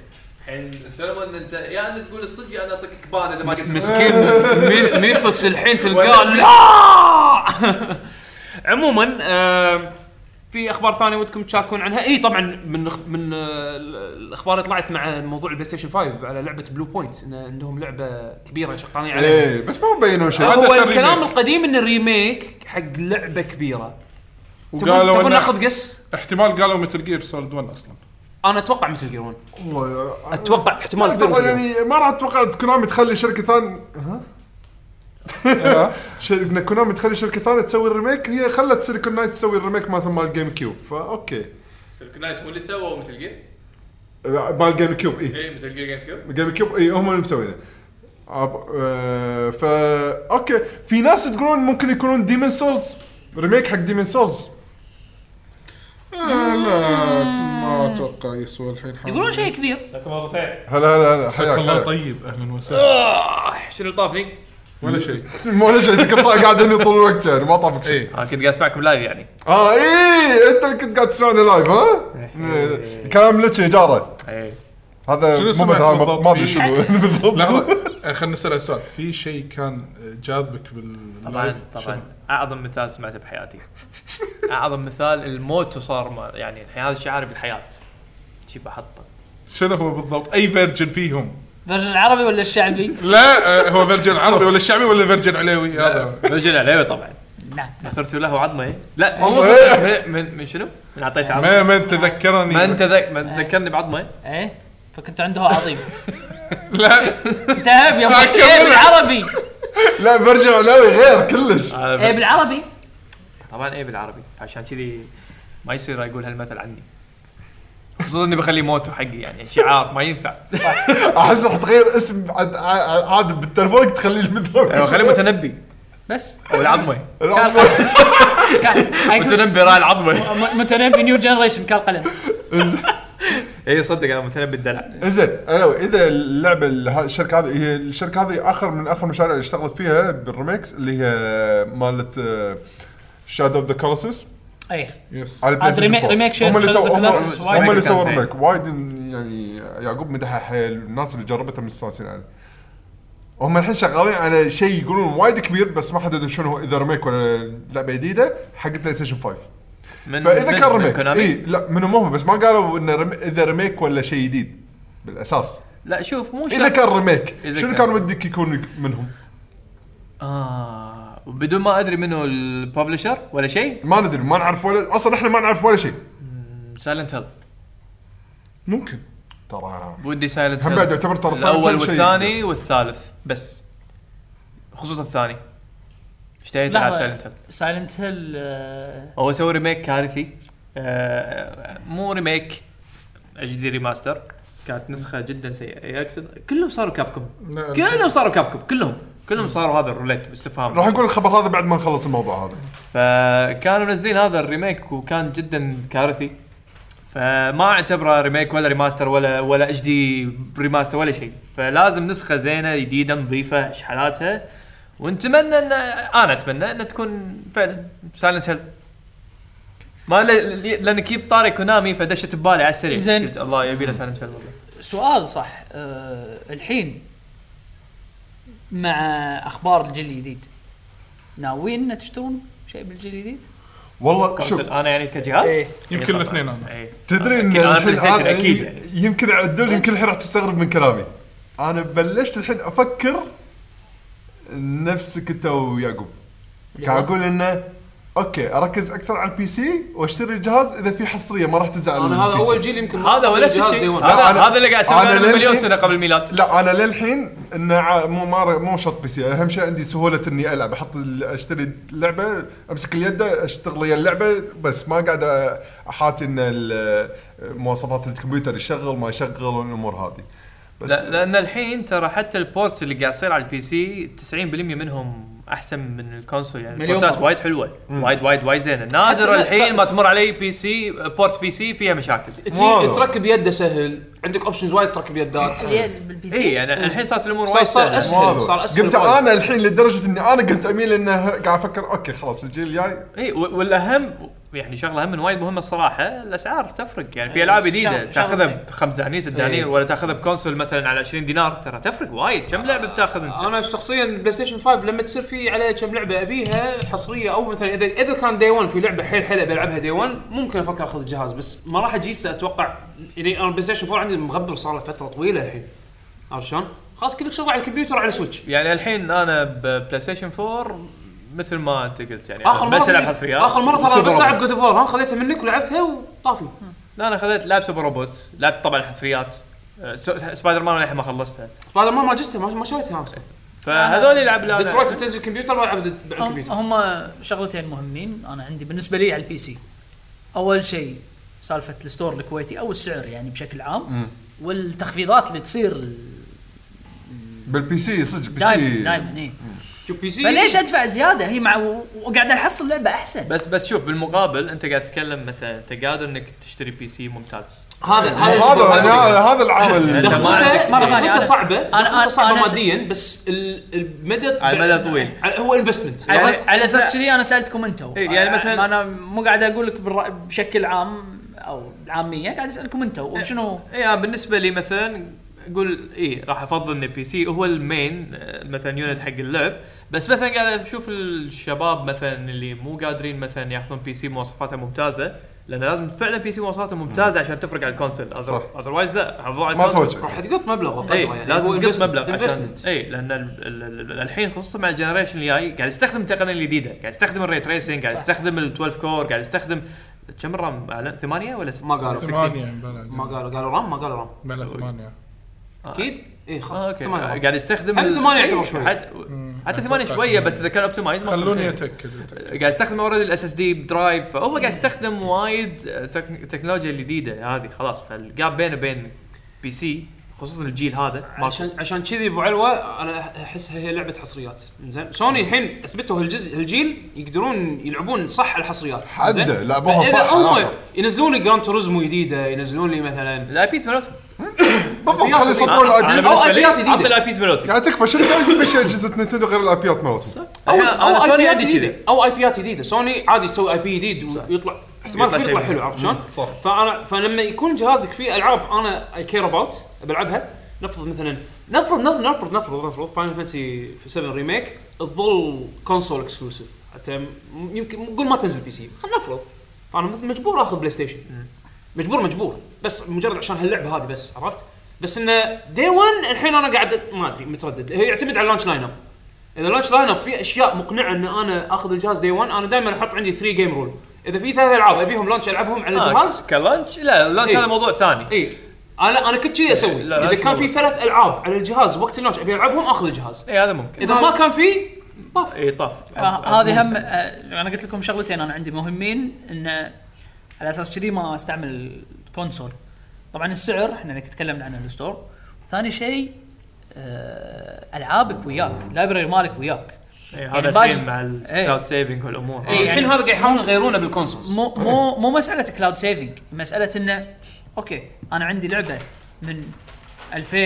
G: الحين سلمون انت يا انت تقول الصدق يا انا اصكك بان اذا ما قلت
A: مسكين مي- ميثوس الحين تلقاه
G: ولا-
A: لا عموما آم، في اخبار ثانيه ودكم تشاركون عنها اي طبعا من أخ- من آه، الاخبار اللي طلعت مع موضوع البلاي ستيشن 5 على لعبه بلو بوينت ان عندهم لعبه كبيره شغالين عليها
C: ايه بس ما بينوا شيء
A: هو
B: حدث
A: الكلام
B: الريميك.
A: القديم ان الريميك حق لعبه كبيره تبون
B: وقالوا
A: تبون
B: إنه
A: ناخذ قس
B: احتمال قالوا مثل جير سولد 1 اصلا
A: انا اتوقع مثل جيرون
C: والله آه،
A: اتوقع احتمال كبير
C: ترى
A: مثل Gear One.
C: يعني ما راح اتوقع كونامي تخلي شركه ثانيه ها؟ شركة كونامي تخلي شركه ثانيه تسوي الريميك هي خلت سيليكون نايت تسوي الريميك مثل مال جيم كيوب فاوكي
G: سيلكون نايت هو اللي سووا مثل جير
C: مال جيم كيوب اي
F: إيه،
G: اي مثل جير جيم كيوب
C: جيم كيوب اي إيه، هم اللي مسوينه أب- آه، فا اوكي في ناس تقولون ممكن يكونون ديمن سولز ريميك حق ديمن سولز
B: آه، لا ما اتوقع يسوى الحين حاول.
D: يقولون شيء كبير
G: مساكم الله بالخير
C: هلا هلا هلا
B: حياك الله
C: حياك
B: طيب اهلا وسهلا
G: آه، شنو طافني؟
B: ولا شيء
C: مو ولا شيء تقطع قاعد هني طول الوقت يعني ما طافك شيء
B: اي
A: اه كنت قاعد اسمعكم لايف يعني
C: اه اي انت اللي كنت قاعد تسمعنا لايف ها؟ إيه، كلام لك يا جاره
F: إيه،
A: ايه
C: هذا
B: شنو
C: مو
B: سمعت
C: مثلا ما
B: بالضبط؟
C: ما ادري شنو بالضبط
B: لحظه خلينا نسال السؤال في شيء كان جاذبك بال
F: طبعا
B: باللايف؟
F: طبعا
B: شنو؟
F: اعظم مثال سمعته بحياتي اعظم مثال الموت وصار ما- يعني الحين هذا شعاري بالحياه شي بحطه
B: شنو هو بالضبط اي فيرجن فيهم
D: فيرجن العربي ولا الشعبي؟
B: لا آه، هو فيرجن عربي ولا الشعبي ولا فيرجن عليوي هذا
F: رجل عليوي طبعا
D: لا لا
F: صرت له عظمه لا
C: والله.
F: والله من من شنو؟ من اعطيته
B: ما
F: عظمه
B: من تذكرني
F: ما انت ذك من ذكرني بعظمه
D: ايه فكنت عنده عظيم
B: لا
D: انت هب يا
B: لا،
D: أبو-
B: كمل.
D: ايه بالعربي
C: لا برجع علاوي غير كلش
D: ايه بالعربي
F: طبعا ايه بالعربي عشان كذي ما يصير اقول هالمثل عني خصوصا اني بخليه موتو حقي يعني شعار ما ينفع
C: احس راح تغير اسم عاد عاد- عاد بالتلفون تخليه
F: أيوة،
C: المدرب
F: خليه متنبي
D: بس
F: او العظمه
D: كان-
F: متنبي راعي العظمه
D: م- متنبي نيو جنريشن كالقلم
F: اي إيه، صدق انا متنبي الدلع
C: زين علاوي اذا اللعبه اله- الشركه هذه هي الشركه هذه اخر من اخر المشاريع اللي اشتغلت فيها بالريميكس اللي هي مالت آه، شادو اوف ذا كولوسس
D: اي
B: يس
C: على البلاي
D: عاد
C: ستيشن
D: آه، ريميك-
C: 4.
D: ريميك
C: هم اللي
D: Shadow of the
C: سووا هم-
D: Colossus وايد
C: هم اللي
F: كان
C: سووا
F: زين.
C: ريميك وايد يعني يعقوب مدحها حيل الناس اللي جربتها مستانسين عليه هم الحين شغالين على شيء يقولون وايد كبير بس ما حددوا شنو هو اذا ريميك ولا لعبه جديده حق بلاي ستيشن 5
F: من
C: فاذا
F: من-
C: كان إيه.
F: من
C: ريميك
F: كونامي؟
C: اي لا من هم بس ما قالوا انه ريم- اذا ريميك ولا شيء جديد بالاساس
F: لا شوف مو
C: اذا
F: شرط.
C: كان ريميك
F: إذا
C: شنو
F: كان.
C: كان ودك يكون منهم؟
F: اه بدون ما ادري منو الببلشر ولا شيء
C: ما ندري ما نعرف ولا اصلا احنا ما نعرف ولا شيء
F: سايلنت هيل
B: ممكن
C: ترى
F: ودي سايلنت
C: هم
F: هيل
C: بعد يعتبر ترى Silent
F: الاول
C: Hill شيء.
F: والثاني والثالث بس خصوصا الثاني اشتهيت العب سايلنت هيل
D: سايلنت هيل آه،
F: هو سوى ريميك كارثي آه، مو ريميك
H: اجدي ريماستر كانت نسخه جدا سيئه اقصد إيه، كلهم صاروا كابكم
B: لا،
H: كلهم صاروا كابكم كلهم كلهم صاروا هذا الروليت باستفهام
C: راح نقول الخبر هذا بعد ما نخلص الموضوع هذا
F: فكانوا منزلين هذا الريميك وكان جدا كارثي فما اعتبره ريميك ولا ريماستر ولا ولا اتش دي ريماستر ولا شيء فلازم نسخه زينه جديده نظيفه شحالاتها ونتمنى ان انا اتمنى ان تكون فعلا سايلنت هيل ما ل- ل- لان كيب طاري كونامي فدشت ببالي على السريع
D: زين.
F: قلت الله يبي له سايلنت هيل والله
D: سؤال صح أه الحين مع اخبار الجيل الجديد ناويين ان تشترون شيء بالجيل الجديد؟
C: والله شوف
F: شوف انا يعني كجهاز
D: إيه.
B: يمكن
F: طبعاً.
B: الاثنين انا
F: إيه.
C: تدري ان
F: أكيد أنا
C: الحين
F: PlayStation
C: عاد-
F: أكيد يعني.
C: يمكن عدول يمكن الحين راح تستغرب من كلامي انا بلشت الحين افكر نفسك انت ويعقوب قاعد اقول انه اوكي اركز اكثر على البي سي واشتري الجهاز اذا في حصريه ما راح تزعل
A: انا
C: من
A: هذا
C: البي سي.
A: اول جيل يمكن ما
F: هذا هو
A: أخذ
F: نفس
A: جهاز
F: الشيء
A: Day One.
C: لا،
F: هذا
C: أنا-
F: هذا اللي قاعد
C: أنا
F: اسويه
C: للحين-
F: مليون سنه قبل الميلاد
C: لا انا للحين انه ع- مو ما ر- مو شرط بي سي اهم شيء عندي سهوله اني العب احط ال- اشتري لعبه امسك اليد اشتغل ويا اللعبه بس ما قاعد أ- احاتي ان ال- مواصفات الكمبيوتر يشغل ما يشغل والامور هذه بس
F: لا لان الحين ترى حتى البورتس اللي قاعد يصير على البي سي 90% منهم احسن من الكونسول يعني
D: مليون
F: البورتات
D: مرة.
F: وايد حلوه وايد وايد وايد زينه نادر
A: لا،
F: الحين
A: ص-
F: ما تمر علي بي سي بورت بي سي فيها مشاكل
C: واو.
A: تي- تركب يده سهل عندك اوبشنز وايد تركب يدات
D: بالبي
F: اي يعني الحين صارت الامور
A: صار-
F: وايد
A: صار
F: سهله
A: أسهل.
C: مو هذا.
A: صار أسهل
C: قمت
A: وايد.
C: انا الحين لدرجه اني انا قمت اميل انه قاعد افكر اوكي خلاص الجيل الجاي
F: اي و- والاهم يعني شغله هم من وايد مهمه الصراحه الاسعار تفرق يعني في العاب
D: شغل-
F: جديده
D: شغلتين.
F: تاخذها بخمس دنانير ست
A: إي.
F: دنانير ولا تاخذها بكونسول مثلا على 20 دينار ترى تفرق وايد كم لعبه بتاخذ انت؟
A: انا شخصيا بلاي ستيشن 5 لما تصير في عليه كم لعبه ابيها حصريه او مثلا اذا اذا كان دي 1 في لعبه حيل حلوه بلعبها دي 1 ممكن افكر اخذ الجهاز بس ما راح اجيسه اتوقع يعني انا بلاي ستيشن 4 عندي مغبر صار له فتره طويله الحين عرفت شلون؟ خلاص كلك شغل على الكمبيوتر على سويتش
F: يعني الحين انا ببلاي ستيشن 4 مثل ما انت قلت يعني
A: اخر مره
F: بس العب
A: كنت-
F: حصريات
A: اخر مره ترى
F: وسوبر
A: بس العب
F: روبوتس.
A: جود اوف ها خذيتها منك ولعبتها وطافي
F: لا انا خذيت لعب سوبر روبوتس لعبت طبعا حصريات آه، سو- سبايدر مان للحين ما خلصتها
A: هذا ما ما جستها ما ما شريتها امس
F: فهذول يلعب لا
A: ديترويت بتنزل كمبيوتر والعب دت- على الكمبيوتر
D: هم شغلتين مهمين انا عندي بالنسبه لي على البي سي اول شيء سالفه الستور الكويتي او السعر يعني بشكل عام والتخفيضات اللي تصير ال-
C: بالبي سي صدق بي
D: دائما
C: سي
D: دائما اي
A: شوف بي سي
D: إيه. فليش ادفع زياده هي مع و- وقاعد احصل لعبه احسن
F: بس بس شوف بالمقابل انت قاعد تتكلم مثلا انت قادر انك تشتري بي سي ممتاز
A: هذا
C: هذا هذا هذا العامل
F: ما عندك-
A: دخلته
D: مرة ثانية
A: دخلته
D: أنا-
A: صعبه
D: أنا-
A: دخلته صعبه
D: أنا-
A: ماديا بس ال- المدى
F: على المدى طويل.
A: على- هو انفستمنت
D: على
A: يعني
D: أساس- على اساس كذي انا سالتكم انتم
F: إيه، يعني مثلاً-
D: آه، ما انا مو قاعد اقول لك بالرأي- بشكل عام او عاميه قاعد اسالكم انتم وشنو
F: اي أنا بالنسبه إيه، يعني لي مثلا اقول اي راح افضل ان بي سي هو المين آه، مثلا يونت حق اللعب بس مثلا قاعد اشوف الشباب مثلا اللي مو قادرين مثلا ياخذون بي سي مواصفاته ممتازه لان لازم فعلا بي سي مواصفاته ممتازه عشان تفرق على الكونسول
C: صح.
F: اذروايز لا حافظوا على
C: ما
F: الكونسول.
C: سوى شيء
A: راح تقط مبلغ يعني. وقدره
F: اي لازم تقط مبلغ عشان
A: انفستمنت
F: اي لان ال- ال- ال- الحين خصوصا مع الجنريشن الجاي قاعد يستخدم التقنيه الجديده قاعد يستخدم الري تريسنج قاعد
D: صح.
F: يستخدم ال 12 كور قاعد يستخدم كم الرام اعلن ثمانية ولا ستة؟
A: ما قالوا.
B: ثمانية
A: ما
B: بلا
A: قالوا قالوا رام ما قالوا رام
B: بلا ثمانية
F: آه.
A: اكيد اي
F: آه،
A: خلاص
F: اوكي
A: ثمانية رام.
F: قاعد يستخدم
A: حتى
F: ال-
A: ثمانية
F: إي،
A: يعتبر شوي.
F: حد- حتى ثمانية
B: أتوقع
F: شويه بس اذا كان اوبتمايز
B: خلوني اتاكد أتأكد.
F: قاعد يستخدم اوريدي الاس اس دي بدرايف فهو قاعد يستخدم وايد آه، تك- التكنولوجيا الجديده هذه خلاص فالجاب بينه وبين بي سي خصوصا الجيل هذا ماكو
A: عشان عشان كذي ابو علوه انا أح- احسها هي لعبه حصريات زين سوني الحين اثبتوا هالجزء هالجيل يقدرون يلعبون صح الحصريات
C: حده،
A: زين؟
C: لعبوها
A: فإذا
C: صح
A: هم
C: علاقة.
A: ينزلون لي جراند توريزمو جديده ينزلون لي مثلا
F: الاي بيز مالتهم
C: بالضبط خلي يسطرون
A: أنا-
F: أنا بالنسبة
C: الايبيات
A: أو
F: لي،
A: آيبيات جديدة.
F: عطني الاي بيز مالتهم
C: يعني تكفى شنو قاعد يجيب اشياء اجهزه نينتندو غير الايبيات مالتهم
A: او
F: أنا- أنا
A: او
F: سوني
A: سوني
F: عندي
A: عادي
F: كذي.
A: كذي او اي بيات جديده سوني عادي تسوي اي بي جديد ويطلع احتمال
F: يطلع
A: كبير يطلع
F: شيء.
A: حلو عرفت شلون؟
B: صح.
A: فانا فلما يكون جهازك فيه العاب انا اي كير اباوت بلعبها نفرض مثلا نفرض نفرض نفرض نفرض نفرض فاينل فانسي 7 ريميك تظل كونسول اكسكلوسيف حتى م- يمكن قول ما تنزل بي سي خلينا نفرض فانا مث- مجبور اخذ بلاي ستيشن مجبور مجبور بس مجرد عشان هاللعبه هذه بس عرفت؟ بس انه دي 1 الحين انا قاعد ما ادري متردد هي يعتمد على اللانش لاين اب اذا لانش لاين اب في اشياء مقنعه ان انا اخذ الجهاز دي 1 انا دائما احط عندي 3 جيم رول اذا في ثلاث العاب ابيهم لانش العبهم
F: آه،
A: على الجهاز
F: كلانش لا اللانش
A: إيه.
F: هذا موضوع ثاني
A: اي انا انا كنت شي اسوي
F: لا،
A: اذا
F: لانش
A: كان في
F: موضوع.
A: ثلاث العاب على الجهاز وقت اللانش ابي العبهم اخذ الجهاز
F: اي إيه، هذا ممكن
A: اذا ما كان في طف
F: اي طاف
D: آه، هذه هم آه، انا قلت لكم شغلتين انا عندي مهمين ان آه، على اساس كذي ما استعمل الكونسول طبعا السعر احنا اللي تكلمنا عنه الستور ثاني شيء آه، العابك وياك لايبرري مالك وياك
F: إيه،
D: يعني
F: هذا
D: باجي-
F: الحين مع
D: إيه.
F: الكلاود سيفنج والامور
D: إيه.
F: هذه.
A: الحين
D: يعني-
A: هذا قاعد يحاولون يغيرونه بالكونسولز
D: مو
F: طيب.
D: مو مو مساله كلاود سيفنج مساله انه اوكي انا عندي لعبه من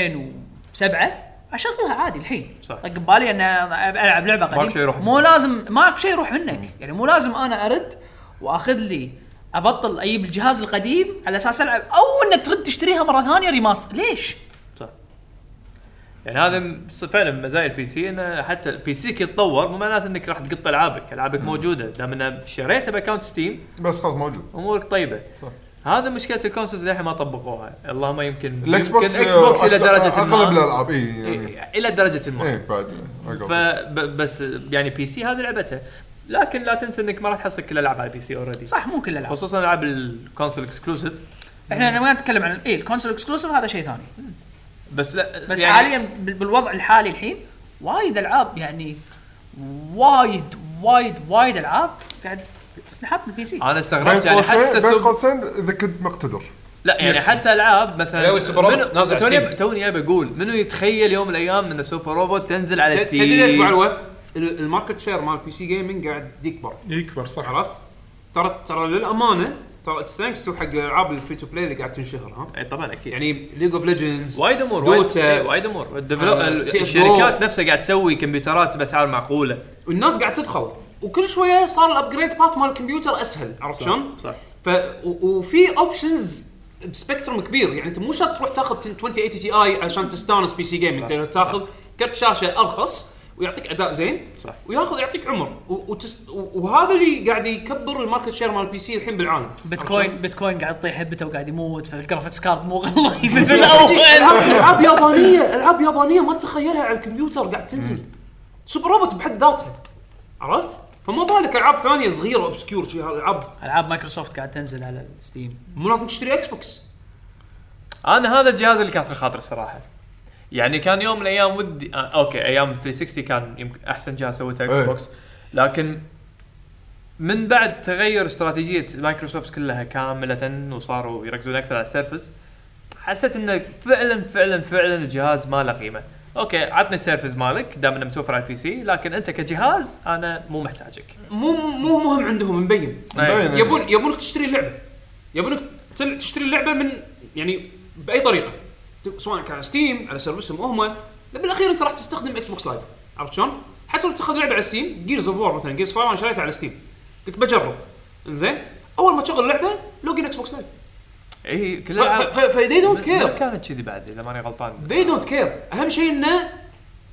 D: 2007 اشغلها عادي الحين
F: صح.
D: طق ببالي ان العب لعبه قديمه
F: شيء يروح
D: مو لازم ماكو شيء يروح منك يعني مو لازم انا ارد واخذ لي ابطل اجيب الجهاز القديم على اساس العب او انك ترد تشتريها مره ثانيه ريماستر ليش؟
F: صح يعني هذا م- فعلا من مزايا البي سي انه حتى البي سي يتطور مو معناته انك راح تقط العابك، العابك موجوده دام انها شريتها باكونت ستيم
C: بس خلاص موجود
F: امورك طيبه.
C: صح.
F: هذا مشكله الكونسولز للحين ما طبقوها، اللهم يمكن
C: الاكس بوكس
F: يمكن اكس بوكس الى
C: أكثر-
F: درجه
C: اغلب
F: ما
C: الالعاب اي يعني
F: إيه، الى درجه ما
C: اي بعد أقل.
F: فبس يعني بي سي هذه لعبتها لكن لا تنسى انك ما راح تحصل كل العاب على البي سي اوريدي
D: صح مو كل الالعاب
F: خصوصا العاب الكونسول اكسكلوسيف
D: احنا ما نتكلم عن اي الكونسول اكسكلوسيف هذا شيء ثاني
F: بس لا
D: بس يعني حاليا بال- بالوضع الحالي الحين وايد العاب يعني وايد وايد وايد العاب قاعد تنحط بالبي سي
F: انا
C: بين
F: استغربت يعني
C: قوسين
F: حتى
C: بين
F: سوبر
C: قوسين اذا كنت مقتدر
F: لا يعني حتى العاب مثلا
A: أيوة، سوبر روبوت
F: منو-
A: نازل على
F: توني
A: ستيم.
F: توني ابي اقول منو يتخيل يوم من الايام ان سوبر روبوت تنزل على ستيم
A: تدري ليش ابو علوه؟ ال- الماركت شير مال بي سي جيمنج قاعد يكبر
B: يكبر صح
A: عرفت؟ ترى ترى للامانه ترى اتس ثانكس تو حق الالعاب الفري تو بلاي اللي قاعد تنشهر ها
F: اي طبعا اكيد
A: يعني ليج اوف ليجندز
F: وايد امور وايد-
A: دوتا.
F: إيه، وايد امور الديفلو-
A: آه،
F: ال-
A: CSGO.
F: الشركات نفسها قاعد تسوي كمبيوترات باسعار معقوله
A: والناس قاعد تدخل وكل شويه صار الابجريد باث مال الكمبيوتر اسهل عرفت شلون؟
F: صح.
A: ف و- وفي اوبشنز بسبكترم كبير يعني انت مو شرط تروح تاخذ 2080 تي اي عشان تستانس بي سي جيمنج تقدر تاخذ كرت شاشه ارخص ويعطيك اداء زين
F: صح.
A: وياخذ يعطيك عمر و- وتس... و- وهذا اللي قاعد يكبر الماركت شير مال البي سي الحين بالعالم
D: بيتكوين بيتكوين قاعد يطيح هبته وقاعد يموت فالجرافكس كارد مو غالي من
A: العاب
D: الاول
A: العاب يابانيه العاب يابانيه ما تتخيلها على الكمبيوتر قاعد تنزل سوبر روبوت بحد ذاتها عرفت؟ فما بالك العاب ثانيه صغيره اوبسكيور شي العاب
D: العاب مايكروسوفت قاعد تنزل على الستيم
A: مو لازم تشتري اكس بوكس
F: انا هذا الجهاز اللي كسر خاطري الصراحه يعني كان يوم من الايام ودي آه اوكي ايام 360 كان يمكن احسن جهاز سويته اكس
C: إيه.
F: بوكس لكن من بعد تغير استراتيجيه مايكروسوفت كلها كامله وصاروا يركزون اكثر على السيرفس حسيت انه فعلا فعلا فعلا الجهاز ما له قيمه اوكي عطني السيرفس مالك دام انه متوفر على البي سي لكن انت كجهاز انا مو محتاجك
A: مو مو مهم عندهم مبين
F: أي.
C: مبين.
A: يبون يبونك تشتري اللعبه يبونك تل- تشتري اللعبه من يعني باي طريقه ت- سواء كان على ستيم على سيرفسهم هم بالاخير انت راح تستخدم اكس بوكس لايف عرفت شلون؟ حتى لو تاخذ لعبه على ستيم جيرز اوف وور مثلا جيرز 5 انا شريتها على ستيم قلت بجرب زين اول ما تشغل اللعبه لوجن اكس بوكس لايف
F: اي كل الألعاب-
A: فذي دونت كير
F: إيه، ما كانت كذي بعد اذا ماني غلطان
A: ذي دونت كير اهم شيء انه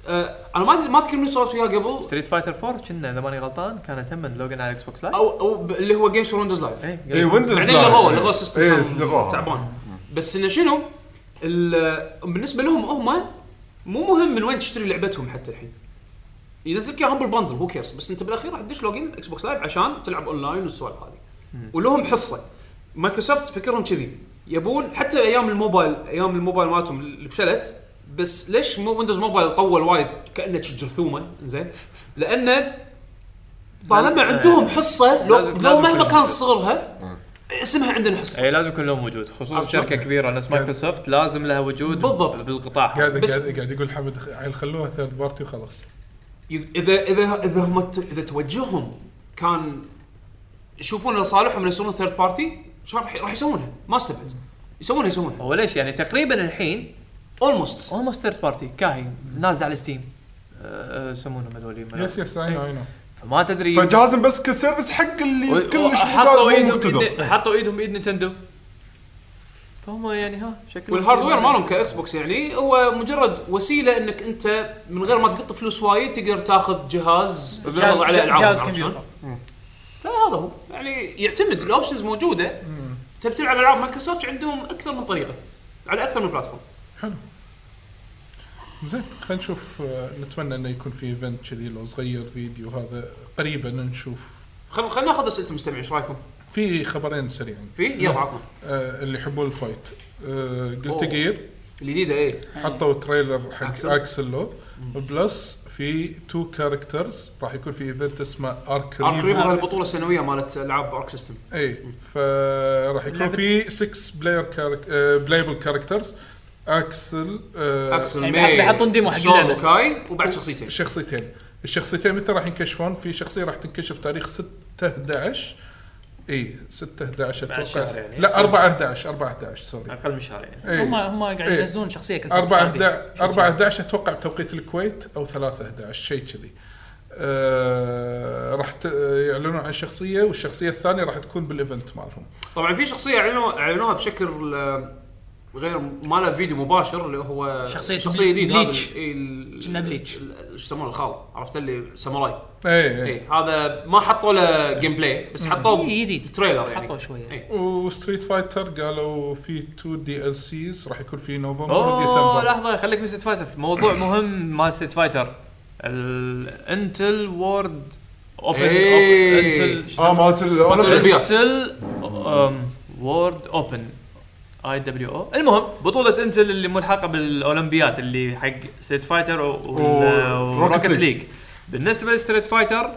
A: آه، انا ما أدري- ما اذكر من سولت وياه قبل
F: ستريت فايتر 4 كنا اذا ماني غلطان كانت هم لوجن على إيه، الاكس بوكس لايف
A: او او ب- اللي هو جيمز فور ويندوز لايف
F: اي
C: اي ويندوز
A: بعدين
C: لا.
A: لغوه لغوه السيستم
C: إيه،
A: كان
C: لغوها.
A: تعبان بس انه شنو ال- بالنسبه لهم هم مو مهم من وين تشتري لعبتهم حتى الحين ينزل لك اياها همبل باندل هو كيرز بس انت بالاخير راح تدش لوجن اكس بوكس لايف عشان تلعب اونلاين والسوالف هذه ولهم حصه مايكروسوفت فكرهم كذي يبون حتى ايام الموبايل ايام الموبايل مالتهم اللي فشلت بس ليش مو ويندوز موبايل طول وايد كانه شي جرثومه زين لانه طالما عندهم حصه لو,
F: لازم-
A: لو
F: لازم
A: مهما
F: يكون
A: كان
F: Windows.
A: صغرها اسمها عندنا حس
F: اي إيه، لازم يكون لهم وجود خصوصا
A: عرفت
F: شركه كبيره نفس مايكروسوفت لازم لها وجود
A: بالضبط.
F: بالقطاع
B: قاعد
A: بس-
B: قاعد قاعد يقول حمد خ- عيل خلوها ثيرد بارتي وخلاص
A: ي- اذا اذا اذا هم ت- اذا توجههم كان يشوفون لصالحهم ان يسوون ثيرد بارتي راح راح يسوونها ما استبعد يسوونها يسوونها
F: هو ليش يعني تقريبا الحين
A: اولموست
F: اولموست ثيرد بارتي كاهي نازله على ستيم يسمونهم هذول
B: يس يس اي نو اي نو
F: فما تدري
C: فجهازهم بس كسيرفس حق
F: و-
C: اللي
F: و-
C: كلش
F: حطوا
C: مقدار مو
F: ايدهم
C: مقتدر
F: بإيد- حطوا ايدهم بايد نينتندو فهم يعني ها شكله
A: والهاردوير مالهم كاكس بوكس يعني هو مجرد وسيله انك انت من غير ما تقط فلوس وايد تقدر تاخذ جهاز تعرض عليه العاب
D: جهاز
A: عرفت شلون؟
D: كمبيوتر
A: فهذا هو يعني يعتمد الاوبشنز موجوده تبي تلعب العاب مايكروسوفت عندهم اكثر من طريقه على اكثر من بلاتفورم
B: زين خلينا نشوف آه، نتمنى انه يكون في ايفنت كذي لو صغير فيديو هذا قريبا نشوف
A: خل خلينا ناخذ اسئله المستمعين ايش رايكم؟
B: في خبرين سريعين
A: في يلا عطنا
B: آه اللي يحبون الفايت آه قلت
A: أوه.
B: جير
A: الجديده ايه
D: طيب.
B: حطوا تريلر حق
A: أكسل.
B: اكسل لو بلس في تو كاركترز راح يكون في ايفنت اسمه
A: ارك
B: ارك
A: ريفو
B: ريفو
A: هالبطوله السنويه مالت العاب ارك سيستم
B: اي فراح يكون في 6 بلاير بلايبل كاركترز اكسل آه،
A: اكسل
D: يعني
A: ماي
D: بيحطون ديمو حق
A: سول
D: اللعبة.
A: وكاي وبعد شخصيتين
B: شخصيتين الشخصيتين متى راح ينكشفون في شخصيه راح تنكشف تاريخ 6 11 اي 6 11
I: بعد
B: اتوقع
I: شهر يعني.
B: لا 4 11 4 11 سوري
I: اقل من شهر يعني
B: إي.
D: هم هم قاعد
B: إيه.
D: ينزلون شخصيه كل
B: 4
D: فترة.
B: 11 4 11 اتوقع بتوقيت الكويت او 3 11 شيء كذي آه راح ت- يعلنون عن شخصيه والشخصيه الثانيه راح تكون بالايفنت مالهم
A: طبعا في شخصيه اعلنوا اعلنوها بشكل آه، غير ما له فيديو مباشر اللي هو
D: شخصية
A: شخصيه جديد هذا
D: بليتش.
A: ال- إي، ال-
D: كنا بليتش.
A: ال- ال- ايش يسمونه الخال عرفت اللي ساموراي
B: اي اي
A: اي هذا ما حطوا له جيم بلاي بس حطوه
D: إي، إيه، جديد
A: تريلر يعني
D: حطوا شويه
A: إي.
B: وستريت فايتر قالوا في 2 دي ال سيز راح يكون في نوفمبر
F: اوه
B: وديسمبر
F: لحظه خليك من ستيت فايتر في موضوع مهم مال ستيت فايتر الانتل وورد اوبن
A: إيه.
C: اه مالت الاولمبيك
A: الأولمبياد.
F: انتل um, وورد اوبن اي دبليو او المهم بطوله انتل اللي ملحقه بالاولمبيات اللي حق ستيت فايتر وروكت
C: وروكت ليج.
F: ليج بالنسبه لستريت فايتر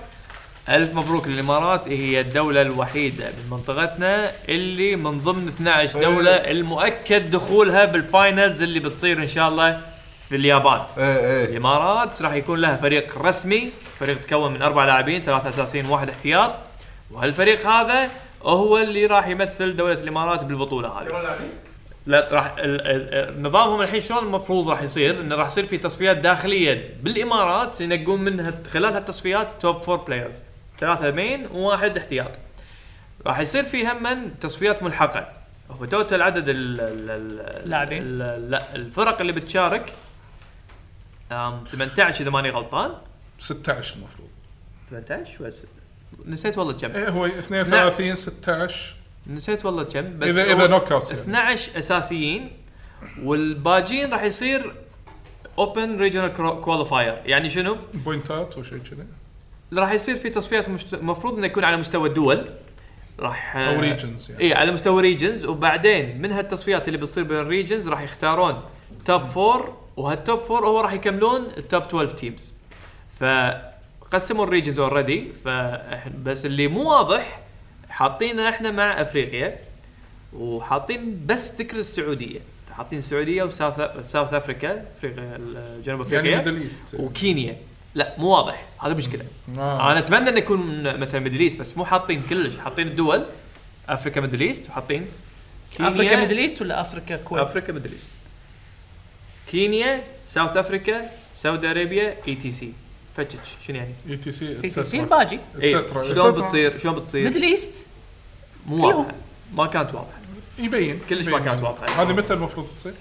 F: الف مبروك للامارات هي الدوله الوحيده من منطقتنا اللي من ضمن 12 دوله المؤكد دخولها بالفاينلز اللي بتصير ان شاء الله في اليابان
C: اي اي
F: الامارات راح يكون لها فريق رسمي فريق تكون من اربع لاعبين ثلاثه اساسيين واحد احتياط وهالفريق هذا هو اللي راح يمثل دوله الامارات بالبطوله هذه لا راح ال- ال- ال- نظامهم الحين شلون المفروض راح يصير انه راح يصير في تصفيات داخليه بالامارات ينقون منها خلال هالتصفيات توب فور بلايرز ثلاثه مين وواحد احتياط راح يصير في هم تصفيات ملحقه هو توتال عدد ال- ال- ال-
D: لاعبين.
F: ال- لا الفرق اللي بتشارك أم، 18 اذا ماني غلطان
B: 16 المفروض
F: 18 بس نسيت والله كم
B: ايه هو 32 16
F: نسيت والله كم بس
B: اذا
F: هو
B: اذا نوك اوت
F: 12 اساسيين والباجين راح يصير اوبن ريجنال كواليفاير يعني شنو؟
B: بوينتات وشيء كذي
F: راح يصير في تصفيات مشت- المفروض انه يكون على مستوى الدول راح
B: او ريجنز يعني
F: اي على مستوى ريجنز وبعدين من هالتصفيات اللي بتصير بين الريجنز راح يختارون توب فور وهالتوب فور هو راح يكملون التوب 12 تيمز فقسموا الريجنز اوريدي بس اللي مو واضح حاطينه احنا مع افريقيا وحاطين بس ذكر السعوديه حاطين السعوديه وساوث ساوث افريكا افريقيا جنوب افريقيا
B: يعني ميدل ايست
F: وكينيا لا مو واضح هذا مشكله
B: آه.
F: انا اتمنى انه يكون مثلا ميدل ايست بس مو حاطين كلش حاطين الدول افريكا ميدل ايست وحاطين كينيا
D: افريكا ميدل ايست ولا افريكا كويت؟
F: افريكا ميدل ايست كينيا ساوث افريكا سعودي ارابيا اي تي سي فتش شنو يعني؟
B: اي تي سي
D: في تيسين
B: اتسترا
D: الباجي
F: إيه. شلون بتصير شلون
D: ميدل
F: بتصير؟
D: ايست
F: مو واضحه ما كانت واضحه
B: يبين
F: كلش ما
B: يبين.
F: كانت واضحة.
B: هذه متى المفروض تصير؟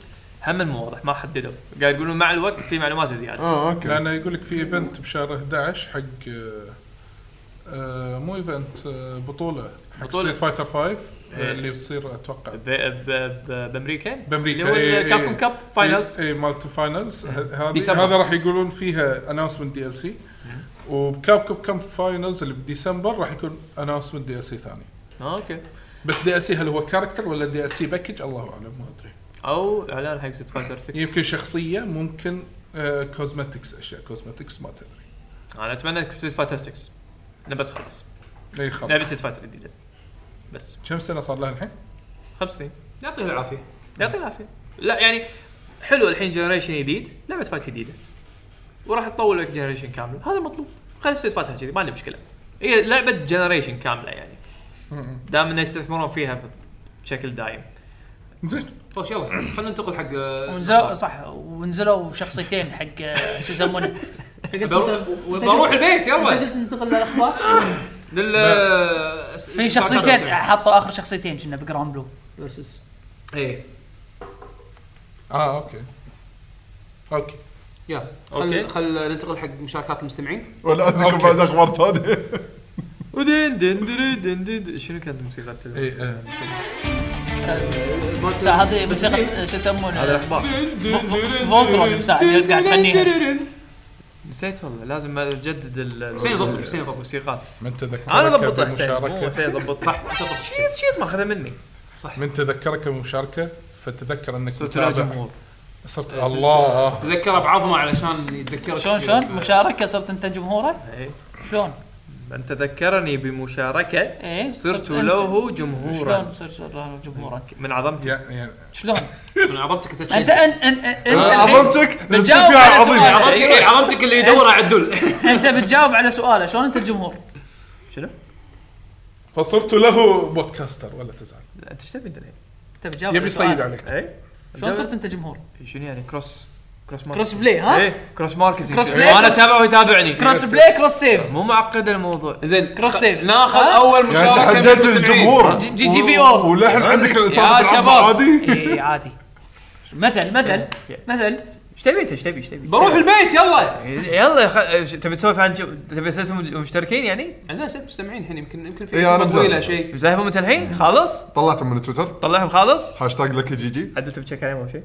F: هم مو واضح ما حددوا قاعد يقولون مع الوقت في معلومات زياده
C: اه اوكي
B: لانه يقول لك في ايفنت بشهر 11 حق آه، آه، مو ايفنت آه، بطوله حق
F: بطولة.
B: ستريت فايتر 5
F: إيه.
B: اللي بتصير اتوقع
F: ب- ب- ب- بامريكا
B: بامريكا إيه،
F: اللي
B: إيه.
F: هو كابكم كاب فاينلز
B: اي مالت الفاينلز ه- هذه
F: ديسمبر.
B: هذا راح يقولون فيها اناونسمنت دي ال سي وبكاب كوب كاب فاينلز اللي بديسمبر راح يكون اناونسمنت دي ال سي ثاني
F: اوكي
B: بس دي ال سي هل هو كاركتر ولا دي ال سي باكج الله اعلم ما ادري
F: او اعلان حق ست فايتر 6
B: يمكن شخصيه ممكن آه، كوزمتكس اشياء كوزمتكس ما تدري
F: انا اتمنى ستريت فايتر 6 انا بس خلاص
B: اي
F: نبي
B: إيه، خلاص
F: نعم. ستريت فايتر جديده بس
B: كم سنه صار لها الحين؟
F: 50
A: يعطيه العافيه
F: يعطيه العافيه لا يعني حلو الحين جنريشن جديد لعبه فايت جديده وراح تطول لك جنريشن كامل هذا المطلوب خلي ستريت فايتر كذي ما عندي مشكله هي لعبه جنريشن كامله يعني دام انه يستثمرون فيها بشكل دايم
B: زين
A: خوش يلا خلينا ننتقل حق آه،
D: ونزلوا صح ونزلوا شخصيتين حق آه، شو يسمونه
A: بروح بروح البيت يلا
D: قلت ننتقل للاخبار
A: لل آه،
D: في شخصيتين حطوا اخر شخصيتين كنا بجراوند بلو فيرسس
A: ايه
B: اه اوكي اوكي
A: يلا
J: أوكي.
A: خل خل ننتقل حق مشاركات المستمعين
C: ولا عندكم
B: أوكي.
C: بعد اخبار ثانيه
F: ودين دين دري دين دين دين. شنو كانت موسيقى
B: اي
F: التلفزيون؟
B: آه.
D: هذه موسيقى شو
F: هذا
D: يسمونه
F: الاخبار
D: فولترون مساعد قاعد تغنيها
F: نسيت والله لازم اجدد ال-
A: حسين يضبطك حسين يضبطك
F: الموسيقات
B: من تذكرك
F: انا ضبطها حسين مو
B: بمشاركه
F: حسين ضبطها إيه،
A: صح انت طفشت.
F: شيت شيت ماخذها مني
B: من تذكرك بمشاركه فتذكر انك
F: صرت لا
B: متابع.
F: جمهور
B: صرت الله
A: تذكره بعظمه علشان يتذكر
D: شلون شلون مشاركه صرت انت جمهوره
F: إيه.
D: شلون؟
F: من تذكرني بمشاركه
D: ايه
F: صرت
D: أنت-
F: له جمهورا
D: شلون صرت له جمهورا؟
F: من عظمتي
B: يعني يعني
D: شلون؟
A: شنو عظمتك انت
D: انت
A: تشيل.
D: انت انت انت
C: آه،
D: الحين-
C: عظمتك نفسي
D: بتجاوب
C: فيها
D: على
C: عظيمه
D: سؤال.
A: عظمتك
D: أيوة.
A: إيه، عظمتك اللي يدور على الدل
D: انت بتجاوب على سؤاله شلون انت الجمهور؟
B: فصرت له بودكاستر ولا تزعل
F: لا، انت ايش تبي انت الحين؟
D: انت بتجاوب
B: يبي
D: على سؤاله.
B: يصيد عليك
F: اي
D: شلون صرت انت جمهور؟
F: شنو يعني كروس كروس ماركت
D: كروس بلاي ها؟
F: ايه كروس ماركتينج
D: كروس
F: كروس
D: بلاي.
F: وانا اتابعه ويتابعني
D: كروس بلاي كروس سيف
F: مو معقد الموضوع
A: زين
D: كروس
A: خ-
D: سيف.
A: ناخذ
D: ها؟
A: اول
C: يعني انت
A: مشاركه من
C: حددت
A: المستمعين.
C: الجمهور
D: جي- جي- جي بي أو.
C: وللحين عندك
A: يا
C: الانسان
A: شباب.
C: عادي
D: اي إيه، عادي مثل مثل مثل
F: ايش تبي انت ايش تبي ايش تبي؟ إيه.
A: بروح البيت يلا
F: يلا خ... إيش- تبي تسولف عن جو... تبي تسولف مشتركين يعني؟
A: عندنا ست مستمعين الحين يمكن يمكن في
C: إيه، أنا
A: خطوة
C: مزعل.
A: طويله شيء
F: مزاحبهم انت الحين خالص؟
C: طلعتهم من تويتر
F: طلعهم خالص؟
C: هاشتاج لك جي جي
F: عدو تبي تشيك عليهم اول شيء؟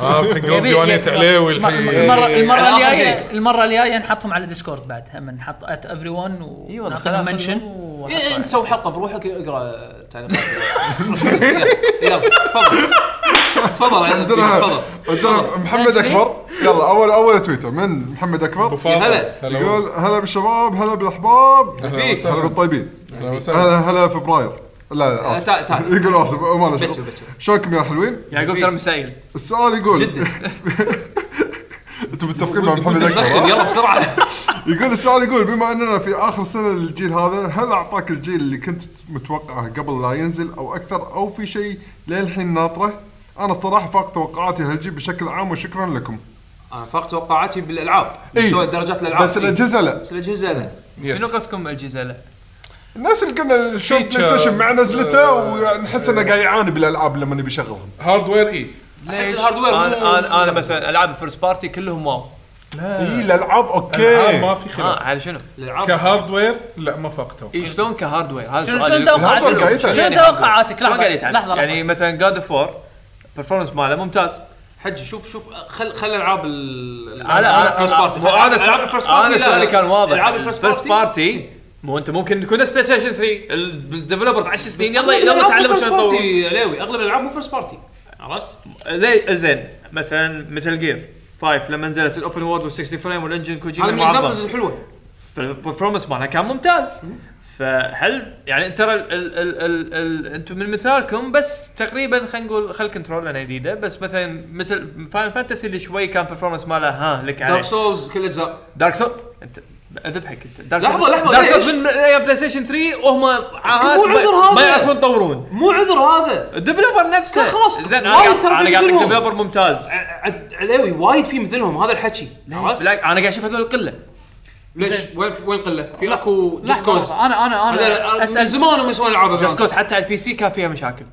B: اه بتنقل
D: يبي-
B: ديوانيه
D: يبي-
B: علاوي
D: المرة-
B: الحين
D: المره
C: إيه،
D: المره
A: على آخر
D: الجايه
A: شيء.
D: المره الجايه نحطهم على ديسكورد بعد هم نحط ات افري ون ونعطيهم منشن
A: إيه، انت سوي حلقه بروحك اقرا التعليقات يلا، يلا تفضل تفضل عزيز،
C: عندنا
A: تفضل
C: عندنا محمد اكبر يلا اول اول تويتر من محمد اكبر
A: هلا.
B: يقول
C: يقول هلا بالشباب هلا بالاحباب هلا بالطيبين هلا هلا فبراير لا لا آسف.
A: آه، تعال- تعال.
C: يقول اسف ما له
A: بكر
C: شغل.
A: بكر
C: شلونكم يا حلوين؟
F: يعقوب ترى مسائل
C: السؤال يقول
A: جدا.
C: انتم متفقين مع محمد اكبر
A: مسخن
C: ها؟
A: يلا بسرعه
C: يقول السؤال يقول بما اننا في اخر سنه للجيل هذا هل اعطاك الجيل اللي كنت متوقعه قبل لا ينزل او اكثر او في شيء للحين ناطره؟ انا الصراحه فاق توقعاتي هالجيل بشكل عام وشكرا لكم.
A: انا فاق توقعاتي بالالعاب
C: إيه.
A: مستوى درجات الالعاب
C: بس الاجهزه لا
A: بس الاجهزه لا
F: شنو قصدكم الجزء له؟
C: الناس اللي قلنا شلون
B: Features،
C: بلاي ستيشن مع نزلته
B: آه،
C: ونحس انه قاعد يعاني بالالعاب لما نبي يشغلهم.
B: هاردوير اي
A: احس الهاردوير مو-
F: انا انا انا مثلا العاب الفيرست بارتي كلهم واو
C: اي الالعاب اوكي
B: العاب آه. ما في خلاف
F: ها على شنو؟
A: الالعاب
B: كهاردوير لا ما فاقته
F: إيه، شلون كهاردوير هذا
D: شنو
F: سؤال
D: شنو
F: يوسف.
D: توقعاتك
C: لحظة، قاعد
D: شنو
C: يتعلم.
D: شنو توقعاتك
F: شلون
D: لحظه
F: قاعد يتعلم؟
D: لحظه
F: يعني
D: يعني
F: مثلا جاد اوف وور البرفورمنس ماله ممتاز
A: حجي شوف شوف خل خل العاب ال
F: انا انا
A: الفيرست بارتي
F: مو انا
A: العاب الفيرست
F: سؤالي-
A: بارتي
F: انا
A: لا،
F: سؤالي
A: لا.
F: كان واضح
A: العاب الفيرست
F: First
A: بارتي
F: party مو انت ممكن تكون نفس بلاي ستيشن 3 ال- الديفلوبرز 10 سنين يلا
A: أغلب
F: يلا
A: الألعاب
F: تعلموا
A: مو first
F: شلون يطورون.
A: party، علاوي اغلب الالعاب مو فيرست بارتي عرفت؟
F: ليه زين مثلا مثل جير 5 لما نزلت الاوبن وورد وال60 فريم والانجن
A: هذا
F: كوجيما
A: من
F: معظم
A: الاكزامبلز الحلوه
F: فالبرفورمانس مالها كان ممتاز فهل يعني ترى ال- ال- ال- ال- ال- انتم من مثالكم بس تقريبا خلينا نقول خل كنترول لنا جديده بس مثلا مثل فاينل فانتسي اللي شوي كان برفورمانس ماله ها لك عليه
A: دارك سولز كل اجزاء
F: دارك سول انت اذبحك انت دارك
A: لحظة، لحظة،
F: دارك
A: ليش؟
F: سولز من ايام بلاي ستيشن 3 وهم عاهات
A: مو العذر
F: ما-
A: هذا.
F: ما يعرفون يطورون
A: مو عذر هذا
F: الديفلوبر نفسه
A: لا، خلاص،
F: زين انا
A: وايد
F: قاعد
A: ترى
F: انا قاعد
A: مثلهم.
F: ديفلوبر ممتاز
A: ع- ع- علاوي وايد في مثلهم هذا الحكي عرفت؟
F: لا انا قاعد اشوف هذول قله
A: ليش وين وين قله؟ في اكو جست
D: لحظة،
A: كوز
D: لحظة، انا انا انا
A: اسال
D: اسال
A: زمان هم يسوون العاب
F: جاست كوز حتى على البي سي كان فيها مشاكل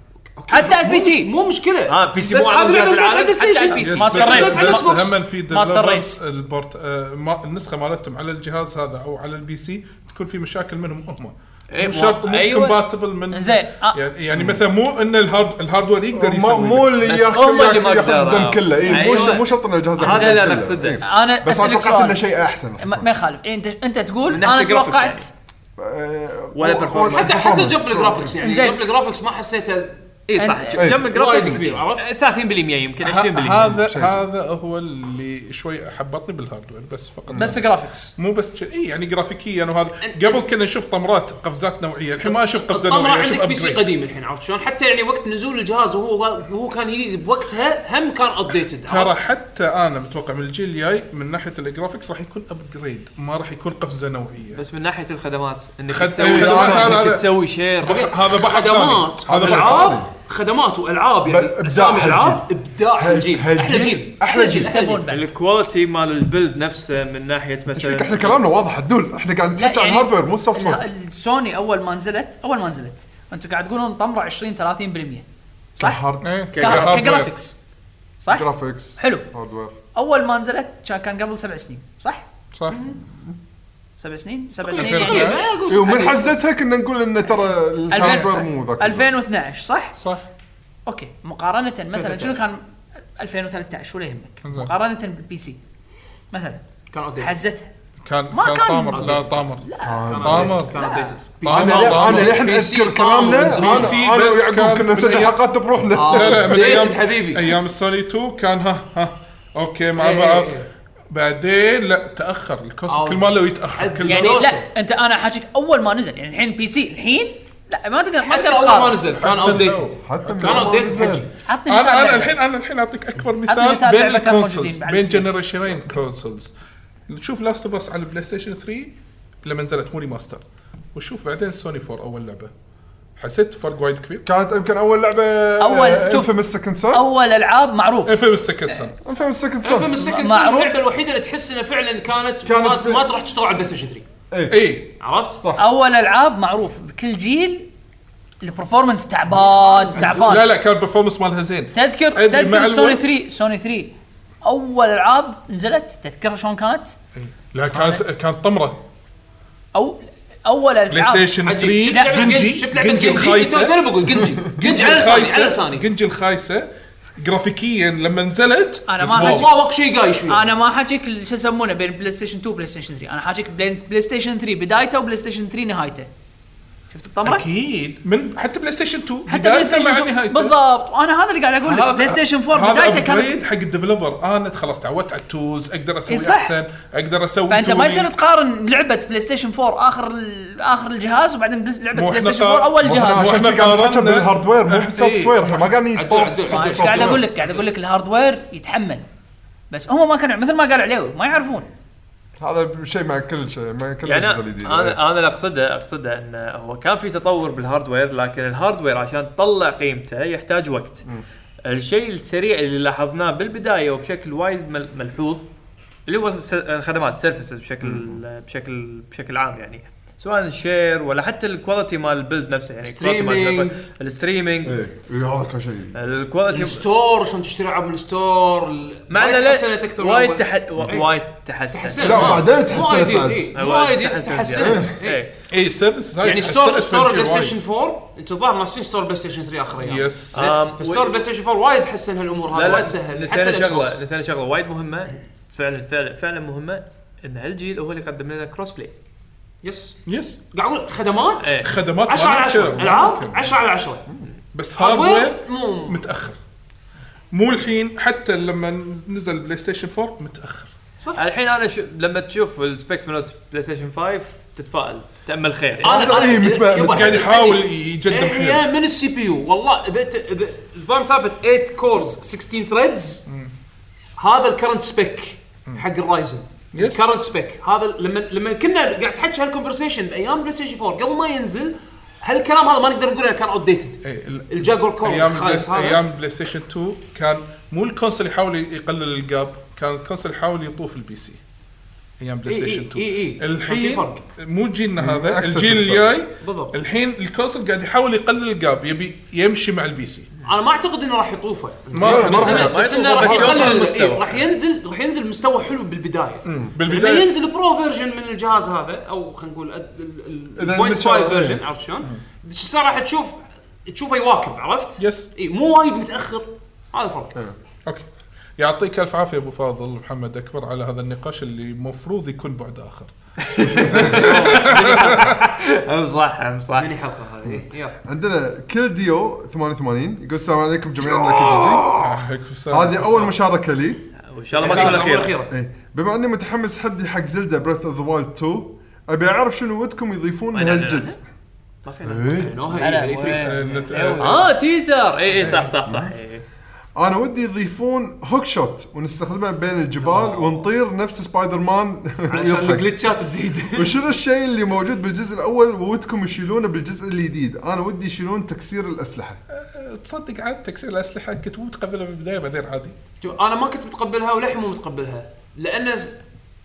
D: حتى على البي سي
A: مو مشكله
F: اه بي سي
A: بس
F: مو
A: هذا
F: عالم
A: اللي
F: جهاز
A: نزلت على البلاي
F: العالم، حتى على
A: ستيشن
F: البي سي.
D: ماستر
A: بس-
D: ريس
A: بس- على الإكس
B: بس
A: بوكس.
B: هم في
D: ماستر
B: developers
D: ريس.
B: البورت آه، ما- النسخه مالتهم على الجهاز هذا او على البي سي تكون في مشاكل منهم هم
F: إيه،
B: مو شرط مو
F: أيوة.
B: كومباتبل من
D: زين آه،
B: يعني يعني مثلا مو ان الهارد الهاردوير يقدر
C: ما-
B: يسوي
C: مو اللي
F: بس
C: ياخذ
F: هم اللي ما
C: ياخذ
F: قدروا.
C: الدم كله اي مو
F: أيوة.
C: ش- مو شرط ان الجهاز ياخذ
F: هذا
C: الدم
F: اللي
C: كله.
F: نقصده.
C: إيه.
D: انا
C: بس
D: اسالك
C: اتوقع انه
D: سؤال
C: شيء احسن
D: ما ما يخالف إيه، انت انت تقول
F: من ناحية يعني.
D: انا
F: الجرافيكس
D: توقعت
C: آه،
F: ولا
C: هو-
F: performance.
C: آه، هو
A: حتى حتى
C: performance.
A: جمب الجرافكس يعني
D: إنزين.
A: جمب الجرافكس ما حسيته اي صح
D: أن-
A: جم
C: وايد
A: الجرافيكس
C: كبير.
A: كبير عرفت
F: 30% يمكن 20%
B: هذا هذا هو اللي شوي حبطني بالهاردوير بس فقط
D: بس جرافيكس
B: مو بس شي- اي يعني جرافيكيا وهذا قبل كنا نشوف طمرات قفزات نوعيه الحين ما اشوف قفزه
A: طلع
B: نوعيه اشوف
A: عندك بي سي
B: upgrade.
A: قديم الحين عرفت شلون حتى يعني وقت نزول الجهاز وهو وهو كان جديد بوقتها هم كان ابديتد
B: ترى حتى انا متوقع من الجيل الجاي من ناحيه الجرافكس راح يكون ابجريد ما راح يكون قفزه نوعيه
F: بس من ناحيه الخدمات انك
B: خد-
F: تسوي
B: إيه،
C: هذا-
F: إنك
B: هذا-
F: تسوي شير
B: هذا بحر
A: خدمات
B: ثاني. هذا بحر ثاني.
A: العاب خدمات والعاب يعني
C: بل- إبداع
A: أسامي
C: هالجيل.
A: العاب ابداع الجيل احلى جيل احلى جيل
F: طيب،
A: أحلى جيل.
F: الكواليتي مال البيلد نفسه من ناحيه
C: فيك احنا
F: مثلا
C: كلامنا واضح الدول احنا قاعد
D: لا،
C: نحكي عن
D: يعني
C: الهاردوير مو السوفت
D: لا،
C: وير
D: السوني اول ما نزلت اول ما نزلت انتم قاعد تقولون طمره 20 30% صح؟
B: إيه،
D: ك-
B: كهاردوير.
D: كجرافيكس صح؟
C: جرافيكس
D: حلو.
C: هاردوير
D: اول ما نزلت كان- كان قبل سبع سنين صح؟
B: صح
D: سبع سنين
C: طيب،
D: سبع سنين
B: تقريباً.
D: يعني
C: إيه، ومن حزتها كنا نقول ان ترى الهاردوير مو ذاك
D: 2012 صح؟
B: صح
D: اوكي مقارنه مثلا شنو كان 2013 ولا يهمك
B: زين.
D: مقارنه بالبي سي مثلا
A: كان ابديتد
D: حزتها
B: كان
D: ما
B: كان
D: كان-
B: طامر لا طامر
A: كان
B: طامر.
A: updated. كان ابديتد
C: انا ليه- انا للحين اذكر كلامنا
B: PC
C: انا أنا
B: بس كان
C: ويعقوب كنا نسجل
B: بالأيام-
C: حلقات بروحنا
D: آه.
B: لا لا من
A: ديت
B: ايام
A: حبيبي.
B: ايام السوني 2 كان ها ها اوكي مع
A: إيه،
B: بعض
A: إيه، إيه.
B: بعدين لا تاخر الكوست
A: أو-
B: كل ما لو يتاخر كل
D: يعني
B: ما
A: دوسة.
D: لا انت انا حاجيك اول ما نزل يعني الحين بي سي الحين لا ما تقدر ما
A: حتى
D: تقدر
A: اول ما
D: تقارن
A: نزل كان
B: حتى لو-
A: ابديتد
C: حتى من
A: كان
C: أول ما
A: update
C: نزل.
A: حجي.
D: عطني مثال
B: انا انا
D: لعبة.
B: الحين انا الحين اعطيك اكبر مثال
D: مثال
B: بين
D: لعبة كان
B: الكونسولز
D: موجودين بعد.
B: بين جنريشنين كونسولز نشوف لاست اوف اس على البلاي ستيشن 3 لما نزلت مو ريماستر وشوف بعدين سوني 4 اول لعبه حسيت فرق وايد كبير
C: كانت يمكن آه، اول لعبه
D: أول- شوف.
C: انفيمس سكند سون
D: اول العاب معروف
B: انفيمس سكند سن
C: انفيمس سكند
A: فيلم
C: سون
A: السكند سون
D: معروف.
A: اللعبه الوحيده اللي تحس انها فعلا كانت,
C: كانت
A: ما,
C: في-
A: ما تروح تشتغل على البلاي ستيشن 3
B: اي
A: عرفت؟ صح
D: اول العاب معروف بكل جيل البرفورمانس تعبان تعبان
B: لا لا كان البرفورمانس مالها زين
D: تذكر
B: أدري مع
D: تذكر سوني
B: الوقت.
D: 3 سوني 3 اول العاب نزلت تذكرها شلون كانت؟
B: لا كانت كانت طمره
D: او اول
B: بلاي
D: العاب
B: ستيشن 3
D: لعبة
B: جنجي
A: شفت لعبه
B: جنجي
A: جنجي
B: الخايسه
A: انا بقول جنجي جنجي على لساني على
B: الخايسه
A: لساني
B: جنجي الخايسه جرافيكيا لما نزلت
D: أنا ما
B: واو.
D: أحكي.
A: والله وقت شيء قايش
B: آه.
A: فيه
D: انا ما حاجيك ال- شو يسمونه بين بلاي ستيشن 2 وبلاي ستيشن 3 انا حاجيك بين بلاي ستيشن 3 بدايته وبلاي ستيشن 3 نهايته شفت الطمره؟
B: اكيد من حتى بلاي ستيشن 2
D: حتى
B: بدايته
D: بلاي ستيشن
B: مع
D: 2
B: نهايته.
D: بالضبط وانا هذا اللي قاعد اقول لك
B: هذا-
D: بلاي ستيشن 4
B: هذا
D: بدايته
B: upgrade
D: كانت
B: حق الديفلوبر انا خلاص تعودت على التولز اقدر اسوي
D: إي صح.
B: احسن اقدر اسوي
D: فانت ما
B: تولي.
D: يصير تقارن لعبه بلاي ستيشن 4 اخر ال- اخر الجهاز وبعدين بلاي- لعبه
B: مو
D: بلاي
B: إحنا
D: ستيشن
B: قا-
D: 4 اول
B: مو
D: جهاز
B: إحنا-
C: عشان آه، كان
B: قارنا-
C: نتكلم بالهاردوير مو
B: إيه.
C: بالسوفت وير احنا ما قاعدين
A: عدول
C: نسبورت
A: عدول
D: ما
A: عدول
D: ايش قاعد اقول لك قاعد اقول لك الهاردوير يتحمل بس هم ما كانوا مثل ما قال عليوي ما يعرفون
C: هذا شيء مع كل شيء مع كل
F: يعني
C: الاجهزه الجديده إيه.
F: انا انا اللي اقصده اقصده انه هو كان في تطور بالهاردوير لكن الهاردوير عشان تطلع قيمته يحتاج وقت. الشيء السريع اللي لاحظناه بالبدايه وبشكل وايد مل- ملحوظ اللي هو الس- الخدمات سيرفيسز بشكل بشكل بشكل عام يعني سواء الشير ولا حتى الكواليتي مال البيلد نفسه يعني الكواليتي مال
A: Streaming.
F: الجرافيك- الستريمينج
C: ايه إيه، هذا كان شيء
F: الكواليتي
A: الستور شلون تشتري العاب من الستور ال-
F: مع
A: وايد
F: إنه لا-
A: تحسنت اكثر من
F: وايد
A: أول.
F: تح...
A: إيه.
F: وايد تحسن
C: لا،
A: آه.
C: بعدين تحسنت
A: وايد
C: بعد.
A: إيه.
F: وايد
A: وايد تحسنت
F: يعني.
A: إيه.
F: إيه.
B: اي سيرفيس
A: يعني ستور ستور بلاي ستيشن 4 انت الظاهر ناسين ستور بلاي ستيشن 3 اخر ايام
B: يس
F: أم،
A: ستور بلاي ستيشن 4 وايد حسن هالامور
F: لا
A: هذه
F: لا
A: وايد سهل
F: نسينا
A: الإكس بوكس.
F: شغله نسينا شغله وايد مهمه فعلا فعلا فعلا مهمه ان هالجيل هو اللي قدم لنا كروس بلاي
A: يس
B: يس
A: قاعد اقول خدمات
F: إيه.
B: خدمات
A: 10 على
B: ما
A: 10
B: يمكن.
A: العاب 10 على 10
B: بس هاردوير
A: هاردوير مو
B: متاخر مو الحين حتى لما نزل بلاي ستيشن 4 متاخر
F: الحين انا شو لما تشوف السبيكس مالت بلاي ستيشن 5 تتفائل تتامل خير
C: هذا إيه، متبع-
A: يبا،
B: قاعد
A: عندي-
B: يحاول
A: عندي-
B: يجدم
A: احيا
B: حيله
A: إيه، من السي بي يو والله اذا ت- اذا إذا فاهم سالفه 8 كورز 16 ثريدز هذا الكرنت سبيك حق الرايزن الكرنت سبيك هذا ال- لما لما كنا قاعد تحكي هالكونفرسيشن بايام بلاي ستيشن 4 قبل ما ينزل هالكلام هذا ما نقدر نقول انه كان ابديتد
B: إيه، ال-
A: الجاكور كور
B: ايام بلاي-
A: الخايس هذا
B: ايام بلاي ستيشن 2 كان مو الكونسل يحاول يقلل الجاب كان الكونسل يحاول يطوف البي سي ايام بلاي
A: إي إي
B: ستيشن 2
A: إي إي. إيه، كان في
B: الحين
A: فرق.
B: مو جيلنا هذا
C: أكثر
B: الجيل
C: في
B: الجاي
A: بالضبط.
B: الحين الكونسل قاعد يحاول يقلل الجاب يبي يمشي مع البي سي
A: انا ما اعتقد انه راح يطوفه
B: ما
A: بس
B: بس
A: انه
F: ما
A: بس انه
F: يطوفه،
A: راح
F: بس يوصل
A: يقلل
F: المستوى.
A: المستوى راح ينزل راح ينزل مستوى حلو بالبدايه لما
B: بالبدايه
A: ينزل برو فيرجن من الجهاز هذا او خلينا نقول ال- ال- ال-
C: إذا
A: البوينت 5
C: المشاعر-
A: فيرجن عرفت شلون؟ شو صار راح تشوف تشوفه يواكب عرفت؟ إيه،
B: يس
A: اي مو وايد متاخر هذا الفرق
B: اوكي يعطيك الف عافيه ابو فاضل محمد اكبر على هذا النقاش اللي المفروض يكون بعد اخر
F: هم صح هم صح
A: مini حلقه هذه يلا
C: عندنا كل ديو 88 يقول السلام عليكم جميعا لك جي.
B: عليكم السلام.
C: هذه اول مشاركه لي
F: وان شاء الله ما تكون الاخيره
A: الاخيره
C: إيه. بما اني متحمس حدي حق زلدا بريث اوف ذا وايلد 2 ابي اعرف شنو ودكم يضيفون لهالجزء
A: ما في
C: إيه.
A: نوها هي E3.
B: نت-
F: اه تيزر اي اي صح صح إيه. صح إي.
C: انا ودي يضيفون هوك شوت ونستخدمه بين الجبال ونطير نفس سبايدر مان
A: عشان
C: ويضحك.
A: الجلتشات تزيد
C: وشنو الشيء اللي موجود بالجزء الاول وودكم يشيلونه بالجزء الجديد انا ودي يشيلون تكسير الاسلحه
B: تصدق عاد تكسير الاسلحه كنت مو متقبلها من البدايه بعدين عادي
A: شوف، انا ما كنت متقبلها وللحين مو متقبلها لان ز-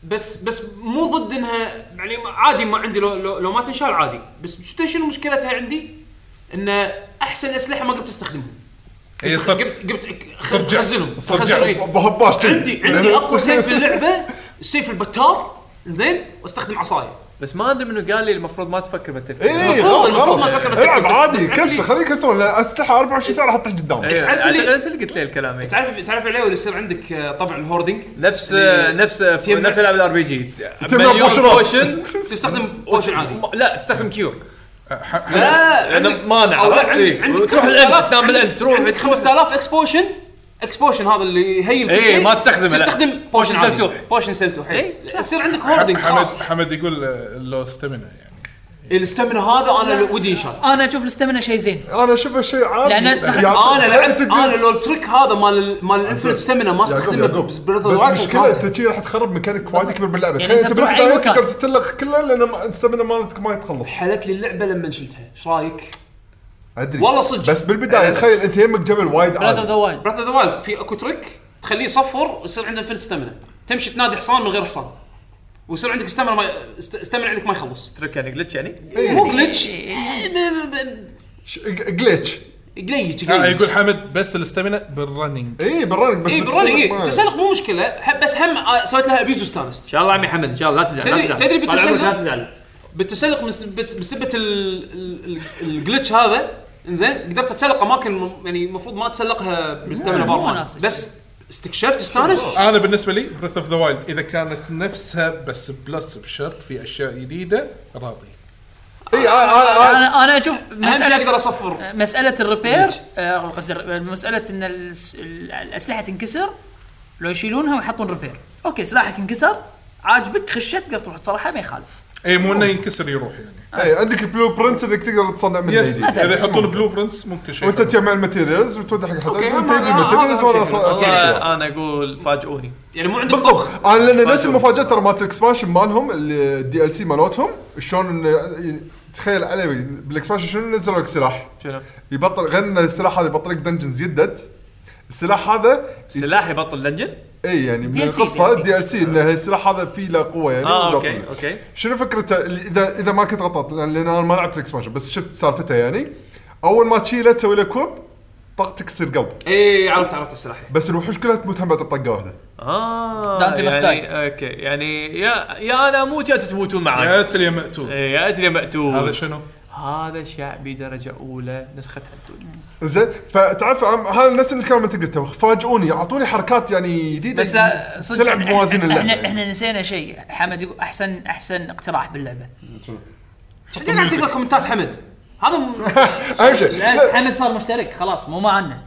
A: بس بس مو ضد انها يعني ما- عادي ما عندي لو, لو, لو ما تنشال عادي بس شو شنو مشكلتها عندي؟ ان احسن الاسلحه ما قمت استخدمهم
B: هي صرت
A: قمت قمت
B: صرت جعس.
A: خزنهم
B: صرت
A: خزنهم.
B: جعس.
A: إيه.
C: بهباش كذي.
A: عندي عندي اقوى سيف باللعبه السيف البتار زين واستخدم عصايه
F: بس ما ادري منو قال لي المفروض ما تفكر بالتفكير
C: اي
A: المفروض-
C: إيه، غلط
A: المفروض ما
C: غلط
A: تفكر
C: العب
A: بالتكتيك، بس-
C: عادي
A: بس تعرف
C: كسر
A: لي-
C: خليه يكسر لأن الاسلحه 24 ساعه حطها قدام
F: أيوة،
A: تعرف اللي-
F: أعتقد انت اللي قلت لي الكلام إي.
A: تعرف تعرف عليه ولا يصير عندك آه، طبع الهوردنج
F: نفس
A: اللي-
F: نفس نفس العاب الار بي جي
C: تبنى بوشنات.
A: تستخدم اوشن عادي
F: لا تستخدم كيور
B: أه، ح- ح-
A: لا
F: لأنه
A: عندك-
F: مانع،
A: أو لا،
F: عرفت؟
A: عندك-
F: إيه.
A: عندك
F: تروح
A: 5000
F: الأنت، تنام
A: عندك-
F: بالأنت، تروح
A: عندك 5000 اكسبوشن اكسبوشن هذا اللي هيل
F: إيه،
A: كل شيء
F: ما تستخدمه، لا.
A: تستخدم بوشن
F: بوشن
A: عادي.
F: سلتوح.
A: بوشن سلتوح إيه. يصير عندك هوردنج
B: حمد
A: خلاص
B: حمد يقول آه، لو ستامينا يعني
A: الاستمنة هذا انا ودي ان شاء الله
D: انا اشوف الاستمنه شيء زين
C: انا اشوفها شيء عادي
D: لأن
C: يعني
D: أتخ-
A: انا
C: خلي
A: لعبت
C: تدي-
A: انا لو التريك هذا مال ال- مال الانفنت ستامنا ما
C: يعقوب
A: استخدمه
C: يعقوب
A: بس بريث
C: بس المشكله انت شي راح تخرب ميكانيك وايد كبير باللعبه
D: يعني
C: تخيل
D: أنت
C: انت
D: تروح
C: بروح
D: أي
C: دايت
D: مكان.
C: تقدر تتلخ كلها لان السمنه مالتك ما يتخلص
A: حلت لي اللعبه لما شلتها ايش رايك؟
C: ادري
A: والله صدق.
C: بس بالبدايه تخيل انت يمك جبل وايد
D: براذر ذا
C: عالي
D: وايلد
A: بريث اوف ذا وايلد في اكو تريك تخليه يصفر ويصير عنده انفنت ستامنا تمشي تنادي حصان من غير حصان ويصير عندك استمنة ما استمنة عندك ما يخلص
F: ترك يعني جلتش يعني
C: إيه.
A: مو إيه، جلتش
C: جليتش
A: قليج
B: آه،
A: قليج
B: يقول حمد بس الاستامينا بالرننج
C: اي بالرنك إيه، بس
A: اي بالرول اي إيه، تسلق مو مشكله ح- بس هم آه، سويت لها ابيز
F: ان
A: واستانست
F: شاء الله عمي حمد ان شاء الله لا تزعل لا
A: تدري-
F: تزعل
A: تدري
F: طال عمرك
A: بتسلم؟
F: لا تزعل
A: بالتسلق بسبه بسبه ال- ال- ال- الجلتش هذا انزين قدرت اتسلق اماكن م- يعني المفروض ما اتسلقها بالستامنا
D: مو
A: بار
D: مناسب.
A: بس استكشفت استانست
B: انا بالنسبه لي بريث اوف ذا وايلد اذا كانت نفسها بس بلس بشرط في اشياء جديده راضي
C: اي
B: آه.
C: انا انا
D: انا انا اشوف
A: اهم شيء
D: مساله
A: اقدر اصفر
D: مساله الريبير آه، قصدي الر- مساله ان الس- ال- الاسلحه تنكسر لو يشيلونها ويحطون ريبير اوكي سلاحك انكسر عاجبك خشيت تقدر تروح تصلحها ما يخالف
B: اي إيه، مو انه ينكسر يروح يعني
C: اي إيه، عندك البلو برنت انك تقدر تصنع منه
B: يس
C: جديد
B: اذا يحطون بلو برنتس ممكن شيء
C: وانت تجمع الماتيريالز وتودي حق حد
A: أوكي،
C: وانت
A: هذا-
C: تجيب
A: هذا
C: الماتيريالز
A: أهم شيء.
C: وانا أص- أصنع.
F: انا اقول فاجئوني
A: يعني مو عندك طبخ
C: انا لان نفس المفاجاه ترى مالت الاكسبانشن مالهم الدي ال سي مالتهم شلون إنه يعني تخيل علي بالاكسبانشن شنو نزلوا لك سلاح
F: شنو؟
C: يبطل غير ان السلاح هذا يبطل لك دنجنز يدد السلاح هذا يس-
F: سلاح يبطل دنجن؟
C: اي يعني من
D: DLC.
C: القصه الدي ال سي ان السلاح هذا فيه له قوه يعني
F: اه
C: ويبطل
F: اوكي
C: لك.
F: اوكي
C: شنو فكرته اللي- اذا اذا ما كنت غطيت لان لأن انا ما لعبت الاكسبانشن بس شفت سالفته يعني اول ما تشيله تسوي له كوب طقتك تصير قلب
A: اي عرفت عرفت السلاحيه
C: بس الوحوش كلها تموت هم بعد طقه واحده
F: اه
D: Dante must
F: يعني
D: die.
F: اوكي يعني يا يا انا اموت يا أنتوا تموتون معي
B: يا تلي مقتول
F: إيه، يا ادري يا مقتول
B: هذا شنو؟
F: هذا شعبي درجه اولى نسخه عدول
C: زين فتعرف عم- هذا نفس الكلام اللي انت قلته فاجئوني اعطوني حركات يعني جديده
D: بس لا صدق
C: تلعب
D: إحنا-
C: موازين اللعبه
D: احنا
C: يعني.
D: احنا نسينا شيء حمد يقول احسن احسن اقتراح باللعبه
A: بعدين اعطيك كومنتات حمد هذا م-
C: اهم شيء
D: لا،
C: لا،
D: حمد صار مشترك خلاص مو معنا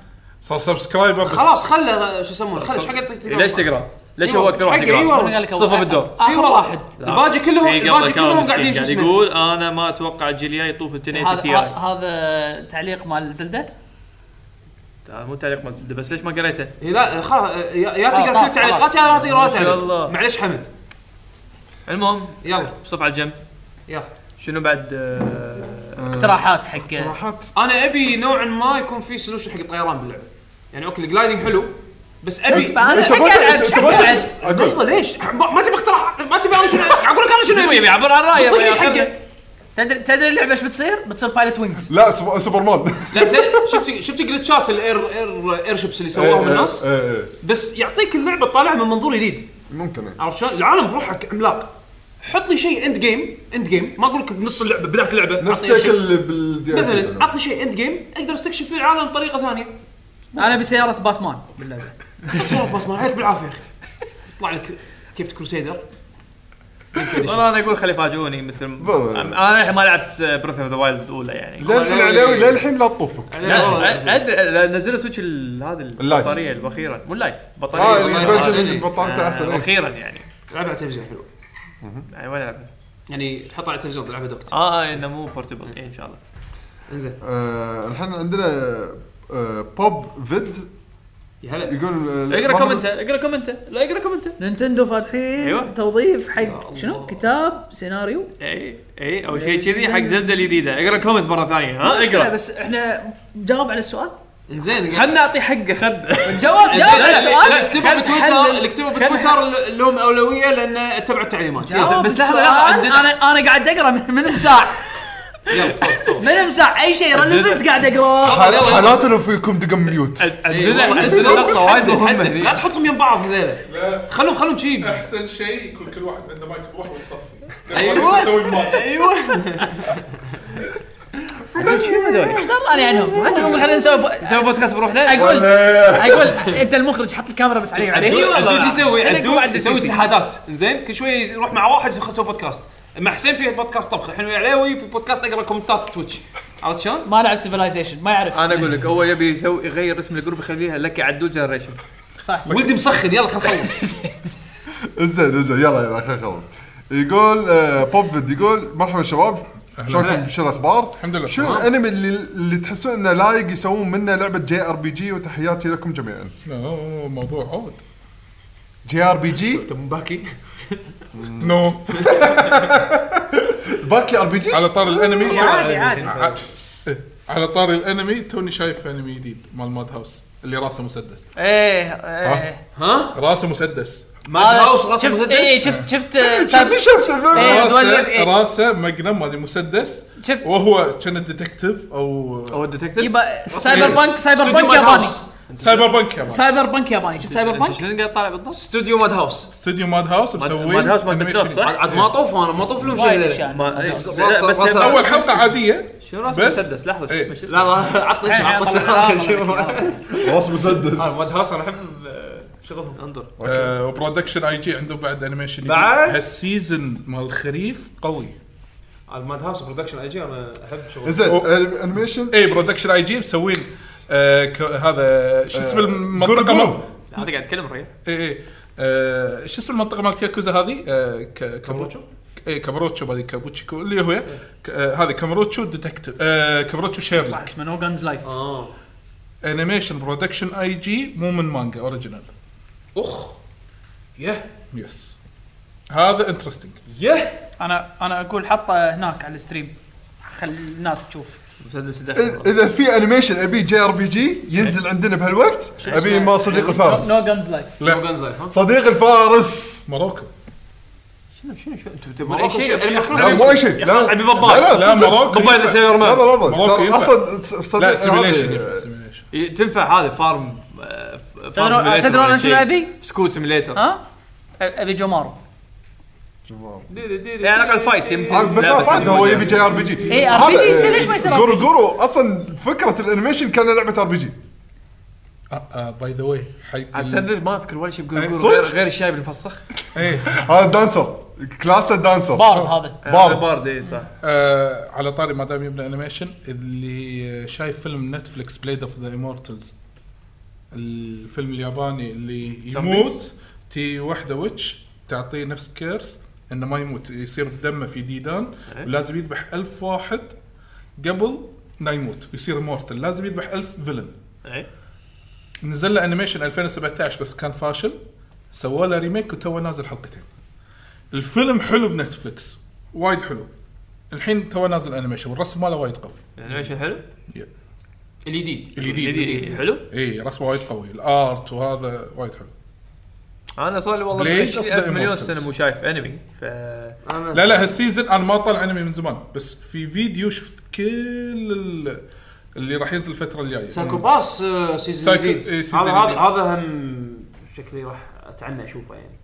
B: صار سبسكرايبر بس
A: خلاص خله شو يسمونه خله ايش حق تقرا؟
F: ليش تقرا؟ ليش
A: إيوه،
F: هو اكثر واحد
A: حقه، إيوه.
F: يقرا؟
D: أنا قال لك أول
F: صفر
D: واحد.
F: بالدور.
D: اخر
A: أيوة.
D: واحد
A: الباقي كلهم
F: في قبل
A: الباقي
F: كانوا
A: كلهم
F: مسكين
A: قاعدين شو
F: قاعد
A: اسمه
F: يعني
A: آه.
F: يقول انا ما اتوقع الجيليا يطوف ال 1080 إيه، تي
D: هذا
F: اي
D: هذا تعليق مال زلده
C: آه،
F: آه، مو تعليق مزد بس ليش ما قريته؟
A: إيه لا خلاص يا يا تقرا
D: طاف،
A: كل تعليقات
D: خلاص.
A: يا ما تقرا ولا
F: ما شاء الله.
A: تعليق معليش حمد
F: المهم
A: يلا
F: صف على الجنب
A: يلا
F: شنو بعد آه،
D: اقتراحات حق
C: راحت
A: انا ابي نوعا ما يكون في سولوشن حق الطيران باللعبه يعني اوكي الجلايدنج حلو بس ابي
D: بس انا
C: إيش
D: شو
C: تبغى-
D: قاعد
C: إيش
D: شو
C: تبغى-
D: قاعد
A: لحظه ليش ما ما تبي اقتراح ما تبي انا شنو اقول لك انا شنو
F: هو يبي
A: ابي
F: يعبر عن رايه
A: طيش
F: ياخذنا.
A: حقه
D: تدري تدري اللعبه ايش بتصير؟ بتصير بايلوت وينجز
C: لا سوبر- سوبرمان
A: لا ت- شفت شفت جلتشات الاير اير اير شيبس اللي سووهم الناس
C: إيه، إيه.
A: بس يعطيك اللعبه طالعه من منظور جديد
C: ممكن إيه.
A: عرفت شلون؟ العالم بروحه عملاق حط لي شيء اند جيم اند جيم ما اقول لك بنص اللعبه بدايه اللعبه
C: نفس
A: عطني شيء.
C: الشكل بالدي ال سي
A: مثلا عطني شيء اند جيم اقدر استكشف فيه العالم بطريقه ثانيه
D: انا بسياره باتمان بالله
A: طيب، صوت باتمان عليك بالعافيه يا اخي يطلع لك كيفت كروسيدر
F: والله انا اقول خلي يفاجئوني مثل
C: بالضبط.
F: انا الحين ما لعبت بريث اوف ذا وايلد الاولى يعني
C: للحين العلاوي للحين لا تطوفك
F: لا أ- ادري لا، نزلوا سويتش ال- هذه
C: اللايت.
F: البطاريه الاخيره مو اللايت بطاريه
C: اه
F: بطارية
C: الفيرجن
F: أحسن.
C: اللي بطاريته
F: آه،
C: احسن إيه.
F: اخيرا يعني
A: لعبها على التلفزيون حلو
F: يعني وين العبها؟
A: يعني حطها على التلفزيون تلعبها دوكت
F: اه آه، انه مو بورتبل إيه، ان شاء الله
A: انزين
C: آه، الحين عندنا آه، بوب فيد
A: يا هلا
C: يقول آه،
F: اقرا
C: ما-
F: كومنته اقرا كومنته لا اقرا كومنته
D: نينتندو فاتحين
F: أيوة.
D: توظيف
A: يا
D: حق شنو
A: الله.
D: كتاب سيناريو
F: اي اي
D: إيه،
F: او إيه، شيء كذي حق زلده الجديده اقرا كومنت مره ثانيه ها
D: مشكلة،
F: اقرا
D: بس احنا جاوب على السؤال
A: انزين
F: خلنا نعطي حقه خد
D: جواب
A: لا،
D: جاوب على
A: إيه، لا، لا،
D: السؤال
A: اكتبها
D: خل-
A: بتويتر
D: حلل.
A: اللي اكتبها بتويتر لهم اولويه لان تبعوا التعليمات يلا
D: جاوب
F: بس لحظة،
D: السؤال.
F: لحظة، عندنا-
D: انا انا قاعد اقرا من من مساع
A: يلا، تفضل، تفضل.
D: من مساع اي شيء ريليفنت قاعد اقراه
C: حال- حالات لو فيكم دق ميوت
F: عندنا عندنا نقطه وايد مهمه
A: حدد. لا
F: هني.
A: تحطهم يم بعض هذول
B: لا،
A: خلهم خلهم شي
B: احسن شيء يكون كل واحد عنده مايك بروحه ويطفي
A: أيوة.
B: يسوي ماتش
A: ايوه
D: ايش دراني عنهم؟ ما عندي خلينا نسوي بو-
F: نسوي بودكاست بروحنا
D: اقول اقول انت المخرج حط الكاميرا بس أيوة. علي عليه
A: عدول عدول شو يسوي؟
D: خلينا نقول
A: عدول
D: عدل
A: يسوي
D: سيسي.
A: اتحادات زين كل شوي يروح مع واحد يسوي- يسوي بودكاست مع حسين في بودكاست طبخ الحين ويا علاوي في بودكاست اقرا كومنتات تويتش عرفت شلون؟
D: ما لعب سيفلايزيشن ما يعرف
F: انا اقول لك هو يبي يسوي يغير اسم الجروب يخليها لك عدول جنريشن
D: صح
A: ولدي مسخن يلا خل نخلص
C: زين زين يلا يلا خلينا نخلص يقول آه، بوب فيد يقول مرحبا شباب شلونكم شو الاخبار؟
B: الحمد لله.
C: شنو
B: تمام.
C: الانمي اللي اللي تحسون انه لايق يسوون منه لعبه جي ار بي جي وتحياتي لكم جميعا.
B: أوه، موضوع عود
C: جي ار بي جي
A: باكي
B: نو
C: باكي ار بي جي
B: على طار الانمي
D: عادي عادي
B: ع- إيه، على طار الانمي توني شايف انمي جديد مال ماد هاوس اللي راسه مسدس
D: ايه ايه
A: ها؟
B: راسه مسدس
A: ماد هاوس راسه
D: شفت ايه
A: مسدس
D: شفت شفت آه، سايب-
C: شو- شو- شو-
D: إيه،
B: راسه
D: توزع- إيه.
B: راسه مقلم هذه مسدس
D: شفت
B: وهو كان ديتكتيف او
F: هو الديتكتيف
D: يبا سايبر
B: إيه؟
A: إيه.
D: بانك سايبر بانك
A: ماد
D: ياباني
A: هاوس
B: سايبر بانك يا مان.
D: سايبر بانك ياباني شفت سايبر
F: انت
D: بانك
F: شنو قاعد طالع بالضبط؟
A: استوديو ماد هاوس
B: استوديو ماد هاوس مسوي
F: ماد هاوس مال دكتور، صح؟
A: عاد عاد ما طوف انا ما طوف لهم
D: وايد
A: شيء
D: يعني.
A: لا،
D: اشياء
A: لا.
F: ما إيه،
A: بس-
F: لا،
A: بس-
F: بس-
B: اول حلقه عاديه
F: شنو راس
B: بس-
F: مسدس لحظه شو
B: إيه.
F: اسمه شو اسمه؟
A: لا لا عطني
D: إيه،
A: اسم عطني اسم شو اسمه؟
C: راس مسدس
A: ماد هاوس انا احب آه، شغلهم انظر
B: آه، وبرودكشن اي جي عنده بعد انيميشن جديد.
A: بعد؟
B: هالسيزون مال الخريف قوي
A: الماد هاوس برودكشن اي جي انا احب شغلهم
C: زين
B: أو-
C: الانيميشن
B: اي إيه، برودكشن اي جي مسوين آه، ك- هذا شو اسم
C: آه،
B: المنطقه
C: جورجورو.
B: مال-
F: انت قاعد تتكلم ريال
B: اي اي آه، شو اسم المنطقه مالت ياكوزا هذه؟ آه، ك- إيه، كابروتشو؟ اي كابروتشو هذه كابوتشيكو اللي هو ك- آه، هذه كابروتشو ديتكتيف آه، كابروتشو
D: صح
B: شيرلوك
D: اسمه نو جانز لايف
B: آه.
A: اه
B: انيميشن برودكشن اي جي مو من مانجا اوريجينال
A: اخ يه
B: يس هذا انترستنج
A: يه
D: انا انا اقول حطه هناك على الستريم خل الناس تشوف
F: مسدس
C: إذا- اذا في انيميشن ابي جي ار بي جي ينزل عندنا بهالوقت ابي ما صديق الفارس
D: نو جانز لايف
A: لو جنز لايف ها
C: صديق الفارس
B: موريكو
F: تبغى اي شيء إيه. أنا مخلوق.
C: لا مو اي شيء لا
F: ابي ببال
B: لا
C: لا، لا صدق.
B: موريكو
F: ببال
B: ينفع.
F: سيلر
C: لا
F: مان
C: لا لا
B: مروكو
C: ترى
B: ينفع.
C: اصلا صديق
B: لا
C: هذا-
B: سيميليشن ينفع، سيميليشن
F: ي- إيه، تنفع هذه فارم آه، فارم
D: تدرون-
F: simulator
D: تدرون
F: ولا
D: أنا شنو
F: شيء.
D: أبي؟
F: سكول سيميليتر
D: ها أ- ابي جومارو
F: يعني على الاقل فايت
C: آه،
F: يمكن
C: بس
F: لا،
C: ما فايده هو
F: تنفع.
C: يبي جي ار بي جي
D: إيه، RPG يصير، ليش ما يصير
C: جورو
D: RPG؟
C: جورو اصلا فكره الانيميشن كان لعبه ار بي جي
B: باي ذا واي حق
F: عاد
B: ال-
F: تصدق ما اذكر ولا شيء بجوجل
C: صدق؟
F: غير غير الشايب المفسخ
B: ايه
C: هذا دانسر كلاسه دانسر
D: بارد هذا
C: بارد.
F: بارد اي صح
B: آه على طاري ما دام جبنا انيميشن اللي شايف فيلم نتفلكس بليد اوف ذا امورتلز الفيلم الياباني اللي يموت تي وحده ويتش تعطيه نفس كيرس انه ما يموت يصير بدمه في ديدان ولازم يذبح ألف واحد قبل لا يموت ويصير مورتل لازم يذبح ألف فيلن
F: إيه.
B: نزل له انيميشن 2017 بس كان فاشل سووا له ريميك وتوه نازل حلقتين الفيلم حلو بنتفلكس وايد حلو الحين تو نازل انيميشن والرسم ماله وايد قوي
F: الانيميشن يعني حلو
A: الجديد
B: الجديد
F: جديد، حلو
B: اي إيه، رسمه وايد قوي الارت وهذا وايد حلو
F: انا صار لي والله
B: Blade of
F: 20000
B: the
F: مليون
B: Immortals.
F: سنه مو شايف انمي ف
B: لا لا هالسيزون انا ما طالع انمي من زمان بس في فيديو شفت كل ال- اللي راح ينزل الفتره الجايه
A: سايكو باس آه، سيزون
B: سايكو-
A: جديد
B: إيه، سيزون
A: هذا هذا
B: جديد.
A: هذا هم شكلي راح اتعنى اشوفه يعني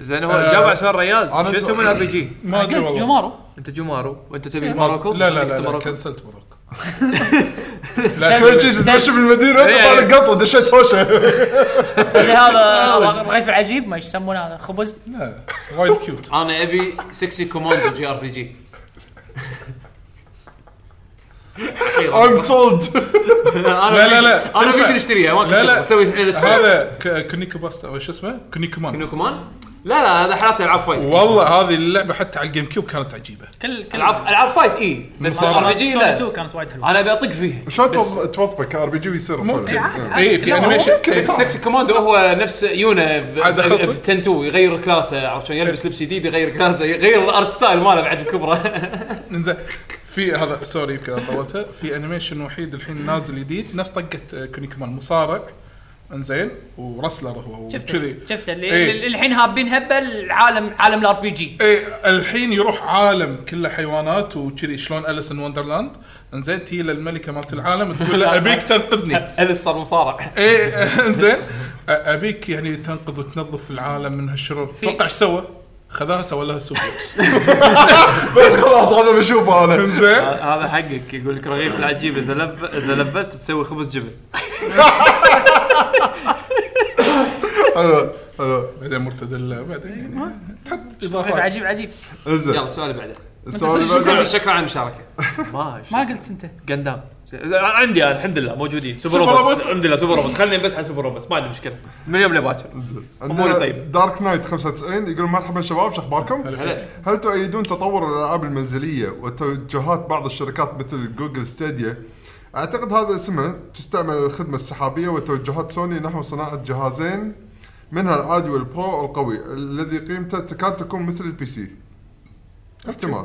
F: زين هو
B: آه،
F: جاوب على سؤال ريال
C: أنا
F: شو
C: أتوقع-
F: انتم من ار بي جي؟
B: ما ادري
D: قلت
B: والله
D: جومارو
F: انت جومارو وانت تبي
D: سير.
F: ماروكو؟
B: لا لا
F: أنت
B: لا, لا
F: ماروكو؟
B: كنسلت ماروكو لا
C: سوي شيء تتمشى بالمدينه انت طالع قطه دشيت هوشه
D: هذا رغيف العجيب ما إيش يسمونه هذا خبز
B: لا، وايد كيوت
A: انا ابي 6 كوماندو جي ار بي جي
C: ام سولد
A: انا
B: لا، لا، لا.
A: انا ممكن اشتريها ما
B: لا، لا.
A: كنت اسوي الحين اسوي
B: هذا ك- كونيكو باستا او شو اسمه كونيكو مان
A: كنو كمان لا لا هذا حالات العاب فايت
B: والله هذه اللعبه حتى على الجيم كيوب كانت عجيبه
D: كل كل
A: العاب العاب فايت اي إيه. بس
B: مصارعة.
A: ار بي
D: مالت
A: جي
D: سوني 2
A: لا
D: كانت وايد حلوه
A: انا ابي اطق فيه
C: شلون
A: بس-
C: توظ- توظفك ار بي جي ويصير
B: ممكن
D: عادي.
B: اي في انيميشن
A: سكسي كوماندو هو نفس يونا ب-
B: عاد
A: ب-
B: أخلصه؟
A: بتنتو يغير كلاسه عرفت شلون يلبس لبس جديد يغير كلاسه يغير الارت ستايل ماله بعد بكبره
B: انزين في هذا سوري يمكن أنا طولتها في انيميشن وحيد الحين نازل جديد نفس طقه كونيكو مان مصارع انزين ورسلر هو وكذي
D: شفت شفت اللي
B: إيه.
D: اللي الحين هابين هبه العالم عالم الار بي جي
B: ايه الحين يروح عالم كله حيوانات وكذي شلون اليس ان وندرلاند انزين تي للملكه مالت العالم تقول لها ابيك تنقذني
A: اليس صار مصارع
B: ايه انزين أ- ابيك يعني تنقذ وتنظف العالم من هالشرور تتوقع ايش سوى؟ خذاها سوى لها سوبلكس
C: بس خلاص هذا بشوفه انا
B: انزين
F: هذا حقك يقول لك رغيف العجيب اذا لب اذا لبت تسوي خبز جبن
C: حلو حلو
B: بعدين مرتدله بعدين يعني تحط
D: رغيف
B: اضافات
D: عجيب عجيب
A: يلا
C: انزين
A: السؤال اللي بعده
C: السؤال اللي
A: شكرا
C: بعده.
A: شكرا على المشاركه
F: ما أش-
D: ما قلت انت
F: قندام عندي أنا، الحمد لله موجودين سوبر
B: سوبر
F: روبوت
B: روبوت.
F: الحمد لله سوبر روبوت
A: خليني بس على سوبر روبوت ما عندي مشكله
F: من يوم لباكر أموري
C: عندنا
F: طيب.
C: دارك نايت 95 يقول مرحبا شباب شو اخباركم؟
A: هلا.
C: هل تؤيدون تطور الالعاب المنزليه وتوجهات بعض الشركات مثل جوجل ستاديا؟ اعتقد هذا اسمها تستعمل الخدمه السحابيه وتوجهات سوني نحو صناعه جهازين منها العادي والبرو القوي الذي قيمته تكاد تكون مثل البي سي. احتمال.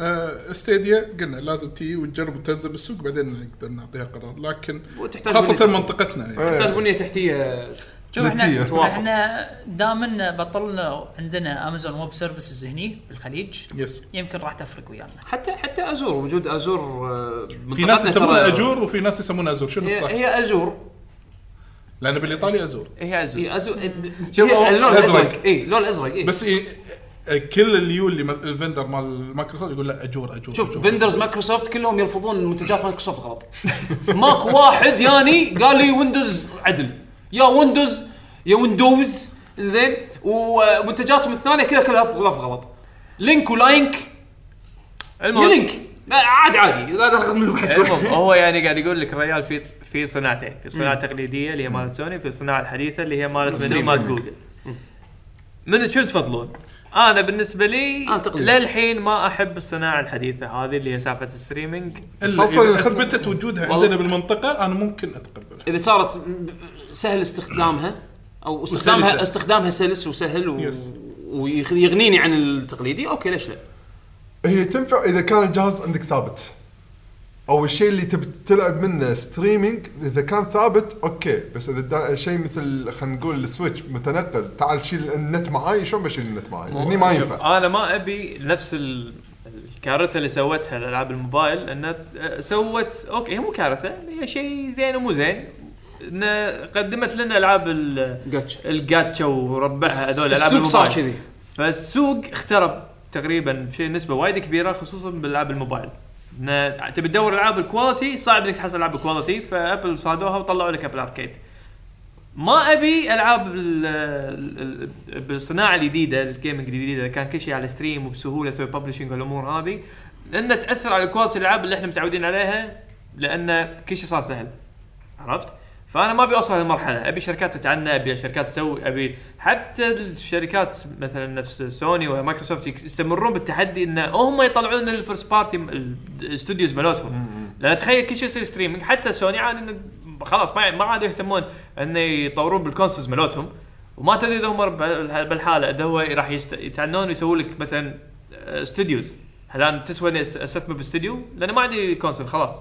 B: آه، ستيديا قلنا لازم تي وتجرب وتنزل بالسوق بعدين نقدر نعطيها قرار لكن
A: وتحتاج
B: خاصه
A: بنية-
B: منطقتنا يعني
C: أيوة.
A: تحتاج بنيه تحتيه
D: شوف
C: نتية.
D: احنا
A: توافق.
D: احنا دامنا بطلنا عندنا امازون ويب سيرفيسز هني بالخليج
B: يس
D: يمكن راح تفرق ويانا
A: حتى حتى ازور وجود ازور آه،
B: في
A: منطقتنا
B: ناس يسمونها
A: ترى- إيه،
B: اجور وفي ناس يسمونها ازور شنو
A: هي,
B: الصح؟
A: هي ازور
B: لان بالايطالي ازور
A: إيه.
F: هي إيه، عزوز
A: هي ازور
F: شوف،
A: هي اللون
B: أزرق.
A: الازرق اي اللون الازرق اي
B: بس إيه كل اليو اللي م- الفندر مال مايكروسوفت يقول لا اجور اجور
A: شوف
B: أجور.
A: فندرز مايكروسوفت كلهم يرفضون منتجات مايكروسوفت غلط ماكو واحد ياني قال لي ويندوز عدل يا ويندوز يا ويندوز زين ومنتجاتهم الثانيه كلها كلها لفظ لفظ غلط لينك ولاينك يا
F: المهم
A: لينك لا، عادي عادي لا تاخذ منهم
B: إيه،
F: المهم
A: حكي
F: هو يعني قاعد يقول لك الريال في في صناعتين في صناعه تقليديه اللي هي مالت سوني في الصناعه الحديثه اللي هي مالت مدري مالت جوجل من شو تفضلون؟ انا بالنسبه لي
A: أنا تقليدي.
F: للحين ما احب الصناعه الحديثه هذه اللي هي سالفه الستريمينج
B: الا
C: خاصة
B: اذا
C: الخدمة.
B: اثبتت وجودها
A: والله.
B: عندنا بالمنطقه انا ممكن اتقبلها
A: اذا صارت م- سهل استخدامها او استخدامها
B: وسلسة.
A: استخدامها سلس وسهل و...
B: يس.
A: ويغنيني عن التقليدي اوكي ليش لا؟
C: هي تنفع اذا كان الجهاز عندك ثابت. او الشيء اللي تبي تلعب منه ستريمينج اذا كان ثابت اوكي بس اذا دا- شيء مثل خلينا نقول السويتش متنقل تعال شيل النت معاي شلون بشيل النت معاي؟ هني ما ينفع.
F: انا ما ابي نفس ال- الكارثه اللي سوتها الالعاب الموبايل انها ت- سوت اوكي هي مو كارثه هي شيء زين ومو زين انها قدمت لنا العاب ال-
A: جاتشا
F: الجاتشا وربعها هذول العاب
A: السوق صار
F: الموبايل
A: كذي
F: فالسوق اخترب تقريبا بشيء نسبه وايد كبيره خصوصا بالالعاب الموبايل إن تبي تدور العاب الكواليتي صعب انك تحصل العاب الكواليتي فابل صادوها وطلعوا لك ابل اركيد ما ابي العاب ال- ال- ال- بالصناعه الجديده الجيمنج الجديده كان كل شيء على ستريم وبسهوله اسوي ببلشنج والامور هذه لان تاثر على كواليتي الالعاب اللي احنا متعودين عليها لان كل شيء صار سهل عرفت؟ فانا ما ابي اوصل للمرحله ابي شركات تتعنى ابي شركات تسوي ابي حتى الشركات مثلا نفس سوني ومايكروسوفت يك- يستمرون بالتحدي ان هم يطلعون الفيرست بارتي الاستوديوز مالتهم لان تخيل كل شيء يصير ستريمينج حتى سوني عاد إن- خلاص ما ما عاد يهتمون انه يطورون بالكونسولز مالتهم وما تدري اذا هم بال- بالحاله اذا هو راح يست... يتعنون ويسوون لك مثلا آه، استوديوز هل انا تسوى اني است- استثمر باستوديو؟ لان ما عندي كونسول خلاص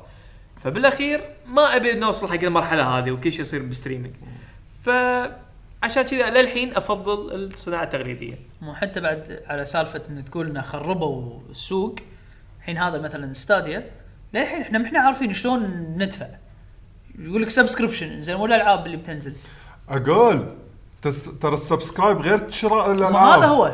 F: فبالاخير ما ابي نوصل حق المرحله هذه وكل شيء يصير بستريمينج ف عشان كذا للحين افضل الصناعه التقليديه
D: مو حتى بعد على سالفه ان تقول انه خربوا السوق الحين هذا مثلا ستاديا للحين احنا ما احنا عارفين شلون ندفع يقول لك سبسكربشن زين ولا الالعاب اللي بتنزل
C: اقول تس... ترى السبسكرايب غير شراء
D: ما
C: الالعاب
D: هذا هو هذا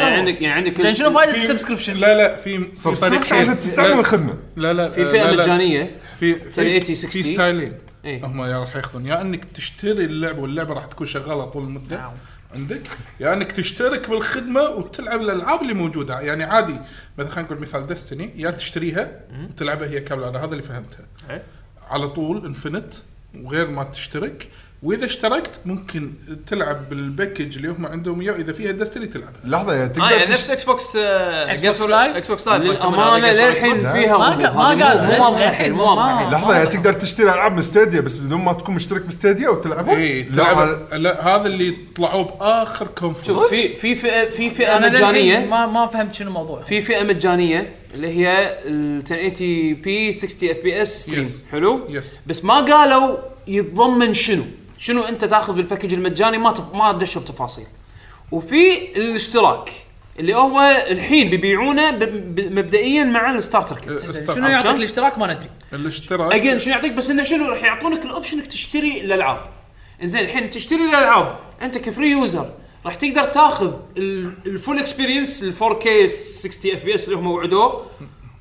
A: يعني
D: هو.
A: عندك يعني عندك
D: زين شنو فائده
B: في-
D: السبسكربشن؟
B: لا لا في في
C: صرت
B: طريق
C: تروح عشان تستعمل الخدمه
B: لا لا
A: في
B: آه،
A: فئه
B: لا، لا.
A: مجانيه
B: في في
A: 1080 60.
B: في ستايلين
A: إيه.
B: هم يا راح ياخذون يا انك تشتري اللعبه واللعبه راح تكون شغاله طول المده
A: نعم.
B: عندك يا انك تشترك بالخدمه وتلعب الالعاب اللي موجوده يعني عادي مثلا خلينا نقول مثال ديستني يا تشتريها وتلعبها هي كامله انا هذا اللي فهمته
A: إيه.
B: على طول انفنت وغير ما تشترك واذا اشتركت ممكن تلعب بالباكج اللي هم عندهم اياه اذا فيها ديستني تلعبها
C: لحظه يا
F: آه،
C: تقدر
K: اه يعني
C: تشت-
K: نفس اكس بوكس
D: Xbox Live؟
K: اكس
B: طيب،
K: بوكس لايف
A: للامانه للحين
C: لا.
A: فيها
D: ما
A: غموض.
D: قال- ما
A: هذه
D: قال.
A: مو- مو واضحه
D: للحين
A: الحين مو
D: ما-
A: واضحه الحين
C: لحظه يعني تقدر تشتري العاب من ستيديا بس بدون ما تكون مشترك بستيديا وتلعبها
B: اي
C: لا
B: إيه، تلعب لا هذا اللي طلعوه باخر
A: شوف،
B: كونفرنس
A: في في فئه في فئه
D: انا مجانيه
A: مجانيه
D: ما ما فهمت شنو الموضوع
A: في فئه مجانيه اللي هي ال 1080 بي 60 اف بي اس ستريم
B: Yes.
A: حلو
B: يس
A: بس ما قالوا يتضمن شنو شنو انت تاخذ بالباكج المجاني ما تف... ما دشوا بتفاصيل وفي الاشتراك اللي هو الحين بيبيعونه ب... ب... مبدئيا مع الستارتر كيت
D: شنو
B: استر-
D: يعطيك
A: عشان-
D: الاشتراك ما ندري
B: الاشتراك
A: اجين شنو يعطيك بس انه شنو راح يعطونك الاوبشن انك تشتري الالعاب انزين الحين تشتري الالعاب انت كفري يوزر راح تقدر تاخذ ال- الفول اكسبيرينس ال 4K 60 اف بي اس اللي هم وعدوه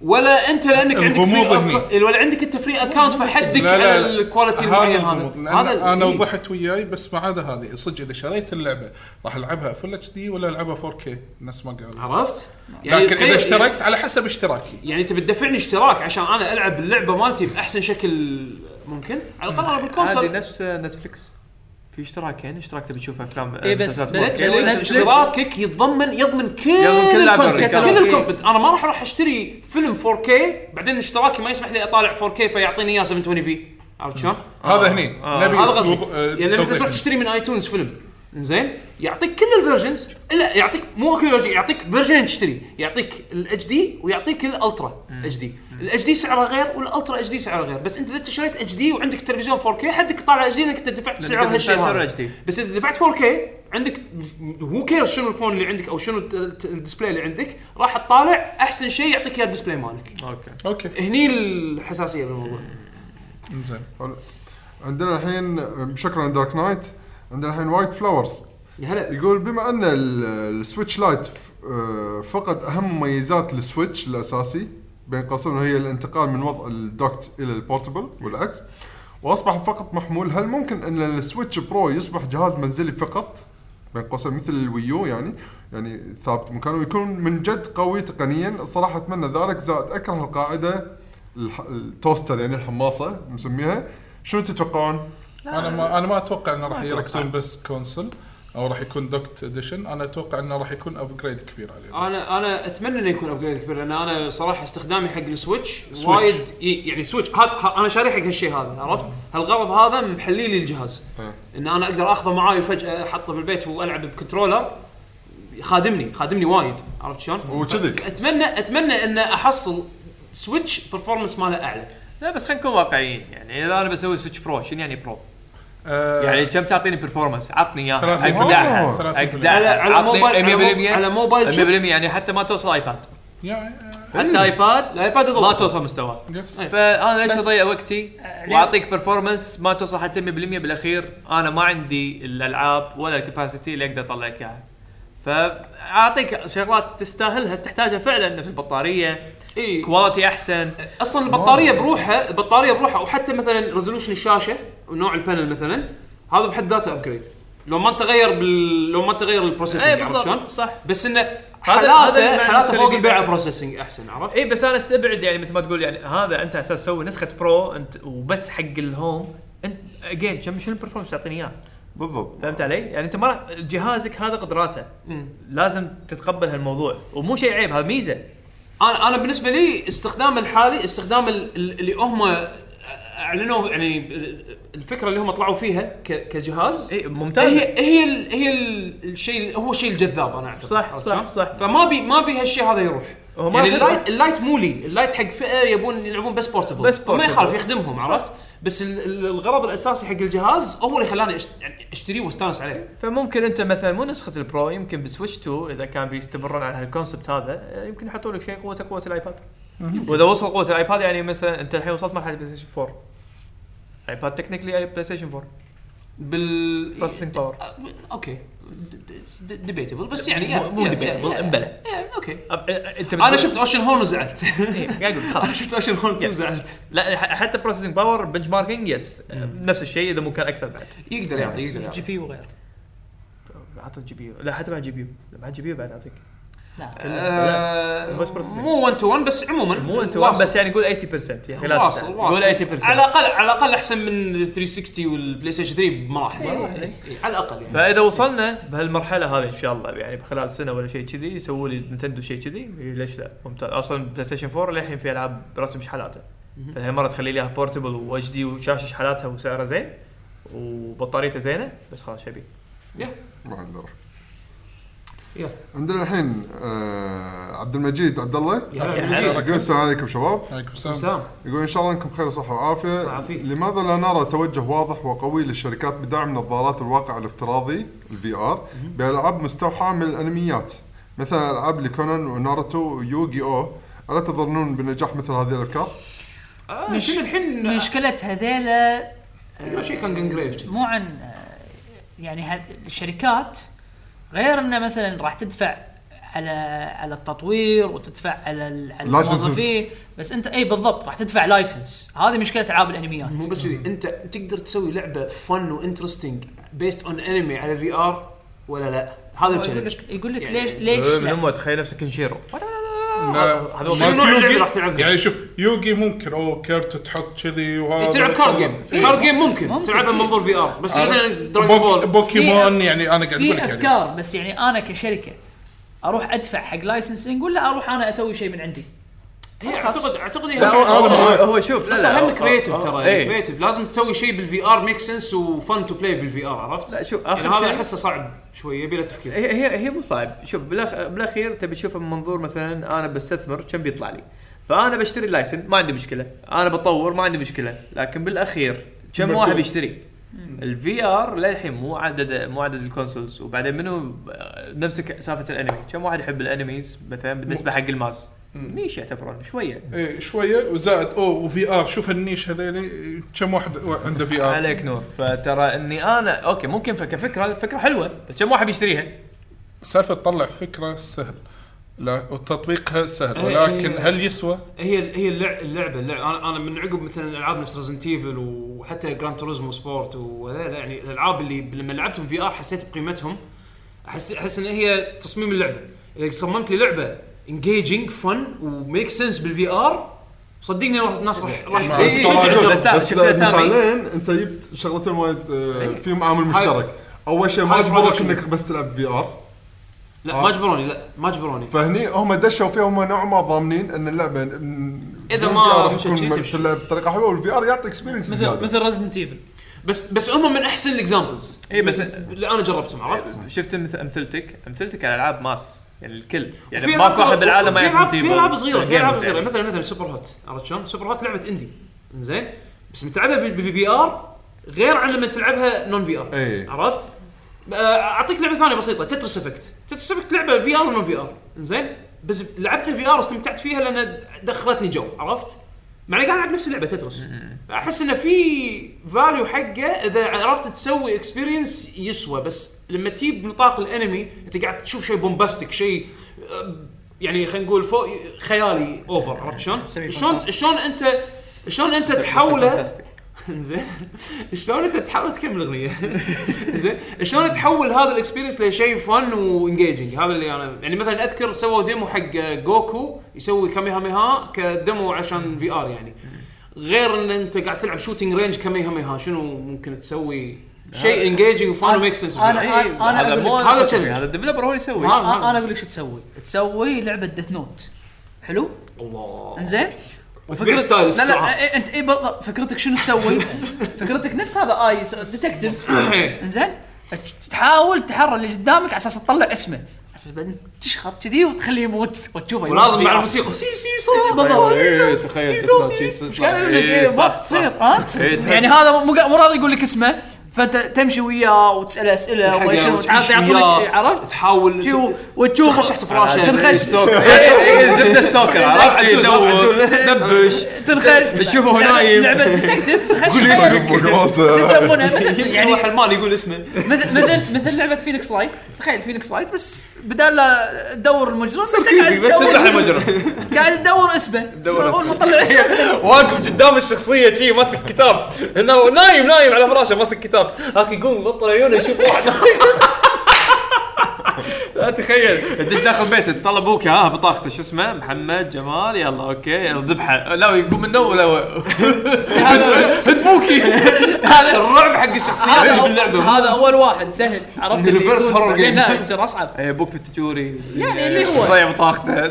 A: ولا انت لانك عندك
B: الغموض
A: free account- ولا عندك انت فري اكونت فحدك على الكواليتي المعين هذا
B: هذا انا
A: إيه.
B: وضحت وياي بس ما عدا هذه صدق اذا شريت اللعبه راح العبها فل اتش دي ولا العبها 4 كي الناس ما قالوا
A: عرفت؟
B: لكن
A: آه. يعني تخيل-
B: اذا اشتركت على حسب اشتراكي
A: يعني انت بتدفعني اشتراك عشان انا العب اللعبه مالتي باحسن شكل ممكن على الاقل انا
F: هذه
A: بالكونسل
F: نفس نتفلكس في اشتراكين اشتراك تبي تشوف افلام
D: إيه بس-
F: مسلسلات
D: بس-
F: وايد.
D: بس-
A: اشتراكك يتضمن يضمن كل
F: يضمن كل لعبة
A: الكونتنت
F: بالكامل.
A: كل الكونتنت انا ما راح اروح اشتري فيلم 4K بعدين اشتراكي ما يسمح لي اطالع 4K فيعطيني اياه 720 بي عرفت شلون؟
B: هذا هني نبي
A: هذا آه. قصدي
B: وض- آه،
A: يعني لما انت
B: توضيح.
A: تروح تشتري من ايتونز فيلم زين يعطيك كل الفيرجنز لا يعطيك مو كل الفيرجن يعطيك فيرجنين تشتري يعطيك الاتش دي ويعطيك الالترا اتش دي الاتش دي سعره غير والالترا اتش دي سعره غير بس انت اذا أنت شريت اتش دي وعندك تلفزيون 4K حدك طالع اتش دي انك انت دفعت سعر
F: أنت
A: هالشيء
F: دفعت سعر
A: هذا.
F: HD.
A: بس اذا دفعت 4K عندك هو كير شنو الفون اللي عندك او شنو الت- الت- الديسبلاي اللي عندك راح تطالع احسن شيء يعطيك اياه الديسبلاي مالك
F: اوكي
B: اوكي
A: هني الحساسيه بالموضوع
B: زين
C: عندنا الحين شكرا دارك نايت عندنا الحين وايت فلاورز
A: يا هلا
C: يقول بما ان ال- السويتش لايت ف- آه، فقد اهم مميزات السويتش الاساسي بين قوسين وهي الانتقال من وضع الدوكت الى البورتبل والعكس واصبح فقط محمول هل ممكن ان السويتش برو يصبح جهاز منزلي فقط بين قوسين مثل الويو يعني يعني ثابت مكانه ويكون من جد قوي تقنيا الصراحه اتمنى ذلك زائد اكره القاعده الح... التوستر يعني الحماصه نسميها شنو تتوقعون؟
B: انا ما انا ما اتوقع انه راح يركزون بس كونسل او راح يكون دوكت اديشن انا اتوقع انه راح يكون ابجريد كبير عليه
A: انا انا اتمنى انه يكون ابجريد كبير لان انا صراحه استخدامي حق السويتش وايد ي- يعني سويتش هذا ه- انا شاري حق هالشيء هذا عرفت؟ هالغرض هذا محلي لي الجهاز ان انا اقدر اخذه معاي وفجاه احطه بالبيت والعب بكنترولر خادمني خادمني وايد عرفت شلون؟
C: وكذي
A: اتمنى اتمنى ان احصل سويتش برفورمنس ماله اعلى
F: لا بس خلينا نكون واقعيين يعني اذا انا بسوي سويتش برو شنو يعني برو؟
B: آه،
F: يعني كم تعطيني برفورمانس عطني اياها
B: 30%.
F: اقدعها
B: آه. 30%.
A: على-
F: اقدعها
A: على
F: عطني
A: موبايل- على مو-
F: 100%
A: على موبايل
F: على
A: شيب.
F: 100% يعني حتى ما توصل إيه. ايباد
B: يعني
F: حتى ايباد
A: الايباد
F: ما
A: يضبط
F: توصل مستواه
B: يس
A: إيه.
F: فانا ليش
D: بس-
F: اضيع وقتي
A: آه،
F: واعطيك برفورمانس ما توصل حتى 100% بالاخير انا ما عندي الالعاب ولا الكباسيتي اللي اقدر اطلعك اياها فاعطيك شغلات تستاهلها تحتاجها فعلا نفس البطاريه
A: اي
F: كواليتي احسن
A: اصلا البطاريه بروحها البطاريه بروحها وحتى مثلا ريزولوشن الشاشه ونوع البانل مثلا هذا بحد ذاته ابجريد لو ما تغير بال... لو ما تغير البروسيسنج
F: اي
A: عرفت شلون؟
F: إيه، بالضبط صح
A: بس انه
F: هذا اللي
A: حالاته
F: معنى
A: حالاته فوق
F: السلبي.
A: البيع بروسيسنج احسن عرفت؟
F: اي بس انا استبعد يعني مثل ما تقول يعني هذا انت اساس تسوي نسخه برو انت وبس حق الهوم انت اجين كم شنو البرفورمانس تعطيني اياه؟
C: بالضبط
F: فهمت علي؟ يعني انت ما راح- جهازك هذا قدراته لازم تتقبل هالموضوع ومو شيء عيب هذا ميزه
A: انا انا بالنسبه لي استخدام الحالي استخدام ال- ال- اللي هم اعلنوا يعني الفكره اللي هم طلعوا فيها ك- كجهاز
F: اي ممتاز
A: هي هي ال هي ال- الشيء هو الشيء الجذاب انا اعتقد
F: صح،
A: عرفت
F: صح،
A: شلون؟
F: صح.
A: فما بي ما بي هالشيء هذا يروح
F: هو ما
A: يعني
F: في-
A: اللايت اللايت مو لي اللايت حق فئه يبون يلعبون بس بورتبل
F: بس
A: ما
F: portable.
A: يخالف يخدمهم عرفت بس ال- ال- الغرض الاساسي حق الجهاز هو اللي خلاني أشت- يعني اشتريه واستانس عليه
F: فممكن انت مثلا مو نسخه البرو يمكن بسويتش 2 اذا كان بيستمرون على هالكونسبت هذا آه، يمكن يحطوا لك شيء قوته قوه الايباد واذا وصل قوه الايباد يعني مثلا انت الحين وصلت مرحله بلاي ستيشن 4
A: إيه.
F: الايباد تكنيكلي بلاي ستيشن 4
A: بال آه،
F: بروسيسنج باور
A: اوكي ديبيتبل بس يعني
D: مو- مو
A: yeah, yeah,
D: debatable،
A: yeah.
D: انبلى.
A: Yeah, اوكي
D: أب- انت
A: انا شفت اوشن هون وزعلت
F: إيه، قاعد اقول
A: انا
F: خلاص
A: شفت اوشن هون
F: Yes.
A: وزعلت
F: لا ح- حتى بروسيسنج باور بنش ماركينج يس نفس الشيء اذا مو كان اكثر بعد
A: يقدر يعطي يقدر
D: جي
A: يعطي
D: بي وغيره
F: اعطي الجي بي يو لا حتى مع الجي بي يو مع الجي بي يو بعد اعطيك
A: آه،
F: بس processing.
A: مو 1 تو 1 بس عموما
F: مو انت
A: واصل.
F: بس يعني قول 80% يعني لا
A: واصل
F: تسعة.
A: واصل
F: قول 80%
A: على الاقل على الاقل احسن من 360 والبلاي ستيشن 3 بمراحل
F: إيه.
A: إي، على الاقل يعني
F: فاذا وصلنا بهالمرحله هذه ان شاء الله يعني خلال سنه ولا شيء كذي يسووا لي نتندو شيء كذي ليش لا ممتاز اصلا بلاي ستيشن 4 للحين في العاب رسم شحالاته فهي مره تخلي لي اياها بورتبل واتش دي وشاشه شحالاتها وسعرها زين وبطاريته زينه بس خلاص شبي
C: ما عاد نروح
A: يلا.
C: عندنا الحين آه عبد المجيد عبد الله
A: المجيد.
C: يقول السلام عليكم شباب
B: عليكم السلام
A: سلام
C: يقول ان شاء الله انكم بخير وصحه وعافيه
A: عافية.
C: لماذا لا نرى توجه واضح وقوي للشركات بدعم نظارات الواقع الافتراضي الفي ار بالعاب مستوحاه من الانميات مثل العاب لكونان وناروتو ويوغي او الا تظنون بنجاح مثل هذه الافكار؟
A: آه،
D: مش-
A: شنو الحين
D: مشكله هذيلا
A: كل شيء كان جنجريف
D: مو عن آه، يعني هاد- الشركات غير انه مثلا راح تدفع على على التطوير وتدفع على ال- على
C: Licenses.
D: الموظفين بس انت اي بالضبط راح تدفع لايسنس هذه مشكله العاب الانميات
A: مو بس كذي انت تقدر تسوي لعبه فن وانترستنج بيست اون انمي على في ار ولا لا؟
F: آه،
A: هذا
D: يقول
A: التشالنج
D: لك يقول لك
A: يعني-
D: ليش ليش
F: من
D: لا.
F: امه تخيل نفسك كنشيرو
B: لا،
F: هذا هو
B: مالت
A: نوع اللعبة
B: يوغي-
A: راح تلعبها؟
B: يعني شوف يوغي ممكن او كرت تحط كذي وهذا
A: إيه، تلعب كارد جيم كارد جيم ممكن
D: ممكن.
A: تلعبها من منظور في ار
F: آه.
A: بس مثلا دراجون
B: بوك-
A: بول
B: بوكيمون يعني انا قاعد اقول
D: في
B: لك يعني
D: افكار بس يعني انا كشركه اروح ادفع حق لايسنسنج ولا اروح انا اسوي شيء من عندي
A: هي
D: خلاص.
A: اعتقد اعتقد هي
F: لا، هو-
B: آه،
A: بس-
F: هو هو شوف لا
A: بس
F: لا
A: اهم
F: هو-
A: كريتيف ترى يعني
F: إيه.
A: كريتيف لازم تسوي شيء بالفي ار ميك سنس وفن تو بلاي بالفي ار عرفت؟
F: لا، شوف، آخر
A: يعني هذا
F: شيء-
A: احسه صعب شوي يبي له تفكير
F: هي هي هي مو صعب شوف بالأخ... بالاخير تبي تشوفها من منظور مثلا انا بستثمر كم بيطلع لي فانا بشتري لايسن ما عندي مشكله انا بطور ما عندي مشكله لكن بالاخير كم
B: مردود.
F: واحد بيشتري الفي ار للحين مو عدد مو عدد الكونسولز وبعدين منو آه، نمسك سالفه الانمي كم واحد يحب الانميز مثلا بالنسبه حق الماس نيش يعتبرون شويه
B: إيه، شويه وزائد او وفي ار شوف النيش هذيلي كم واحد عنده في ار
F: عليك نور فترى اني انا اوكي ممكن ف- كفكره فكره حلوه بس كم واحد بيشتريها
B: سالفه تطلع فكره سهل لا وتطبيقها سهل
A: إيه،
B: ولكن
A: إيه.
B: هل يسوى؟
A: هي هي اللعبه اللعبه, اللعبة. انا انا من عقب مثلا العاب نفس ريزنت ايفل وحتى جران توريزمو سبورت وهذا يعني الالعاب اللي لما لعبتهم في ار حسيت بقيمتهم احس احس ان هي تصميم اللعبه اذا صممت لي لعبه انجيجنج فن وميك سنس بالفي ار صدقني راح الناس راح راح
F: إيه، إيه،
A: تشجع
F: إيه،
A: تجرب.
F: بس لا،
C: بس
F: شفت إيه. أسامي.
C: مثالين انت جبت شغلتين وايد آه، فيهم عامل مشترك اول شيء ما
A: هاي
C: اجبرك
A: production.
C: انك بس تلعب في ار
A: لا ما جبروني لا ما جبروني
C: فهني هم دشوا فيها هم نوعا ما ضامنين ان اللعبه
A: إذا
C: إن
A: ما
C: VR راح
A: مشت
C: تكون
A: شي
C: م-
A: تمشي.
C: تلعب بطريقه حلوه والفي ار يعطي اكسبيرينس
D: مثل
C: زياده
D: مثل ريزدنت ايفل
A: بس بس هم من احسن الاكزامبلز
F: إيه، بس-
A: اللي انا جربتهم عرفت؟
F: شفت مث- امثلتك امثلتك على العاب ماس يعني الكل يعني
A: وفي
F: ماكو
A: ألعاب-
F: واحد بالعالم ما
A: في العاب
F: يعرف
A: في العاب
F: Resident Evil.
A: صغيره في العاب
F: Games
A: صغيره
F: يعني.
A: مثلا مثلا سوبر هوت عرفت شلون؟ سوبر هوت لعبه اندي زين بس متلعبها في الفي ار غير عن لما تلعبها نون في ار
C: اي
A: عرفت؟ آه، اعطيك لعبه ثانيه بسيطه تترس افكت تترس افكت لعبه في ار ونون في ار زين بس لعبتها في ار استمتعت فيها لان دخلتني جو عرفت؟ مع اني قاعد العب نفس اللعبه تترس احس انه في فاليو حقه اذا عرفت تسوي اكسبيرينس يسوى بس لما تجي بنطاق الانمي انت قاعد تشوف شيء بومباستيك شيء آه، يعني خلينا نقول فوق خيالي اوفر عرفت شلون؟
D: سمي
A: شلون
D: فانتاستيك.
A: شلون انت شلون انت
F: بس
A: تحوله
F: فانتاستيك.
A: زين شلون انت تحاول تكمل الاغنيه زين شلون تحول هذا الاكسبيرينس لشيء فن وانجيجنج هذا اللي انا يعني مثلا اذكر سووا ديمو حق جوكو يسوي كاميهاميها كديمو عشان في ار يعني غير ان انت قاعد تلعب شوتنج رينج كاميهاميها شنو ممكن تسوي شيء انجيجنج وفان وميك سنس
D: أنا-
F: إيه،
D: أنا
F: هذا
D: أقول
F: مو
A: لك-
F: أنا
A: هذا
F: أسوي،
A: challenge.
F: هذا الديفلوبر هو اللي يسوي
A: هذا-
D: انا أنا اقول لك شو تسوي تسوي لعبه ديث نوت حلو
A: الله
D: انزين
A: بيج
D: وفكرة
A: ستايل
D: لا
A: الساعة.
D: لا إيه، انت اي بالضبط فكرتك شنو تسوي؟ فكرتك نفس هذا آه، اي س- ديتكتيف انزين تحاول تحرر اللي قدامك على اساس تطلع اسمه على اساس بعدين تشخط كذي وتخليه يموت وتشوفه يموت
A: ولازم
D: فيها.
A: مع الموسيقى سي سي صوت
D: بالضبط.
F: إيه، تخيل
A: يدوس
F: تتنطي،
D: ايش قاعد يقول لك
F: إيه،
D: إيه، ما
F: صح، صح.
D: تصير ها
F: إيه، تحس-
D: يعني هذا مو مو راضي يقول لك اسمه فانت تمشي وياه وتساله اسئله
A: تلحقه
D: وما شنو
A: وتعيش
D: تعطي-
A: وياه.
D: يعطيك- عرفت؟
A: تحاول
D: شي و- وتشوف
A: تنخش تحت فراشه
D: تنخش
F: إيه،
D: إيه،
F: زبده
A: إيه،
F: ستوكر عرفت إيه، يدور دبش
D: تنخش
F: بتشوفه هو نايم.
D: لعبه ديتكتيف تنخش
C: قول
D: مثلاً-
C: اسمك
D: شو
C: وقراصه
D: يسمونه مثل يعني
A: يروح المال يقول اسمه
D: مثل مثل مثل لعبه فينيكس لايت تخيل فينيكس لايت بس بدال لا تدور المجرم انت قاعد
A: بس
D: تدور-
A: افتح المجرم
D: قاعد تدور اسمه تدور مطلع اسمه
A: واقف قدام الشخصيه شي ماسك كتاب هنا نايم نايم على فراشه ماسك كتاب هاك يقوم يبطل عيونه يشوف واحد لا تخيل
F: تدش داخل بيته تطلع ابوك ها بطاقته شو اسمه محمد جمال يلا اوكي ذبحه لا يقوم من النوم لا هد بوكي
D: هذا
A: الرعب حق الشخصيات
D: هذا
A: اللي
D: أول-
A: باللعبه
D: هذا اول واحد سهل عرفت اللي
A: Universe
D: يكون-
A: horror
D: بعدين
A: game.
D: لا يصير اصعب
F: ابوك بتجوري
D: يعني اللي هو.
F: إيه، ضيع بطاقته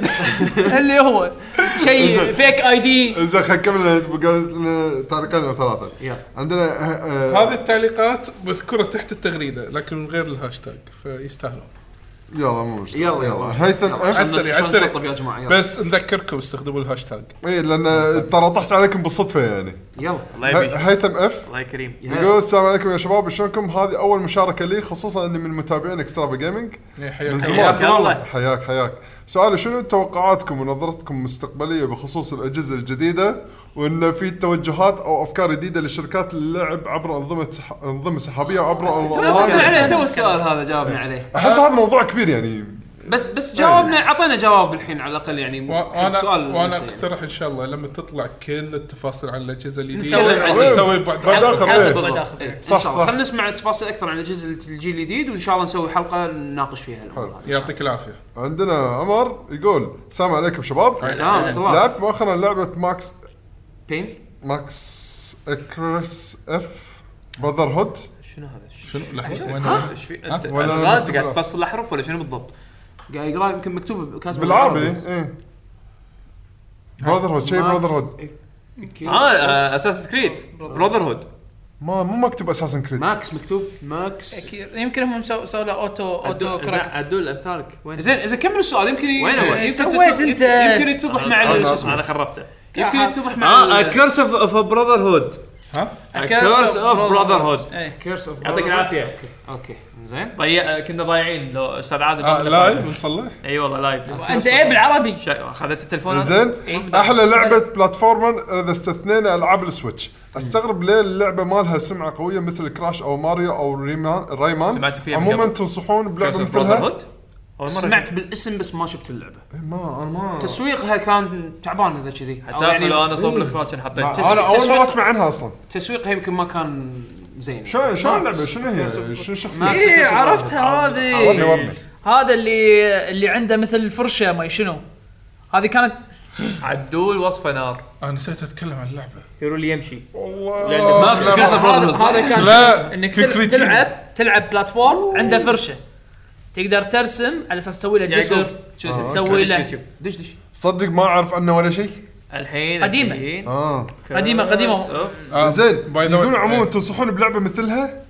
D: اللي هو شيء فيك اي دي
C: زين خلينا نكمل قال لنا تعليقين او ثلاثه عندنا آه، آه،
B: هذه التعليقات مذكوره تحت التغريده لكن من غير الهاشتاج فيستاهلون
C: يلا مو مشكله
A: يلا،
C: يلا هيثم
B: على
C: اف
B: السريع على
A: عسري
B: السريع
A: طب يا جماعه يلا
B: بس نذكركم استخدموا الهاشتاج
C: اي لان ترى طحت إيه، عليكم بالصدفه يعني
A: يلا
F: الله
C: هي-
F: يبيك
C: هيثم اف
F: الله يكريم
A: طيب، يا
C: يقول السلام عليكم يا شباب شلونكم هذه اول مشاركه لي خصوصا اني من متابعين اكسترافا جيمنج
B: إيه،
C: من
B: حياك
C: زمان
F: حياك الله.
C: حياك حياك سؤالي شنو توقعاتكم ونظرتكم المستقبليه بخصوص الاجهزه الجديده وانه في توجهات او افكار جديده للشركات للعب عبر انظمه سح... انظمه سحابيه عبر
A: جماعة.
D: تتكلم.
C: اونلاين
A: عليه تو السؤال هذا جاوبنا عليه
C: احس هذا موضوع كبير يعني
A: بس بس جاوبنا عطينا جواب الحين على الاقل يعني
B: وانا
A: سؤال
B: وانا
A: نفسه يعني.
B: اقترح ان شاء الله لما تطلع كل التفاصيل عن الاجهزه
A: نتكلم عنها.
B: الجديده نسوي بعد
C: بعد
B: حلقة.
C: اخر
D: حلقة
C: إيه.
D: بعد آخر.
A: إيه، ان
C: صح،
A: شاء الله
C: صح.
A: خلينا نسمع تفاصيل اكثر عن اجهزه الجيل الجديد وان شاء الله نسوي حلقه نناقش فيها الامور هذه.
B: يعطيك العافيه
C: عندنا عمر يقول السلام عليكم شباب
A: السلام ورحمه الله
C: لعبت مؤخرا لعبه ماكس
A: بين
C: ماكس اكرس اف براذر هود
F: شنو هذا؟
B: شنو لحظه وين
F: ها؟ ايش في؟ انت
C: ولا-
F: الغاز قاعد تفصل الاحرف ولا شنو بالضبط؟
A: قاعد يقرا يمكن مكتوب كاتب
C: بالعربي ايه براذر هود شيء براذر هود
A: إيه، آه،
F: اه اساس كريد براذر هود
C: ما مو مكتوب اساسن كريد
A: ماكس مكتوب ماكس
D: أكيد. يمكن هم سو- سووا له اوتو اوتو كوركت
F: عدول امثالك وين؟
A: زين اذا كمل السؤال يمكن ي-
F: وين هو؟
A: يمكن
D: سويت
A: يتضح-
D: أنت.
A: يمكن
F: آه،
A: يتضح مع ال- شو اسمه
F: انا خربته
A: يمكن يتضح مع
F: اه كيرس اوف براذر هود كيرس اوف براذر هود
D: إيه.
A: كيرس اوف
F: يعطيك العافيه
A: اوكي زين
F: ضيع كنا ضايعين لو استاذ عادل
B: آه لايف نصلح
F: اي والله لايف
D: انت ايه بالعربي
F: شا- اخذت التليفون أنا؟
C: زين احلى لعبه بلاتفورمر اذا استثنينا العاب السويتش استغرب ليه اللعبه مالها سمعه قويه مثل كراش او ماريو او ريمان رايمان
F: سمعت فيها من
C: عموما
F: قبل.
C: تنصحون
F: كيرس
C: بلعبه
F: اوف براذر
C: مثلها إيه،
F: هود أول مرة أشوف.
A: سمعت بالاسم بس ما شفت اللعبه
C: آه. ما انا ما
A: تسويقها كان تعبان اذا كذي أو يعني
F: حسافه لو انا صوب
C: إيه.
F: الاخراج كان حطيت
C: ما- انا اول مره اسمع عنها اصلا
A: تسويقها يمكن ما كان زين
C: شلون شلون اللعبه شنو إيه، هي شنو الشخصيه
A: ماكس
D: ايه
A: كيرس أوف
D: عرفتها
C: عرفني
D: هذه
C: ورني
D: هذا اللي اللي عنده مثل الفرشه ما شنو هذه كانت
F: عدول وصفه نار
B: انا نسيت اتكلم عن اللعبه
F: يقولوا لي يمشي
C: والله
A: ماكس كيرس أوف
D: هذا
A: براذر هود.
D: هذا كان
B: لا
D: انك تل-
B: كوكريتين.
D: تلعب تلعب بلاتفورم عنده فرشه تقدر ترسم على اساس تسوي له جسر
A: شو
D: تسوي له
F: يوتيوب.
A: دش دش
C: صدق ما اعرف عنه ولا شيء
F: الحين
D: قديمة.
F: الحين.
C: اه
D: قديمة- قديمة.
F: Curse of-
B: آه،
C: زين
B: by the way-
C: يقولون عموما
B: إيه.
C: تنصحون بلعبه مثلها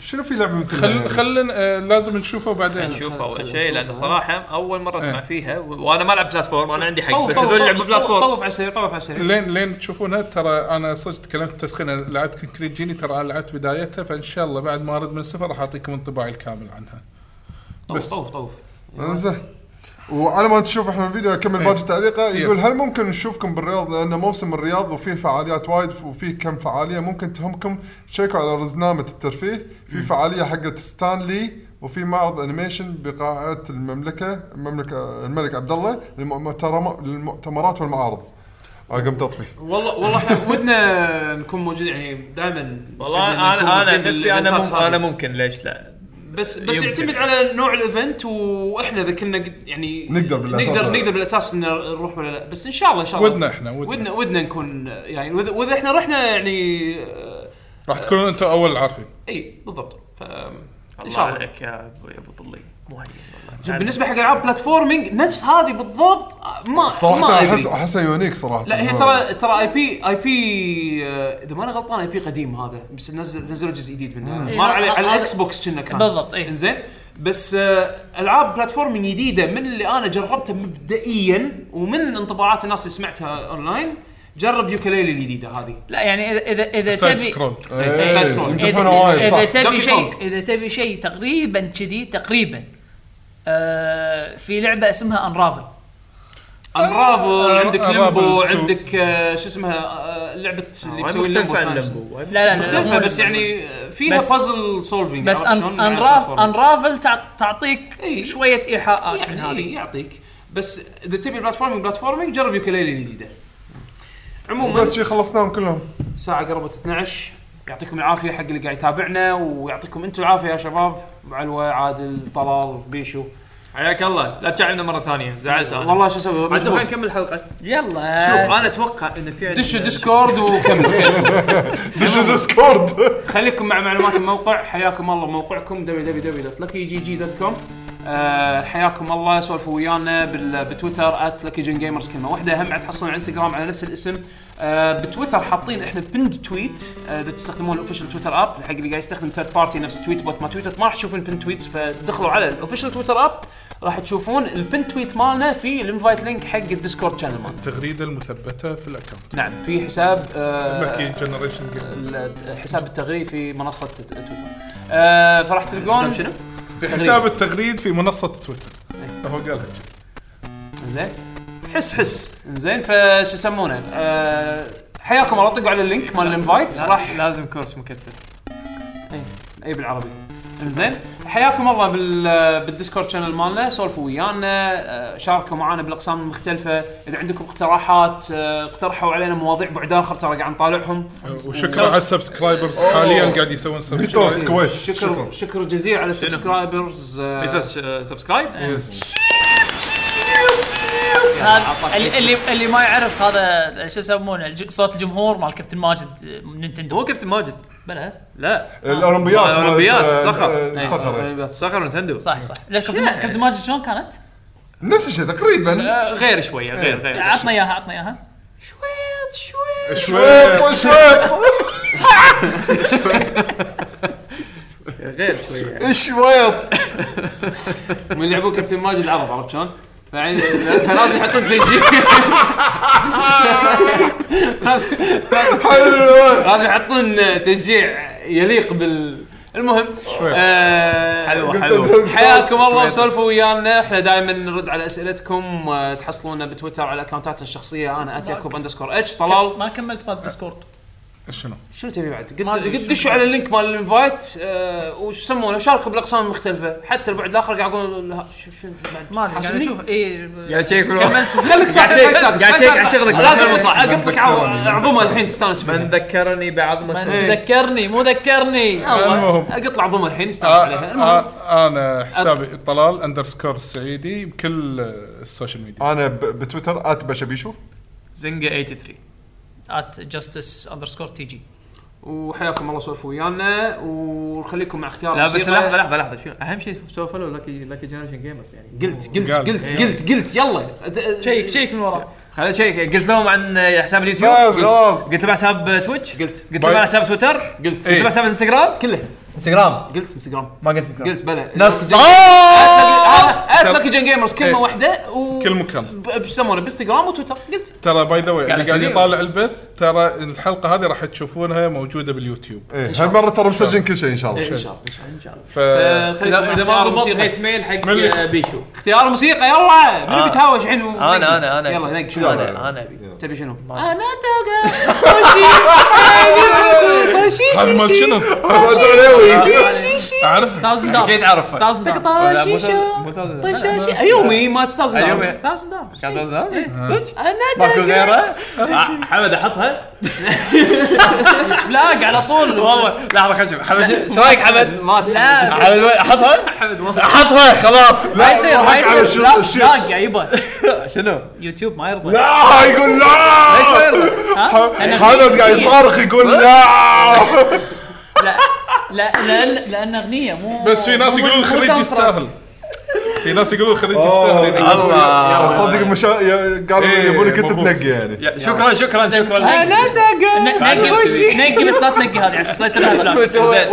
C: شنو في لعبه مثلها
B: خل
C: يعني؟
B: خلنا آه، لازم نشوفه بعدين
F: نشوف اول
A: خلنا
F: شيء لان
A: نشوفها.
F: صراحه اول مره اسمع
B: إيه.
F: فيها و- وانا ما العب بلاتفورم انا عندي حق
A: طوف-
F: بس
A: طوف-
F: هذول يلعبوا
A: طوف-
F: بلاتفورم
A: طوف على السريع طوف على السريع
B: لين لين تشوفونها ترى انا صدق تكلمت تسخينه لعبت كونكريت جيني ترى انا لعبت بدايتها فان شاء الله بعد ما ارد من السفر راح اعطيكم انطباعي الكامل عنها
A: طوف طوف طوف
C: انزين وعلى ما تشوف احنا الفيديو اكمل
B: ايه.
C: باقي تعليقه
B: يلا.
C: يقول هل ممكن نشوفكم بالرياض لان موسم الرياض وفيه فعاليات وايد وفيه كم فعاليه ممكن تهمكم تشيكوا على رزنامه الترفيه في فعاليه حقت ستانلي وفي معرض انيميشن بقاعه المملكه المملكه الملك عبد الله للمؤترم- للمؤتمرات والمعارض آه، قمت اطفي
A: والله والله احنا ودنا نكون موجودين يعني دائما
F: والله انا انا نفسي انا مم- انا ممكن ليش لا
A: بس بس
F: يمكن.
A: يعتمد على نوع الايفنت واحنا اذا كنا قد- يعني
C: نقدر بالأساس
A: نقدر
C: ولا لا.
A: نقدر بالاساس ان نروح ولا لا بس ان شاء الله ان شاء الله
B: ودنا احنا، ودنا.
A: ودنا, ودنا نكون يعني واذا وإذا احنا رحنا يعني آه،
B: راح تكونون انتم اول عارفين
A: اي بالضبط ف ان
F: الله
A: شاء الله
F: عليك يا ابو يا أبو طلي مهيئ والله
A: شوف، بالنسبه حق العاب بلاتفورمينج نفس هذه بالضبط آه، ما ما
C: صراحه
A: أدري.
C: احس احسها يونيك صراحه
A: لا هي ترى ترى اي بي اي بي آه، اذا ماني غلطان اي بي قديم هذا بس نزل نزلوا جزء جديد منه
D: إيه،
A: مر على
D: هذا-
A: على
D: هذا-
A: الاكس بوكس كنا كان
D: بالضبط، إيه.
A: انزين بس آه، العاب بلاتفورم جديده من اللي انا جربتها مبدئيا ومن انطباعات الناس اللي سمعتها اونلاين جرب يوكليلي الجديده هذه
D: لا يعني اذا اذا اذا
B: سايد
D: تبي
B: سكرول
L: إيه،
A: سايد سكرول.
L: يمدحونه
D: اذا,
L: وايد
D: إذا
L: صح
D: تبي
A: دوكي
D: شيء
A: كونغ.
D: اذا تبي شيء تقريبا كذي تقريبا آه في لعبه اسمها انرافل آه،
A: انرافل عندك ليمبو
B: Unravel two.
A: عندك آه، شو اسمها آه، لعبه اللي تسوي الليمبو
F: مختلفة عن
A: الثانية.
F: لمبو
D: لا لا
A: مختلفه بس يعني فيها
D: آه، بس-
A: بازل سولفينج
D: بس
A: عرفت شلون؟ يعني
D: أن
A: مع
D: انراف
A: البلاتفورم.
D: انرافل تع- تعطيك
A: إي.
D: شويه ايحاءات من
A: يعني
D: هذه
A: إيه، يعطيك بس اذا تبي بلاتفورمينج بلاتفورمينج جرب يوكليلي الجديده عموما
C: بس شي خلصناهم كلهم
A: ساعه قربت 12 يعطيكم العافيه حق اللي قاعد يتابعنا ويعطيكم انتم العافيه يا شباب علوه عادل طلال بيشو
M: حياك الله لا تشعلنا مره ثانيه زعلت انا
A: والله شو اسوي
M: عاد
A: مجبور.
M: خلينا نكمل الحلقه
A: يعني
D: يلا
M: شوف انا اتوقع ان في عندنا-
A: دشوا ديسكورد وكمل
C: دش ديسكورد
A: خليكم مع معلومات الموقع حياكم الله موقعكم www.luckygg.com أه حياكم الله سولفوا ويانا بال- بتويتر @luckygengamers كلمه واحده اهم بعد تحصلون على انستغرام على نفس الاسم أه بتويتر حاطين احنا بند تويت اذا أه إذا تستخدمون الاوفيشال تويتر اب حق اللي قاعد يستخدم ثيرد بارتي نفس تويت بوت ما تويتر ما راح تشوفون بند تويتس فدخلوا على الاوفيشال تويتر اب راح تشوفون البند تويت مالنا في الانفايت لينك حق الديسكورد شانل مالنا
B: التغريده المثبته في الاكونت
A: نعم في حساب أه
B: مكي جنريشن جيمز
A: ال- حساب التغريد في منصه تويتر آه فراح تلقون
M: شنو؟
B: في حساب التغريد في منصه تويتر هو قالها كذي.
A: زين حس حس زين فشو يسمونه آه حياكم الله طقوا على اللينك مال الانفايت راح
F: راح لازم كورس مكثف
A: اي بالعربي انزين حياكم الله بال آه، بالديسكورد شانل مالنا سولفوا ويانا آه، شاركوا معانا بالاقسام المختلفه اذا عندكم اقتراحات آه، اقترحوا علينا مواضيع بعد اخر ترى قاعد نطالعهم
B: وشكرا على السبسكرايبرز حاليا قاعد يسوون
C: ميتوس
A: إيه.
B: سبسكرايب
C: كويت
A: شكر شكر جزيل على آه، السبسكرايبرز
M: مثل س- سبسكرايب
D: هذا اللي- اللي اللي ما يعرف هذا شو يسمونه الج- صوت الجمهور مال كابتن ماجد آه، من
A: مو
D: نينتندو
A: كابتن ماجد
D: بلى
M: لا
C: الاولمبياد مال-
M: الأولمبياد،
C: آه،
M: صخر.
C: آه،
A: إيه.
C: صخر
M: صخر نتندو
D: صح صح لا كابتن ما- كابتن ماجد شلون كانت؟
C: نفس الشيء تقريبا
M: آه، غير شويه
F: إيه.
M: غير غير
D: عطنا اياها عطنا اياها
C: إيه،
B: شوي
C: شويط
M: غير شويه
C: شويط
A: من يلعبون كابتن ماجد العرض عرفت شلون؟ فعين- فلازم يحطون جي جي لازم-
C: حلو
A: لازم يحطون تشجيع يليق بال المهم
B: شوي.
A: آه،
M: حلوه حلوه
C: قلت-
A: حياكم الله وسولفوا ويانا احنا دائما نرد على اسئلتكم آه، تحصلونا بتويتر على اكونتاتنا الشخصيه انا @يعقوب اندرسكور اتش طلال
D: ما كملت مال ديسكورد
B: شنو؟
A: شنو تبي بعد؟ قلت-
D: ما أدري
A: قلت
D: شو.
A: دشوا على اللينك مال الانفايت آه، وش يسمونه شاركوا بالاقسام المختلفه حتى البعد الاخر قاعد اقول لا، شو شو بعد
D: ما يعني ادري قاعد
A: حاسبني؟
D: اشوف اي
F: قاعد تشيك
A: خليك ساكت خليك ساكت
F: قاعد تشيك على شغلك.
A: صادق صح قلت لك عو- عظمه الحين تستانس
M: من
A: فيها
M: ذكرني بعظمه
D: من ذكرني مو ذكرني
B: المهم
A: قلت له عظمه الحين
B: آه،
A: استانس أه، عليها المهم
B: آه، انا حسابي طلال اندرسكور السعيدي بكل السوشيال ميديا
C: انا ب- بتويتر @بشبيشو
F: زنقه 83
D: ات جاستس اندرسكور تي جي
A: وحياكم الله سولفوا ويانا وخليكم مع اختيار
F: لا بس
A: موسيقى.
F: لحظه لحظه لحظه شنو
M: اهم شيء سولفوا لاكي لاكي جنريشن جيمرز يعني
A: قلت قلت
B: قال.
A: قلت قلت قلت يلا
D: شيك شيك من ورا
F: خلينا شيك قلت لهم عن حساب اليوتيوب
C: بس خلاص
F: قلت لهم عن حساب تويتش
A: قلت
F: قلت لهم عن حساب تويتر قلت
A: قلت
F: لهم عن
C: إيه.
F: حساب انستغرام
A: كله
F: انستغرام
A: قلت انستغرام
F: ما قلت انستغرام
A: قلت بلا
F: نصاب
A: اتلك جن جيمرز كلمه
B: إيه.
A: واحده و
B: كل مكان
A: ب- بش يسمونه بانستغرام وتويتر قلت
B: ترى باي ذا واي اللي قاعد
F: كذي.
B: يطالع البث ترى الحلقه هذه راح تشوفونها موجوده باليوتيوب
C: إيه، هالمره ترى مسجل كل شيء ان شاء الله
A: ان شاء الله إن شاء الله.
B: ف
A: آه، خليكم مع
M: اذا ما
A: اختيار
M: ضبط
A: موسيقى
M: هيت ميل حق
B: من اللي-
M: آه، بيشو
A: اختيار موسيقى يلا منو
F: آه.
A: بيتهاوش الحين و-
F: انا انا انا
A: يلا نق شنو
F: انا انا أبي.
A: تبي شنو؟
B: هذا مال شنو؟
C: أحمد علوي.
B: اعرفها
D: 1000 دولار
F: أكيد أعرفها.
D: 1000 دولار
F: لا، مو ثلاثة- مو ثلاثة.
M: طيب، أيوة،
A: يومي ما تثوز
F: اليوم
A: دولار.
D: 1000 دولار
F: كان ثلاثة؟
M: إيه.
F: صدق؟ ماكو آه، غيره؟
M: حمد احطها
D: فلاج على طول
F: والله لحظه خلينا نشوف حمد ايش رايك حمد؟
A: ما
D: لا.
A: تحب
F: حمد وين؟ احطها؟ احطها خلاص
D: ما يصير ما
C: ضحك على
D: يصير
C: الشيء-
D: فلاج-
C: الشيء.
D: فلاج يا يبا
F: شنو؟
D: يوتيوب ما يرضى
C: لا آه، يقول
F: ايش
C: لا
F: غيره؟
D: ها؟
C: حمد قاعد يصارخ يقول لا
D: لا لا لان لان اغنيه مو
B: بس في ناس
D: مو-
B: يقولون
D: مو
B: الخريج
D: soundtrack.
B: يستاهل في ناس يقولون الخريج
C: أوه،
B: يستاهل
F: الله
C: تصدق مشا... آه، يا- قالوا
B: إيه،
C: يبونك انت
B: مبروك.
C: تنقي يعني
F: يا- شكرا شكرا شكرا
D: لا ن- نقي
F: وشي.
D: نقي بس لا تنقي هذه على اساس لا يصير لها فلاج
F: زين.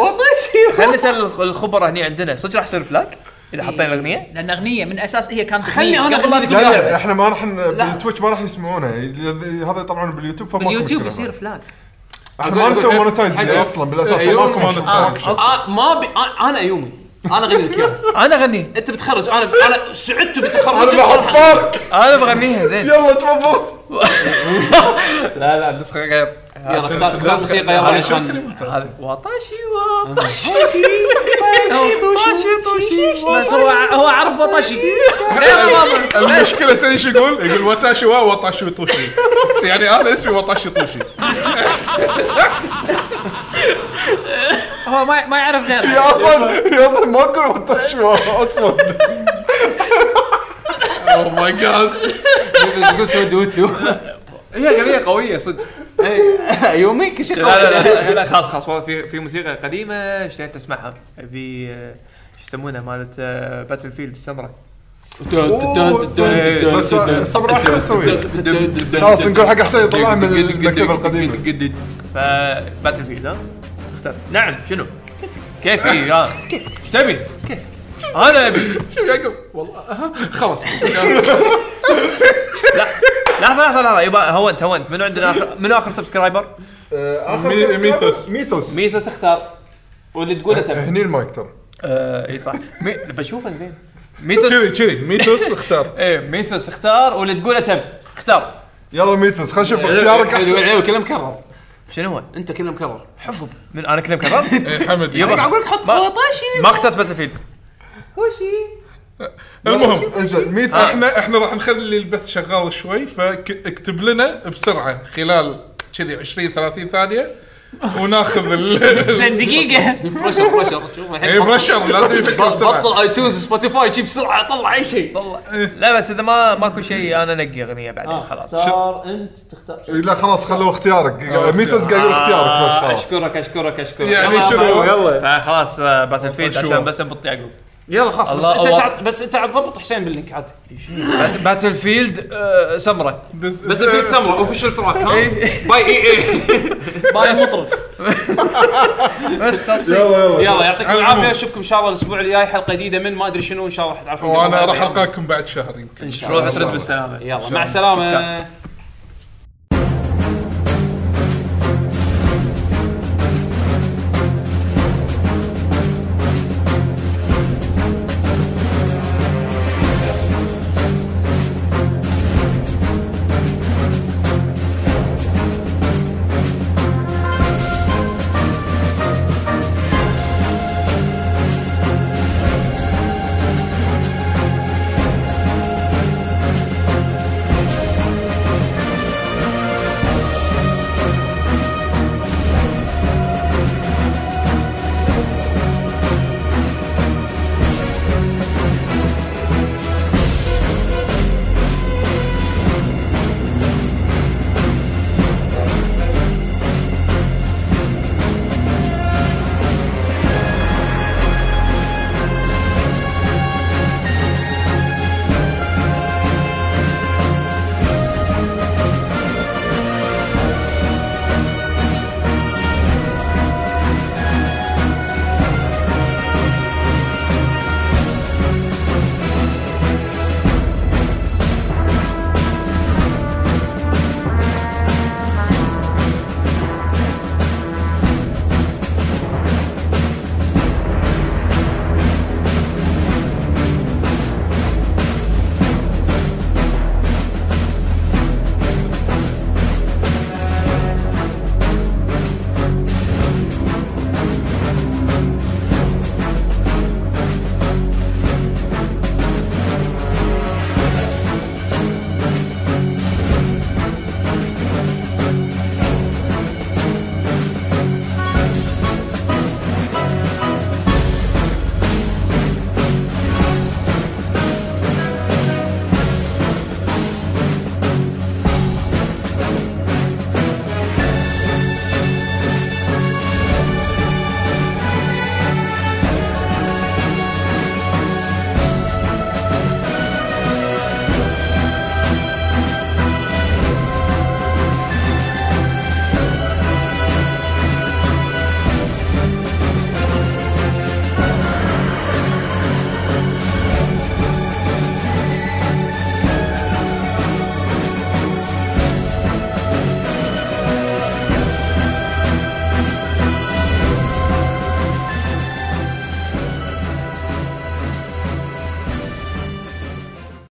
F: خلينا نسال الخبراء هني عندنا صدق راح يصير فلاك؟ اذا حطينا الاغنيه
D: لان اغنيه من اساس هي كانت
N: خلني
D: أغنية
N: أنا
D: قبل لا
N: أغنية
D: تقول
N: قبل.
D: لا.
C: لا لا احنا ما راح ن-
D: لا.
C: بالتويتch ما راح يسمعونها ي- هذا يطلعونه باليوتيوب فما
D: باليوتيوب يصير فلاج
C: احنا ما
B: أقول-
C: نسوي
B: أقول-
C: مونتايز
B: حاجة.
C: اصلا بالاساس
B: أيوه،
C: ما نسوي
B: monetize.
C: monetize.
D: آه، أوكي.
A: آه ما بي آه انا ايومي انا اغني لك اياها
F: انا اغنيها
A: انت بتخرج انا انا سعدت بتخرج
C: انا بحط بارك
F: انا بغنيها زين
C: يلا تفضل
F: لا لا النسخه غير
A: يلا اختار اختار موسيقى يلا عشان
F: هذا وطاشي
D: بس هو هو عرف وطشي غير واضح.
B: المشكله تدري شو يقول؟ يقول واتاشي وا واتاشي طوشي يعني انا اسمي واتاشي طوشي
D: هو ما ما يعرف غير
C: هي اصلا هي اصلا ما تقول مونتاج اصلا
B: اوه ماي جاد
A: يقول سوي دوتو
F: هي اغنيه قويه صدق
A: ايومي كل إيه. شيء
F: لا لا
A: قوي.
F: لا, لا خلاص خلاص والله في في موسيقى قديمه اشتهيت اسمعها ابي آه، شو يسمونها مالت آه، باتل فيلد السمراء
C: بس صبر راح نسوي خلاص نقول حق حسين يطلع من المكتبه القديمه
F: فباتل فيلد ها اختار نعم شنو؟ كيفي كيفي ها ايش تبي؟ انا ابي
B: شوف يعقوب والله أها، خلاص
F: لا لحظه لحظه لحظه يبا هونت هونت منو عندنا آخر- منو اخر سبسكرايبر؟
B: مي- ميثوس.
C: ميثوس
F: ميثوس اختار واللي تقوله تبي
C: هني المايك ترى
F: آه، اي صح مي... بشوفه زين
B: كذي
F: ميثوس
B: كذي ميتوس اختار
F: ايه ميثوس اختار واللي تقوله تبي اختار
C: يلا ميثوس خلينا نشوف اختيارك احسن
A: العيب كله مكرر
F: شنو هو؟
A: انت كله مكرر حفظ
F: من انا كلام كرر؟
B: إيه، حمد
F: يلا.
B: يلا.
A: اقول لك حط
F: ما-
A: بطاشي
F: ما اخترت باتل فيلد
B: المهم
C: انزين ميثوس
B: احنا احنا راح نخلي البث شغال شوي فاكتب لنا بسرعه خلال كذي 20 30 ثانيه وناخذ ال إيه،
D: زين دقيقه
A: برشر برشر شوف الحين
B: اي برشر لازم يفكر بسرعه
A: بطل ايتونز سبوتيفاي شي بسرعه طلع اي شيء
F: لا بس اذا ما ماكو شيء انا انقي اغنيه بعدين طيب، خلاص
A: اختار انت تختار
C: لا خلاص خلوه اختيارك ميثوس قاعد يقول اختيارك بس خلاص
F: اشكرك اشكرك اشكرك
B: يعني شنو
F: فخلاص آه، باتل فيلد
B: شو.
F: عشان بس نبط يعقوب
A: يلا خلاص بس
F: الله-
A: انت
F: الله.
A: تعط- بس انت ضبط حسين باللينك عاد
F: بات- باتل فيلد آه، سمره
A: باتل فيلد سمر اوفشل تراك ها باي اي اي
D: باي مطرف
F: بس خلاص
C: يلا يلا
A: يلا يعطيكم
B: عمو.
A: العافيه اشوفكم ان شاء الله الاسبوع الجاي حلقه جديده من ما ادري شنو ان شاء الله راح تعرفون
B: وانا راح القاكم بعد شهر يمكن
A: ان شاء
F: روح
A: الله
F: ترد بالسلامه
A: يلا مع السلامه